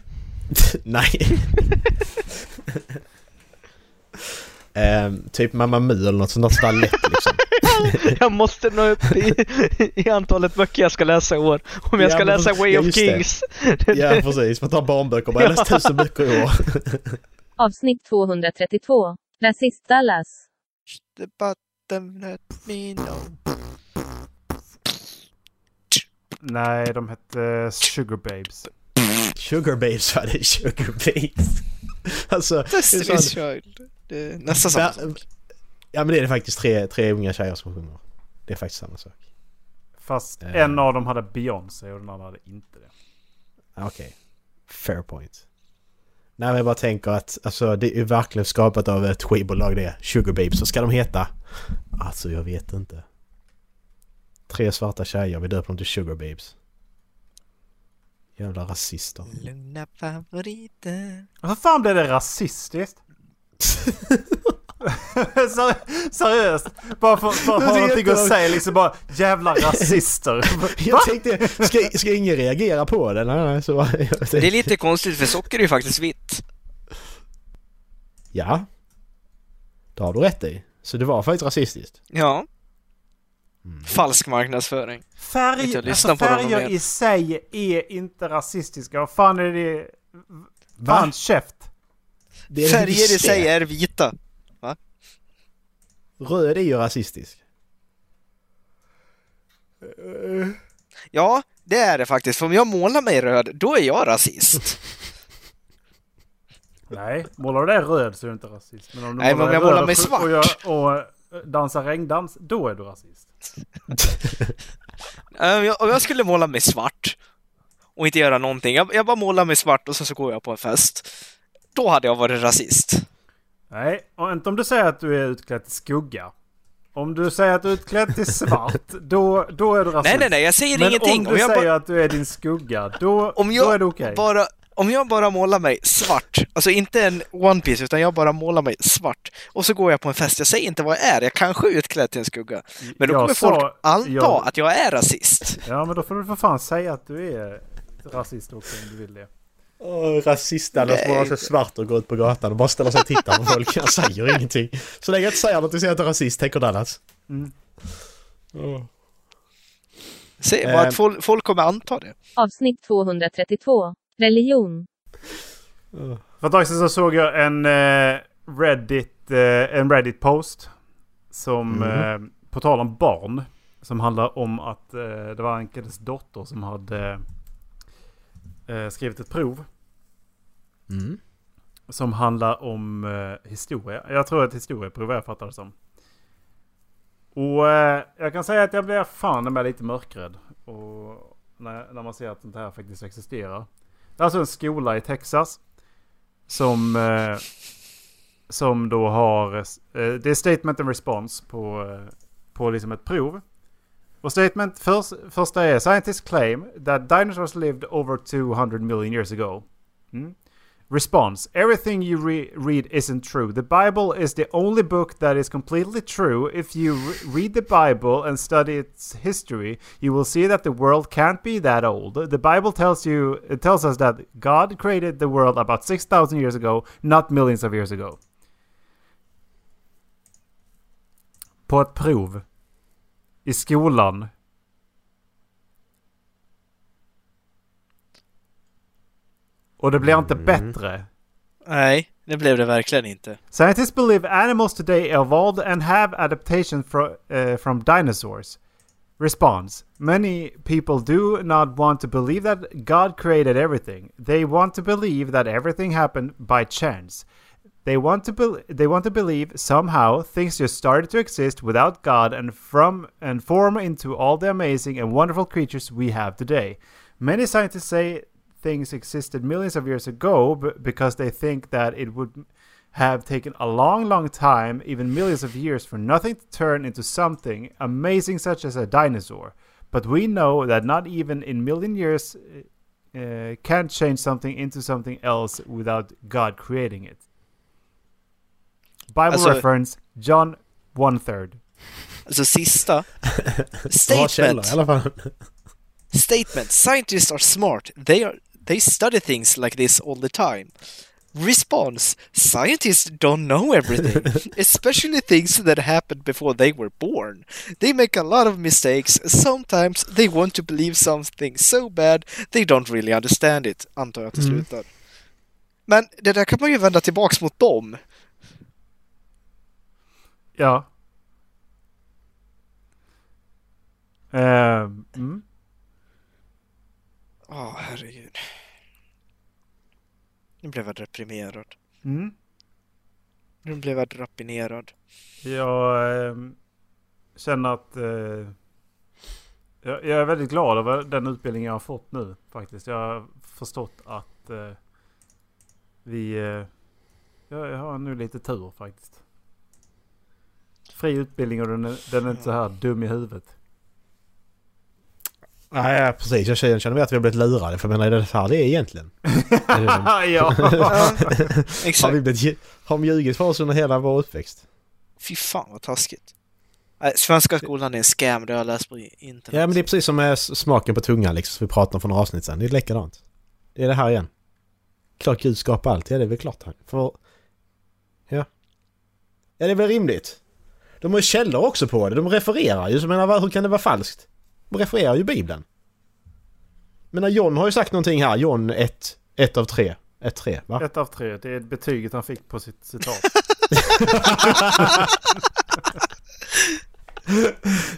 Speaker 2: Nej. Ehm, typ Mamma Mu eller något sånt där sådär lätt liksom.
Speaker 11: Jag måste nå upp i, i antalet böcker jag ska läsa i år. Om jag
Speaker 2: Ja,
Speaker 11: ska
Speaker 2: men-
Speaker 11: läsa Way
Speaker 2: ja,
Speaker 11: of
Speaker 2: just det.
Speaker 11: Kings.
Speaker 2: Ja precis, man tar barnböcker bara. Jag har läst tusen böcker i år.
Speaker 1: Avsnitt 232. Rasist-Dallas.
Speaker 3: The bottom let me know.
Speaker 4: Nej, de hette Sugar Babes.
Speaker 2: Sugar babes var det, sugar babes. Alltså, det är
Speaker 3: Destiny's
Speaker 2: sån-
Speaker 3: Child. Det är nästan samma
Speaker 2: Ja,
Speaker 3: sak.
Speaker 2: ja men det är det faktiskt tre, tre unga tjejer som sjunger. Det är faktiskt samma sak.
Speaker 4: Fast
Speaker 2: Eh.
Speaker 4: en av dem hade Beyoncé och den andra hade inte det.
Speaker 2: Ah, Okej. Fair point. Nej men jag bara tänker att alltså, det är ju verkligen skapat av ett skivbolag det. Sugar Babes, vad ska de heta? Alltså jag vet inte. Tre svarta tjejer, vi döper dem till Sugar Babes. Jävla rasister.
Speaker 3: Lugna favoriter.
Speaker 4: Vad fan blev det rasistiskt? Ser- Seriöst? Bara för, för att
Speaker 2: Det är
Speaker 4: ha någonting att
Speaker 2: jättelångt.
Speaker 4: säga liksom bara jävla rasister.
Speaker 2: Jag tänkte, ska, ska ingen reagera på det? Nej, nej, så bara, jag
Speaker 3: Det är
Speaker 2: tänkte,
Speaker 3: lite konstigt för socker är ju faktiskt vitt.
Speaker 2: Ja. Det har du rätt i. Så det var faktiskt rasistiskt.
Speaker 3: Ja. Falsk marknadsföring.
Speaker 4: Färg,
Speaker 3: Inte jag
Speaker 4: alltså
Speaker 3: lyssnar på dem
Speaker 4: färger
Speaker 3: mer.
Speaker 4: i sig är inte rasistiska. Vad fan är det?
Speaker 2: Va?
Speaker 4: Fan käft.
Speaker 2: Det är det
Speaker 3: Färger i
Speaker 2: visst
Speaker 3: sig
Speaker 2: det.
Speaker 3: är vita.
Speaker 2: Röd är ju rasistisk.
Speaker 3: Ja, det är det faktiskt. För om jag målar mig röd, då är jag rasist.
Speaker 4: Nej, målar du dig röd så är du inte rasist. Men om du
Speaker 3: Nej, men om
Speaker 4: dig
Speaker 3: jag målar
Speaker 4: röd och
Speaker 3: mig
Speaker 4: sj-
Speaker 3: svart.
Speaker 4: Och, gör, och eh, dansar regndans, då är du rasist.
Speaker 3: Eh, om jag- Om jag skulle måla mig svart och inte göra någonting, jag, jag bara målar mig svart och sen så går jag på en fest. Då hade jag varit rasist.
Speaker 4: Nej, och inte om du säger att du är utklädd till skugga. Om du säger att du är utklädd till svart, då, då är du rasist.
Speaker 3: Nej, nej, nej, jag säger
Speaker 4: Men
Speaker 3: ingenting.
Speaker 4: om du
Speaker 3: jag
Speaker 4: säger
Speaker 3: bara,
Speaker 4: att du är din skugga, då,
Speaker 3: om
Speaker 4: då är
Speaker 3: jag
Speaker 4: det okej.
Speaker 3: bara... Om jag bara målar mig svart, alltså inte en One Piece utan jag bara målar mig svart och så går jag på en fest, jag säger inte vad jag är, jag kanske är utklädd till en skugga. Men då
Speaker 4: Jag
Speaker 3: kommer
Speaker 4: sa-
Speaker 3: folk anta
Speaker 4: jag-
Speaker 3: att jag är rasist.
Speaker 4: Ja, men då får du för fan säga att du är rasist också om du vill det.
Speaker 2: Åh, Rasisterna som målar sig svart och går ut på gatan och bara ställer sig och tittar på folk. Jag säger ingenting. Så länge jag inte säger något och säger att jag är rasist, tänker Dallas.
Speaker 4: Mm.
Speaker 2: Åh.
Speaker 3: Säg
Speaker 4: Ehm.
Speaker 3: bara
Speaker 2: Eh.
Speaker 3: att folk, folk kommer anta det.
Speaker 1: Avsnitt 232. Religion.
Speaker 4: För ett tag sedan så såg jag en eh, Reddit, eh, en Reddit-post. Som, eh, på tal om barn. Som handlar om att eh, det var en killes dotter som hade eh, skrivit ett prov.
Speaker 2: Mm.
Speaker 4: Som handlar om eh, historia. Jag tror att historieprov är, jag fattar det som. Och eh, jag kan säga att jag blir fan med lite mörkrädd. Och när, när man ser att sånt här faktiskt existerar. Det är alltså en skola i Texas. Som, eh, som då har... Eh, det är statement and response på, eh, på liksom ett prov. Och statement först, första är Scientists claim that dinosaurs lived over 200 million years ago. Mm. Response. Everything you re read isn't true. The Bible is the only book that is completely true. If you re read the Bible and study its history, you will see that the world can't be that old. The Bible tells you it tells us that God created the world about 6000 years ago, not millions of years ago. På ett prov i skolan och det blir inte bättre.
Speaker 3: Nej, det blev det verkligen inte.
Speaker 4: Scientists believe animals today evolved and have adaptation fro- uh, from dinosaurs. Response Many people do not want to believe that God created everything. They want to believe that everything happened by chance. They want to bel they want to believe somehow things just started to exist without God and from and form into all the amazing and wonderful creatures we have today. Many scientists say things existed millions of years ago b- because they think that it would have taken a long, long time, even millions of years, for nothing to turn into something amazing such as a dinosaur. But we know that not even in million years uh, uh, can change something into something else without God creating it. Bible
Speaker 3: Alltså-
Speaker 4: reference, John one third.
Speaker 3: Alltså sista.
Speaker 2: Bra källa
Speaker 3: Statement.
Speaker 2: i alla fall.
Speaker 3: Statement. Scientists are smart. They are they study things like this all the time. Response. Scientists don't know everything, especially things that happened before they were born. They make a lot of mistakes. Sometimes they want to believe something so bad they don't really understand it, antar jag till slut. där. Men det där kan man ju vända tillbaks mot dem.
Speaker 4: Ja. Ehm, mm.
Speaker 3: Ja, herregud. Nu blev jag deprimerad.
Speaker 4: Mm.
Speaker 3: Nu blev jag drapinerad.
Speaker 4: Jag ehm, känner att eh, jag, jag är väldigt glad över den utbildning jag har fått nu faktiskt. Jag har förstått att eh, vi... Eh, jag, jag har nu lite tur faktiskt. Fri utbildning och den är, den är inte så här dum i huvudet.
Speaker 2: Ja, ja, precis. Jag känner känner mig att vi har blivit lurade. För jag menar, är det här det är egentligen? Är det de-
Speaker 4: ja!
Speaker 3: Ja,
Speaker 2: har
Speaker 3: exakt.
Speaker 2: vi blivit, har de ljugit för oss under hela vår uppväxt?
Speaker 3: Fy fan vad taskigt. Nej, svenska skolan är en scam, det har jag läst på internet.
Speaker 2: Ja, men det är precis som med s- smaken på tungan liksom, som vi pratade om för några avsnitt sedan. Det är likadant. Det är det här igen. Klart Gud skapar allt. Ja, det är väl klart han. För... Ja. Ja, det är väl rimligt. De har ju källor också på det. De refererar ju. Så jag menar, vad- hur kan det vara falskt? De refererar ju Bibeln. Men John har ju sagt någonting här. John 1, 1 av 3. 1, 3, va?
Speaker 4: Ett av tre, det är betyget han fick på sitt citat.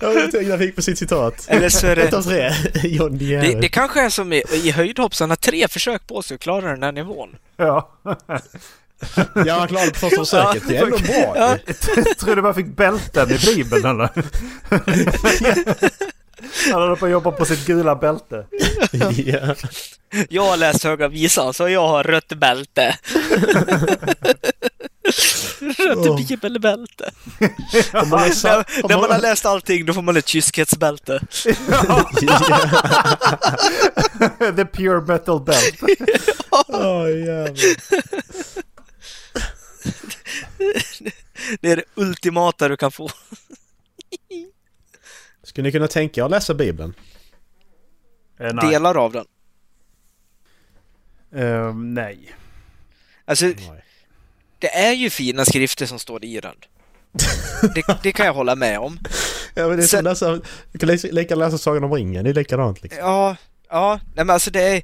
Speaker 2: Ja, det tänkte jag fick på sitt citat.
Speaker 3: Eller så är
Speaker 2: 1
Speaker 3: det...
Speaker 2: av 3. John
Speaker 3: Det, det
Speaker 2: Dier.
Speaker 3: kanske är som i, i höjdhoppsarna, tre försök på sig att klara den här nivån.
Speaker 4: ja.
Speaker 2: Jag klarade det på första försöket. Det är ändå bra. ju.
Speaker 4: Tror du bara fick bälten i Bibeln eller?
Speaker 12: Han håller på att jobba på sitt gula bälte.
Speaker 2: Ja.
Speaker 3: Jag har läst Höga Visan, så jag har rött bälte. rött bibelbälte.
Speaker 2: Om man läser-
Speaker 3: När, när man har läst allting, då får man ett kyskhetsbälte.
Speaker 12: The pure metal belt.
Speaker 2: Åh, jävlar.
Speaker 3: Det är det ultimata du kan få.
Speaker 2: Skulle ni kunna tänka er att läsa Bibeln?
Speaker 12: Eh, nej.
Speaker 3: Delar av den.
Speaker 12: Eh,
Speaker 4: Ehm,
Speaker 12: nej.
Speaker 3: Alltså, det är ju fina skrifter som står i den. Det, det kan jag hålla med om.
Speaker 2: Ja, men det är som
Speaker 3: Sen-
Speaker 2: läsa, du kan lika- lika läsa Sagan om ringen, det är likadant liksom.
Speaker 3: Ja, ja, nej men alltså det är...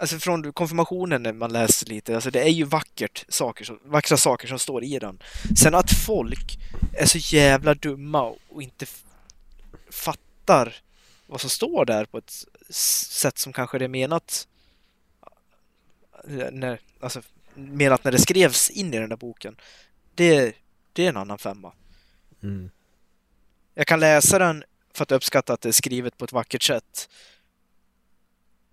Speaker 3: Alltså från konfirmationen när man läser lite, alltså det är ju vackert saker som, vackra saker som står i den. Sen att folk är så jävla dumma och inte f- fattar vad som står där på ett s- sätt som kanske det är menat eh, när, alltså, menat när det skrevs in i den där boken. Det, det är en annan femma.
Speaker 2: Mm.
Speaker 3: Jag kan läsa den för att uppskatta att det är skrivet på ett vackert sätt.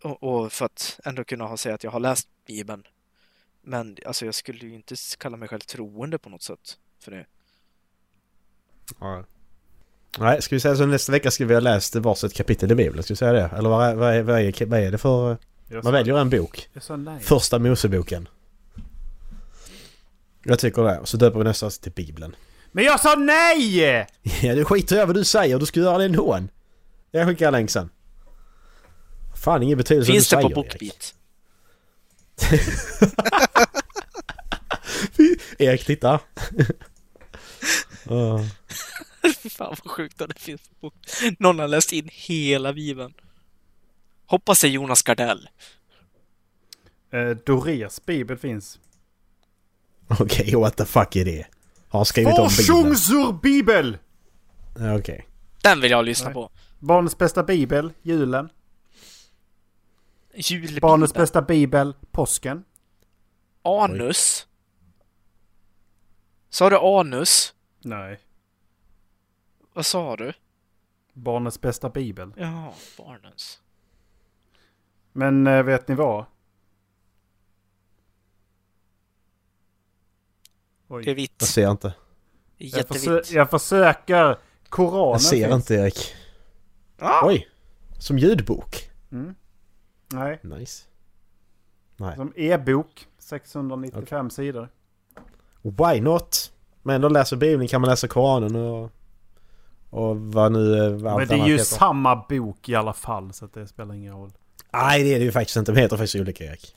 Speaker 3: Och, och för att ändå kunna ha säga att jag har läst Bibeln. Men alltså, jag skulle ju inte s- kalla mig själv troende på något sätt för det.
Speaker 2: Ja. Nej, ska vi säga så nästa vecka ska vi ha läst varsitt kapitel i Bibeln? Ska vi säga det? Eller vad är, vad är, vad är, vad är det för...
Speaker 4: Jag
Speaker 2: Man
Speaker 4: sa,
Speaker 2: väljer en bok.
Speaker 4: jag sa nej.
Speaker 2: Första Moseboken. Jag tycker det. Och så döper vi nästa avsnitt till Bibeln.
Speaker 12: Men jag sa nej!
Speaker 2: Ja, du skiter jag i vad du säger. Du ska göra det ändå. Jag skickar en länk sen. Fan, ingen betydelse vad
Speaker 3: Finns
Speaker 2: du
Speaker 3: det på
Speaker 2: säger, Erik.
Speaker 3: BookBeat?
Speaker 2: Erik, titta. Ja.
Speaker 3: Fy fan vad sjukt att det finns på Book. Någon har läst in hela Bibeln. Hoppas det är Jonas Gardell.
Speaker 4: Eh, Dorés bibel finns.
Speaker 2: Okej, what the fuck är det? Har han skrivit om Bibeln?
Speaker 4: Forschungsur bibel!
Speaker 2: Ja, Okej.
Speaker 3: Den vill jag lyssna på.
Speaker 4: Barnens bästa bibel, julen.
Speaker 3: Julbibeln.
Speaker 4: Barnens bästa bibel, påsken.
Speaker 3: Anus. Sa du anus?
Speaker 4: Nej.
Speaker 3: Vad sa du?
Speaker 4: Barnens bästa bibel.
Speaker 3: Ja, barnens.
Speaker 4: Men eh, vet ni vad?
Speaker 3: Det är vitt.
Speaker 2: Jag ser inte.
Speaker 3: Det är
Speaker 4: Jag,
Speaker 3: Jättevitt.
Speaker 4: försö- jag försöker. Koranen
Speaker 2: Jag ser
Speaker 4: finns.
Speaker 2: inte, Erik.
Speaker 3: Ah!
Speaker 2: Oj! Som ljudbok.
Speaker 4: Mm. Nej,
Speaker 2: Nice.
Speaker 4: som e-bok. 695 sidor.
Speaker 2: Why not? Men ändå läser Bibeln kan man läsa Koranen och... Och vad nu... eh, vad
Speaker 4: Men
Speaker 2: allt
Speaker 4: det är
Speaker 2: annat
Speaker 4: ju
Speaker 2: heter.
Speaker 4: samma bok i alla fall så att det spelar ingen roll.
Speaker 2: Nej, det är det ju faktiskt inte. De heter faktiskt olika, Erik.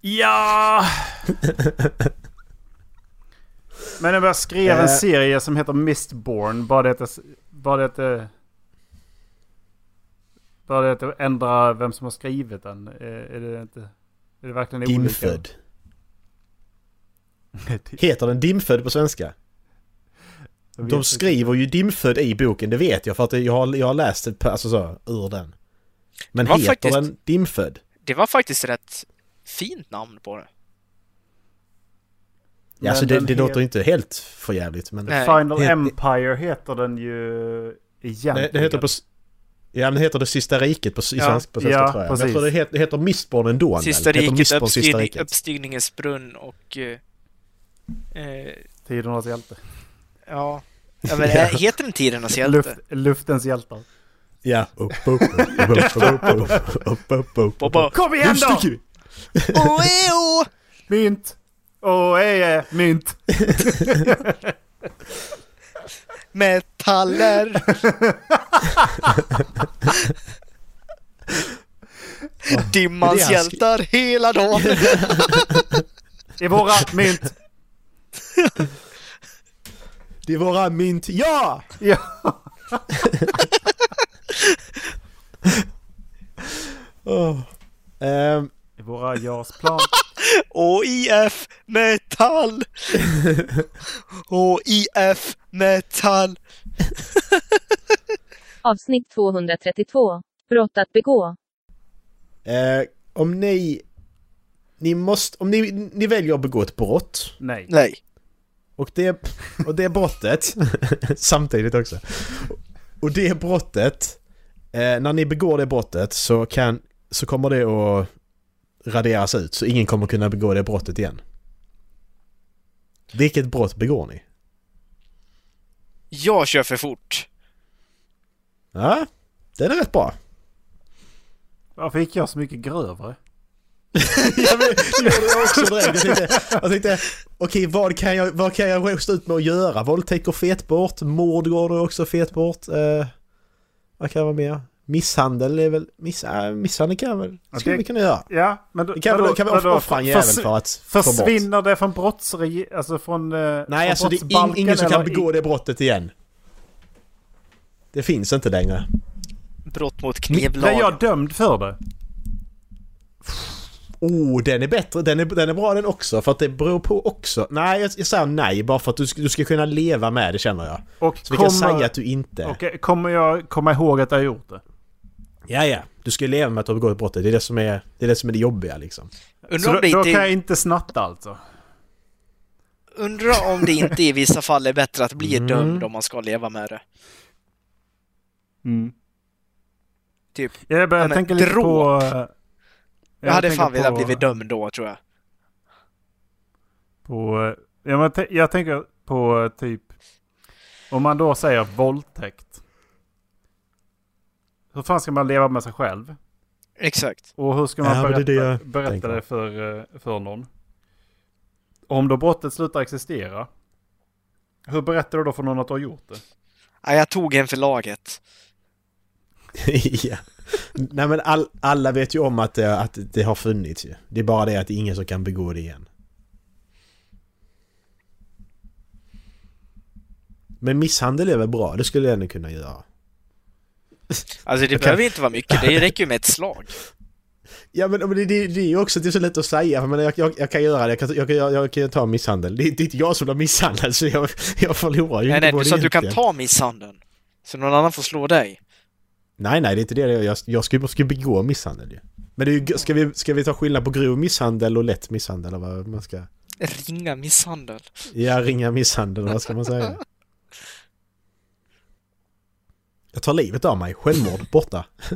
Speaker 4: Ja! Men jag bara skrev
Speaker 2: Eh.
Speaker 4: en serie som heter Mistborn. Bara det att... jag- Bara det att... jag- Bara det att jag ändrar vem som har skrivit den. Eh, Är det inte... Är det verkligen olika?
Speaker 2: Dimfödd. Heter den Dimfödd på svenska?
Speaker 4: Jag vet
Speaker 2: De
Speaker 4: inte.
Speaker 2: skriver ju Dimfödd i boken, det vet jag. För att jag har, jag har läst det på- alltså så, ur den. Men
Speaker 3: Det var
Speaker 2: heter
Speaker 3: faktiskt-
Speaker 2: den Dimfödd?
Speaker 3: Det var faktiskt rätt fint namn på det.
Speaker 2: Ja, alltså
Speaker 4: Men
Speaker 2: det,
Speaker 4: den
Speaker 2: det låter
Speaker 4: heter-
Speaker 2: inte helt för jävligt men...
Speaker 3: Nej.
Speaker 4: Final
Speaker 2: Det-
Speaker 4: Empire heter den ju egentligen.
Speaker 2: Nej, det heter på... s- Ja, men det heter Det Sista Riket på, s- i
Speaker 4: Ja,
Speaker 2: svensk på svenska
Speaker 4: ja,
Speaker 2: tror jag. Men
Speaker 4: precis.
Speaker 2: jag tror det heter, det heter Mistborn ändå. väl?
Speaker 3: Sista
Speaker 2: Det heter
Speaker 3: riket,
Speaker 2: Mistborn, Sista
Speaker 3: uppstigning,
Speaker 2: riket.
Speaker 3: uppstigningens brunn och... eh, eh,
Speaker 4: Tidernas hjälte.
Speaker 3: ja. ja men, eh, heter den Tidernas hjälte?
Speaker 4: Luft, luftens hjältar.
Speaker 2: Ja. Upp, upp, upp, upp, upp, upp, upp, upp, upp, upp, upp.
Speaker 3: Bobba!
Speaker 4: Kom igen
Speaker 2: Nu
Speaker 4: då!
Speaker 2: sticker vi!
Speaker 3: Oh, eh, oh!
Speaker 4: Mynt! Åh, eh, eh, mynt!
Speaker 3: Metaller!
Speaker 2: Det är
Speaker 3: Dimmans
Speaker 2: han skri-
Speaker 3: hjältar hela dagen!
Speaker 4: I våra mynt!
Speaker 2: Det är våra mynt. Ja!
Speaker 4: Ja.
Speaker 2: Åh. Ehm,
Speaker 4: I våra JAS-plan.
Speaker 3: OIF Metall! OIF Metall!
Speaker 1: Avsnitt 232. Brott att begå.
Speaker 2: eh, om ni Ni måste, om ni, ni väljer att begå ett brott
Speaker 4: Nej.
Speaker 3: Nej.
Speaker 2: och det, och det brottet, samtidigt också, och det brottet, eh, när ni begår det brottet så, kan, så kommer det att raderas ut så ingen kommer kunna begå det brottet igen. Vilket brott begår ni?
Speaker 3: Jag kör för fort.
Speaker 2: Ja, den är rätt bra.
Speaker 4: Varför gick jag så mycket grövre?
Speaker 2: Ja, men det gjorde jag också direkt. Jag tänkte, jag tänkte okej vad kan jag, vad kan jag stå ut med att göra? Våldtäkt går fet bort, mord går då också fet bort. Eh, vad kan jag vara mer? Misshandel är väl, miss, äh, misshandel kan jag väl,
Speaker 4: Ja,
Speaker 2: skulle
Speaker 4: det-
Speaker 2: vi kunna göra.
Speaker 4: Ja, men då,
Speaker 2: Det kan, väl, kan vi offra-
Speaker 4: vadå?
Speaker 2: offra en jävel
Speaker 4: Försvi-
Speaker 2: för att få bort.
Speaker 4: Försvinner det från brottsregi... Alltså från... eh,
Speaker 2: Nej,
Speaker 4: från
Speaker 2: alltså det är in,
Speaker 4: brottsbalken
Speaker 2: ingen som kan
Speaker 4: eller
Speaker 2: begå det brottet igen. Det finns inte längre.
Speaker 3: Brott mot
Speaker 4: i- Blev jag
Speaker 3: knivlagen.
Speaker 4: dömd för det?
Speaker 2: Oh, den är bättre. Den är, den är bra den också, för att det beror på också. Nej, jag, jag säger nej bara för att du, ska- du ska kunna leva med det känner jag.
Speaker 4: Och
Speaker 2: Så vi
Speaker 4: kommer,
Speaker 2: kan säga att du inte...
Speaker 4: Okej, kommer jag komma ihåg att jag har gjort det?
Speaker 2: Ja, ja. Du ska ju leva med att du har begått brottet. Det är det som är det, är det, som är det jobbiga liksom.
Speaker 4: Så
Speaker 3: Undrar
Speaker 4: då,
Speaker 3: om, det
Speaker 4: då
Speaker 3: inte,
Speaker 4: kan jag inte snatta alltså?
Speaker 3: undrar om det inte i vissa fall är bättre att bli
Speaker 2: Mm.
Speaker 3: dömd om man ska leva med det.
Speaker 13: Mm.
Speaker 3: Typ.
Speaker 4: Jag
Speaker 3: Ja,
Speaker 4: börjar
Speaker 3: men
Speaker 4: tänka lite
Speaker 3: dråp.
Speaker 4: på... eh,
Speaker 3: Jag, hade
Speaker 4: tänker
Speaker 3: fan velat
Speaker 4: på-
Speaker 3: blivit dömd då, tror jag.
Speaker 4: På, eh, ja, men t- jag tänker på eh, typ... Om man då säger våldtäkt. Hur fan ska man leva med sig själv?
Speaker 3: Exakt.
Speaker 4: Och hur ska man
Speaker 2: Ja, men det är
Speaker 4: berätta,
Speaker 2: det jag
Speaker 4: berätta
Speaker 2: tänker.
Speaker 4: det för, eh, för någon? Om då brottet slutar existera. Hur berättar du då för någon att du har gjort det?
Speaker 3: Ja, jag tog en för laget.
Speaker 2: ja. Nej men all, alla vet ju om att det, att det har funnits ju. Det är bara det att det är ingen som kan begå det igen. Men misshandel är väl bra? Det skulle jag ändå kunna göra.
Speaker 3: Alltså det behöver inte vara mycket, det räcker ju med ett slag.
Speaker 2: Ja men men det, det, det är ju också det är så lätt att säga. För jag, menar, jag, jag, jag kan göra det. Jag kan, jag, kan- jag, jag kan ta misshandel. Det, det är inte jag som blir misshandlad så jag, jag förlorar ju
Speaker 3: Nej,
Speaker 2: inte
Speaker 3: nej,
Speaker 2: på
Speaker 3: du
Speaker 2: det
Speaker 3: sa att du kan
Speaker 2: egentligen.
Speaker 3: ta misshandeln. Så någon annan får slå dig.
Speaker 2: Nej, nej, det är inte det jag gör. Jag ska, jag ska begå misshandel ju. Men det är, ju- ska, vi, ska vi ta skillnad på grov misshandel och lätt misshandel? Eller vad man ska...
Speaker 3: Ringa misshandel.
Speaker 2: Ja, ringa misshandel, vad ska man säga? Jag tar livet av mig. Självmord. Borta.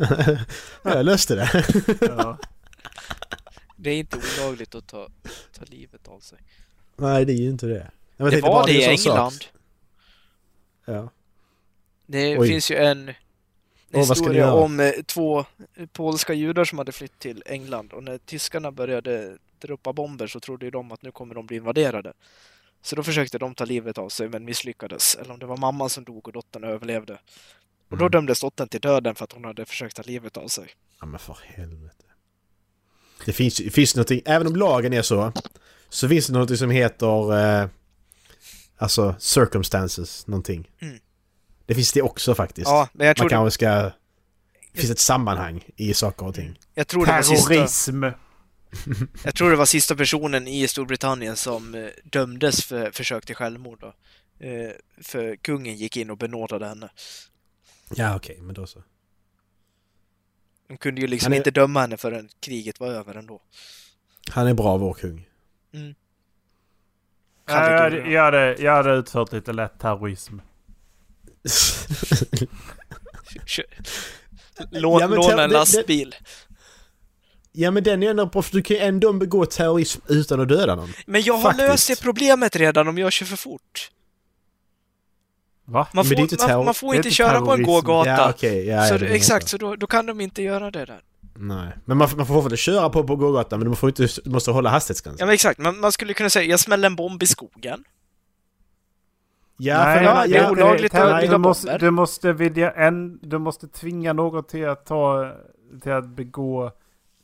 Speaker 2: jag löste det.
Speaker 3: Det är inte olagligt att ta, ta livet av sig.
Speaker 2: Nej, det är ju inte det. Nej, men jag
Speaker 3: Det
Speaker 2: tänkte
Speaker 3: var
Speaker 2: bara,
Speaker 3: det i
Speaker 2: är en sån
Speaker 3: England.
Speaker 2: sak. Ja.
Speaker 3: Det
Speaker 2: Oj.
Speaker 3: finns ju en
Speaker 2: vad ska ni
Speaker 3: historia
Speaker 2: göra?
Speaker 3: om eh, två polska judar som hade flytt till England och när tyskarna började droppa bomber så trodde ju de att nu kommer de bli invaderade. Så då försökte de ta livet av sig men misslyckades. Eller om det var mamman som dog och dottern överlevde. Och då
Speaker 2: Mm.
Speaker 3: dömdes dottern till döden för att hon hade försökt ta livet av sig.
Speaker 2: Ja men för helvete. Det finns, det finns någonting, även om lagen är så, så finns det någonting som heter eh, alltså circumstances någonting.
Speaker 3: Mm.
Speaker 2: Det finns det också faktiskt.
Speaker 3: Ja, men jag
Speaker 2: Man
Speaker 3: tror, det,
Speaker 2: kanske ska... Det finns ett sammanhang i saker och ting.
Speaker 3: jag, tror det var sista,
Speaker 4: Terrorism!
Speaker 3: jag tror det var sista personen i Storbritannien som eh, dömdes för försök till självmord då. Eh, För kungen gick in och benådade henne.
Speaker 2: Ja okej, men då så.
Speaker 3: De kunde ju liksom
Speaker 2: Han är-
Speaker 3: inte döma henne förrän kriget var över ändå.
Speaker 2: Han är bra vår kung.
Speaker 4: Ja, jag,
Speaker 3: Kalle
Speaker 4: hade- jag, hade, jag hade utfört lite lätt terrorism.
Speaker 3: Lån,
Speaker 2: Ja, men
Speaker 3: låna
Speaker 2: te-
Speaker 3: en
Speaker 2: det-
Speaker 3: lastbil.
Speaker 2: ja men den är ändå proffs, du kan ju ändå begå terrorism utan att döda någon.
Speaker 3: Men jag har
Speaker 2: Faktiskt.
Speaker 3: löst det problemet redan om jag kör för fort.
Speaker 4: Va?
Speaker 3: Man
Speaker 2: Men
Speaker 3: får,
Speaker 2: det är inte terror-
Speaker 3: man, man får
Speaker 4: det är
Speaker 3: inte
Speaker 4: inte
Speaker 3: köra på en
Speaker 4: terrorism.
Speaker 3: gågata.
Speaker 2: Ja okej, ja,
Speaker 3: så,
Speaker 2: ja,
Speaker 3: du-
Speaker 2: det är
Speaker 3: exakt,
Speaker 2: bra.
Speaker 3: så då, då kan de inte göra det där.
Speaker 2: Nej. Men man, får- man får fortfarande köra på, på gågatan men man får inte, du måste hålla hastighetsgränsen.
Speaker 3: Ja men exakt, man, man skulle kunna säga jag smäller en bomb i skogen.
Speaker 2: Ja,
Speaker 4: Nej,
Speaker 2: för, ja,
Speaker 4: det är
Speaker 2: ja,
Speaker 4: inte det.
Speaker 3: olagligt att
Speaker 4: Terror-
Speaker 3: vilja
Speaker 4: du, måste,
Speaker 3: bomber.
Speaker 4: du, måste vilja en, du måste tvinga någon till att, ta, till att begå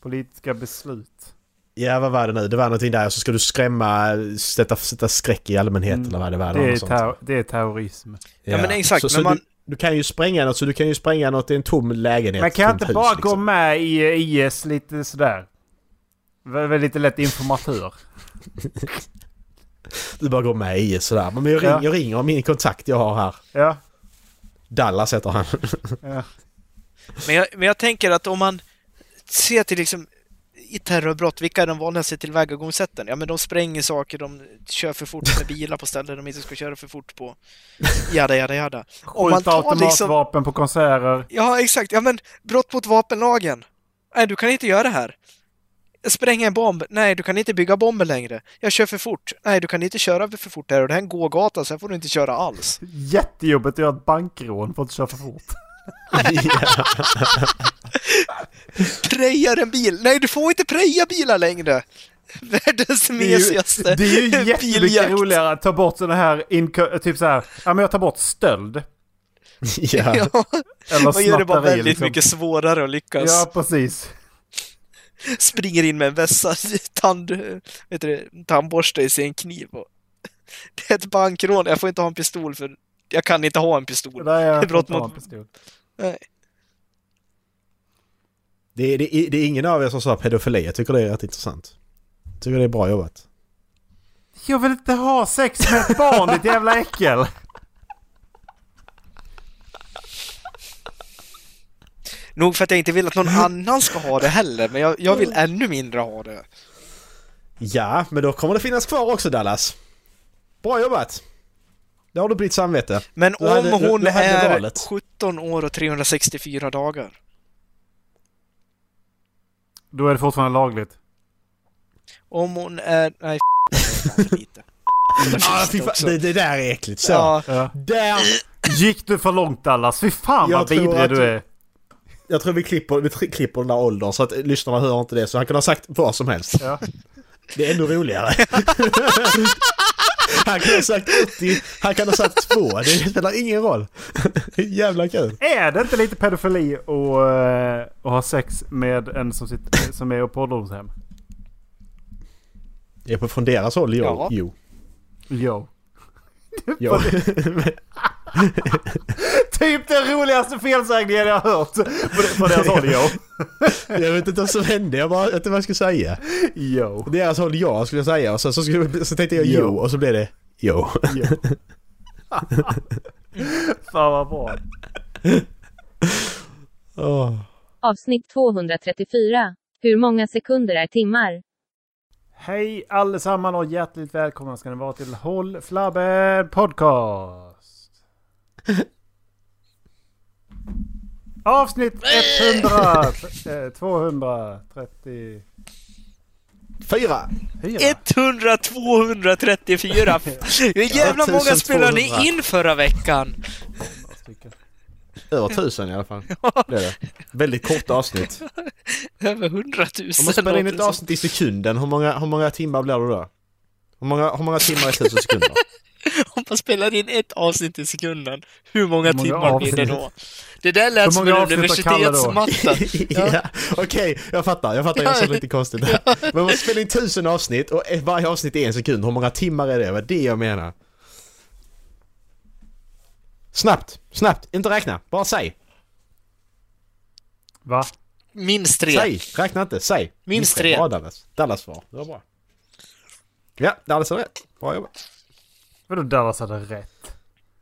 Speaker 4: politiska beslut.
Speaker 2: ja, vad var det nu? Det var någonting där, så ska du skrämma, sätta, sätta skräck i allmänheten
Speaker 4: Mm.
Speaker 2: eller vad det var.
Speaker 4: Det är,
Speaker 2: något sånt.
Speaker 4: terror, det är terrorism.
Speaker 3: Ja, men exakt,
Speaker 2: Så, så
Speaker 3: men man-
Speaker 2: du, du kan ju spränga något, så du kan ju spränga något i en tom lägenhet.
Speaker 4: Man kan
Speaker 2: tomt
Speaker 4: inte
Speaker 2: hus,
Speaker 4: bara gå
Speaker 2: liksom.
Speaker 4: med i IS lite sådär. Vä- vä- Lite lätt informatör.
Speaker 2: Du bara går med i sådär. Men jag, ring,
Speaker 4: Ja.
Speaker 2: jag ringer min kontakt jag har här.
Speaker 4: Ja.
Speaker 2: Dallas heter han.
Speaker 3: Men jag, men jag tänker att om man ser till liksom i terrorbrott, vilka är de vanligaste tillvägagångssätten? Ja, men de spränger saker, de kör för fort med bilar på ställen de inte ska köra för fort på. Jada, jada, jada. Om man
Speaker 4: Skjuta
Speaker 3: tar liksom-
Speaker 4: automatvapen på konserter.
Speaker 3: Ja, exakt. Ja, men brott mot vapenlagen. Nej, du kan inte göra det här. Spränga en bomb. Nej, du kan inte bygga bomber längre. Jag kör för fort. Nej, du kan inte köra för fort här och det här är en gågata, sen får du inte köra alls.
Speaker 4: Jättejobbigt att göra ett bankrån för att köra för fort.
Speaker 3: Prejar en bil. Nej, du får inte preja bilar längre. Världens
Speaker 4: Det är ju,
Speaker 3: mesigaste
Speaker 4: det är ju jättemycket
Speaker 3: biljakt.
Speaker 4: roligare att ta bort sådana här, inko- typ så här, ja men jag tar bort stöld.
Speaker 2: Ja.
Speaker 3: Ja,
Speaker 4: Eller
Speaker 3: man gör det bara
Speaker 4: snatteri,
Speaker 3: väldigt
Speaker 4: liksom.
Speaker 3: mycket svårare att lyckas.
Speaker 4: Ja, precis.
Speaker 3: Springer in med en vässa, tand, vet du, det, tandborste i sin kniv. Och... Det är ett bankrån. Jag får inte ha en pistol för jag kan inte ha en pistol.
Speaker 4: Där är
Speaker 3: Brott
Speaker 4: jag brott mot...
Speaker 3: mot-
Speaker 4: pistol.
Speaker 2: Det, det, det är ingen av er som sa pedofili. Jag tycker det är rätt intressant. Jag tycker det är bra jobbat.
Speaker 4: Jag vill inte ha sex med ett barn, ditt jävla äckel!
Speaker 3: Nog för att jag inte vill att någon annan ska ha det heller, men jag, jag vill ännu mindre ha det.
Speaker 2: Ja, men då kommer det finnas kvar också Dallas. Bra jobbat! Då har du blivit samvete.
Speaker 3: Men
Speaker 2: Du
Speaker 3: om
Speaker 2: hade- du-
Speaker 3: hon
Speaker 2: du hade
Speaker 3: är
Speaker 2: valet.
Speaker 3: 17 år och 364 dagar.
Speaker 4: Då är det fortfarande lagligt.
Speaker 3: Om hon är... Nej, f- det är för lite.
Speaker 2: Ah, fy fan, det, det där är äckligt. Så.
Speaker 3: Ja,
Speaker 4: Ja.
Speaker 2: Där!
Speaker 4: Gick du för långt Dallas? Fy fan
Speaker 2: Jag
Speaker 4: vad
Speaker 2: tror
Speaker 4: vidrig
Speaker 2: att
Speaker 4: du
Speaker 2: du-
Speaker 4: är.
Speaker 2: Jag tror vi klipper, vi tri- klipper den där åldern så att lyssnarna hör inte det. Så han kan ha sagt vad som helst.
Speaker 4: Ja.
Speaker 2: Det är ännu roligare. han kan ha sagt 80, han kan ha sagt 2. Det spelar ingen roll. Jävla kul.
Speaker 4: Är det inte lite pedofili och, eh, och ha sex med en som, sitter, som är på ålderdomshem?
Speaker 2: Det är på från deras håll, jo.
Speaker 3: Ja.
Speaker 2: Jo.
Speaker 4: Jo.
Speaker 2: jo.
Speaker 4: Typ den roligaste felsägningen jag har hört. På, på deras håll, jo.
Speaker 2: jag vet inte vad som hände, jag bara, jag vet inte vad jag skulle säga.
Speaker 4: Jo.
Speaker 2: På deras håll, ja, skulle jag säga. Och sen så, skulle, så tänkte jag jo,
Speaker 4: Jo.
Speaker 2: och så blev det jo.
Speaker 4: jo. Fan vad bra.
Speaker 2: Åh.
Speaker 1: Avsnitt 234. Hur många sekunder är timmar?
Speaker 4: Hej allesamman och hjärtligt välkomna ska ni vara till Håll Flabben Podcast. Avsnitt 100... eh, 234.
Speaker 2: Fyra!
Speaker 3: 100 234! Hur jävla många
Speaker 2: 1200.
Speaker 3: spelade ni in förra veckan?
Speaker 2: Över tusen i alla fall. Det är det. Väldigt korta avsnitt.
Speaker 3: Över 100 000
Speaker 2: Om man spelar in ett
Speaker 3: låter det som.
Speaker 2: avsnitt i sekunden, hur många, hur många timmar blir det då? Hur många, hur många timmar är tusen sekunder?
Speaker 3: Om man spelar in ett avsnitt i sekunden, hur många,
Speaker 4: många
Speaker 3: timmar blir det
Speaker 4: avsnitt?
Speaker 3: då? Det där lät
Speaker 4: Hur
Speaker 3: som
Speaker 4: många
Speaker 3: en
Speaker 4: avsnitt har Kalle då?
Speaker 3: universitetsmatta.
Speaker 2: ja. Okej, jag fattar. Jag fattar. Jag sa
Speaker 3: Ja.
Speaker 2: lite konstigt där. Men man spelar in tusen avsnitt och varje avsnitt är en sekund. Hur många timmar är det? Vad är det jag menar? Snabbt, snabbt. Inte räkna. Bara säg.
Speaker 4: Va?
Speaker 3: Minst tre.
Speaker 2: Säg. Räkna inte. Säg.
Speaker 3: Minst
Speaker 2: Okej,
Speaker 3: tre.
Speaker 2: Bra Dallas. Dallas svar. Det var bra. Ja, Dallas hade rätt. Bra jobbat.
Speaker 4: Vadå Dallas hade rätt?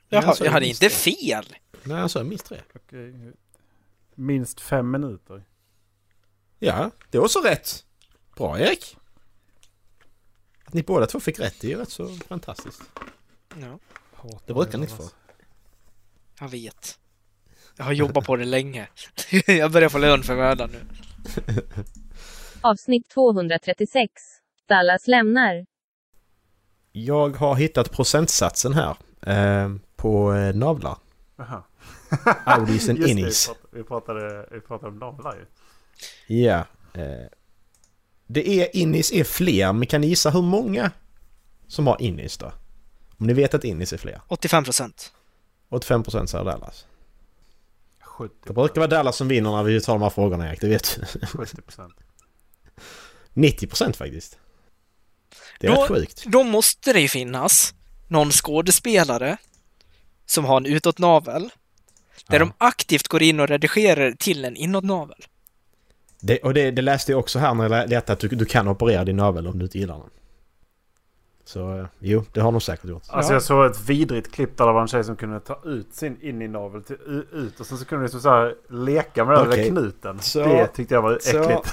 Speaker 3: Jag, har-
Speaker 2: Jag sa
Speaker 3: jag hade
Speaker 2: minst
Speaker 3: inte
Speaker 2: tre.
Speaker 3: fel.
Speaker 2: Nej, han sa minst tre.
Speaker 4: Okej. Minst fem minuter.
Speaker 2: Ja, det var så rätt. Bra Erik. Att ni båda två fick rätt, det är ju rätt så fantastiskt.
Speaker 3: Ja,
Speaker 2: Det brukar ni inte få.
Speaker 3: jag vet. Jag har jobbat på det länge. jag börjar få lön för mödan nu.
Speaker 1: Avsnitt 236. Dallas lämnar.
Speaker 2: Jag har hittat procentsatsen här. Eh, på eh, navlar.
Speaker 4: Jaha.
Speaker 2: Audis and
Speaker 4: Just det, vi
Speaker 2: innies.
Speaker 4: prat- vi pratade, vi pratade om navlar ju.
Speaker 2: Ja. Eh, det är innis är fler, men kan ni gissa hur många som har innis då? Om ni vet att innis är fler.
Speaker 3: 85 procent.
Speaker 2: 85% säger Dallas.
Speaker 4: 70,
Speaker 2: Det brukar vara Dallas som vinner när vi tar de här frågorna Erik, det vet du.
Speaker 4: 70 procent.
Speaker 2: 90% faktiskt. Det är
Speaker 3: Då-
Speaker 2: rätt sjukt.
Speaker 3: Då måste det ju finnas någon skådespelare som har en utåtnavel
Speaker 2: Ja.
Speaker 3: där de aktivt går in och redigerar till en inåtnavel.
Speaker 2: Det, och det, det läste jag också här när jag lä- lät att du, du kan operera din navel om du inte gillar den. Så eh, jo, det har de säkert gjort.
Speaker 11: Alltså, jag
Speaker 4: såg ett vidrigt klipp där det var en tjej som kunde ta ut sin ininavel till, ut och sen så kunde liksom så här leka med
Speaker 2: den där Okej.
Speaker 4: knuten.
Speaker 2: Så- Det
Speaker 4: tyckte jag var
Speaker 2: Så,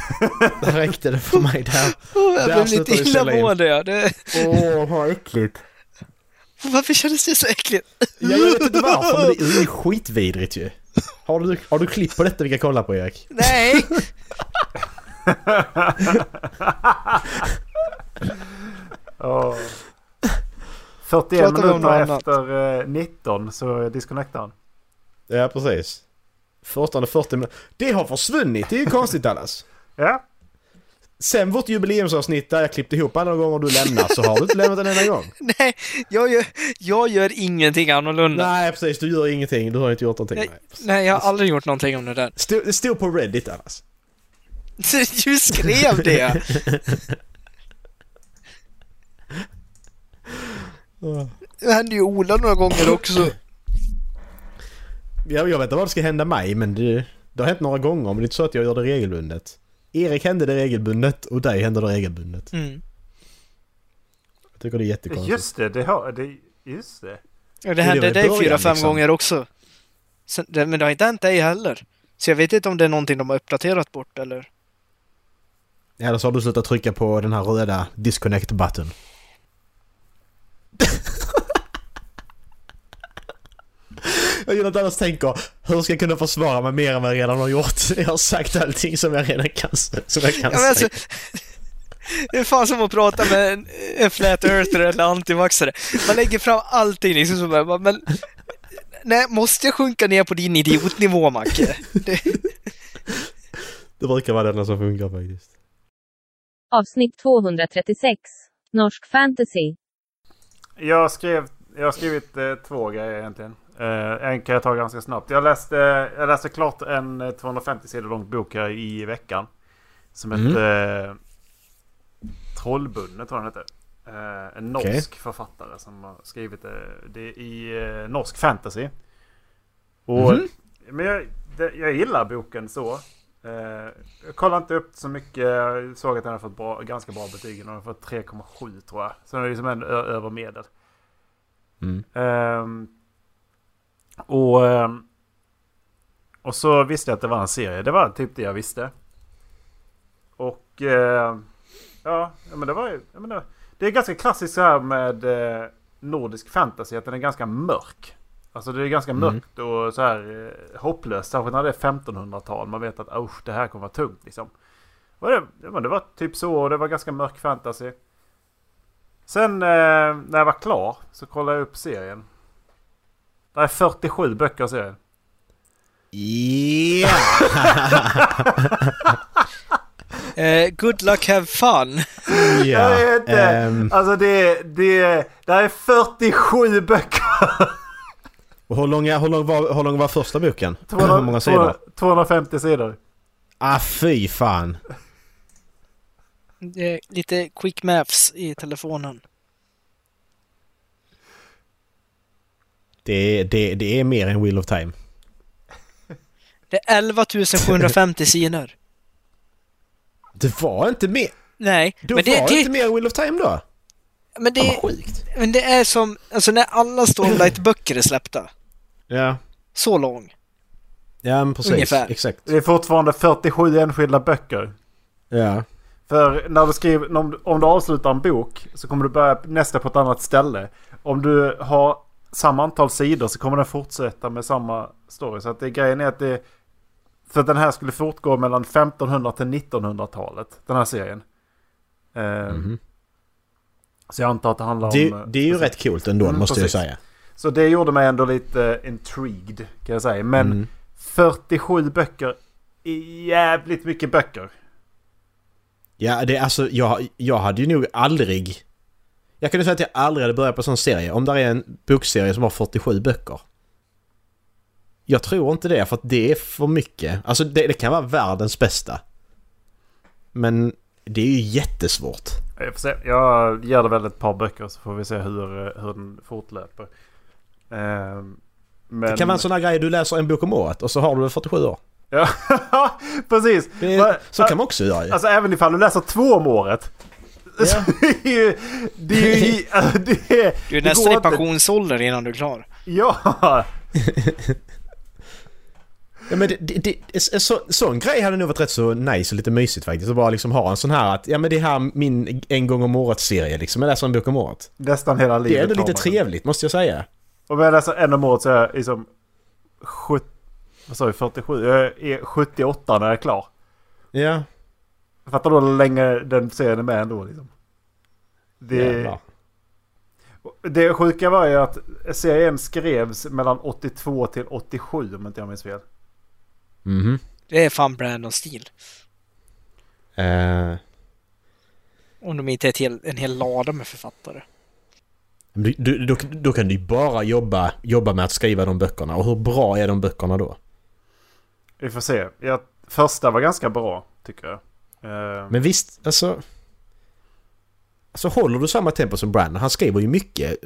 Speaker 2: där räckte det för mig där.
Speaker 3: Jag
Speaker 2: Där
Speaker 3: blev lite
Speaker 2: slutar vi ställa in.
Speaker 3: illamående. ja. Det-
Speaker 2: Åh, vad äckligt.
Speaker 3: Varför kändes det så äckligt?
Speaker 2: Ja, jag vet inte varför, men det är ju skitvidrigt ju. Har du, har du klipp på detta vi kan kolla på Erik?
Speaker 3: Nej!
Speaker 4: Ja. 41
Speaker 14: Pratar vi om
Speaker 4: minuter
Speaker 14: något annat?
Speaker 4: efter eh, 19 så disconnectar han.
Speaker 2: Ja, precis. 14.40 minuter. Det har försvunnit, det är ju konstigt Dallas.
Speaker 4: Ja,
Speaker 2: Sen vårt jubileumsavsnitt där jag klippte ihop alla gånger du lämnar så har du inte lämnat en enda gång.
Speaker 3: Nej, jag gör, jag gör ingenting annorlunda. Nej,
Speaker 2: Nej, precis. Du gör ingenting. Du har inte gjort någonting. Nej.
Speaker 3: Nej. jag har aldrig gjort någonting om det där.
Speaker 2: Stod, det stod på Reddit annars.
Speaker 3: Du skrev det!
Speaker 15: Det hände ju Ola några gånger också.
Speaker 2: Jag, jag vet inte vad det ska hända mig, men det, det har hänt några gånger. Men det är inte så att jag gör det regelbundet. Erik hände det regelbundet och dig hände det regelbundet.
Speaker 3: Mm.
Speaker 2: Jag tycker det är jättekonstigt.
Speaker 4: just det. det, har, det just det.
Speaker 3: Och
Speaker 2: det
Speaker 3: det
Speaker 2: var
Speaker 3: hände
Speaker 2: i
Speaker 3: dig
Speaker 2: början,
Speaker 3: fyra, fem
Speaker 2: liksom.
Speaker 3: gånger också. Sen, det, men det har inte hänt dig heller. Så jag vet inte om det är någonting de har uppdaterat bort eller...
Speaker 2: Ja, då så har du slutat trycka på den här röda disconnect button. Jag gillar att annars tänker, hur ska jag kunna försvara mig mer än vad jag redan har gjort? Jag har sagt allting som jag redan kan, som jag kan
Speaker 3: Ja, men alltså,
Speaker 2: säga.
Speaker 3: det är fan som att prata med en, en flat earther eller antivaxare. Man lägger fram allting liksom som bara, men... Nej, måste jag sjunka ner på din idiotnivå, Macke? Det,
Speaker 2: Det brukar vara det enda som funkar faktiskt.
Speaker 1: Avsnitt 236. Norsk fantasy.
Speaker 4: Jag, skrev, jag har skrivit eh, två grejer egentligen. Eh, en kan jag ta ganska snabbt. Jag läste, jag läste klart en eh, 250 sidor lång bok här i veckan. Som
Speaker 2: Mm.
Speaker 4: hette eh, Trollbundne tror jag den hette. Eh, en norsk
Speaker 2: Okej.
Speaker 4: författare som har skrivit eh, det i eh, norsk fantasy. Och, Men jag, det, jag gillar boken så. Eh, jag kollade inte upp så mycket. Jag såg att den har fått bra, ganska bra betyg. Den har fått 3,7 tror jag. Så den är liksom en ö- över medel.
Speaker 2: Mm.
Speaker 4: Ehm, och, ehm, och så visste jag att det var en serie. Det var typ det jag visste. Och ehm, ja, ja, men det var ju... ja, men det, det är ganska klassiskt så här med eh, nordisk fantasy. Att den är ganska mörk. Alltså det är ganska
Speaker 2: Mm.
Speaker 4: mörkt och så här eh, hopplöst. Särskilt när det är 1500-tal. Man vet att usch, det här kommer vara tungt liksom. Och det, ja, men det var typ så. Och det var ganska mörk fantasy. Sen eh, när jag var klar så kollade jag upp serien. Det är 47 böcker i serien.
Speaker 2: Yeah!
Speaker 3: eh, good luck, have fun!
Speaker 2: Ja,
Speaker 4: Jag vet inte.
Speaker 2: ehm,
Speaker 4: Alltså det, det, det är 47 böcker.
Speaker 2: och hur, långa, hur, lång var, hur lång var första boken? hur många
Speaker 4: 200,
Speaker 2: sidor?
Speaker 4: 250 sidor.
Speaker 2: Ah fy fan!
Speaker 3: Det är Lite quick maths i telefonen.
Speaker 2: Det, det, det är mer än Wheel of Time.
Speaker 3: Det är 11 750 sidor.
Speaker 2: Det var inte mer...
Speaker 3: Nej,
Speaker 2: Då
Speaker 3: men det, typ-
Speaker 2: var
Speaker 3: det,
Speaker 2: inte mer Wheel of Time då?
Speaker 3: men,
Speaker 2: Fan,
Speaker 3: det,
Speaker 2: vad sjukt.
Speaker 3: men det är som, alltså när alla Stormlight-böcker är släppta.
Speaker 2: Ja.
Speaker 3: Så lång.
Speaker 2: Ja men precis.
Speaker 3: Ungefär.
Speaker 2: Exakt.
Speaker 4: Det är fortfarande 47 enskilda böcker.
Speaker 2: Ja.
Speaker 4: För när du skriver, om, om du avslutar en bok så kommer du börja nästa på ett annat ställe. Om du har samma antal sidor så kommer den fortsätta med samma story. Så att det, grejen är att det... För att den här skulle fortgå mellan 1500 till 1900-talet. Den här serien. Eh, Så jag antar att det handlar
Speaker 2: Mhm. Det,
Speaker 4: om... eh,
Speaker 2: det är ju
Speaker 4: precis.
Speaker 2: rätt coolt ändå
Speaker 4: Mm,
Speaker 2: måste
Speaker 4: precis.
Speaker 2: jag säga.
Speaker 4: Så det gjorde mig ändå lite intrigued kan jag säga. Men
Speaker 2: Mm.
Speaker 4: 47 böcker är jävligt mycket böcker.
Speaker 2: Ja det är alltså jag, jag hade ju nog aldrig... Jag kunde säga att jag aldrig hade börjat på en sån serie. Om där är en bokserie som har 47 böcker. Jag tror inte det för att det är för mycket. Alltså det, det kan vara världens bästa. Men det är ju jättesvårt.
Speaker 4: Jag, får se. jag ger det väl ett par böcker så får vi se hur, eh, hur den fortlöper. Ehm, men...
Speaker 2: Det kan vara en sån här grej du läser en bok om året och så har du det 47 år.
Speaker 4: Ja, precis.
Speaker 2: Det,
Speaker 4: Va-
Speaker 2: så kan man också göra ju.
Speaker 4: Alltså även ifall du läser två om året.
Speaker 2: Ja.
Speaker 4: det är ju... Det är ju... alltså, Det är,
Speaker 3: Du är
Speaker 4: det
Speaker 3: nästan
Speaker 4: går
Speaker 3: i
Speaker 4: inte.
Speaker 3: pensionsålder innan du är klar.
Speaker 4: Ja!
Speaker 2: Ja, men det, det, det, en så, sån grej hade nog varit rätt så nice och lite mysigt faktiskt. Att bara liksom ha en sån här att, ja men det här min en gång om året-serie liksom. Jag läser en bok om året.
Speaker 4: Nästan
Speaker 2: Det
Speaker 4: hela
Speaker 2: är
Speaker 4: livet
Speaker 2: ändå
Speaker 4: har
Speaker 2: lite
Speaker 4: man den.
Speaker 2: trevligt, måste jag säga.
Speaker 4: Om jag läser en om året så är jag liksom... 70, vad sa vi? 47? Jag är 78 när jag är klar.
Speaker 2: Ja.
Speaker 4: Fattar du hur länge den serien är med ändå liksom? Det,
Speaker 2: Jävlar.
Speaker 4: det sjuka var ju att serien skrevs mellan 82 till 87 om inte jag minns fel.
Speaker 2: Mhm.
Speaker 3: Det är fan Brandon-stil.
Speaker 2: Eh,
Speaker 3: Om de inte är ett hel, en hel lada med författare.
Speaker 2: men du, du, då, då kan du ju bara jobba, jobba med att skriva de böckerna. Och hur bra är de böckerna då?
Speaker 4: Vi får se. Jag, första var ganska bra tycker jag. Eh,
Speaker 2: Men visst, alltså... Alltså håller du samma tempo som Brandon, han skriver ju mycket.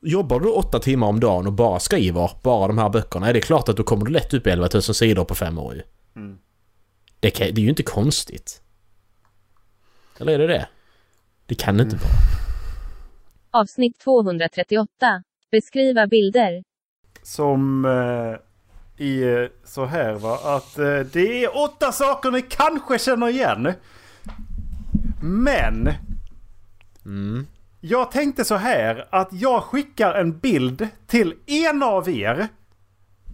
Speaker 2: Jobbar du åtta timmar om dagen och bara skriver bara de här böckerna, är det klart att då kommer du lätt upp i 11 000 sidor på fem år ju.
Speaker 4: Mm.
Speaker 2: Det, kan, det är ju inte konstigt. Eller är det det? Det kan det inte vara.
Speaker 1: Avsnitt 238. Beskriva bilder.
Speaker 4: Som eh, i så här va. Att eh, det är åtta saker ni kanske känner igen. Men.
Speaker 2: Mm,
Speaker 4: Jag tänkte så här att jag skickar en bild till en av er.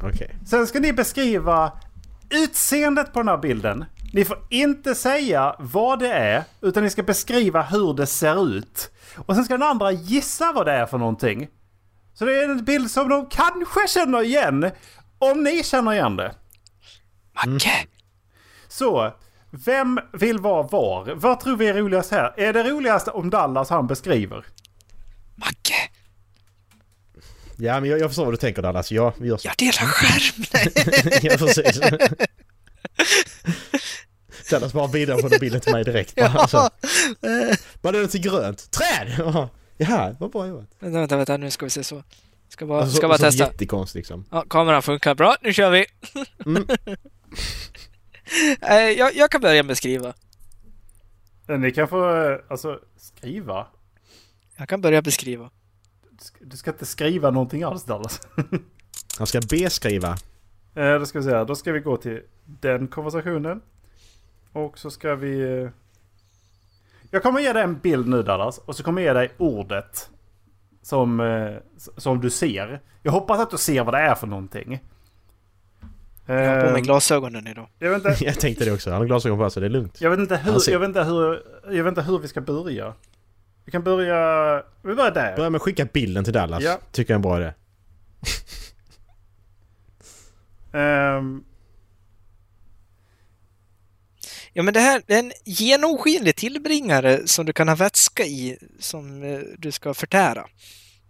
Speaker 2: Okej.
Speaker 4: Sen ska ni beskriva utseendet på den här bilden. Ni får inte säga vad det är, utan ni ska beskriva hur det ser ut. Och sen ska den andra gissa vad det är för någonting. Så det är en bild som de kanske känner igen, om ni känner igen det.
Speaker 3: Macke!
Speaker 4: Så, vem vill vara var? Vad tror vi är roligast här? Är det roligast om Dallas han beskriver?
Speaker 3: Macke!
Speaker 2: Ja, men jag, jag förstår vad du tänker Dallas. Ja, vi gör så.
Speaker 3: Jag delar skärm!
Speaker 2: ja, precis. Dallas bara vidare på den bilden till mig direkt. Bara, alltså. Vad är det till grönt? Träd! Ja, Jaha, vad bra jobbat.
Speaker 3: vänta, vänta, vänta, nu ska vi se så. Ska bara,
Speaker 2: Alltså,
Speaker 3: ska
Speaker 2: så-
Speaker 3: bara
Speaker 2: så
Speaker 3: testa.
Speaker 2: Jättekonst liksom.
Speaker 3: Ja, kameran funkar bra, nu kör vi! Eh, jag, jag kan börja beskriva.
Speaker 4: Ni kan få, eh, alltså, skriva.
Speaker 3: Jag kan börja beskriva.
Speaker 4: Du ska- Du ska inte skriva någonting alls Dallas.
Speaker 2: Han ska beskriva.
Speaker 4: Eh, Då ska vi säga, då ska vi gå till den konversationen. Och så ska vi... eh, Jag kommer ge dig en bild nu Dallas och så kommer jag ge dig ordet. Som, eh, s- som du ser. Jag hoppas att du ser vad det är för någonting.
Speaker 3: Jag har på mig
Speaker 4: Eh,
Speaker 3: glasögonen idag.
Speaker 4: Jag vet, inte,
Speaker 2: Jag tänkte det också. Han har glasögon på sig, det är lugnt.
Speaker 4: jag, vet inte
Speaker 2: Han
Speaker 4: hur,
Speaker 2: ser-
Speaker 4: jag, vet inte hur, jag vet inte hur vi ska börja. Vi kan börja... Vi börjar där.
Speaker 2: Börja med att skicka bilden till Dallas.
Speaker 4: Ja.
Speaker 2: Tycker jag är en bra idé.
Speaker 4: Ehm,
Speaker 3: Ja, men det här det är en genomskinlig tillbringare som du kan ha vätska i som eh, du ska förtära.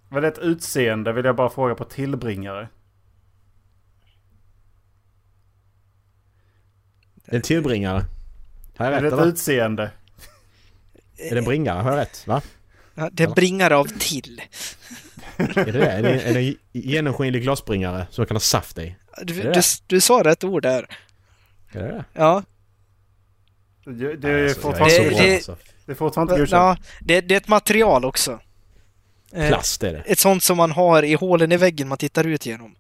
Speaker 4: Vad är ett utseende vill jag bara fråga på tillbringare.
Speaker 2: Det är en tillbringare. Har jag
Speaker 4: Är det
Speaker 2: rätt
Speaker 4: ett
Speaker 2: eller?
Speaker 4: utseende?
Speaker 2: Är det en bringare? Har jag rätt? Va?
Speaker 3: Ja, det är en bringare av till.
Speaker 2: Är det det? Är det, är det en genomskinlig glasbringare som kan ha saft i?
Speaker 3: Du,
Speaker 2: Är det
Speaker 3: du, du sa rätt ord där.
Speaker 2: Är det det?
Speaker 3: Ja,
Speaker 4: Det, det
Speaker 2: Nej,
Speaker 4: är
Speaker 2: alltså, jag
Speaker 4: fortfarande
Speaker 2: så
Speaker 3: Det-
Speaker 2: bra,
Speaker 4: godkänt.
Speaker 3: det-
Speaker 2: alltså.
Speaker 4: Det är fortfarande inte godkänt.
Speaker 3: ja det, det är ett material också. Eh,
Speaker 2: Plast är det.
Speaker 3: Ett sånt som man har i hålen i väggen man tittar ut genom.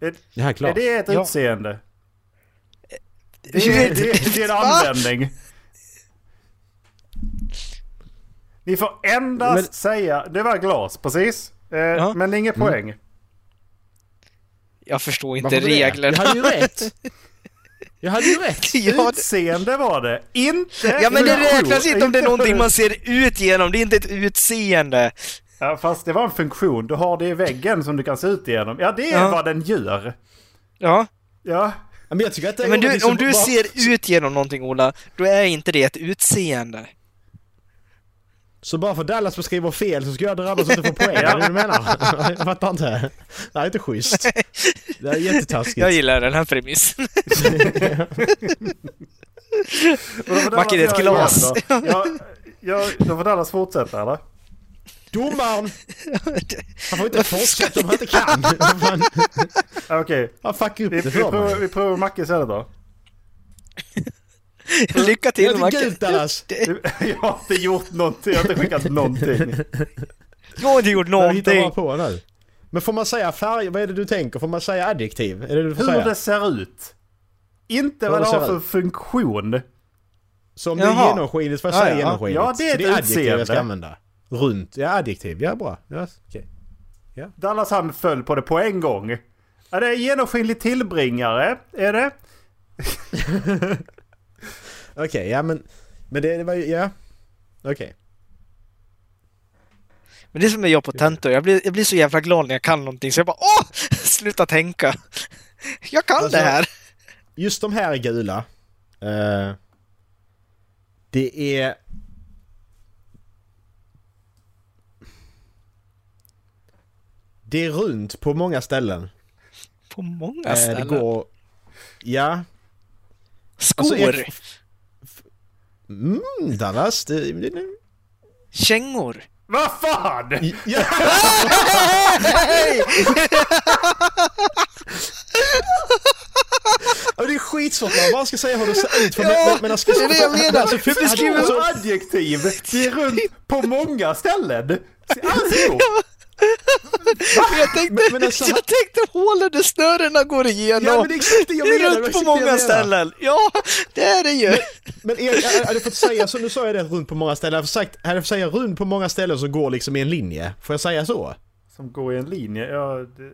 Speaker 2: Det här är
Speaker 4: Är
Speaker 2: klart.
Speaker 4: det ett
Speaker 3: Ja.
Speaker 4: utseende? Det är, det, det är en användning. Ni får endast
Speaker 2: Men-
Speaker 4: säga... Det var glas, precis. Eh, Men inget poäng.
Speaker 3: Jag förstår inte
Speaker 2: Varför det?
Speaker 3: reglerna.
Speaker 2: Jag hade ju rätt! Jag hade ju rätt!
Speaker 3: Ja, det-
Speaker 4: Utseende var det. Inte...
Speaker 3: Ja men det
Speaker 4: funktion.
Speaker 3: räknas inte om det är någonting man
Speaker 4: funktion.
Speaker 3: ser ut genom, det är inte ett utseende.
Speaker 4: Ja, fast det var en funktion. Du har det i väggen som du kan se ut igenom. Ja, det är
Speaker 3: Ja.
Speaker 4: vad den gör.
Speaker 3: Ja,
Speaker 4: Ja.
Speaker 2: Men jag tycker att det
Speaker 3: men du,
Speaker 2: liksom
Speaker 3: om du
Speaker 2: bara-
Speaker 3: ser ut genom någonting Ola, då är inte det ett utseende.
Speaker 2: Så bara för Dallas beskriver fel så ska jag drabbas och inte få poäng?
Speaker 4: Ja.
Speaker 2: Är det det du menar? Jag fattar inte. Det här är inte schysst. Det här är jättetaskigt.
Speaker 3: Jag gillar den här premissen.
Speaker 4: Och då får
Speaker 3: Macke, det är ett
Speaker 4: Dallas
Speaker 3: glas.
Speaker 4: göra igen då. Ja, ja, då får Dallas fortsätta, eller?
Speaker 2: Domaren! Han får inte fortsätta om han inte kan. Han,
Speaker 4: Ja, Okej.
Speaker 2: han fuckar upp
Speaker 4: Vi,
Speaker 2: det
Speaker 4: vi,
Speaker 2: för
Speaker 4: provar,
Speaker 2: mig.
Speaker 4: vi provar Macke istället då.
Speaker 3: Lycka till
Speaker 2: Det är
Speaker 3: Macke!
Speaker 2: gult Dallas!
Speaker 4: Jag har inte gjort någonting, jag har inte skickat någonting.
Speaker 3: Jag har inte gjort
Speaker 2: Jag hittar bara
Speaker 3: någonting!
Speaker 2: på nu. Men får man säga färg? Vad är det du tänker? Får man säga adjektiv? Är det det du får
Speaker 4: Hur
Speaker 2: säga?
Speaker 4: det ser ut. Inte
Speaker 2: Hur
Speaker 4: vad det
Speaker 2: det
Speaker 4: har
Speaker 2: ser
Speaker 4: för
Speaker 2: ut.
Speaker 4: funktion.
Speaker 2: Så om det
Speaker 3: Jaha.
Speaker 2: är genomskinligt får jag
Speaker 4: Ja,
Speaker 2: säga
Speaker 4: ja.
Speaker 2: genomskinligt?
Speaker 4: Ja, det är
Speaker 2: Så
Speaker 4: ett
Speaker 2: adjektiv
Speaker 4: utseende.
Speaker 2: jag ska använda. Runt. Ja, adjektiv. Ja, bra. Ja, okej.
Speaker 4: Dallas han föll på det på en gång. Ja, det är genomskinlig tillbringare, är det?
Speaker 2: Okej, ja men... Men det, det var ju... Ja. Okej.
Speaker 3: Men det är som när jag på tentor, jag blir, jag blir så jävla glad när jag kan någonting så jag bara åh! Sluta tänka! Jag kan
Speaker 2: Alltså-
Speaker 3: det här!
Speaker 2: Just de här är gula. Eh, det är... Det är runt på många ställen.
Speaker 3: På många
Speaker 2: Eh,
Speaker 3: ställen.
Speaker 2: Det går... Ja,
Speaker 3: Skor!
Speaker 2: Alltså, jag- Mm, Dallas, det... det, det.
Speaker 3: Kängor!
Speaker 4: Vad fan!
Speaker 2: Ja, och det är skitsvårt man bara ska säga hur det ser ut för men, men, men jag ska...
Speaker 3: det är det jag menar.
Speaker 2: Alltså,
Speaker 3: Hur beskriver
Speaker 2: alltså,
Speaker 4: Alltså adjektiv! Det är runt på många ställen! Alltså,
Speaker 3: Men jag tänkte,
Speaker 2: men alltså-
Speaker 3: jag tänkte hålen där snörena går igenom!
Speaker 2: Ja men det är exakt det jag
Speaker 3: det
Speaker 2: menar!
Speaker 3: är
Speaker 2: det är
Speaker 3: runt på
Speaker 2: exakt det jag
Speaker 3: många
Speaker 2: menar.
Speaker 3: ställen! Ja, det är det ju!
Speaker 2: Men Erik, jag- jag hade fått säga så, nu sa jag det runt på många ställen, jag hade fått sagt, hade jag fått säga runt på många ställen som går liksom i en linje. Får jag säga så?
Speaker 4: Som går i en linje, ja det...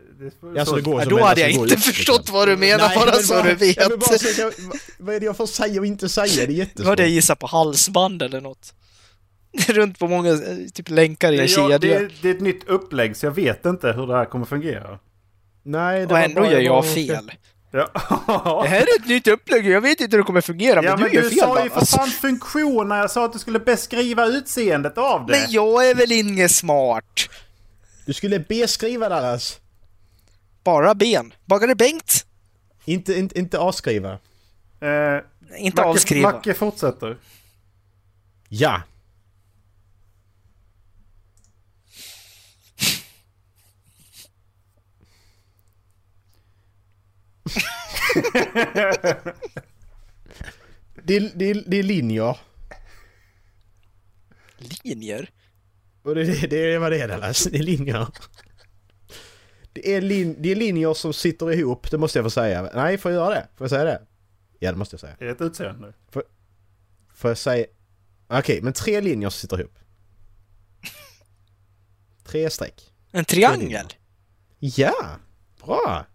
Speaker 4: det
Speaker 2: Alltså det går
Speaker 3: Ja,
Speaker 2: som
Speaker 3: då
Speaker 2: en-
Speaker 3: hade jag
Speaker 2: alltså, det går
Speaker 3: inte
Speaker 2: ut, liksom.
Speaker 3: förstått vad du menar
Speaker 2: Nej,
Speaker 3: bara
Speaker 2: men
Speaker 3: så du vet.
Speaker 2: Ja, men bara så jag, vad- vad är det jag får säga och inte säga? Det är
Speaker 3: Nu
Speaker 2: jättesvårt.
Speaker 3: hade jag gissat på halsband eller något. Runt på många, eh, typ länkar i en
Speaker 4: Ja, det,
Speaker 3: kedja.
Speaker 4: är- det är ett nytt upplägg så jag vet inte hur det här kommer fungera.
Speaker 2: Nej, det
Speaker 3: Och
Speaker 2: var
Speaker 3: ändå
Speaker 2: bara-
Speaker 3: gör
Speaker 2: bara-
Speaker 3: jag fel.
Speaker 4: Ja,
Speaker 3: Det här är ett nytt upplägg, jag vet inte hur det kommer fungera,
Speaker 4: ja
Speaker 3: men
Speaker 4: men
Speaker 3: du gör
Speaker 4: du
Speaker 3: fel
Speaker 4: sa ju för
Speaker 3: Dallas.
Speaker 4: fan funktion när jag sa att du skulle beskriva utseendet av det.
Speaker 3: Men jag är väl ingen smart?
Speaker 2: Du skulle alltså. beskriva Dallas.
Speaker 3: Bara ben. Bagare Bengt?
Speaker 2: Inte, inte, inte avskriva.
Speaker 4: Eh,
Speaker 3: Nej, Inte avskriva.
Speaker 4: Macke fortsätter.
Speaker 2: Ja. det, är, det, är, det är linjer.
Speaker 3: Linjer?
Speaker 2: Och det, det, det är vad det är Dallas. Det är linjer. Det är, lin, det är linjer som sitter ihop, det måste jag få säga. Nej, får jag göra det? Får jag säga det? Ja, det måste jag säga.
Speaker 4: Det är ett utseende.
Speaker 2: Får jag säga... Okej, men tre linjer som sitter ihop. Tre streck.
Speaker 3: En triangel?
Speaker 2: Ja! Bra!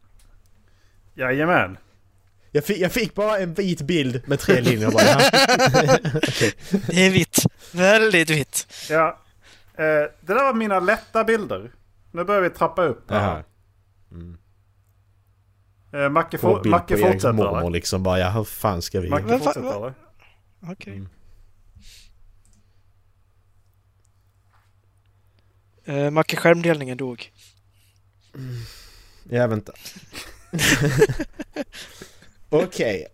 Speaker 4: Jajamän.
Speaker 2: Jag fick, jag fick bara en vit bild med tre linjer bara. Ja.
Speaker 3: Det är vitt. Väldigt vitt.
Speaker 4: Ja. Eh, det där var mina lätta bilder. Nu börjar vi trappa upp. här.
Speaker 2: Jaha.
Speaker 4: Eh, Macke,
Speaker 2: Mm. Få en
Speaker 4: for-
Speaker 2: bild
Speaker 4: Macke
Speaker 2: på Eriks
Speaker 4: fortsätter.
Speaker 2: mormor
Speaker 4: eller?
Speaker 2: liksom bara, ja hur fan ska vi...
Speaker 4: Macke
Speaker 3: Men fa-
Speaker 4: fortsätter.
Speaker 3: va-
Speaker 4: eller?
Speaker 3: Okej. Eh, Macke, skärmdelningen dog.
Speaker 2: Ja, vänta. Okej.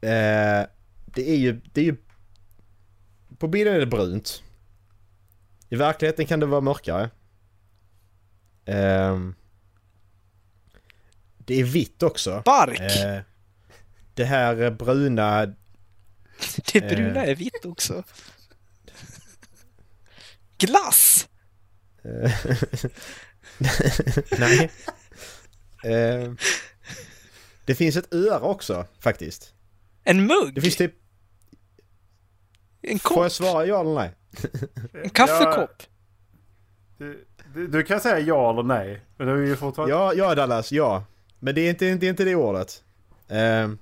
Speaker 2: Eh, det är ju, det är ju... På bilden är det brunt. I verkligheten kan det vara mörkare. Ehm, det är vitt också.
Speaker 3: Bark!
Speaker 2: Eh, det här bruna...
Speaker 3: det
Speaker 2: eh.
Speaker 3: bruna är vitt också. Glass!
Speaker 2: Eh, Nej. Eh, det finns ett öra också faktiskt.
Speaker 3: En
Speaker 2: Det
Speaker 3: mugg!
Speaker 2: finns typ...
Speaker 3: En
Speaker 2: Får
Speaker 3: kopp!
Speaker 2: jag svara ja eller nej?
Speaker 3: En kaffekopp!
Speaker 4: Ja, du, du kan säga ja eller nej. Men det är ju fortfarande...
Speaker 2: Ja, ja Dallas, ja. Men det är inte det, är inte det ordet. Ehm,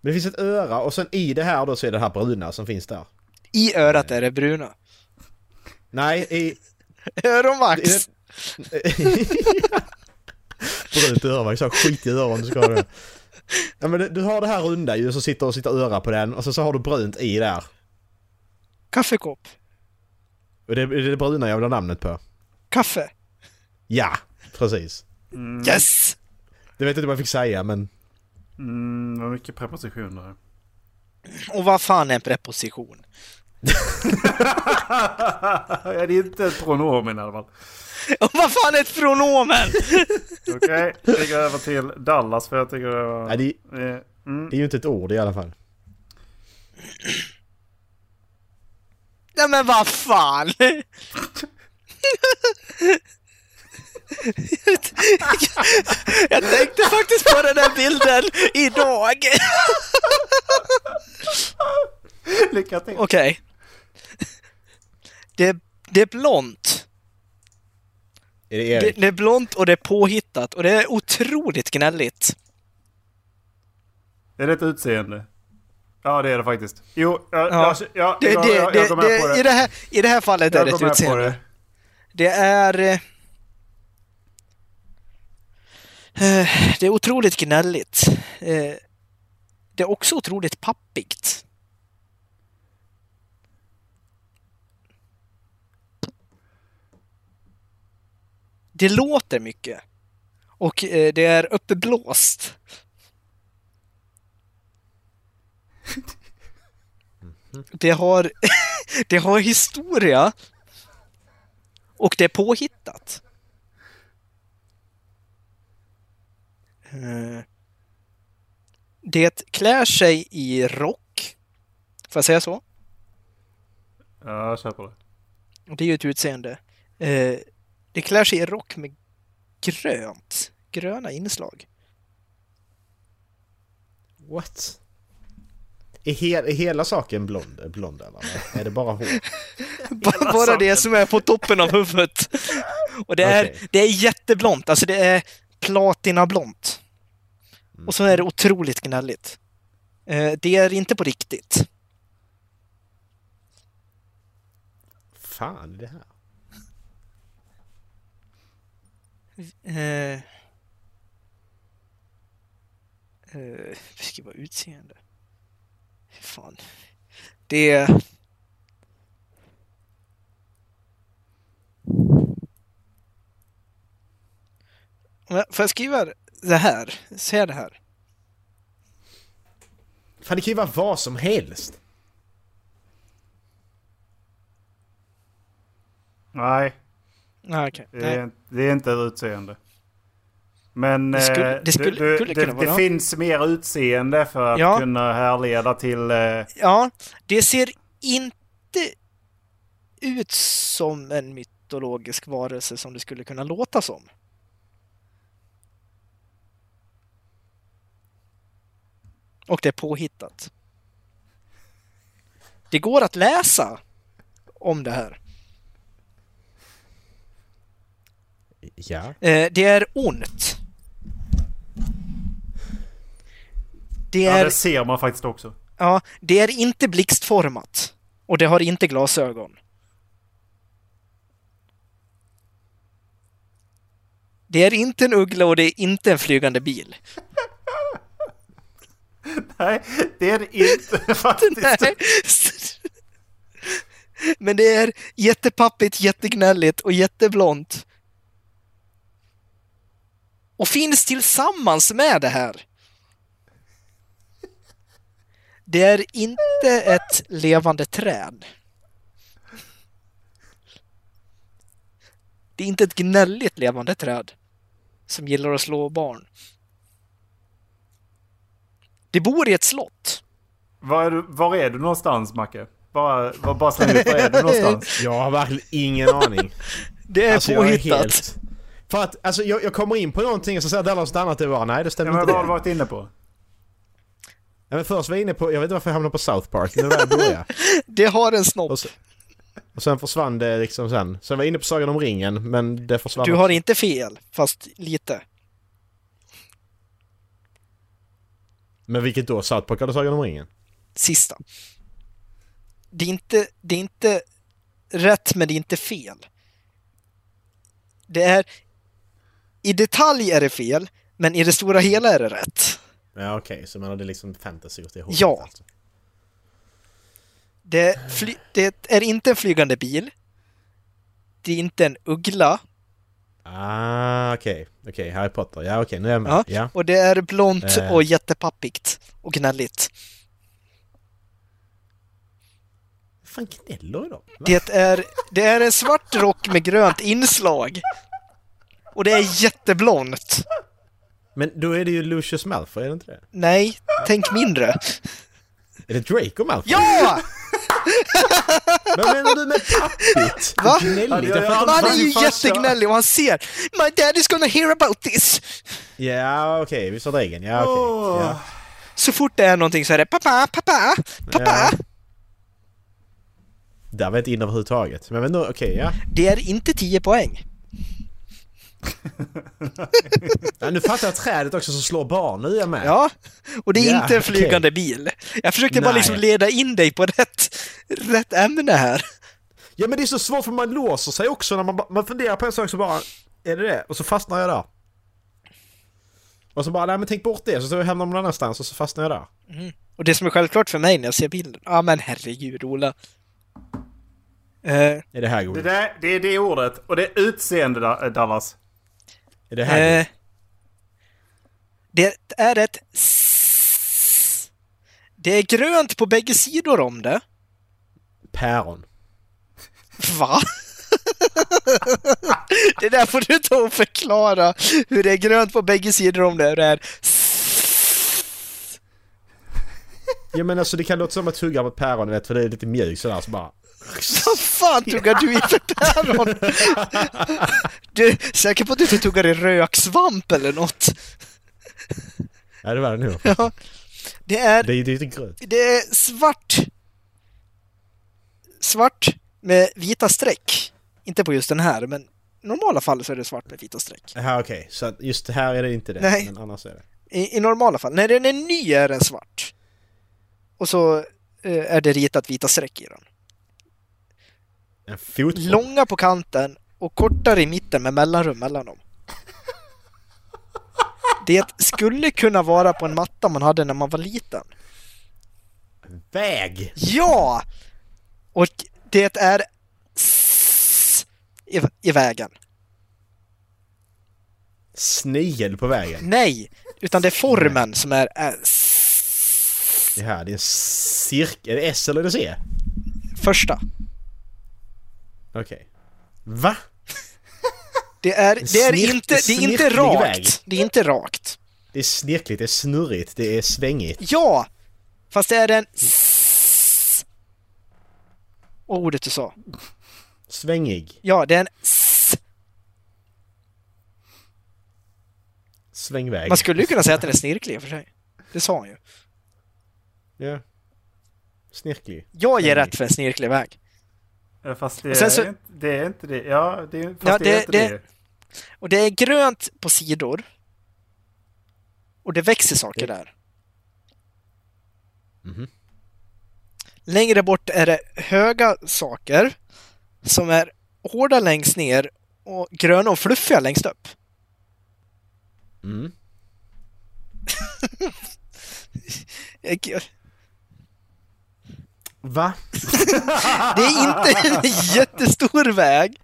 Speaker 2: men det finns ett öra och sen i det här då så är det här bruna som finns där.
Speaker 3: I örat är det bruna.
Speaker 2: Nej, i... i
Speaker 3: Öronvax!
Speaker 2: det- Brunt öra, jag sa skit i öron ska du. Ja, men du, du har det här runda ju som sitter och sitter öra på den och sen så har du brunt i där.
Speaker 3: Kaffekopp!
Speaker 2: Och det, det är det bruna jag vill ha namnet på.
Speaker 3: Kaffe!
Speaker 2: Ja, precis. Mm.
Speaker 3: Yes!
Speaker 2: Det vet jag inte vad jag fick säga men...
Speaker 4: Mm, vad mycket prepositioner.
Speaker 3: Och vad fan är en preposition?
Speaker 4: ja, det är inte ett pronomen i alla fall.
Speaker 3: Och vad fan är ett pronomen?
Speaker 4: Okej, vi går över till Dallas för jag tycker det var...
Speaker 2: Nej, det,
Speaker 4: Eh, mm.
Speaker 2: det är ju inte ett ord i alla fall.
Speaker 3: Nej men vad fan! Jag tänkte faktiskt på den där bilden idag.
Speaker 16: Lycka till.
Speaker 3: Okej. Det, det är blont.
Speaker 2: Är det
Speaker 3: Det,
Speaker 2: Erik?
Speaker 3: det är blont och det är påhittat och det är otroligt gnälligt.
Speaker 4: Är det ett utseende? Ja, det är det faktiskt. Jo, jag,
Speaker 3: Ja.
Speaker 4: jag, jag,
Speaker 3: Det, det,
Speaker 4: jag, jag,
Speaker 3: det,
Speaker 4: jag går med på
Speaker 3: det,
Speaker 4: det.
Speaker 3: i, det här, I det här fallet är
Speaker 4: jag
Speaker 3: det
Speaker 4: går
Speaker 3: ett
Speaker 4: med på
Speaker 3: utseende.
Speaker 4: det.
Speaker 3: Det är... eh, eh, Det är otroligt gnälligt. Eh, Det är också otroligt pappigt. Det låter mycket. Och eh, det är uppblåst. Det har, det har historia. Och det är påhittat. Eh, Det klär sig i rock. Får jag säga så?
Speaker 4: Ja, jag köper det.
Speaker 3: Och Det är ju ett utseende. Eh, Det klär sig i rock med grönt. Gröna inslag.
Speaker 2: What? Är, hel, är hela saken blond, blond eller? Är det bara hår?
Speaker 3: Bara bara det som är på toppen av huvudet. Och det är,
Speaker 2: Okej.
Speaker 3: det är jätteblont. Alltså det är platinablont. Och så är det otroligt gnälligt. Eh, Det är inte på riktigt.
Speaker 2: Fan är det här?
Speaker 3: Eh, eh, beskriva utseende. Hur Fan. Det är... Om jag- Får jag skriva det här? Säga det här?
Speaker 2: Fan det kan ju vara vad som helst.
Speaker 4: Nej,
Speaker 3: Nej, okej.
Speaker 4: det
Speaker 3: Nej.
Speaker 4: är, det är inte ett utseende. Men
Speaker 3: Det skulle-
Speaker 4: eh,
Speaker 3: det skulle-
Speaker 4: du, du,
Speaker 3: skulle
Speaker 4: det,
Speaker 3: kunna vara.
Speaker 4: det finns mer utseende för att
Speaker 3: Ja.
Speaker 4: kunna härleda till... Eh,
Speaker 3: Ja, det ser inte ut som en mytologisk varelse som det skulle kunna låta som. Och det är påhittat. Det går att läsa om det här.
Speaker 2: Ja.
Speaker 3: Eh, Det är ont. Det
Speaker 4: ja,
Speaker 3: är
Speaker 4: det ser man faktiskt också.
Speaker 3: Ja, det är inte blixtformat. Och det har inte glasögon. Det är inte en uggla och det är inte en flygande bil.
Speaker 4: Nej, det är det inte faktiskt.
Speaker 3: Nej. Men det är jättepappigt, jättegnälligt och jätteblont. Och finns tillsammans med det här. Det är inte ett levande träd. Det är inte ett gnälligt levande träd som gillar att slå barn. Det bor i ett slott.
Speaker 4: Var är, du, var är du någonstans, Macke? Bara, var- bara släng ut, var är du någonstans?
Speaker 2: Jag har verkligen ingen aning.
Speaker 3: Det är
Speaker 2: Alltså, jag
Speaker 3: påhittat.
Speaker 2: För att alltså, jag, jag kommer in på någonting och så säger Dallas något annat. Det var nej det
Speaker 4: Ja,
Speaker 2: stämmer
Speaker 4: men
Speaker 2: inte.
Speaker 4: vad har
Speaker 2: Det.
Speaker 4: du varit inne på?
Speaker 2: Ja, men först var jag inne på, jag vet inte varför jag hamnade på South Park. Men det var där jag började.
Speaker 3: Det har en snopp.
Speaker 2: Och så- Och sen försvann det liksom sen. Sen var jag inne på Sagan om ringen men det försvann.
Speaker 3: Du har inte fel, fast lite.
Speaker 2: Men vilket då? South Park eller Sagan om ringen?
Speaker 3: Sista. Det är inte, det är inte rätt, men det är inte fel. Det är... I detalj är det fel, men i det stora hela är det rätt.
Speaker 2: Ja okej, så man hade liksom fantasy åt det hållet
Speaker 3: Ja.
Speaker 2: alltså.
Speaker 3: Det, fly- det är inte en flygande bil. Det är inte en uggla.
Speaker 2: Ah okej, okej Harry Potter. Ja okej, nu är jag med.
Speaker 3: Ja.
Speaker 2: Ja.
Speaker 3: Och det är blont
Speaker 2: Eh.
Speaker 3: och jättepappigt och gnälligt.
Speaker 2: Vad fan gnäller de? Va?
Speaker 3: Det är, det är en svart rock med grönt inslag. Och det är jätteblont.
Speaker 2: Men då är det ju Lucius Malfoy, är det inte det?
Speaker 3: Nej, tänk mindre.
Speaker 2: Är det Draco Malfoy?
Speaker 3: Ja!
Speaker 2: Vad menar du med pappigt?
Speaker 3: Va?
Speaker 2: Gnälligt? Jag fattar
Speaker 3: Men han är ju
Speaker 2: inte.
Speaker 3: jättegnällig och han ser My daddy's gonna hear about this!
Speaker 2: Ja, okej, vi sa regeln. Ja, okej. Ja.
Speaker 3: Så fort det är någonting så är det pappa, pappa, pappa!
Speaker 2: Ja. Där var jag inte inne överhuvudtaget. Men, men nu- okej, ja.
Speaker 3: Det är inte 10 poäng.
Speaker 2: ja. Nu fattar jag trädet också som slår barn. Nu är jag med.
Speaker 3: Ja, och det är
Speaker 2: Ja,
Speaker 3: inte en
Speaker 2: okej.
Speaker 3: flygande bil. Jag försökte bara
Speaker 2: Nej.
Speaker 3: liksom leda in dig på rätt, rätt ämne här.
Speaker 2: Ja men det är så svårt för man låser sig också när man, ba- man funderar på en sak så bara Är det det? Och så fastnar jag där. Och så bara nej men tänk bort det så, så hamnar man någon annanstans och så fastnar jag där.
Speaker 3: Och det som är självklart för mig när jag ser bilden, ja ah, men herregud Ola. Eh,
Speaker 2: Är det Hagrid?
Speaker 4: Det, där, det är det ordet. Och det är utseende Da- eh, Dallas.
Speaker 2: Är det Hagrid?
Speaker 3: eh, det är ett s- Det är grönt på bägge sidor om det.
Speaker 2: Päron.
Speaker 3: Va? det där får du ta och förklara hur det är grönt på bägge sidor om det. det är s-
Speaker 2: Ja men alltså det kan låta som att tugga på ett päron vet för det är lite mjukt sådär så bara
Speaker 3: Vad fan tuggar du i för päron? Du är säker på att du inte tuggar i röksvamp eller något?
Speaker 2: Ja det var det nog.
Speaker 3: Ja. Det är,
Speaker 2: Det är det är ju inte grönt.
Speaker 3: det är svart. Svart med vita streck. Inte på just den här, men i normala fall så är det svart med vita streck.
Speaker 2: Ja okej, så att just här är det inte det.
Speaker 3: Nej.
Speaker 2: Men annars är det.
Speaker 3: I, i normala fall. När den är ny är den svart. Och så eh, är det ritat vita streck i den.
Speaker 2: En fotboll.
Speaker 3: Långa på kanten och kortare i mitten med mellanrum mellan dem. Det skulle kunna vara på en matta man hade när man var liten.
Speaker 2: Väg!
Speaker 3: Ja! Och det är s- i, i vägen.
Speaker 2: Snigel på vägen.
Speaker 3: Nej, utan det är formen som är s-
Speaker 2: Det här, det är en cirkel. Är det S eller är det C?
Speaker 3: första.
Speaker 2: Okej. Va?
Speaker 3: Det är, det är
Speaker 2: Snirk-
Speaker 3: inte, det är inte
Speaker 2: snirklig väg.
Speaker 3: rakt. Det är inte rakt.
Speaker 2: Det är snirkligt, det är snurrigt, det är svängigt.
Speaker 3: Ja! Fast det är en s- ordet du sa.
Speaker 2: Svängig.
Speaker 3: Ja, det är en s-
Speaker 2: Svängväg.
Speaker 3: Man skulle ju kunna säga att den är snirklig i och för sig. Det sa han ju.
Speaker 2: Ja. Snirklig.
Speaker 3: Jag ger
Speaker 2: Snirklig.
Speaker 3: rätt för en snirklig väg.
Speaker 4: Eh, Fast det
Speaker 3: Och sen
Speaker 4: är,
Speaker 3: så-
Speaker 4: inte, det är inte det. Ja, det är, fast
Speaker 3: Ja,
Speaker 4: det,
Speaker 3: det-
Speaker 4: är inte
Speaker 3: det-
Speaker 4: det.
Speaker 3: Och det är grönt på sidor. Och det växer saker där.
Speaker 2: Mhm.
Speaker 3: Längre bort är det höga saker som är hårda längst ner och gröna och fluffiga längst upp.
Speaker 2: Mm.
Speaker 3: Jag-
Speaker 2: Va?
Speaker 3: Det är inte en jättestor väg.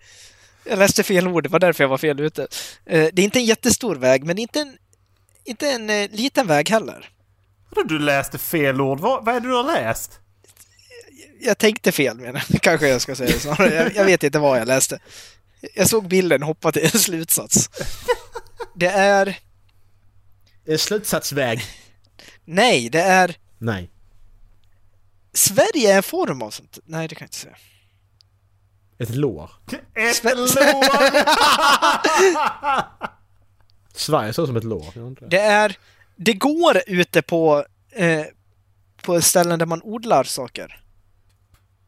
Speaker 3: Jag läste fel ord, det var därför jag var fel ute. Eh, Det är inte en jättestor väg, men det är inte en, inte en eh, liten väg heller.
Speaker 4: Vadå, du läste fel ord? Vad, vad är det du har läst?
Speaker 3: Jag tänkte fel menar jag, kanske jag ska säga snarare. Jag, jag vet inte vad jag läste. Jag såg bilden och hoppade till en slutsats. Det är...
Speaker 2: Eh, Slutsatsväg.
Speaker 3: Nej, det är...
Speaker 2: Nej.
Speaker 3: Sverige är en form av sånt. Nej, det kan jag inte säga.
Speaker 2: Ett lår.
Speaker 4: Ett
Speaker 3: Sve-
Speaker 4: lår!
Speaker 2: Sverige såg som ett lår. Jag undrar.
Speaker 3: Det är... Det går ute på... Eh, på ställen där man odlar saker.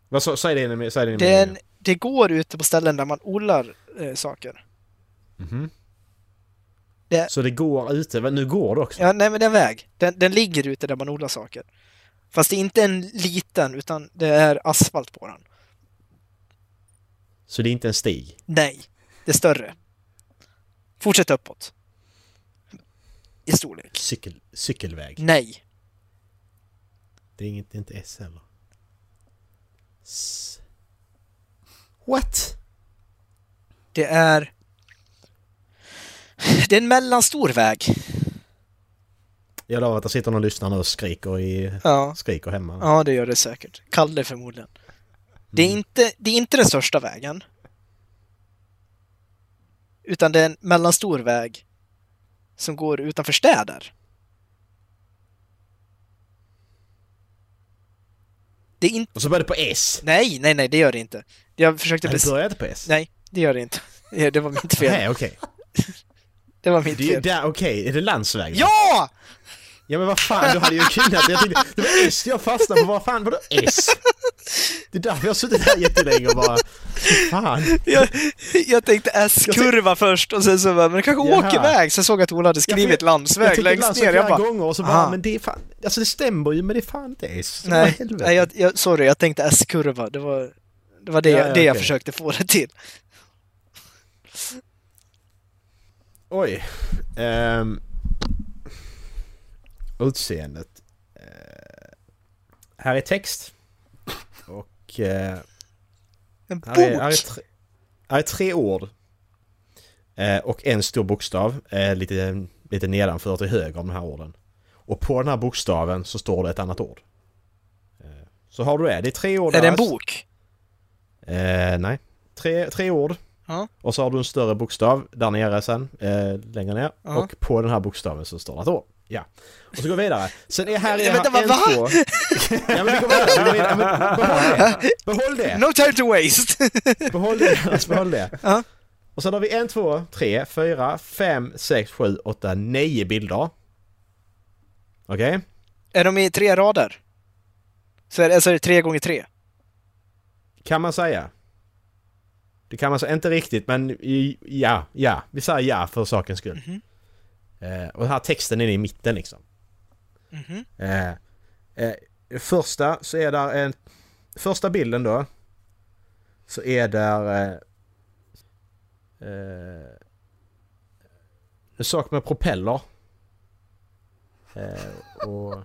Speaker 2: Vad sa- Säg det innan säg det innan
Speaker 3: Det, är en, det går ute på ställen där man odlar eh, saker.
Speaker 2: Mhm.
Speaker 3: det-
Speaker 2: Så det går ute. Men nu går det också.
Speaker 3: Ja, nej men det är en väg. Den, den ligger ute där man odlar saker. Fast det är inte en liten, utan det är asfalt på den.
Speaker 2: Så det är inte en stig.
Speaker 3: Nej, det är större. Fortsätt uppåt. I storlek.
Speaker 2: Cykel, cykelväg.
Speaker 3: Nej.
Speaker 2: Det är, inget, det är inte S heller. S. What?
Speaker 3: Det är... Det är en mellanstor väg.
Speaker 2: Jag lovar att det sitter någon lyssnare nu och skriker, i,
Speaker 3: Ja,
Speaker 2: skriker hemma.
Speaker 3: ja det gör det säkert. Kalle förmodligen. Det är, inte, det är inte den största vägen. Utan det är en mellanstor väg som går utanför städer. Det är inte...
Speaker 2: Och så började det på S.
Speaker 3: Nej, nej, nej, det gör det inte. Jag försökte...
Speaker 2: Nej, Det
Speaker 3: Bes...
Speaker 2: började inte på S.
Speaker 3: Nej, det gör det inte. Ja, Det var mitt fel.
Speaker 2: Nej, okej.
Speaker 3: Det var mitt
Speaker 2: Det är ju
Speaker 3: fel.
Speaker 2: där, okej. Är det landsväg?
Speaker 3: Ja!
Speaker 2: Ja men vad fan, du hade ju kunnat. Jag tänkte, det var S jag fastnade på. Vad fan, vadå S? Det är därför jag har suttit här jättelänge och bara... Fan.
Speaker 3: Jag, jag tänkte S-kurva först och sen så bara, men det kanske
Speaker 2: Jaha.
Speaker 3: åker iväg. Sen såg jag att Ola hade
Speaker 2: Ja,
Speaker 3: skrivit
Speaker 2: för jag- jag
Speaker 3: landsväg
Speaker 2: tänkte
Speaker 3: längst
Speaker 2: landsväg
Speaker 3: ner. Jag
Speaker 2: flera
Speaker 3: bara,
Speaker 2: gånger och så bara,
Speaker 3: "Aha."
Speaker 2: men det är fan... Alltså det stämmer ju men det är fan inte S. Så vad
Speaker 3: nej,
Speaker 2: helvete.
Speaker 3: nej jag, jag, sorry, jag tänkte S-kurva. Det var, det, var det,
Speaker 2: Ja,
Speaker 3: jag-
Speaker 2: ja,
Speaker 3: det jag
Speaker 2: okej.
Speaker 3: försökte få det till.
Speaker 2: Oj. Um, utseendet. Eh, här är text. Och... eh,
Speaker 3: En
Speaker 2: här, är, här, är
Speaker 3: bok!
Speaker 2: tre, här är tre ord. Eh, och en stor bokstav. eh, lite, lite nedanför till höger om de här orden. Och på den här bokstaven så står det ett annat ord. Eh, så har du det. Det är tre ord.
Speaker 3: Är det en
Speaker 2: där.
Speaker 3: bok?
Speaker 2: Eh, nej. Tre, tre ord.
Speaker 3: Ja.
Speaker 2: Och så har du en större bokstav där nere sen, eh, längre ner.
Speaker 3: Ja.
Speaker 2: Och på den här bokstaven så står det ett ord. Ja. Och så går vi vidare. Sen är här är
Speaker 3: Vänta,
Speaker 2: här en,
Speaker 3: va?
Speaker 2: två... Ja men vi går vidare, vi går vidare. Men behåll det! Behåll det!
Speaker 3: No time to waste!
Speaker 2: Behåll det! Jonas, Behåll det.
Speaker 3: Ja.
Speaker 2: Och sen har vi en, två, tre, fyra, fem, sex, sju, åtta, nio bilder. Okej?
Speaker 3: är de i tre rader? Så är det, alltså är det tre gånger tre?
Speaker 2: Kan man säga. Det kan man säga, inte riktigt men i- ja, ja. Vi säger ja för sakens skull. Eh, och den här texten är i mitten liksom.
Speaker 3: Mhm.
Speaker 2: Eh, eh, första så är där en... Första bilden då. Så är där... Eh, eh, en sak med propeller. Eh, och...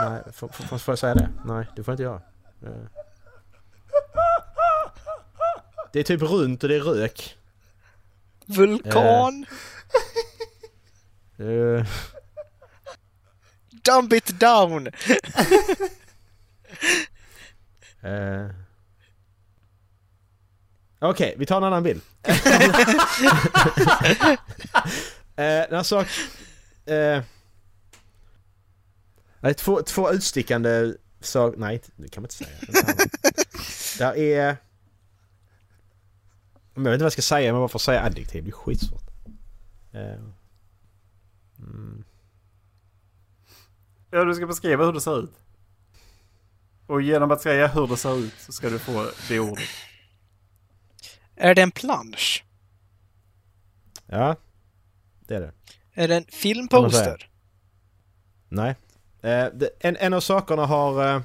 Speaker 2: Nej, får, får, får jag säga det? Nej, det får jag inte göra. Eh. Det är typ runt och det är rök.
Speaker 3: Vulkan!
Speaker 2: Eh,
Speaker 3: Dump it down!
Speaker 2: Eh. Okej, vi tar en annan bild. eh, en sak... Eh, nej, två, två utstickande saker... Nej, det kan man inte säga. Den här var- Där är... Men jag vet inte vad jag ska säga, men varför säga adjektiv? Det är skitsvårt. Eh, mm,
Speaker 4: Ja, du ska beskriva hur det ser ut. Och genom att säga hur det ser ut så ska du få det ordet.
Speaker 3: Är det en plansch?
Speaker 2: ja, det är det.
Speaker 3: Är det
Speaker 2: Kan
Speaker 3: en
Speaker 2: man säga.
Speaker 3: filmposter?
Speaker 2: Nej. Eh, det, en, en av sakerna har... Eh,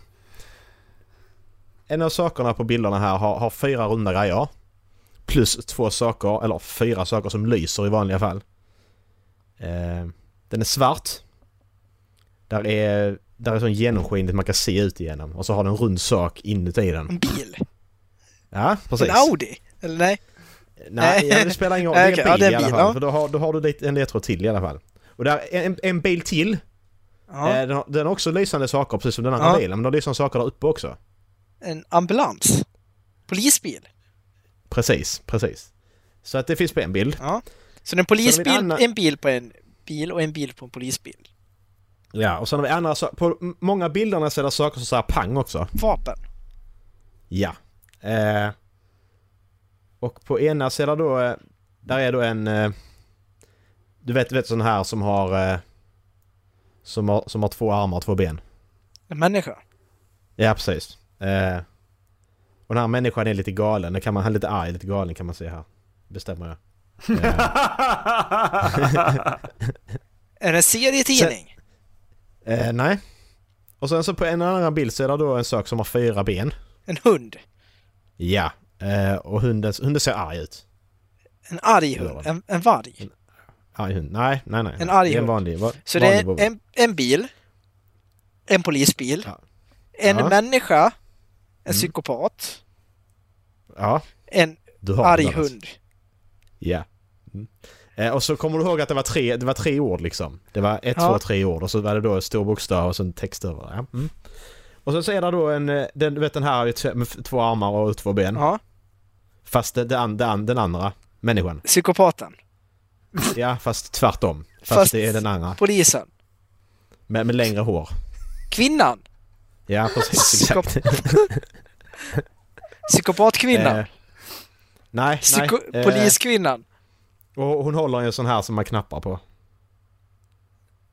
Speaker 2: en av sakerna på bilderna här har, har fyra runda grejer. Plus två saker, eller fyra saker som lyser i vanliga fall. Eh, den är svart. Där är, där är sån genomskinligt man kan se ut igenom. Och så har den en rund sak inuti den.
Speaker 3: En bil?
Speaker 2: Ja, precis.
Speaker 3: En Audi? Eller nej?
Speaker 2: Nej, ja, det spelar ingen roll. Det är en bil,
Speaker 3: Okej, ja, det är
Speaker 2: i alla
Speaker 3: bil,
Speaker 2: fall.
Speaker 3: ja.
Speaker 2: För då har, då har du lite- en ledtråd till i alla fall. Och där är en, en bil till.
Speaker 3: Ja.
Speaker 2: Eh, Den, har, den har också lysande saker precis som den andra
Speaker 3: Ja.
Speaker 2: bilen, men den har lysande saker där uppe också.
Speaker 3: En ambulans? Polisbil?
Speaker 2: Precis, precis. Så att det finns på en bild.
Speaker 3: Ja. Så det är en polisbil,
Speaker 2: Så har vi en annan-
Speaker 3: en bil på en bil och en bil på en polisbil.
Speaker 2: Ja, och sen har vi andra saker. På m- många bilderna så är det saker som säger pang också.
Speaker 3: Vapen?
Speaker 2: Ja. Eh, och på ena så är det då... eh, Där är då en... Eh, du vet, du vet sån här som har, eh, som har... Som har två armar och två ben.
Speaker 3: En människa?
Speaker 2: Ja, precis. Eh, och den här människan är lite galen. Det kan man, han är lite arg, lite galen kan man se här. Bestämmer jag.
Speaker 3: Är det en serietidning?
Speaker 2: Eh, nej. Och sen så på en annan bild så är det då en sak som har fyra ben.
Speaker 3: En hund?
Speaker 2: Ja. Eh, och hunden, hunden ser arg ut.
Speaker 3: En arg
Speaker 2: Ja.
Speaker 3: hund? En, en varg?
Speaker 2: Arg hund. Nej, nej, nej.
Speaker 3: En arg
Speaker 2: Det är en
Speaker 3: hund.
Speaker 2: vanlig, va,
Speaker 3: Så det
Speaker 2: vanlig
Speaker 3: är
Speaker 2: bobbe.
Speaker 3: en, en bil? En polisbil?
Speaker 2: Ja.
Speaker 3: En
Speaker 2: Ja. Mm.
Speaker 3: människa? En psykopat?
Speaker 2: Ja.
Speaker 3: En
Speaker 2: Du har den
Speaker 3: arg
Speaker 2: alltså.
Speaker 3: hund?
Speaker 2: Ja. Mm. Eh, och så kommer du ihåg att det var tre, det var tre ord liksom. Det var ett,
Speaker 3: Ja.
Speaker 2: två, tre ord och så var det då en stor bokstav och så en text över det. Ja. Mm. Och sen så är det då en, eh, den, du vet den här med t- med två armar och två ben.
Speaker 3: Ja.
Speaker 2: Fast det, det, an- det, an- den andra människan.
Speaker 3: Psykopaten?
Speaker 2: Ja, fast tvärtom. Fast,
Speaker 3: Fast-
Speaker 2: det är den andra.
Speaker 3: Polisen?
Speaker 2: Med, med längre hår.
Speaker 3: Kvinnan?
Speaker 2: Ja, precis. Exakt.
Speaker 3: Psykopatkvinnan?
Speaker 2: Eh, nej,
Speaker 3: Psyko
Speaker 2: nej. eh,
Speaker 3: Poliskvinnan?
Speaker 2: Och hon håller i en sån här som man knappar på.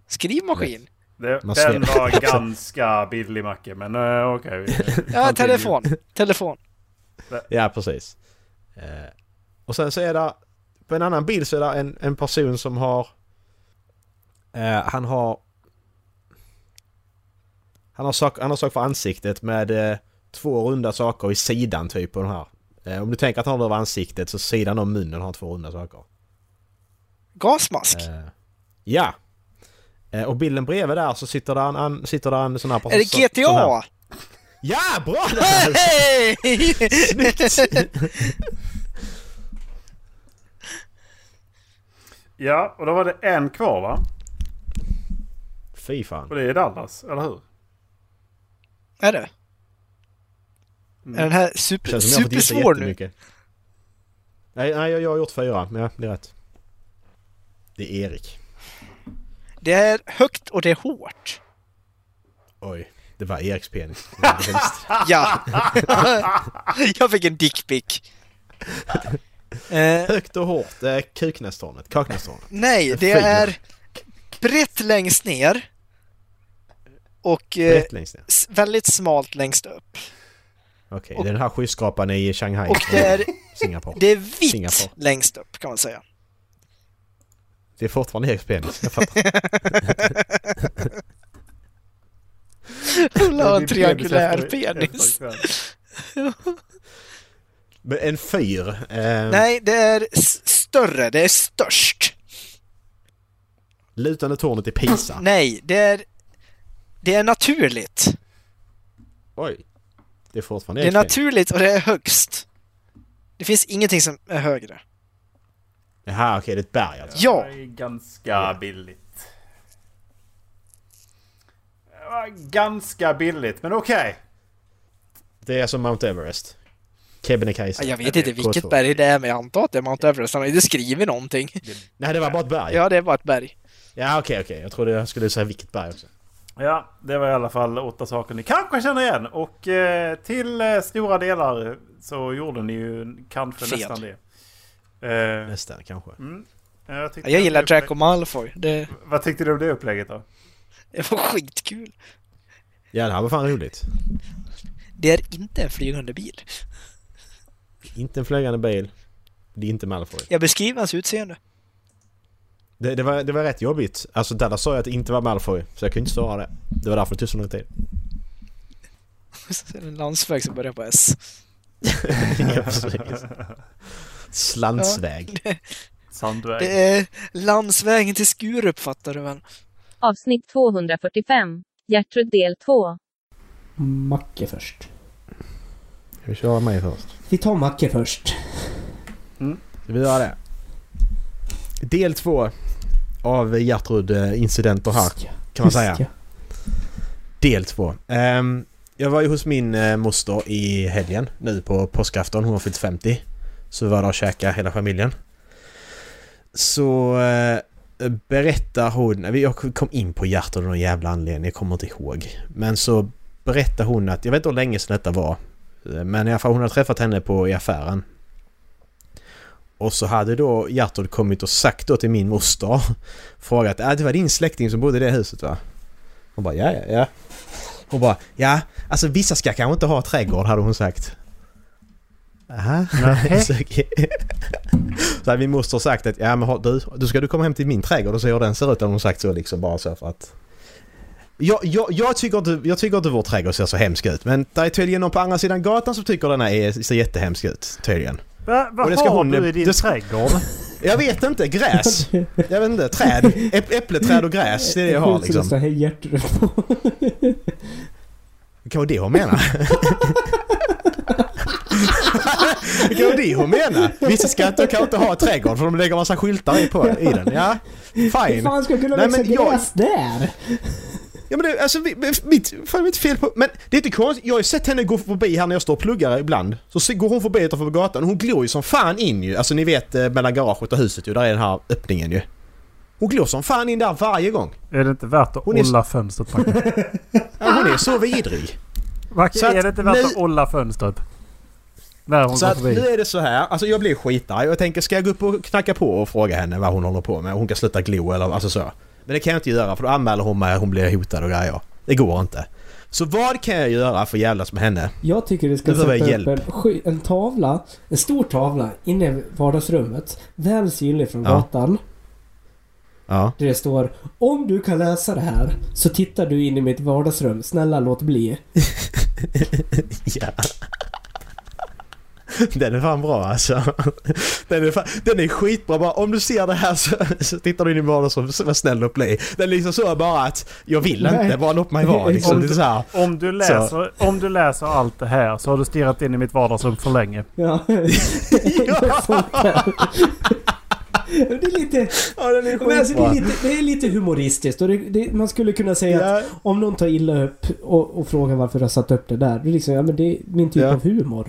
Speaker 3: Skrivmaskin?
Speaker 4: Det,
Speaker 2: Man
Speaker 4: den
Speaker 2: ser-
Speaker 4: var ganska billig Macke, men eh, okej.
Speaker 3: Ja, telefon. Telefon.
Speaker 2: Ja, precis. Eh, och sen så är det... På en annan bild så är det en, en person som har... Eh, han har... Han har, sak, han har sak för ansiktet med eh, två runda saker i sidan typ på den här. Eh, om du tänker att han har det över ansiktet så sidan om munnen har han två runda saker.
Speaker 3: Gasmask?
Speaker 2: Eh, ja! Eh, och bilden bredvid där så sitter det en, an, sitter det en sån här person
Speaker 3: Är det
Speaker 2: som- sån här-
Speaker 3: GTA?
Speaker 2: Ja, bra!
Speaker 3: Hej!
Speaker 4: Ja, och då var det en kvar va?
Speaker 2: Fy fan.
Speaker 4: Och det är Dallas, eller hur?
Speaker 3: Är det? Är den här super,
Speaker 2: Mm. Känns som jag har fått gissa
Speaker 3: supersvår nu?
Speaker 2: jättemycket. Nej, nej, jag jag har gjort fyra. men Ja, det är rätt. Det är Erik.
Speaker 3: Det är högt och det är hårt.
Speaker 2: Oj, det var Eriks penis. Det var hemskt.
Speaker 3: Ja. jag fick en dickpic. Eh,
Speaker 2: Högt och hårt. Eh, Kuknästornet. Kaknästornet.
Speaker 3: nej, det
Speaker 2: Fy.
Speaker 3: är brett längst ner och eh,
Speaker 2: Rätt längst ner.
Speaker 3: s- väldigt smalt längst upp.
Speaker 2: Okej,
Speaker 3: och-
Speaker 2: det är den här skyskrapan i Shanghai.
Speaker 3: Och det är,
Speaker 2: Singapore.
Speaker 3: det är vitt
Speaker 2: Singapore.
Speaker 3: längst upp kan man säga.
Speaker 2: Det är fortfarande Eriks penis. Jag fattar.
Speaker 3: Hon har en
Speaker 4: Det är penis
Speaker 3: triangulär
Speaker 4: efter-
Speaker 3: penis.
Speaker 4: efter ikväll.
Speaker 2: Men en fyr. Eh,
Speaker 3: Nej, det är s- större, det är störst.
Speaker 2: Lutande tornet i
Speaker 3: Ah.
Speaker 2: Pisa.
Speaker 3: Nej, det är, det är naturligt.
Speaker 2: Oj. Det är fortfarande
Speaker 3: Det är
Speaker 2: Eriks penis.
Speaker 3: naturligt och det är högst. Det finns ingenting som är högre.
Speaker 2: Jaha, okej, det är ett berg alltså.
Speaker 3: Ja,
Speaker 4: Det är ganska billigt. Det var ganska billigt, men okej.
Speaker 2: Det är som Mount Everest. Kebnekaise.
Speaker 3: jag vet inte
Speaker 2: K2.
Speaker 3: vilket berg det är, men jag antar att det är Mount Everest. Han har inte skrivit någonting.
Speaker 2: Nej, det var bara ett berg.
Speaker 3: Ja, det är bara ett berg.
Speaker 2: Ja, okej, okej. Jag trodde jag skulle säga vilket berg också.
Speaker 4: Ja, det var i alla fall åtta saker ni kanske känner igen. Och eh, till eh, stora delar så gjorde ni ju kanske
Speaker 3: Fel.
Speaker 4: nästan det. Eh,
Speaker 2: Nästan, kanske.
Speaker 4: jag, tyckte
Speaker 3: Jag gillar
Speaker 4: att det
Speaker 3: Draco Malfoy. Det,
Speaker 4: upplägg- Vad tyckte du om det upplägget då?
Speaker 3: det var skitkul.
Speaker 2: Ja, det här var fan roligt.
Speaker 3: Det är inte en flygande bil.
Speaker 2: Inte en flygande bil. Det är inte Malfoy.
Speaker 3: Jag beskriver hans utseende.
Speaker 2: Det, det, var, det var rätt jobbigt. Alltså, Dallas sa ju att det inte var Malfoy, så jag kunde inte svara det. Det var därför det tog så lång tid.
Speaker 3: Så är det En landsväg som börjar på S.
Speaker 2: Ja, precis. Slantsväg.
Speaker 4: Sandväg.
Speaker 3: Det är landsvägen till Skurup, fattar du väl?
Speaker 1: Avsnitt 245. Gertrud del 2.
Speaker 11: Macke först.
Speaker 2: Ska vi köra mig först?
Speaker 11: Vi tar Macke först.
Speaker 2: Ska vi göra det? Del två av Gertrud eh, incidenter här,
Speaker 11: Ska,
Speaker 2: kan man säga.
Speaker 11: ska.
Speaker 2: Del två. Ehm, jag var ju hos min uh, moster i helgen nu på påskafton. Hon har fyllt 50. Så vi var där och käkade hela familjen. Så eh, berättar hon... Jag kom in på hjärtat av någon jävla anledning. Jag kommer inte ihåg. Men så berättar hon att... Jag vet inte hur länge sedan detta var. eh, Men i alla fall hon hade träffat henne på i affären. Och så hade då Gertrud kommit och sagt då till min moster. Frågat äh, det var din släkting som bodde i det huset va? Hon bara ja, ja, ja. Hon bara ja, alltså vissa ska kanske inte ha trädgård hade hon sagt. Aha. så, så hade min moster sagt att ja men har- du, du ska du komma hem till min trädgård och se hur den ser ut. Hade hon sagt så liksom bara så för att. Jag, jag, jag, tycker inte, jag tycker inte vår trädgård ser så hemsk ut men det är tydligen någon på andra sidan gatan som tycker den här är, ser jättehemsk ut. Tydligen.
Speaker 4: Va, vad
Speaker 2: och det ska
Speaker 4: har
Speaker 2: hon-
Speaker 4: du i din
Speaker 2: det ska-
Speaker 4: trädgård?
Speaker 2: Jag vet inte, gräs. Jag vet inte, träd. Äpp- Äppleträd och gräs, det är det jag har
Speaker 11: Sjukt som det
Speaker 2: liksom.
Speaker 11: står hej Gertrud på.
Speaker 2: Det kan vara det hon menar. Det kan vara det hon menar. Vissa skatter kan inte ha trädgård för de lägger massa skyltar i, på, i den. Ja,
Speaker 11: Hur
Speaker 2: fine.
Speaker 11: fan ska jag kunna
Speaker 2: Nej,
Speaker 11: växa
Speaker 2: men jag-
Speaker 11: gräs där?
Speaker 2: Ja men det, alltså vi- vi- mitt, fan mitt fel på... Men det är inte konstigt, jag har ju sett henne gå förbi här när jag står och pluggar ibland. Så se- går hon förbi utanför gatan och hon glor ju som fan in ju. Alltså ni vet eh, mellan garaget och huset ju, där är den här öppningen ju. Hon glor som fan in där varje gång.
Speaker 17: Är det inte värt att
Speaker 2: Hon är-
Speaker 17: olla fönstret Macke?
Speaker 2: Ja, hon är så vidrig.
Speaker 4: Macke,
Speaker 2: Så att
Speaker 4: är det inte värt
Speaker 2: nu-
Speaker 4: att olla fönstret? När hon
Speaker 2: Så
Speaker 4: går
Speaker 2: att nu
Speaker 4: förbi.
Speaker 2: är det så här, alltså jag blir skitarg och jag tänker ska jag gå upp och knacka på och fråga henne vad hon håller på med? Hon kan sluta glo eller alltså så. Men det kan jag inte göra för då anmäler hon mig, hon blir hotad och grejer. Det går inte. Så vad kan jag göra för att jävlas med henne?
Speaker 11: Jag tycker vi ska
Speaker 2: Nu behöver jag
Speaker 11: sätta upp en, sky- en tavla, en stor tavla inne i vardagsrummet. Väl synlig från
Speaker 2: Ja.
Speaker 11: gatan.
Speaker 2: Ja.
Speaker 11: Där det står Om du kan läsa det här så tittar du in i mitt vardagsrum. Snälla låt bli.
Speaker 2: ja. Den är fan bra alltså. Den är, fan, den är skitbra bara. Om du ser det här så, så tittar du in i vardagsrummet så var snäll och bli. Den är liksom så bara att jag vill
Speaker 11: Nej.
Speaker 2: inte, bara låt mig vara liksom. Det är så här.
Speaker 4: Om du, läser, om du läser allt det här så har du stirrat in i mitt vardagsrum för länge.
Speaker 11: Ja. Sånt där. Det är lite...
Speaker 2: Ja den är
Speaker 11: Men alltså, det,
Speaker 2: skitbra.
Speaker 11: är lite, det är lite humoristiskt och det, det, man skulle kunna säga att
Speaker 2: Ja.
Speaker 11: om någon tar illa upp och, och frågar varför jag satt upp det där. Då liksom, ja men det är min typ
Speaker 2: Ja.
Speaker 11: av humor.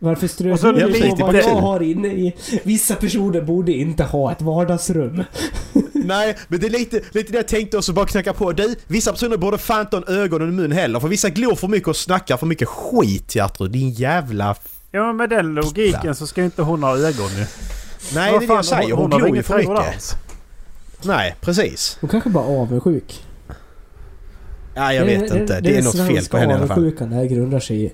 Speaker 11: Varför
Speaker 4: Och så-
Speaker 11: strör du
Speaker 2: Ja,
Speaker 11: på
Speaker 2: precis,
Speaker 11: vad
Speaker 2: det är
Speaker 11: jag
Speaker 2: kul.
Speaker 11: har inne i? Vissa personer borde inte ha ett vardagsrum.
Speaker 2: Nej, men det är lite, lite det jag tänkte också bara knacka på. Du, vissa personer borde fan inte ha en ögon och en mun heller. För vissa glor för mycket och snackar för mycket skit Gertrud. Din jävla... f-
Speaker 4: Ja men med den logiken så ska ju inte hon ha ögon ju.
Speaker 2: Nej,
Speaker 4: Vad
Speaker 2: det är det
Speaker 4: fan,
Speaker 2: jag säger. Hon,
Speaker 4: har
Speaker 2: glor ju
Speaker 4: ingen
Speaker 2: för
Speaker 4: trädgård
Speaker 2: mycket.
Speaker 4: alls.
Speaker 2: Nej, precis.
Speaker 11: Hon kanske bara är avundsjuk.
Speaker 2: Ja, jag vet inte. Det, är något fel på henne i alla fall.
Speaker 11: Svenska det här grundar sig i.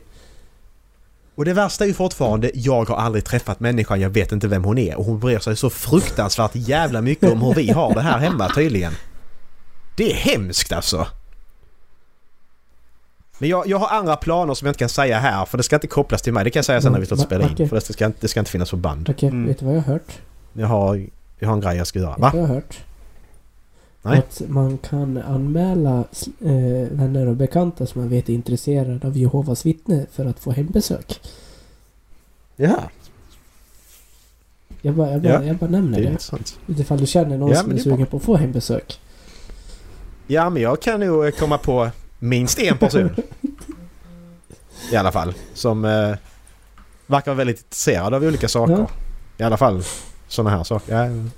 Speaker 2: Och det värsta är ju fortfarande, jag har aldrig träffat människan, jag vet inte vem hon är. Och hon bryr sig så fruktansvärt jävla mycket om hur vi har det här hemma tydligen. Det är hemskt alltså. Men jag, jag har andra planer som jag inte kan säga här för det ska inte kopplas till mig. Det kan jag säga sen när vi slutar spela in. För det ska, inte- det ska inte finnas på band.
Speaker 11: Okej,
Speaker 18: Mm.
Speaker 11: vet du vad jag har hört?
Speaker 2: Jag har, jag har en grej jag ska göra.
Speaker 11: Vet
Speaker 2: Va?
Speaker 11: du vad jag har hört?
Speaker 2: Nej.
Speaker 11: Att man kan anmäla eh, vänner och bekanta som man vet är intresserade av Jehovas vittne för att få hembesök.
Speaker 2: Ja,
Speaker 11: Jag bara, jag bara,
Speaker 2: Ja,
Speaker 11: jag bara
Speaker 2: det
Speaker 11: nämner
Speaker 2: är
Speaker 11: det.
Speaker 2: intressant.
Speaker 11: Utifall du känner någon
Speaker 2: Ja,
Speaker 11: som
Speaker 2: men
Speaker 11: är
Speaker 2: det är
Speaker 11: sugen på att få hembesök.
Speaker 2: Ja, men jag kan nog eh, komma på minst en person. I alla fall. Som eh, verkar vara väldigt intresserad av olika saker.
Speaker 11: Ja.
Speaker 2: I alla fall sådana här saker. Ja.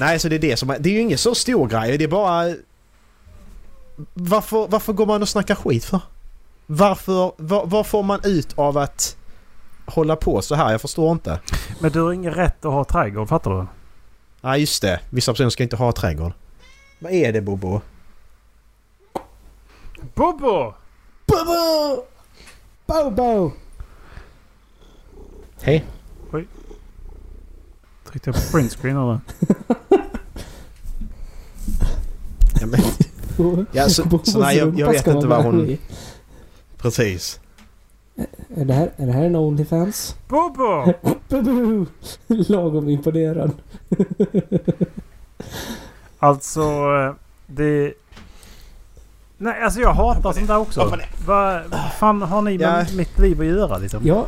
Speaker 2: Nej, så det är det som... Det är ju ingen så stor grej. Det är bara... Varför, varför går man och snackar skit för? Varför... Vad, vad får man ut av att hålla på så här? Jag förstår inte.
Speaker 4: Men du har ingen rätt att ha trädgård, fattar du?
Speaker 2: Nej, just det. Vissa personer ska inte ha trädgård. Vad är det, Bobo?
Speaker 4: Bobo!
Speaker 11: Bobo! Bobo!
Speaker 2: Hej.
Speaker 4: Tryckte jag på print screen eller?
Speaker 2: Ja, men, ja, så, så nej, jag, jag vet inte vad hon... Precis.
Speaker 11: Är det, här, är det här en Onlyfans?
Speaker 4: Bobo!
Speaker 11: Bobo! Lagom imponerad.
Speaker 4: Alltså, eh, det... Nej, alltså jag hatar sånt där också. Vad fan har ni med
Speaker 2: Ja.
Speaker 4: mitt liv att göra liksom?
Speaker 11: Ja,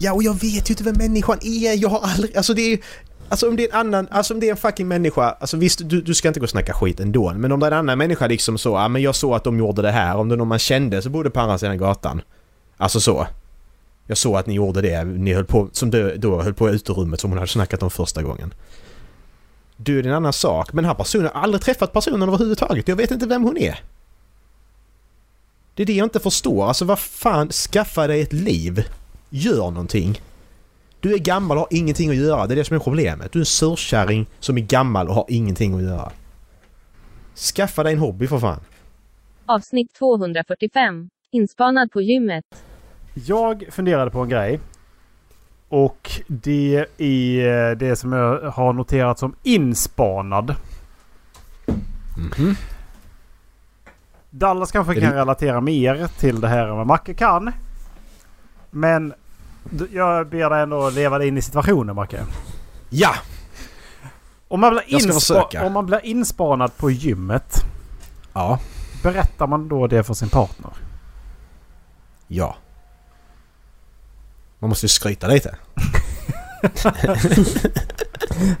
Speaker 2: Ja, och jag vet ju inte vem människan är. Jag har aldrig... Alltså det är ju- Alltså om det är en annan... Alltså om det är en fucking människa... Alltså visst, du, du ska inte gå och snacka skit ändå. Men om det är en annan människa liksom så... Ja, men jag såg att de gjorde det här. Om det är någon man kände så bodde på andra sidan gatan. Alltså så. Jag såg att ni gjorde det. Ni höll på... Som du då höll på i uterummet som hon hade snackat om första gången. Du, det är en annan sak. Men den här personen... Jag har aldrig träffat personen överhuvudtaget. Jag vet inte vem hon är. Det är det jag inte förstår. Alltså vad fan, skaffa dig ett liv. Gör någonting. Du är gammal och har ingenting att göra. Det är det som är problemet. Du är en surkärring som är gammal och har ingenting att göra. Skaffa dig en hobby för fan.
Speaker 1: Avsnitt 245. Inspanad på gymmet.
Speaker 4: Jag funderade på en grej. Och det är det som jag har noterat som inspanad.
Speaker 2: Mhm.
Speaker 4: Dallas kanske
Speaker 2: Är
Speaker 4: kan
Speaker 2: det-
Speaker 4: relatera mer till det här än vad Macke kan. Men d- jag ber dig ändå leva dig in i situationen Macke.
Speaker 2: Ja!
Speaker 4: Om man, blir
Speaker 2: Jag ska
Speaker 4: inspa-
Speaker 2: försöka.
Speaker 4: om man blir inspanad på gymmet.
Speaker 2: Ja.
Speaker 4: Berättar man då det för sin partner?
Speaker 2: Ja. Man måste ju skryta lite.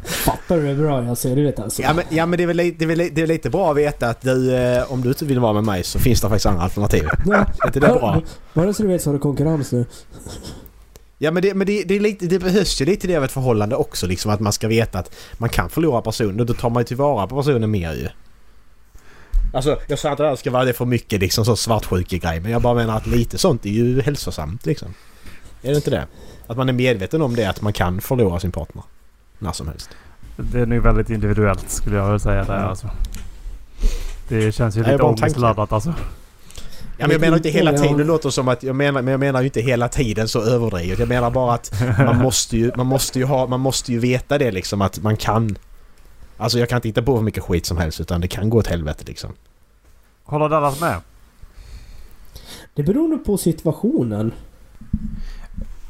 Speaker 11: fattar du hur bra jag ser ut alltså?
Speaker 2: Ja men, ja, men det, är väl, li- det, är väl, li- det är väl lite bra att veta att du, eh, om du inte vill vara med mig så finns det faktiskt andra alternativ.
Speaker 11: Ja.
Speaker 2: Är inte det bra?
Speaker 11: Bara så du vet så har du konkurrens nu.
Speaker 2: Ja men, det, men det, det, är lite, det behövs ju lite det av ett förhållande också liksom att man ska veta att man kan förlora personen och då tar man ju tillvara på personen mer ju. Alltså jag sa att det här ska vara det för mycket liksom så svartsjukegrej men jag bara menar att lite sånt är ju hälsosamt liksom. Är det inte det? Att man är medveten om det att man kan förlora sin partner. När som helst.
Speaker 4: Det är nog väldigt individuellt skulle jag vilja säga det här alltså. Det känns ju
Speaker 2: Nej,
Speaker 4: lite
Speaker 2: bara en tanke.
Speaker 4: ångestladdat alltså.
Speaker 2: Ja, men jag menar inte hela
Speaker 19: Ja.
Speaker 2: tiden, det låter som att jag menar, men jag menar ju inte hela tiden så överdrivet. Jag menar bara att man måste ju, man måste ju ha, man måste ju veta det liksom att man kan. Alltså jag kan inte hitta på hur mycket skit som helst utan det kan gå åt helvete liksom.
Speaker 4: Håller Dallas med?
Speaker 19: Det beror nog på situationen.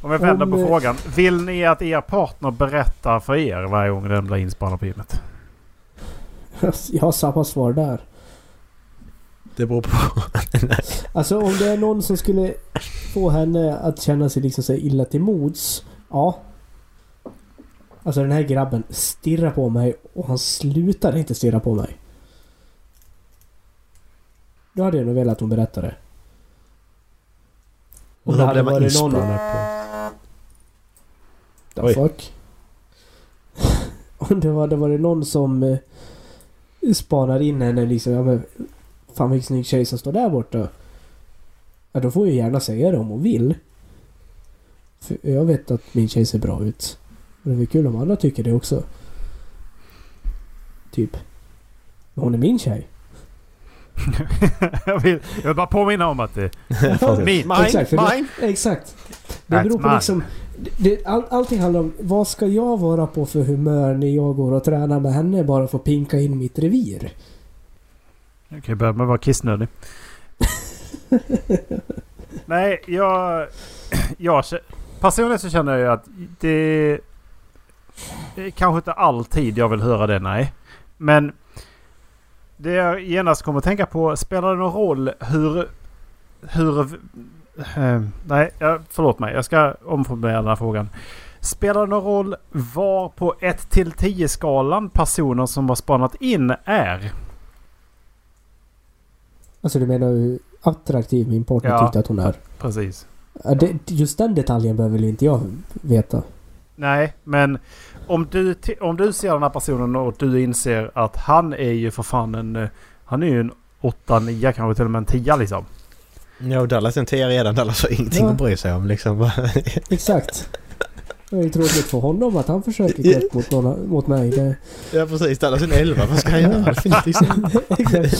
Speaker 4: Om jag vänder
Speaker 19: Om,
Speaker 4: på
Speaker 19: eh,
Speaker 4: frågan. Vill ni att er partner berättar för er varje gång den blir inspelad på gymmet?
Speaker 19: Jag har samma svar där.
Speaker 2: Det beror på.
Speaker 19: Alltså om det är någon som skulle få henne att känna sig liksom så här illa till mods. Ja. Alltså den här grabben stirrar på mig och han slutar inte stirra på mig. Då hade jag nog velat att hon berättade. Om det
Speaker 2: Då
Speaker 19: hade
Speaker 2: blir man
Speaker 19: varit någon...
Speaker 2: inspelad
Speaker 19: The
Speaker 2: Oj.
Speaker 19: fuck? Om det hade varit någon som eh, spanar in henne liksom. Ja, men, fan vilken snygg tjej som står där borta. Ja, då får jag gärna säga det om hon vill. För jag vet att min tjej ser bra ut. Och det vore kul om andra tycker det också. Typ. Men hon är min tjej.
Speaker 4: jag, vill, jag vill bara påminna om att det... Min!
Speaker 19: Exakt, för det-
Speaker 2: mine!
Speaker 19: Exakt. Det
Speaker 4: That's
Speaker 19: beror på
Speaker 4: mine.
Speaker 19: liksom... Det, all, allting handlar om vad ska jag vara på för humör när jag går och tränar med henne bara för att pinka in mitt revir.
Speaker 4: Jag kan ju börja med att vara kissnödig. Nej, jag... jag kä- personligen så känner jag ju att det... det är kanske inte alltid jag vill höra det, nej. Men det jag genast kommer att tänka på, spelar det någon roll hur... Hur... eh, nej, jag, förlåt mig. Jag ska omformulera den här frågan. Spelar det någon roll var på 1 till 10-skalan personer som har spanat in är?
Speaker 19: Alltså du menar hur attraktiv min partner
Speaker 4: Ja.
Speaker 19: tyckte att hon är?
Speaker 4: Precis.
Speaker 19: Ja, det, just den detaljen behöver väl inte jag veta.
Speaker 4: Nej, men om du, ti- om du ser den här personen och du inser att han är ju för fan en... eh, Han är ju en 8, 9, kanske till och med en 10 liksom.
Speaker 2: Ja, och Dallas är en tia redan. Dallas har ingenting
Speaker 19: Ja.
Speaker 2: att bry sig om liksom.
Speaker 19: Exakt. Det är ju tråkigt för honom att han försöker gå upp mot, någon, mot mig. Det,
Speaker 2: Ja precis, Dallas är en elva. Vad ska han göra? Det finns liksom...
Speaker 19: exakt.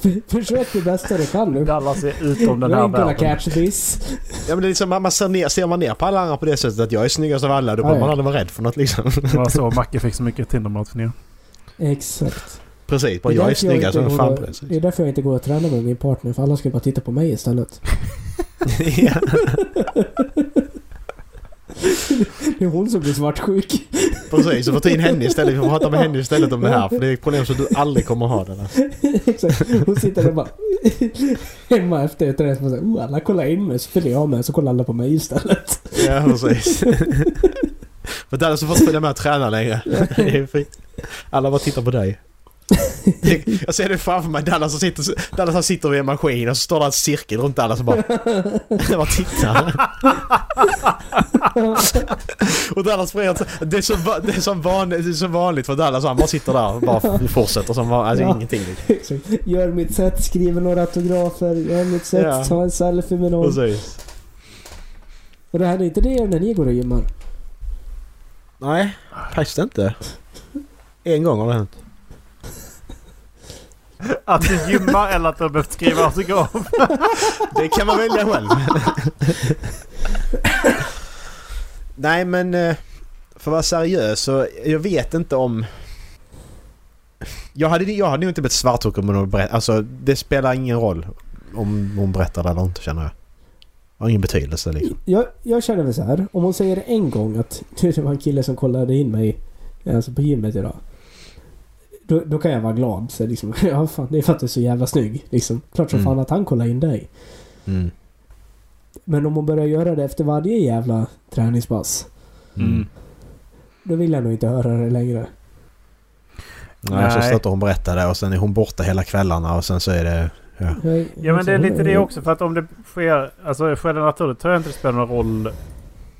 Speaker 19: För- Försök det bästa du kan nu.
Speaker 4: Dallas är utom den
Speaker 19: You're
Speaker 4: här
Speaker 19: ain't gonna
Speaker 4: världen.
Speaker 19: catch this.
Speaker 2: Ja men det är liksom, man man ser, ner, ser man ner på alla andra på det sättet att jag är snyggast av alla, då behöver
Speaker 19: Ja, ja.
Speaker 2: man aldrig vara rädd för något liksom.
Speaker 4: Det var så Macke fick så mycket Tinder-matchningar.
Speaker 19: Exakt.
Speaker 2: Precis, bara jag är
Speaker 19: därför
Speaker 2: snyggast
Speaker 19: inte
Speaker 2: som
Speaker 19: går
Speaker 2: fan
Speaker 19: och-
Speaker 2: på det sättet.
Speaker 19: Det är därför jag inte går och tränar med min partner. För alla ska bara titta på mig istället.
Speaker 2: Ja.
Speaker 19: Det är hon som blir svartsjuk.
Speaker 2: Precis, så får ta in henne istället. Vi får prata med henne istället om det här. För det är ett problem som du aldrig kommer ha. Det där.
Speaker 19: Exakt. Hon sitter där bara... Hemma efter ett träning. Så oh, alla kollar in mig. Så fyller jag med. Så kollar alla på mig istället.
Speaker 2: Ja, precis. För Dallas får inte följa med och träna längre. Det är fint. Alla bara tittar på dig. Jag ser det framför mig. Dallas, som sitter, Dallas han sitter vid en maskin och så står det en cirkel runt Dallas och bara... bara tittar. och Dallas får helt- det är, som, va- det, är som van, det är som vanligt för Dallas. Han bara sitter där och bara fortsätter som vanligt. Alltså
Speaker 19: Ja.
Speaker 2: ingenting. Liksom.
Speaker 19: Exakt. Gör mitt sätt. Skriver några autografer. Gör mitt sätt.
Speaker 2: Ja.
Speaker 19: Ta en selfie med någon.
Speaker 2: Precis.
Speaker 19: Och det händer inte det när ni går och gymmar.
Speaker 2: Nej, faktiskt inte. En gång har det hänt.
Speaker 4: Att du gymmar eller att du har behövt skriva autograf.
Speaker 2: Det kan man välja själv. Nej men eh, för att vara seriös så jag vet inte om... Jag hade, jag hade nog inte blivit svartsjuk om hon berättade. Alltså det spelar ingen roll om hon berättar det eller inte känner jag. Det har ingen betydelse liksom.
Speaker 19: Jag, jag känner väl så här. Om hon säger en gång att det var en kille som kollade in mig alltså på gymmet idag. Då, då kan jag vara glad. Så liksom, ja, fan, det är för att du är så jävla snygg. Liksom. Klart som
Speaker 2: Mm.
Speaker 19: fan att han kollar in dig.
Speaker 2: Mm.
Speaker 19: Men om hon börjar göra det efter varje jävla träningspass.
Speaker 2: Mm.
Speaker 19: Då vill jag nog inte höra det längre.
Speaker 2: Nej, så
Speaker 4: Nej.
Speaker 2: stöter hon berättade och sen är hon borta hela kvällarna och sen så är det...
Speaker 19: Jag,
Speaker 4: Ja men det är
Speaker 19: liksom,
Speaker 4: lite det också för att om det sker, alltså sker det naturligt tror jag inte det spelar någon roll.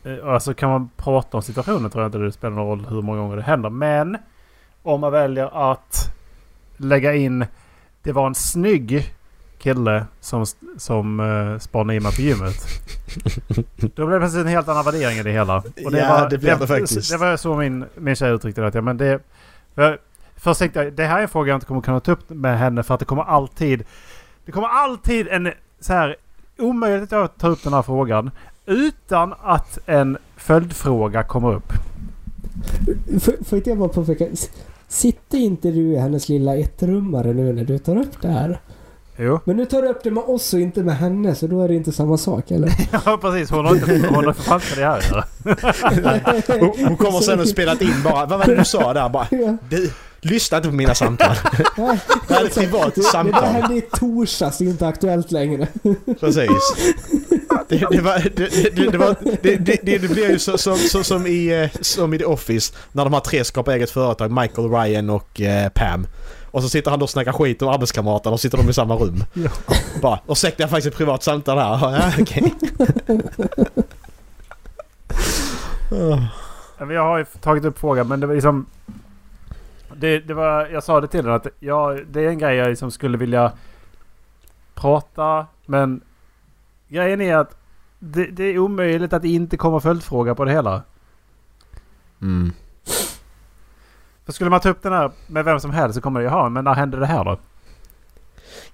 Speaker 4: Eh, Alltså kan man prata om situationen tror jag inte det spelar någon roll hur många gånger det händer. Men om man väljer att lägga in Det var en snygg kille som, som eh, spanade in mig på gymmet. Då blev det plötsligt en helt annan värdering i det hela. Och
Speaker 2: Ja, det blev det faktiskt.
Speaker 4: Det var så min, min tjej uttryckte det. Att, ja, men det jag, först tänkte jag det här är en fråga jag inte kommer kunna ta upp med henne för att det kommer alltid... Det kommer alltid en så här omöjligt att ta upp den här frågan utan att en följdfråga kommer upp.
Speaker 19: Får får inte jag bara påpeka? s- Sitter inte du i hennes lilla ettrummare nu när du tar upp det här?
Speaker 4: Jo.
Speaker 19: Men nu tar du upp det med oss och inte med henne så då är det inte samma sak eller?
Speaker 4: Ja precis, hon har inte hon har för fan inte det här att göra.
Speaker 2: Hon, hon kommer sen och spelat in bara, vad var det du sa där? Bara,
Speaker 19: Ja.
Speaker 2: du, lyssna inte på mina samtal.
Speaker 19: Ja,
Speaker 2: Det här är ett privat
Speaker 19: Men det
Speaker 2: samtal.
Speaker 19: hände i torsdags, det är inte aktuellt längre.
Speaker 2: Precis. Det, det, var, det, det, det, var, det, det, det det blev ju så, så, så, som, i, eh, som i The Office när de här tre skapar eget företag, Michael, Ryan och eh, Pam. Och så sitter han då och snackar skit om arbetskamraterna och sitter de i samma rum. Bara, ursäkta jag har faktiskt ett privat samtal här. Ja, okej.
Speaker 4: Ja, men Jag har ju tagit upp frågan men det var liksom... Det, det var, jag sa det till henne att ja, det är en grej jag liksom skulle vilja prata men grejen är att det, det är omöjligt att det inte komma följdfråga på det hela.
Speaker 2: Mm.
Speaker 4: För skulle man ta upp den här med vem som helst så kommer det ju ha men när hände det här då?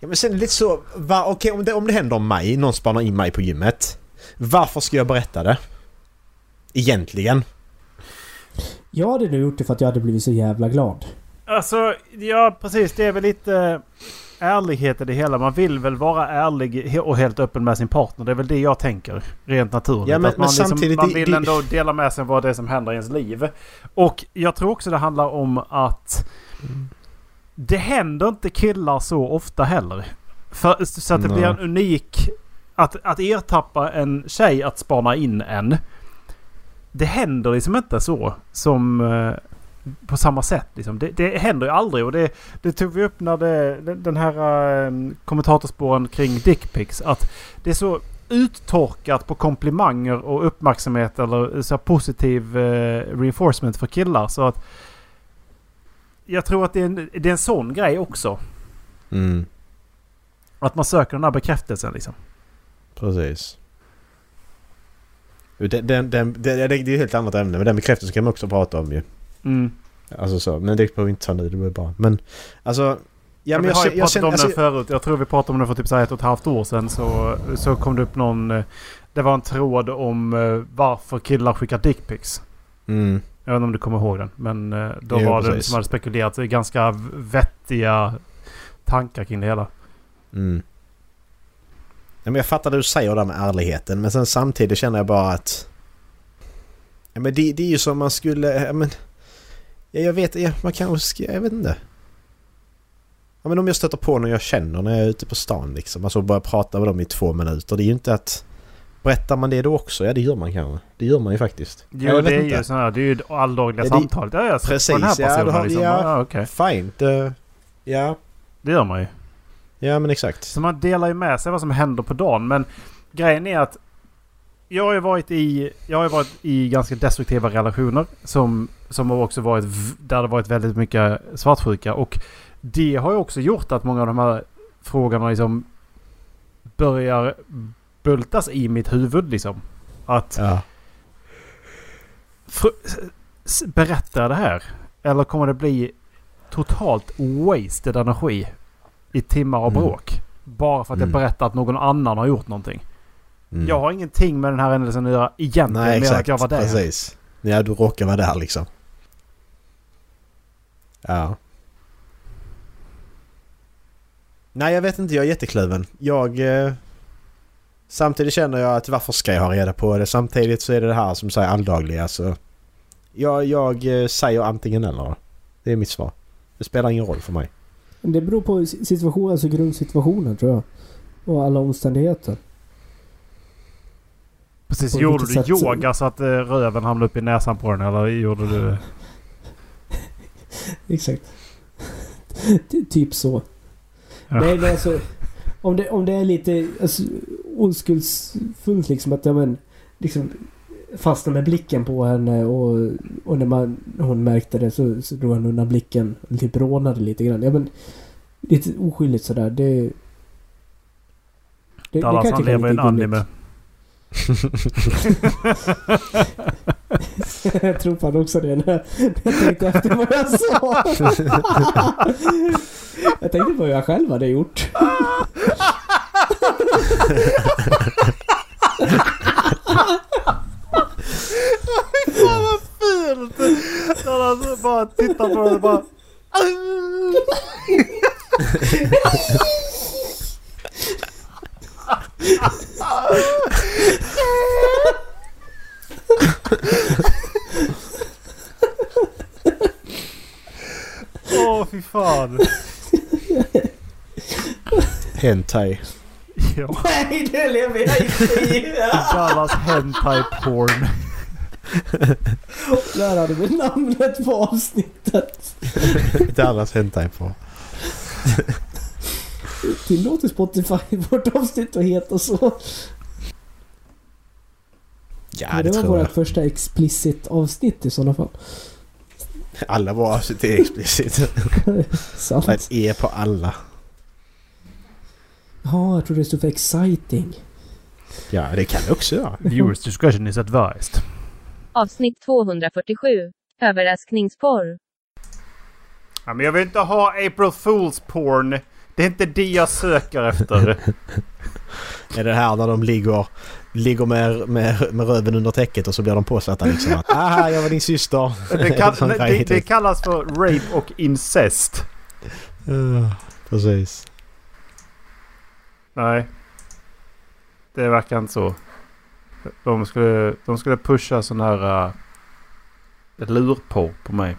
Speaker 2: Ja men sen är det lite så, va, okej om, det, om det händer om mig, någon spanar in mig på gymmet. Varför ska jag berätta det? Egentligen.
Speaker 19: Jag hade nu gjort det för att jag hade blivit så jävla glad.
Speaker 4: Alltså, ja precis. Det är väl lite eh, ärlighet i det hela. Man vill väl vara ärlig he- och helt öppen med sin partner. Det är väl det jag tänker. Rent naturligt.
Speaker 2: Ja, men-
Speaker 4: att man, liksom,
Speaker 2: men samtidigt,
Speaker 4: man
Speaker 2: det-
Speaker 4: vill
Speaker 2: det-
Speaker 4: ändå dela med sig av vad det är som händer i ens liv. Och jag tror också det handlar om att det händer inte killar så ofta heller. För, så att det
Speaker 2: Nej.
Speaker 4: blir en unik... Att, att ertappa en tjej att spana in en. Det händer liksom inte så. Som... eh, på samma sätt. Liksom. Det, det händer ju aldrig. Och det, det tog vi upp när det, den den här äh, kommentatorspåren kring dickpics. Att det är så uttorkat på komplimanger och uppmärksamhet eller så här, positiv eh, reinforcement för killar. Så att jag tror att det är, en, det är en sån grej också.
Speaker 2: Mm,
Speaker 4: Att man söker den här bekräftelsen liksom.
Speaker 2: precis. Jo, Den, den, den, det, det, det är ju ett helt annat ämne men den bekräftelsen kan man också prata om ju. Alltså så, men det behöver vi inte ta nu, det blir bra. Men alltså... Ja,
Speaker 4: Ja,
Speaker 2: men
Speaker 4: vi
Speaker 2: jag,
Speaker 4: har ju
Speaker 2: jag, jag
Speaker 4: pratat
Speaker 2: känner...
Speaker 4: om
Speaker 2: Alltså,
Speaker 4: den förut. Jag tror vi pratade om den för typ så här ett och ett halvt år sedan. Så, så kom det upp någon... eh, Det var en tråd om eh, varför killar skickar dickpics.
Speaker 2: mm,
Speaker 4: Jag vet inte om du kommer ihåg den. Men eh, då
Speaker 2: Jo,
Speaker 4: var det
Speaker 2: precis.
Speaker 4: som hade spekulerat i ganska v- vettiga tankar kring det hela.
Speaker 2: mm. Ja, men jag fattar det du säger där med ärligheten men sen samtidigt känner jag bara att... Ja, men det, det är ju som man skulle... Ja, men, ja, jag vet ja, man kanske ska... Jag vet inte. Ja, men om jag stöter på någon jag känner när jag är ute på stan liksom. Alltså börjar prata med dem i två minuter. Det är ju inte att... Berättar man det då också? Ja det gör man kanske. Det gör man ju faktiskt.
Speaker 4: Jo,
Speaker 2: Ja, jag vet
Speaker 4: det är
Speaker 2: inte.
Speaker 4: ju sådana här, det är ju alldagliga
Speaker 2: Ja, det-
Speaker 4: samtalet. Ja, jag har sett på
Speaker 2: Precis,
Speaker 4: den här
Speaker 2: ja,
Speaker 4: personen
Speaker 2: det har-
Speaker 4: liksom.
Speaker 2: ja.
Speaker 4: Ja, okej.
Speaker 2: Fine. Det, ja,
Speaker 4: Det gör man ju.
Speaker 2: ja men exakt.
Speaker 4: Så man delar ju med sig vad som händer på dagen. Men grejen är att jag har ju varit i, jag har ju varit i ganska destruktiva relationer. Som, som har också varit, v- där det har varit väldigt mycket svartsjuka. Och det har ju också gjort att många av de här frågorna liksom börjar bultas i mitt huvud liksom. Att
Speaker 2: Ja.
Speaker 4: fr- s- berättar jag det här? Eller kommer det bli totalt wasted energi i timmar av
Speaker 2: Mm.
Speaker 4: bråk? Bara för att
Speaker 2: Mm.
Speaker 4: jag berättar att någon annan har gjort någonting.
Speaker 2: Mm.
Speaker 4: Jag har ingenting med den här händelsen att göra egentligen.
Speaker 2: Nej,
Speaker 4: mer än att
Speaker 2: exakt.
Speaker 4: jag var där.
Speaker 2: Precis. Ja, du råkar vara där liksom. Ja. Nej, jag vet inte. Jag är jättekluven. Jag... Eh, samtidigt känner jag att varför ska jag ha reda på det? Samtidigt så är det det här som säger alldagliga så... Jag, jag eh, säger antingen eller. Det är mitt svar. Det spelar ingen roll för mig.
Speaker 19: Men det beror på s- situationen, alltså grundsituationen tror jag. Och alla omständigheter.
Speaker 4: Precis.
Speaker 19: På
Speaker 4: Gjorde
Speaker 19: vilket
Speaker 4: du
Speaker 19: sätt så-
Speaker 4: yoga så att eh, röven hamnade upp i näsan på den eller gjorde du...
Speaker 19: Exakt. Ty- typ så.
Speaker 4: Ja.
Speaker 19: Nej men alltså. Om det, om det är lite alltså, oskuldsfullt liksom att ja men. Liksom fastna med blicken på henne och, och när man, hon märkte det så, så drog han undan blicken. Typ rånade lite grann. Ja men. lite oskyldigt sådär. Det... Det, det
Speaker 4: Dallas han
Speaker 19: tycka är
Speaker 4: lever i en
Speaker 19: lite gulligt.
Speaker 4: anime.
Speaker 19: jag tror fan också det när när jag tänkte efter vad jag sa. jag tänkte på hur jag själv hade gjort.
Speaker 4: Dallas bara tittar på den och bara...
Speaker 20: Åh, fy fan.
Speaker 2: Hentai.
Speaker 4: Ja,
Speaker 19: Nej, det lever jag inte i!
Speaker 4: Dallas hentai porn.
Speaker 19: Där hade vi namnet på avsnittet.
Speaker 2: Dallas hentai på.
Speaker 19: Tillåter Spotify vårt avsnitt att heta så?
Speaker 2: Ja,
Speaker 19: Men
Speaker 2: det
Speaker 19: det var
Speaker 2: tror jag.
Speaker 19: vårt första explicit avsnitt i sådana fall.
Speaker 2: Alla våra avsnitt är explicit.
Speaker 19: Sant.
Speaker 2: Ett E på alla.
Speaker 19: Ja, jag trodde det stod för exciting.
Speaker 2: Ja, det kan jag också göra.
Speaker 4: Viewers discretion is advised.
Speaker 1: Avsnitt 247. Överraskningsporr.
Speaker 4: Ja, men jag vill inte ha April Fools porn. Det är inte det jag söker efter.
Speaker 2: Är det här när de ligger, ligger med, med, med röven under täcket och så blir de påsatta liksom att Aha, jag var din syster.
Speaker 4: Det, kall,
Speaker 2: Sån
Speaker 4: nej,
Speaker 2: grej.
Speaker 4: det, det kallas för rape och incest.
Speaker 2: Ja, Precis.
Speaker 4: Nej. Det verkar inte så. De skulle, de skulle pusha sån här... Uh, lurporr på mig.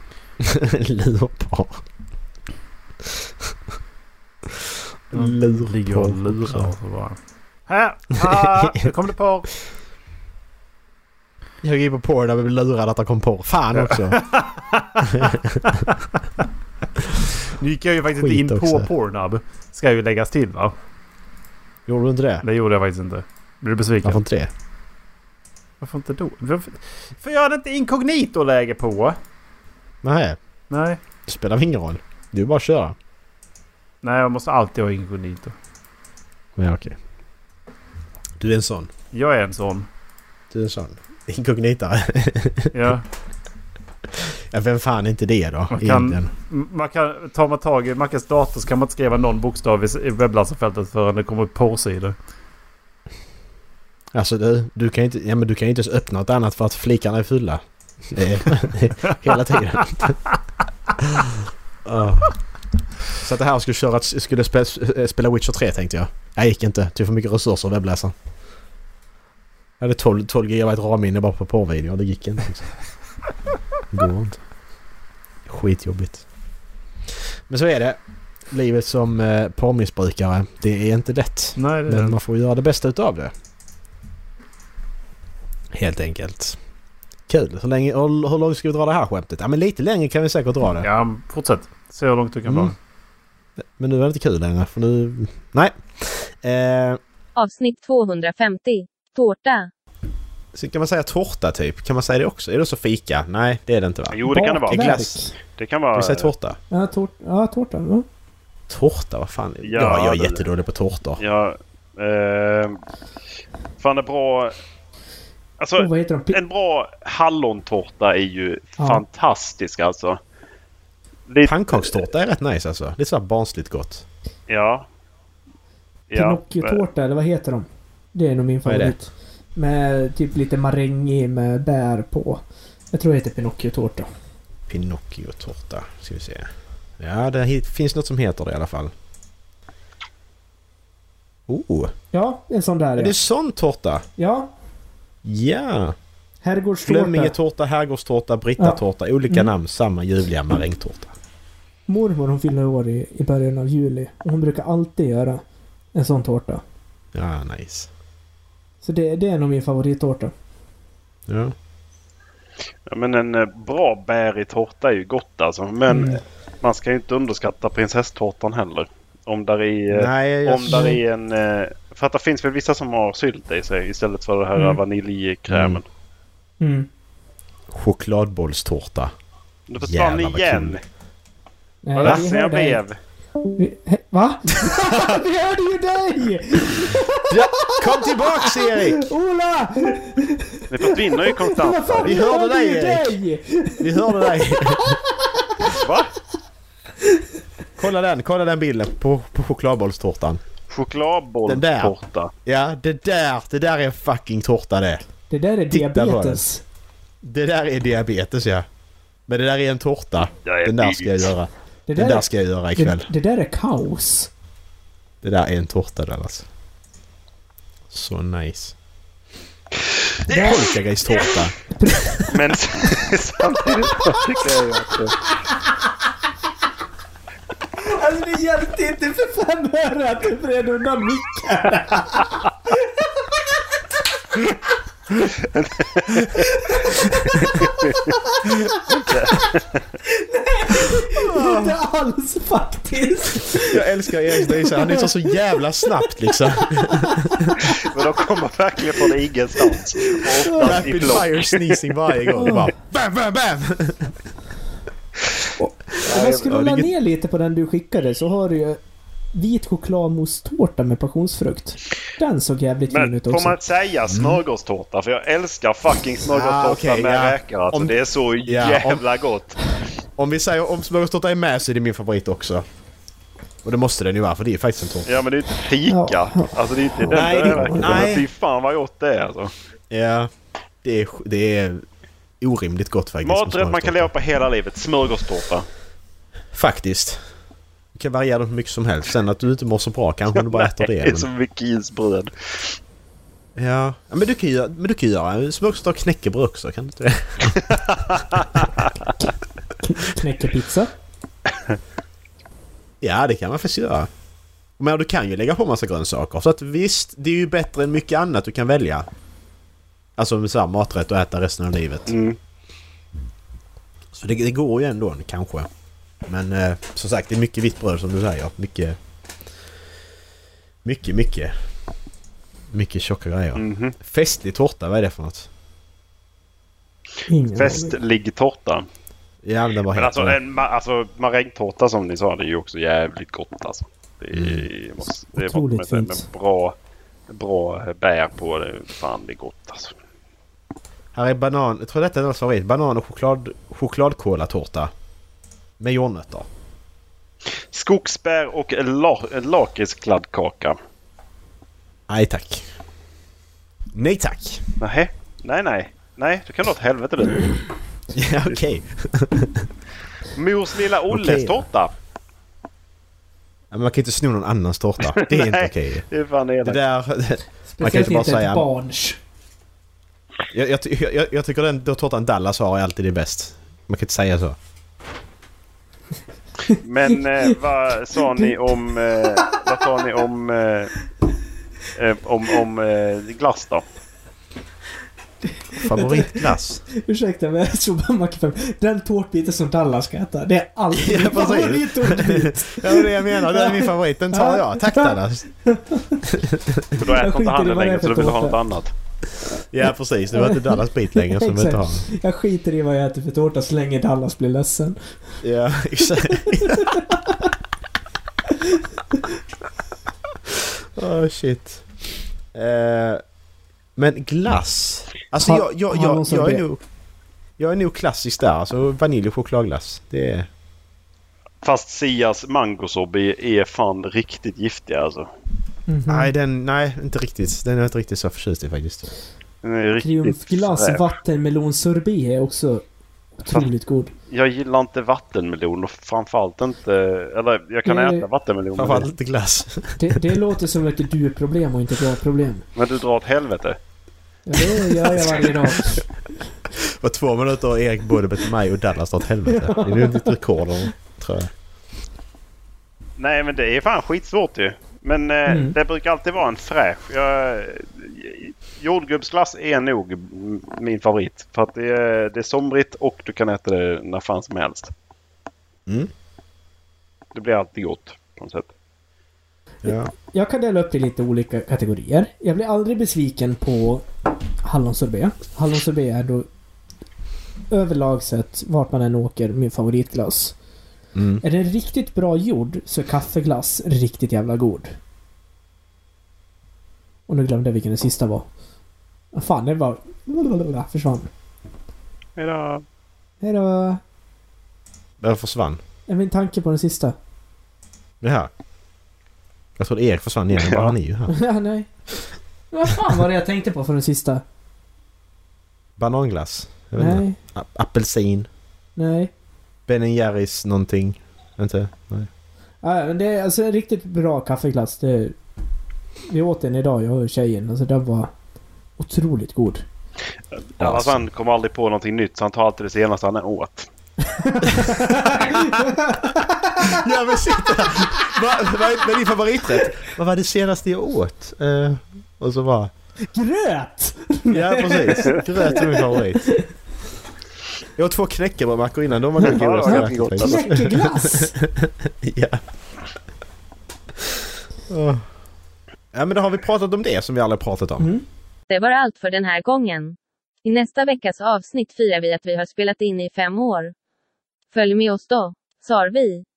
Speaker 2: Lurpar.
Speaker 4: Ligger och
Speaker 2: Lurpar.
Speaker 4: lurar. och så bara, Här! Ah, nu kom det porr!
Speaker 2: Jag gick på Pornhub och blev lurad att det kom porr. Fan också.
Speaker 4: Nu gick jag ju faktiskt
Speaker 2: Skit
Speaker 4: inte in
Speaker 2: också.
Speaker 4: på Pornhub. Ska ju läggas till va?
Speaker 2: Gjorde du inte det?
Speaker 4: Det gjorde jag faktiskt inte. Blir du besviken?
Speaker 2: Varför inte det?
Speaker 4: Varför inte då? Varför? För jag hade inte inkognito-läge på.
Speaker 2: Nej,
Speaker 4: Nej.
Speaker 2: det spelar väl ingen roll. Du bara att köra.
Speaker 4: Nej, jag måste alltid ha inkognito.
Speaker 2: Ja, okej. Du är en sån.
Speaker 4: Jag är en sån.
Speaker 2: Du är en sån. Inkognita.
Speaker 4: Ja.
Speaker 2: Ja, vem fan är inte det då?
Speaker 4: Man kan-
Speaker 2: Egentligen.
Speaker 4: M- Man kan, tar man tag i Mackes dator så kan man inte skriva någon bokstav i- i webbläsarfältet förrän det kommer upp porrsidor.
Speaker 2: Alltså du, du kan ju inte, ja, men du kan ju inte ens öppna något annat för att flickarna är fulla. Det är- Hela tiden. Ah. Så att det här skulle köra, skulle spe, spela Witcher 3 tänkte jag. Jag gick inte, tog för mycket resurser webbläsaren. Jag hade 12, 12 GB RAM-minne bara på porrvideor, det gick inte. Liksom. Det Går inte. Skitjobbigt. Men så är det. Livet som eh, porrmissbrukare, det är inte lätt.
Speaker 4: Nej, det är
Speaker 2: Men
Speaker 4: det.
Speaker 2: man får göra det bästa utav det. Helt enkelt. Kul. Hur, länge, hur, hur långt ska vi dra det här skämtet? Ja men lite längre kan vi säkert dra det.
Speaker 4: Ja, men fortsätt. Se hur långt du kan
Speaker 2: Mm.
Speaker 4: dra.
Speaker 2: Men nu är det inte kul längre för nu... Nej. Eh,
Speaker 1: Avsnitt 250. Tårta.
Speaker 2: så kan man säga tårta typ? Kan man säga det också? Är det så fika? Nej det är det inte va?
Speaker 11: Jo, det kan det vara.
Speaker 2: Bakverk.
Speaker 19: Glass.
Speaker 11: Det kan
Speaker 2: Kan
Speaker 11: vara...
Speaker 2: vi säga tårta?
Speaker 19: Ja, tårt, ja tårtan. Ja.
Speaker 2: Tårta? Vad fan? Ja,
Speaker 11: Ja,
Speaker 2: jag är
Speaker 11: det-
Speaker 2: jättedålig på tårtor.
Speaker 11: Ja. Eh, fan, det är bra... Alltså,
Speaker 2: Oh,
Speaker 19: Och vad heter de? Pi-
Speaker 11: en bra hallontårta är ju
Speaker 19: Ja.
Speaker 11: fantastisk alltså. Lite,
Speaker 2: Pannkakstårta är rätt nice alltså. Lite sådär barnsligt gott.
Speaker 11: ja. Ja. eh,
Speaker 19: Pinocchio-tårta, eller vad heter de? Det är nog min
Speaker 2: Vad är det?
Speaker 19: favorit. Med typ lite maräng i med bär på. Jag tror det heter Pinocchio-tårta.
Speaker 2: Pinocchio-tårta. Ska vi se. Ja det hit- finns något som heter det i alla fall. Oh!
Speaker 19: Ja, en sån där
Speaker 2: Är det
Speaker 19: ja.
Speaker 2: sån tårta?
Speaker 19: Ja,
Speaker 2: Ja!
Speaker 19: herrgårdstårta.
Speaker 2: Flemmingetårta, herrgårdstårta, brittatårta. Olika namn, samma ljuvliga marängtårta.
Speaker 19: Mormor hon fyller år i, i början av juli. Och hon brukar alltid göra en sån tårta.
Speaker 2: Ja, nice.
Speaker 19: Så det, det är nog min favorittårta.
Speaker 2: Ja.
Speaker 11: Ja, men en eh, bra bärig tårta är ju gott alltså. Men
Speaker 2: Mm.
Speaker 11: man ska ju inte underskatta prinsesstårtan heller. Om där i... eh,
Speaker 2: Nej, jag...
Speaker 11: Om där är en... eh, För att det finns väl vissa som har sylt i sig istället för det här
Speaker 19: Mm.
Speaker 11: vaniljkrämen.
Speaker 19: Mm.
Speaker 2: Chokladbollstårta.
Speaker 11: Det försvann
Speaker 2: Jävlar, vad
Speaker 11: igen!
Speaker 2: kul.
Speaker 19: Nej,
Speaker 11: Vad
Speaker 19: vi
Speaker 11: ledsen
Speaker 19: hör
Speaker 11: jag
Speaker 19: dig.
Speaker 11: blev!
Speaker 19: Va? Vi hörde ju dig!
Speaker 2: Ja, kom tillbaks Erik!
Speaker 19: Ola!
Speaker 4: Ni försvinner ju
Speaker 19: Vad
Speaker 4: konstant.
Speaker 19: fan,
Speaker 2: vi
Speaker 19: vi
Speaker 2: hörde
Speaker 19: hörde
Speaker 2: dig,
Speaker 19: ju
Speaker 2: Erik.
Speaker 19: dig!
Speaker 2: Vi hörde dig.
Speaker 4: Va?
Speaker 2: Kolla den, kolla den bilden på, på chokladbollstårtan. Den där.
Speaker 4: Chokladbolltårta.
Speaker 2: Ja, det där, det där är en fucking tårta det.
Speaker 19: Det där är
Speaker 2: Titta på
Speaker 19: diabetes.
Speaker 2: Det där är diabetes ja. Men det där är en tårta.
Speaker 4: Jag är
Speaker 2: Den där ska jag
Speaker 4: bit.
Speaker 2: göra.
Speaker 19: Det
Speaker 2: Den
Speaker 19: där,
Speaker 2: där
Speaker 19: är,
Speaker 2: ska jag göra ikväll.
Speaker 19: det, det där är kaos.
Speaker 2: Det där är en tårta den alltså. Så nice. Polkagristårta.
Speaker 4: Men samtidigt så tycker jag ju att... det-
Speaker 19: Alltså det hjälpte inte för fem öre att du vred undan micken. Nej, inte alls faktiskt.
Speaker 2: Jag älskar Erik Dysa. Han är så jävla snabbt liksom.
Speaker 4: Men de kommer verkligen från ingenstans. Och oftast i
Speaker 2: Rapid
Speaker 4: block.
Speaker 2: fire sneezing varje gång. Bara, bam, bam, bam!
Speaker 19: Om jag scrollar
Speaker 2: inget-
Speaker 19: ner lite på den du skickade så har du ju vit chokladmousse-tårta med passionsfrukt. Den såg jävligt fin
Speaker 4: Men
Speaker 19: ut
Speaker 4: får
Speaker 19: också.
Speaker 4: man säga smörgåstårta? För jag älskar fucking smörgåstårta
Speaker 2: Ah, Mm. okej,
Speaker 4: med
Speaker 2: ja.
Speaker 4: räkor. Alltså,
Speaker 2: Om-
Speaker 4: Det är så
Speaker 2: Ja, om-
Speaker 4: jävla gott.
Speaker 2: Om vi säger om smörgåstårta är med så är det min favorit också. Och det måste den ju vara för det är faktiskt en tårta.
Speaker 4: Ja men det är inte fika.
Speaker 19: Ja.
Speaker 4: Alltså det är inte den
Speaker 2: Nej,
Speaker 4: där
Speaker 2: det-
Speaker 4: räkor.
Speaker 2: nej.
Speaker 4: Men fy fan vad gott det är alltså.
Speaker 2: Ja. Det är, det är orimligt gott faktiskt. med
Speaker 4: Maträtt man
Speaker 2: smörgåstårta.
Speaker 4: kan leva på hela livet. Smörgåstårta.
Speaker 2: Faktiskt. Du kan variera dem hur mycket som helst. Sen att du inte mår så bra kanske du bara äter det.
Speaker 4: Det är
Speaker 2: Men...
Speaker 4: som vikingbröd.
Speaker 2: Ja. ja men, du kan ju, göra- men du kan ju göra smörgåstårta och knäckebröd också. Kan du inte det?
Speaker 19: Knäckepizza.
Speaker 2: Ja, det kan man faktiskt göra. Men du kan ju lägga på massa grönsaker. Så att visst, det är ju bättre än mycket annat du kan välja. Alltså med samma maträtt och äta resten av livet.
Speaker 4: Mm.
Speaker 2: Så det, det går ju ändå kanske. Men eh, som sagt, det är mycket vitt bröd som du säger. Mycket... Mycket, mycket. Mycket tjocka grejer.
Speaker 4: Mhm.
Speaker 2: Festlig tårta, vad är det för något?
Speaker 19: Ingen aning.
Speaker 4: Festlig tårta.
Speaker 2: Ja, men den var
Speaker 4: Men
Speaker 2: helt...
Speaker 4: alltså, en, ma- alltså marängtårta som ni sa, det är ju också jävligt gott alltså. Det är,
Speaker 2: Mm.
Speaker 4: måste, det är
Speaker 19: Otroligt
Speaker 4: med, med
Speaker 19: fint.
Speaker 4: bra, bra bär på det. Fan det är gott alltså.
Speaker 2: Här är banan... Jag tror detta är deras favorit. Banan och choklad, chokladkolatårta. Med jordnötter.
Speaker 4: Skogsbär och la, lakritskladdkaka.
Speaker 2: Nej tack. Nej tack.
Speaker 4: Nej, nej, nej. Nej, du kan dra åt helvete du.
Speaker 2: Ja, okej.
Speaker 4: Mors lilla Olles
Speaker 2: Okej.
Speaker 4: tårta.
Speaker 2: Ja, men Man kan ju inte sno någon annans tårta. Det är inte
Speaker 4: Nej.
Speaker 2: okej.
Speaker 4: Det är fan
Speaker 2: Det
Speaker 4: elakt.
Speaker 2: där... Man kan
Speaker 19: Speciellt
Speaker 2: inte bara
Speaker 19: inte
Speaker 2: säga...
Speaker 19: ett barns.
Speaker 2: Jag, jag, ty- jag, jag tycker den den tårtan Dallas har är alltid det bäst. Man kan inte säga så.
Speaker 4: Men eh, vad sa ni om... Eh, vad sa ni om... Eh, eh, om om eh, glass då?
Speaker 2: Favoritglass.
Speaker 19: Ursäkta men jag tror bara Mackan Den tårtbiten som Dallas ska äta, det är alltid
Speaker 2: Ja,
Speaker 19: min
Speaker 2: precis.
Speaker 19: favorittårtbit.
Speaker 2: Ja, det är det jag menar. Det är min favorit. Den tar jag. Tack Dallas.
Speaker 4: För då
Speaker 19: Jag
Speaker 4: äter inte
Speaker 19: skiter i
Speaker 4: han den
Speaker 19: vad det är
Speaker 4: längre
Speaker 19: för
Speaker 4: så då vill du ha något
Speaker 19: tårta.
Speaker 4: annat.
Speaker 2: Ja, precis. Nu var inte Dallas bit längre som vi inte har.
Speaker 19: Jag skiter i vad jag äter för tårta så länge Dallas blir ledsen.
Speaker 2: Ja, exakt. oh shit. Eh, men glass. Alltså
Speaker 19: Har-
Speaker 2: jag, jag,
Speaker 19: har någon
Speaker 2: jag,
Speaker 19: som
Speaker 2: jag, är
Speaker 19: ber-
Speaker 2: nog... Jag är nog klassisk där. Alltså vanilj och chokladglass. Det är...
Speaker 4: Fast Sias mangosorbet är fan riktigt giftiga alltså.
Speaker 19: Mm.
Speaker 2: Nej, den... Nej, inte riktigt. Den är jag inte riktigt så förtjust i faktiskt.
Speaker 4: Den är riktigt
Speaker 19: Triumfglass
Speaker 4: fräsch.
Speaker 19: vattenmelonsorbet är också otroligt god.
Speaker 4: Jag gillar inte vattenmelon och framförallt inte... Eller jag kan
Speaker 19: Nej.
Speaker 4: äta vattenmelon. men-
Speaker 2: Framförallt inte glass.
Speaker 19: Det, det låter som ett du-problem och inte ett jag-problem.
Speaker 4: Men du drar åt helvete.
Speaker 19: Ja, det gör jag varje dag.
Speaker 2: Det var två minuter och Erik både bett mig och Dallas dra åt helvete. Det är ju ett rekord om, tror jag.
Speaker 4: Nej men det är fan skitsvårt ju. Men eh,
Speaker 19: Mm.
Speaker 4: det brukar alltid vara en fräsch. Jag, jordgubbsglass är nog m- min favorit. För att det är, det är somrigt och du kan äta det när fan som helst.
Speaker 2: Mm.
Speaker 4: Det blir alltid gott på något sätt.
Speaker 2: Ja.
Speaker 19: Jag kan dela upp det i lite olika kategorier. Jag blir aldrig besviken på hallonsorbet. Hallonsorbet är då överlag sett, vart man än åker, min favoritglass.
Speaker 2: Mm.
Speaker 19: Är den riktigt bra gjord så är kaffeglass riktigt jävla god. Och nu glömde jag vilken den sista var. Ah, Fan, det var... Försvann.
Speaker 21: Hejdå.
Speaker 19: Hejdå!
Speaker 2: Den försvann.
Speaker 19: Är min tanke på den sista?
Speaker 2: Det här. Jag trodde Erik försvann igen. men Bara han är ju här.
Speaker 19: Ja, Ah, Nej. Vad fan var det jag tänkte på för den sista?
Speaker 2: Bananglass. Jag vet inte.
Speaker 19: Nej.
Speaker 2: A- apelsin.
Speaker 19: Nej.
Speaker 2: Ben Jerrys någonting. Inte? Nej.
Speaker 19: Ja, men det är alltså en riktigt bra kaffeglass. Det, vi åt den idag, jag och tjejen. Alltså den var otroligt god.
Speaker 21: Dallas han kommer aldrig på någonting nytt så han tar alltid det senaste han åt.
Speaker 2: Ja men sitta! Vad va, är din favoriträtt? Vad var det senaste jag åt? Eh, och så bara...
Speaker 19: Gröt!
Speaker 2: Ja precis. Gröt är min favorit. Jag åt två knäckebrödsmackor innan. De var nog
Speaker 21: Ja, det var
Speaker 2: godast jag
Speaker 21: ganska
Speaker 2: ätit,
Speaker 21: gott, alltså.
Speaker 2: faktiskt.
Speaker 19: Knäckeglass!
Speaker 2: Ja. Åh. Ja men då har vi pratat om det som vi aldrig pratat om.
Speaker 1: Det var allt för den här gången. I nästa veckas avsnitt firar vi att vi har spelat in i fem år. Följ med oss då, sar vi.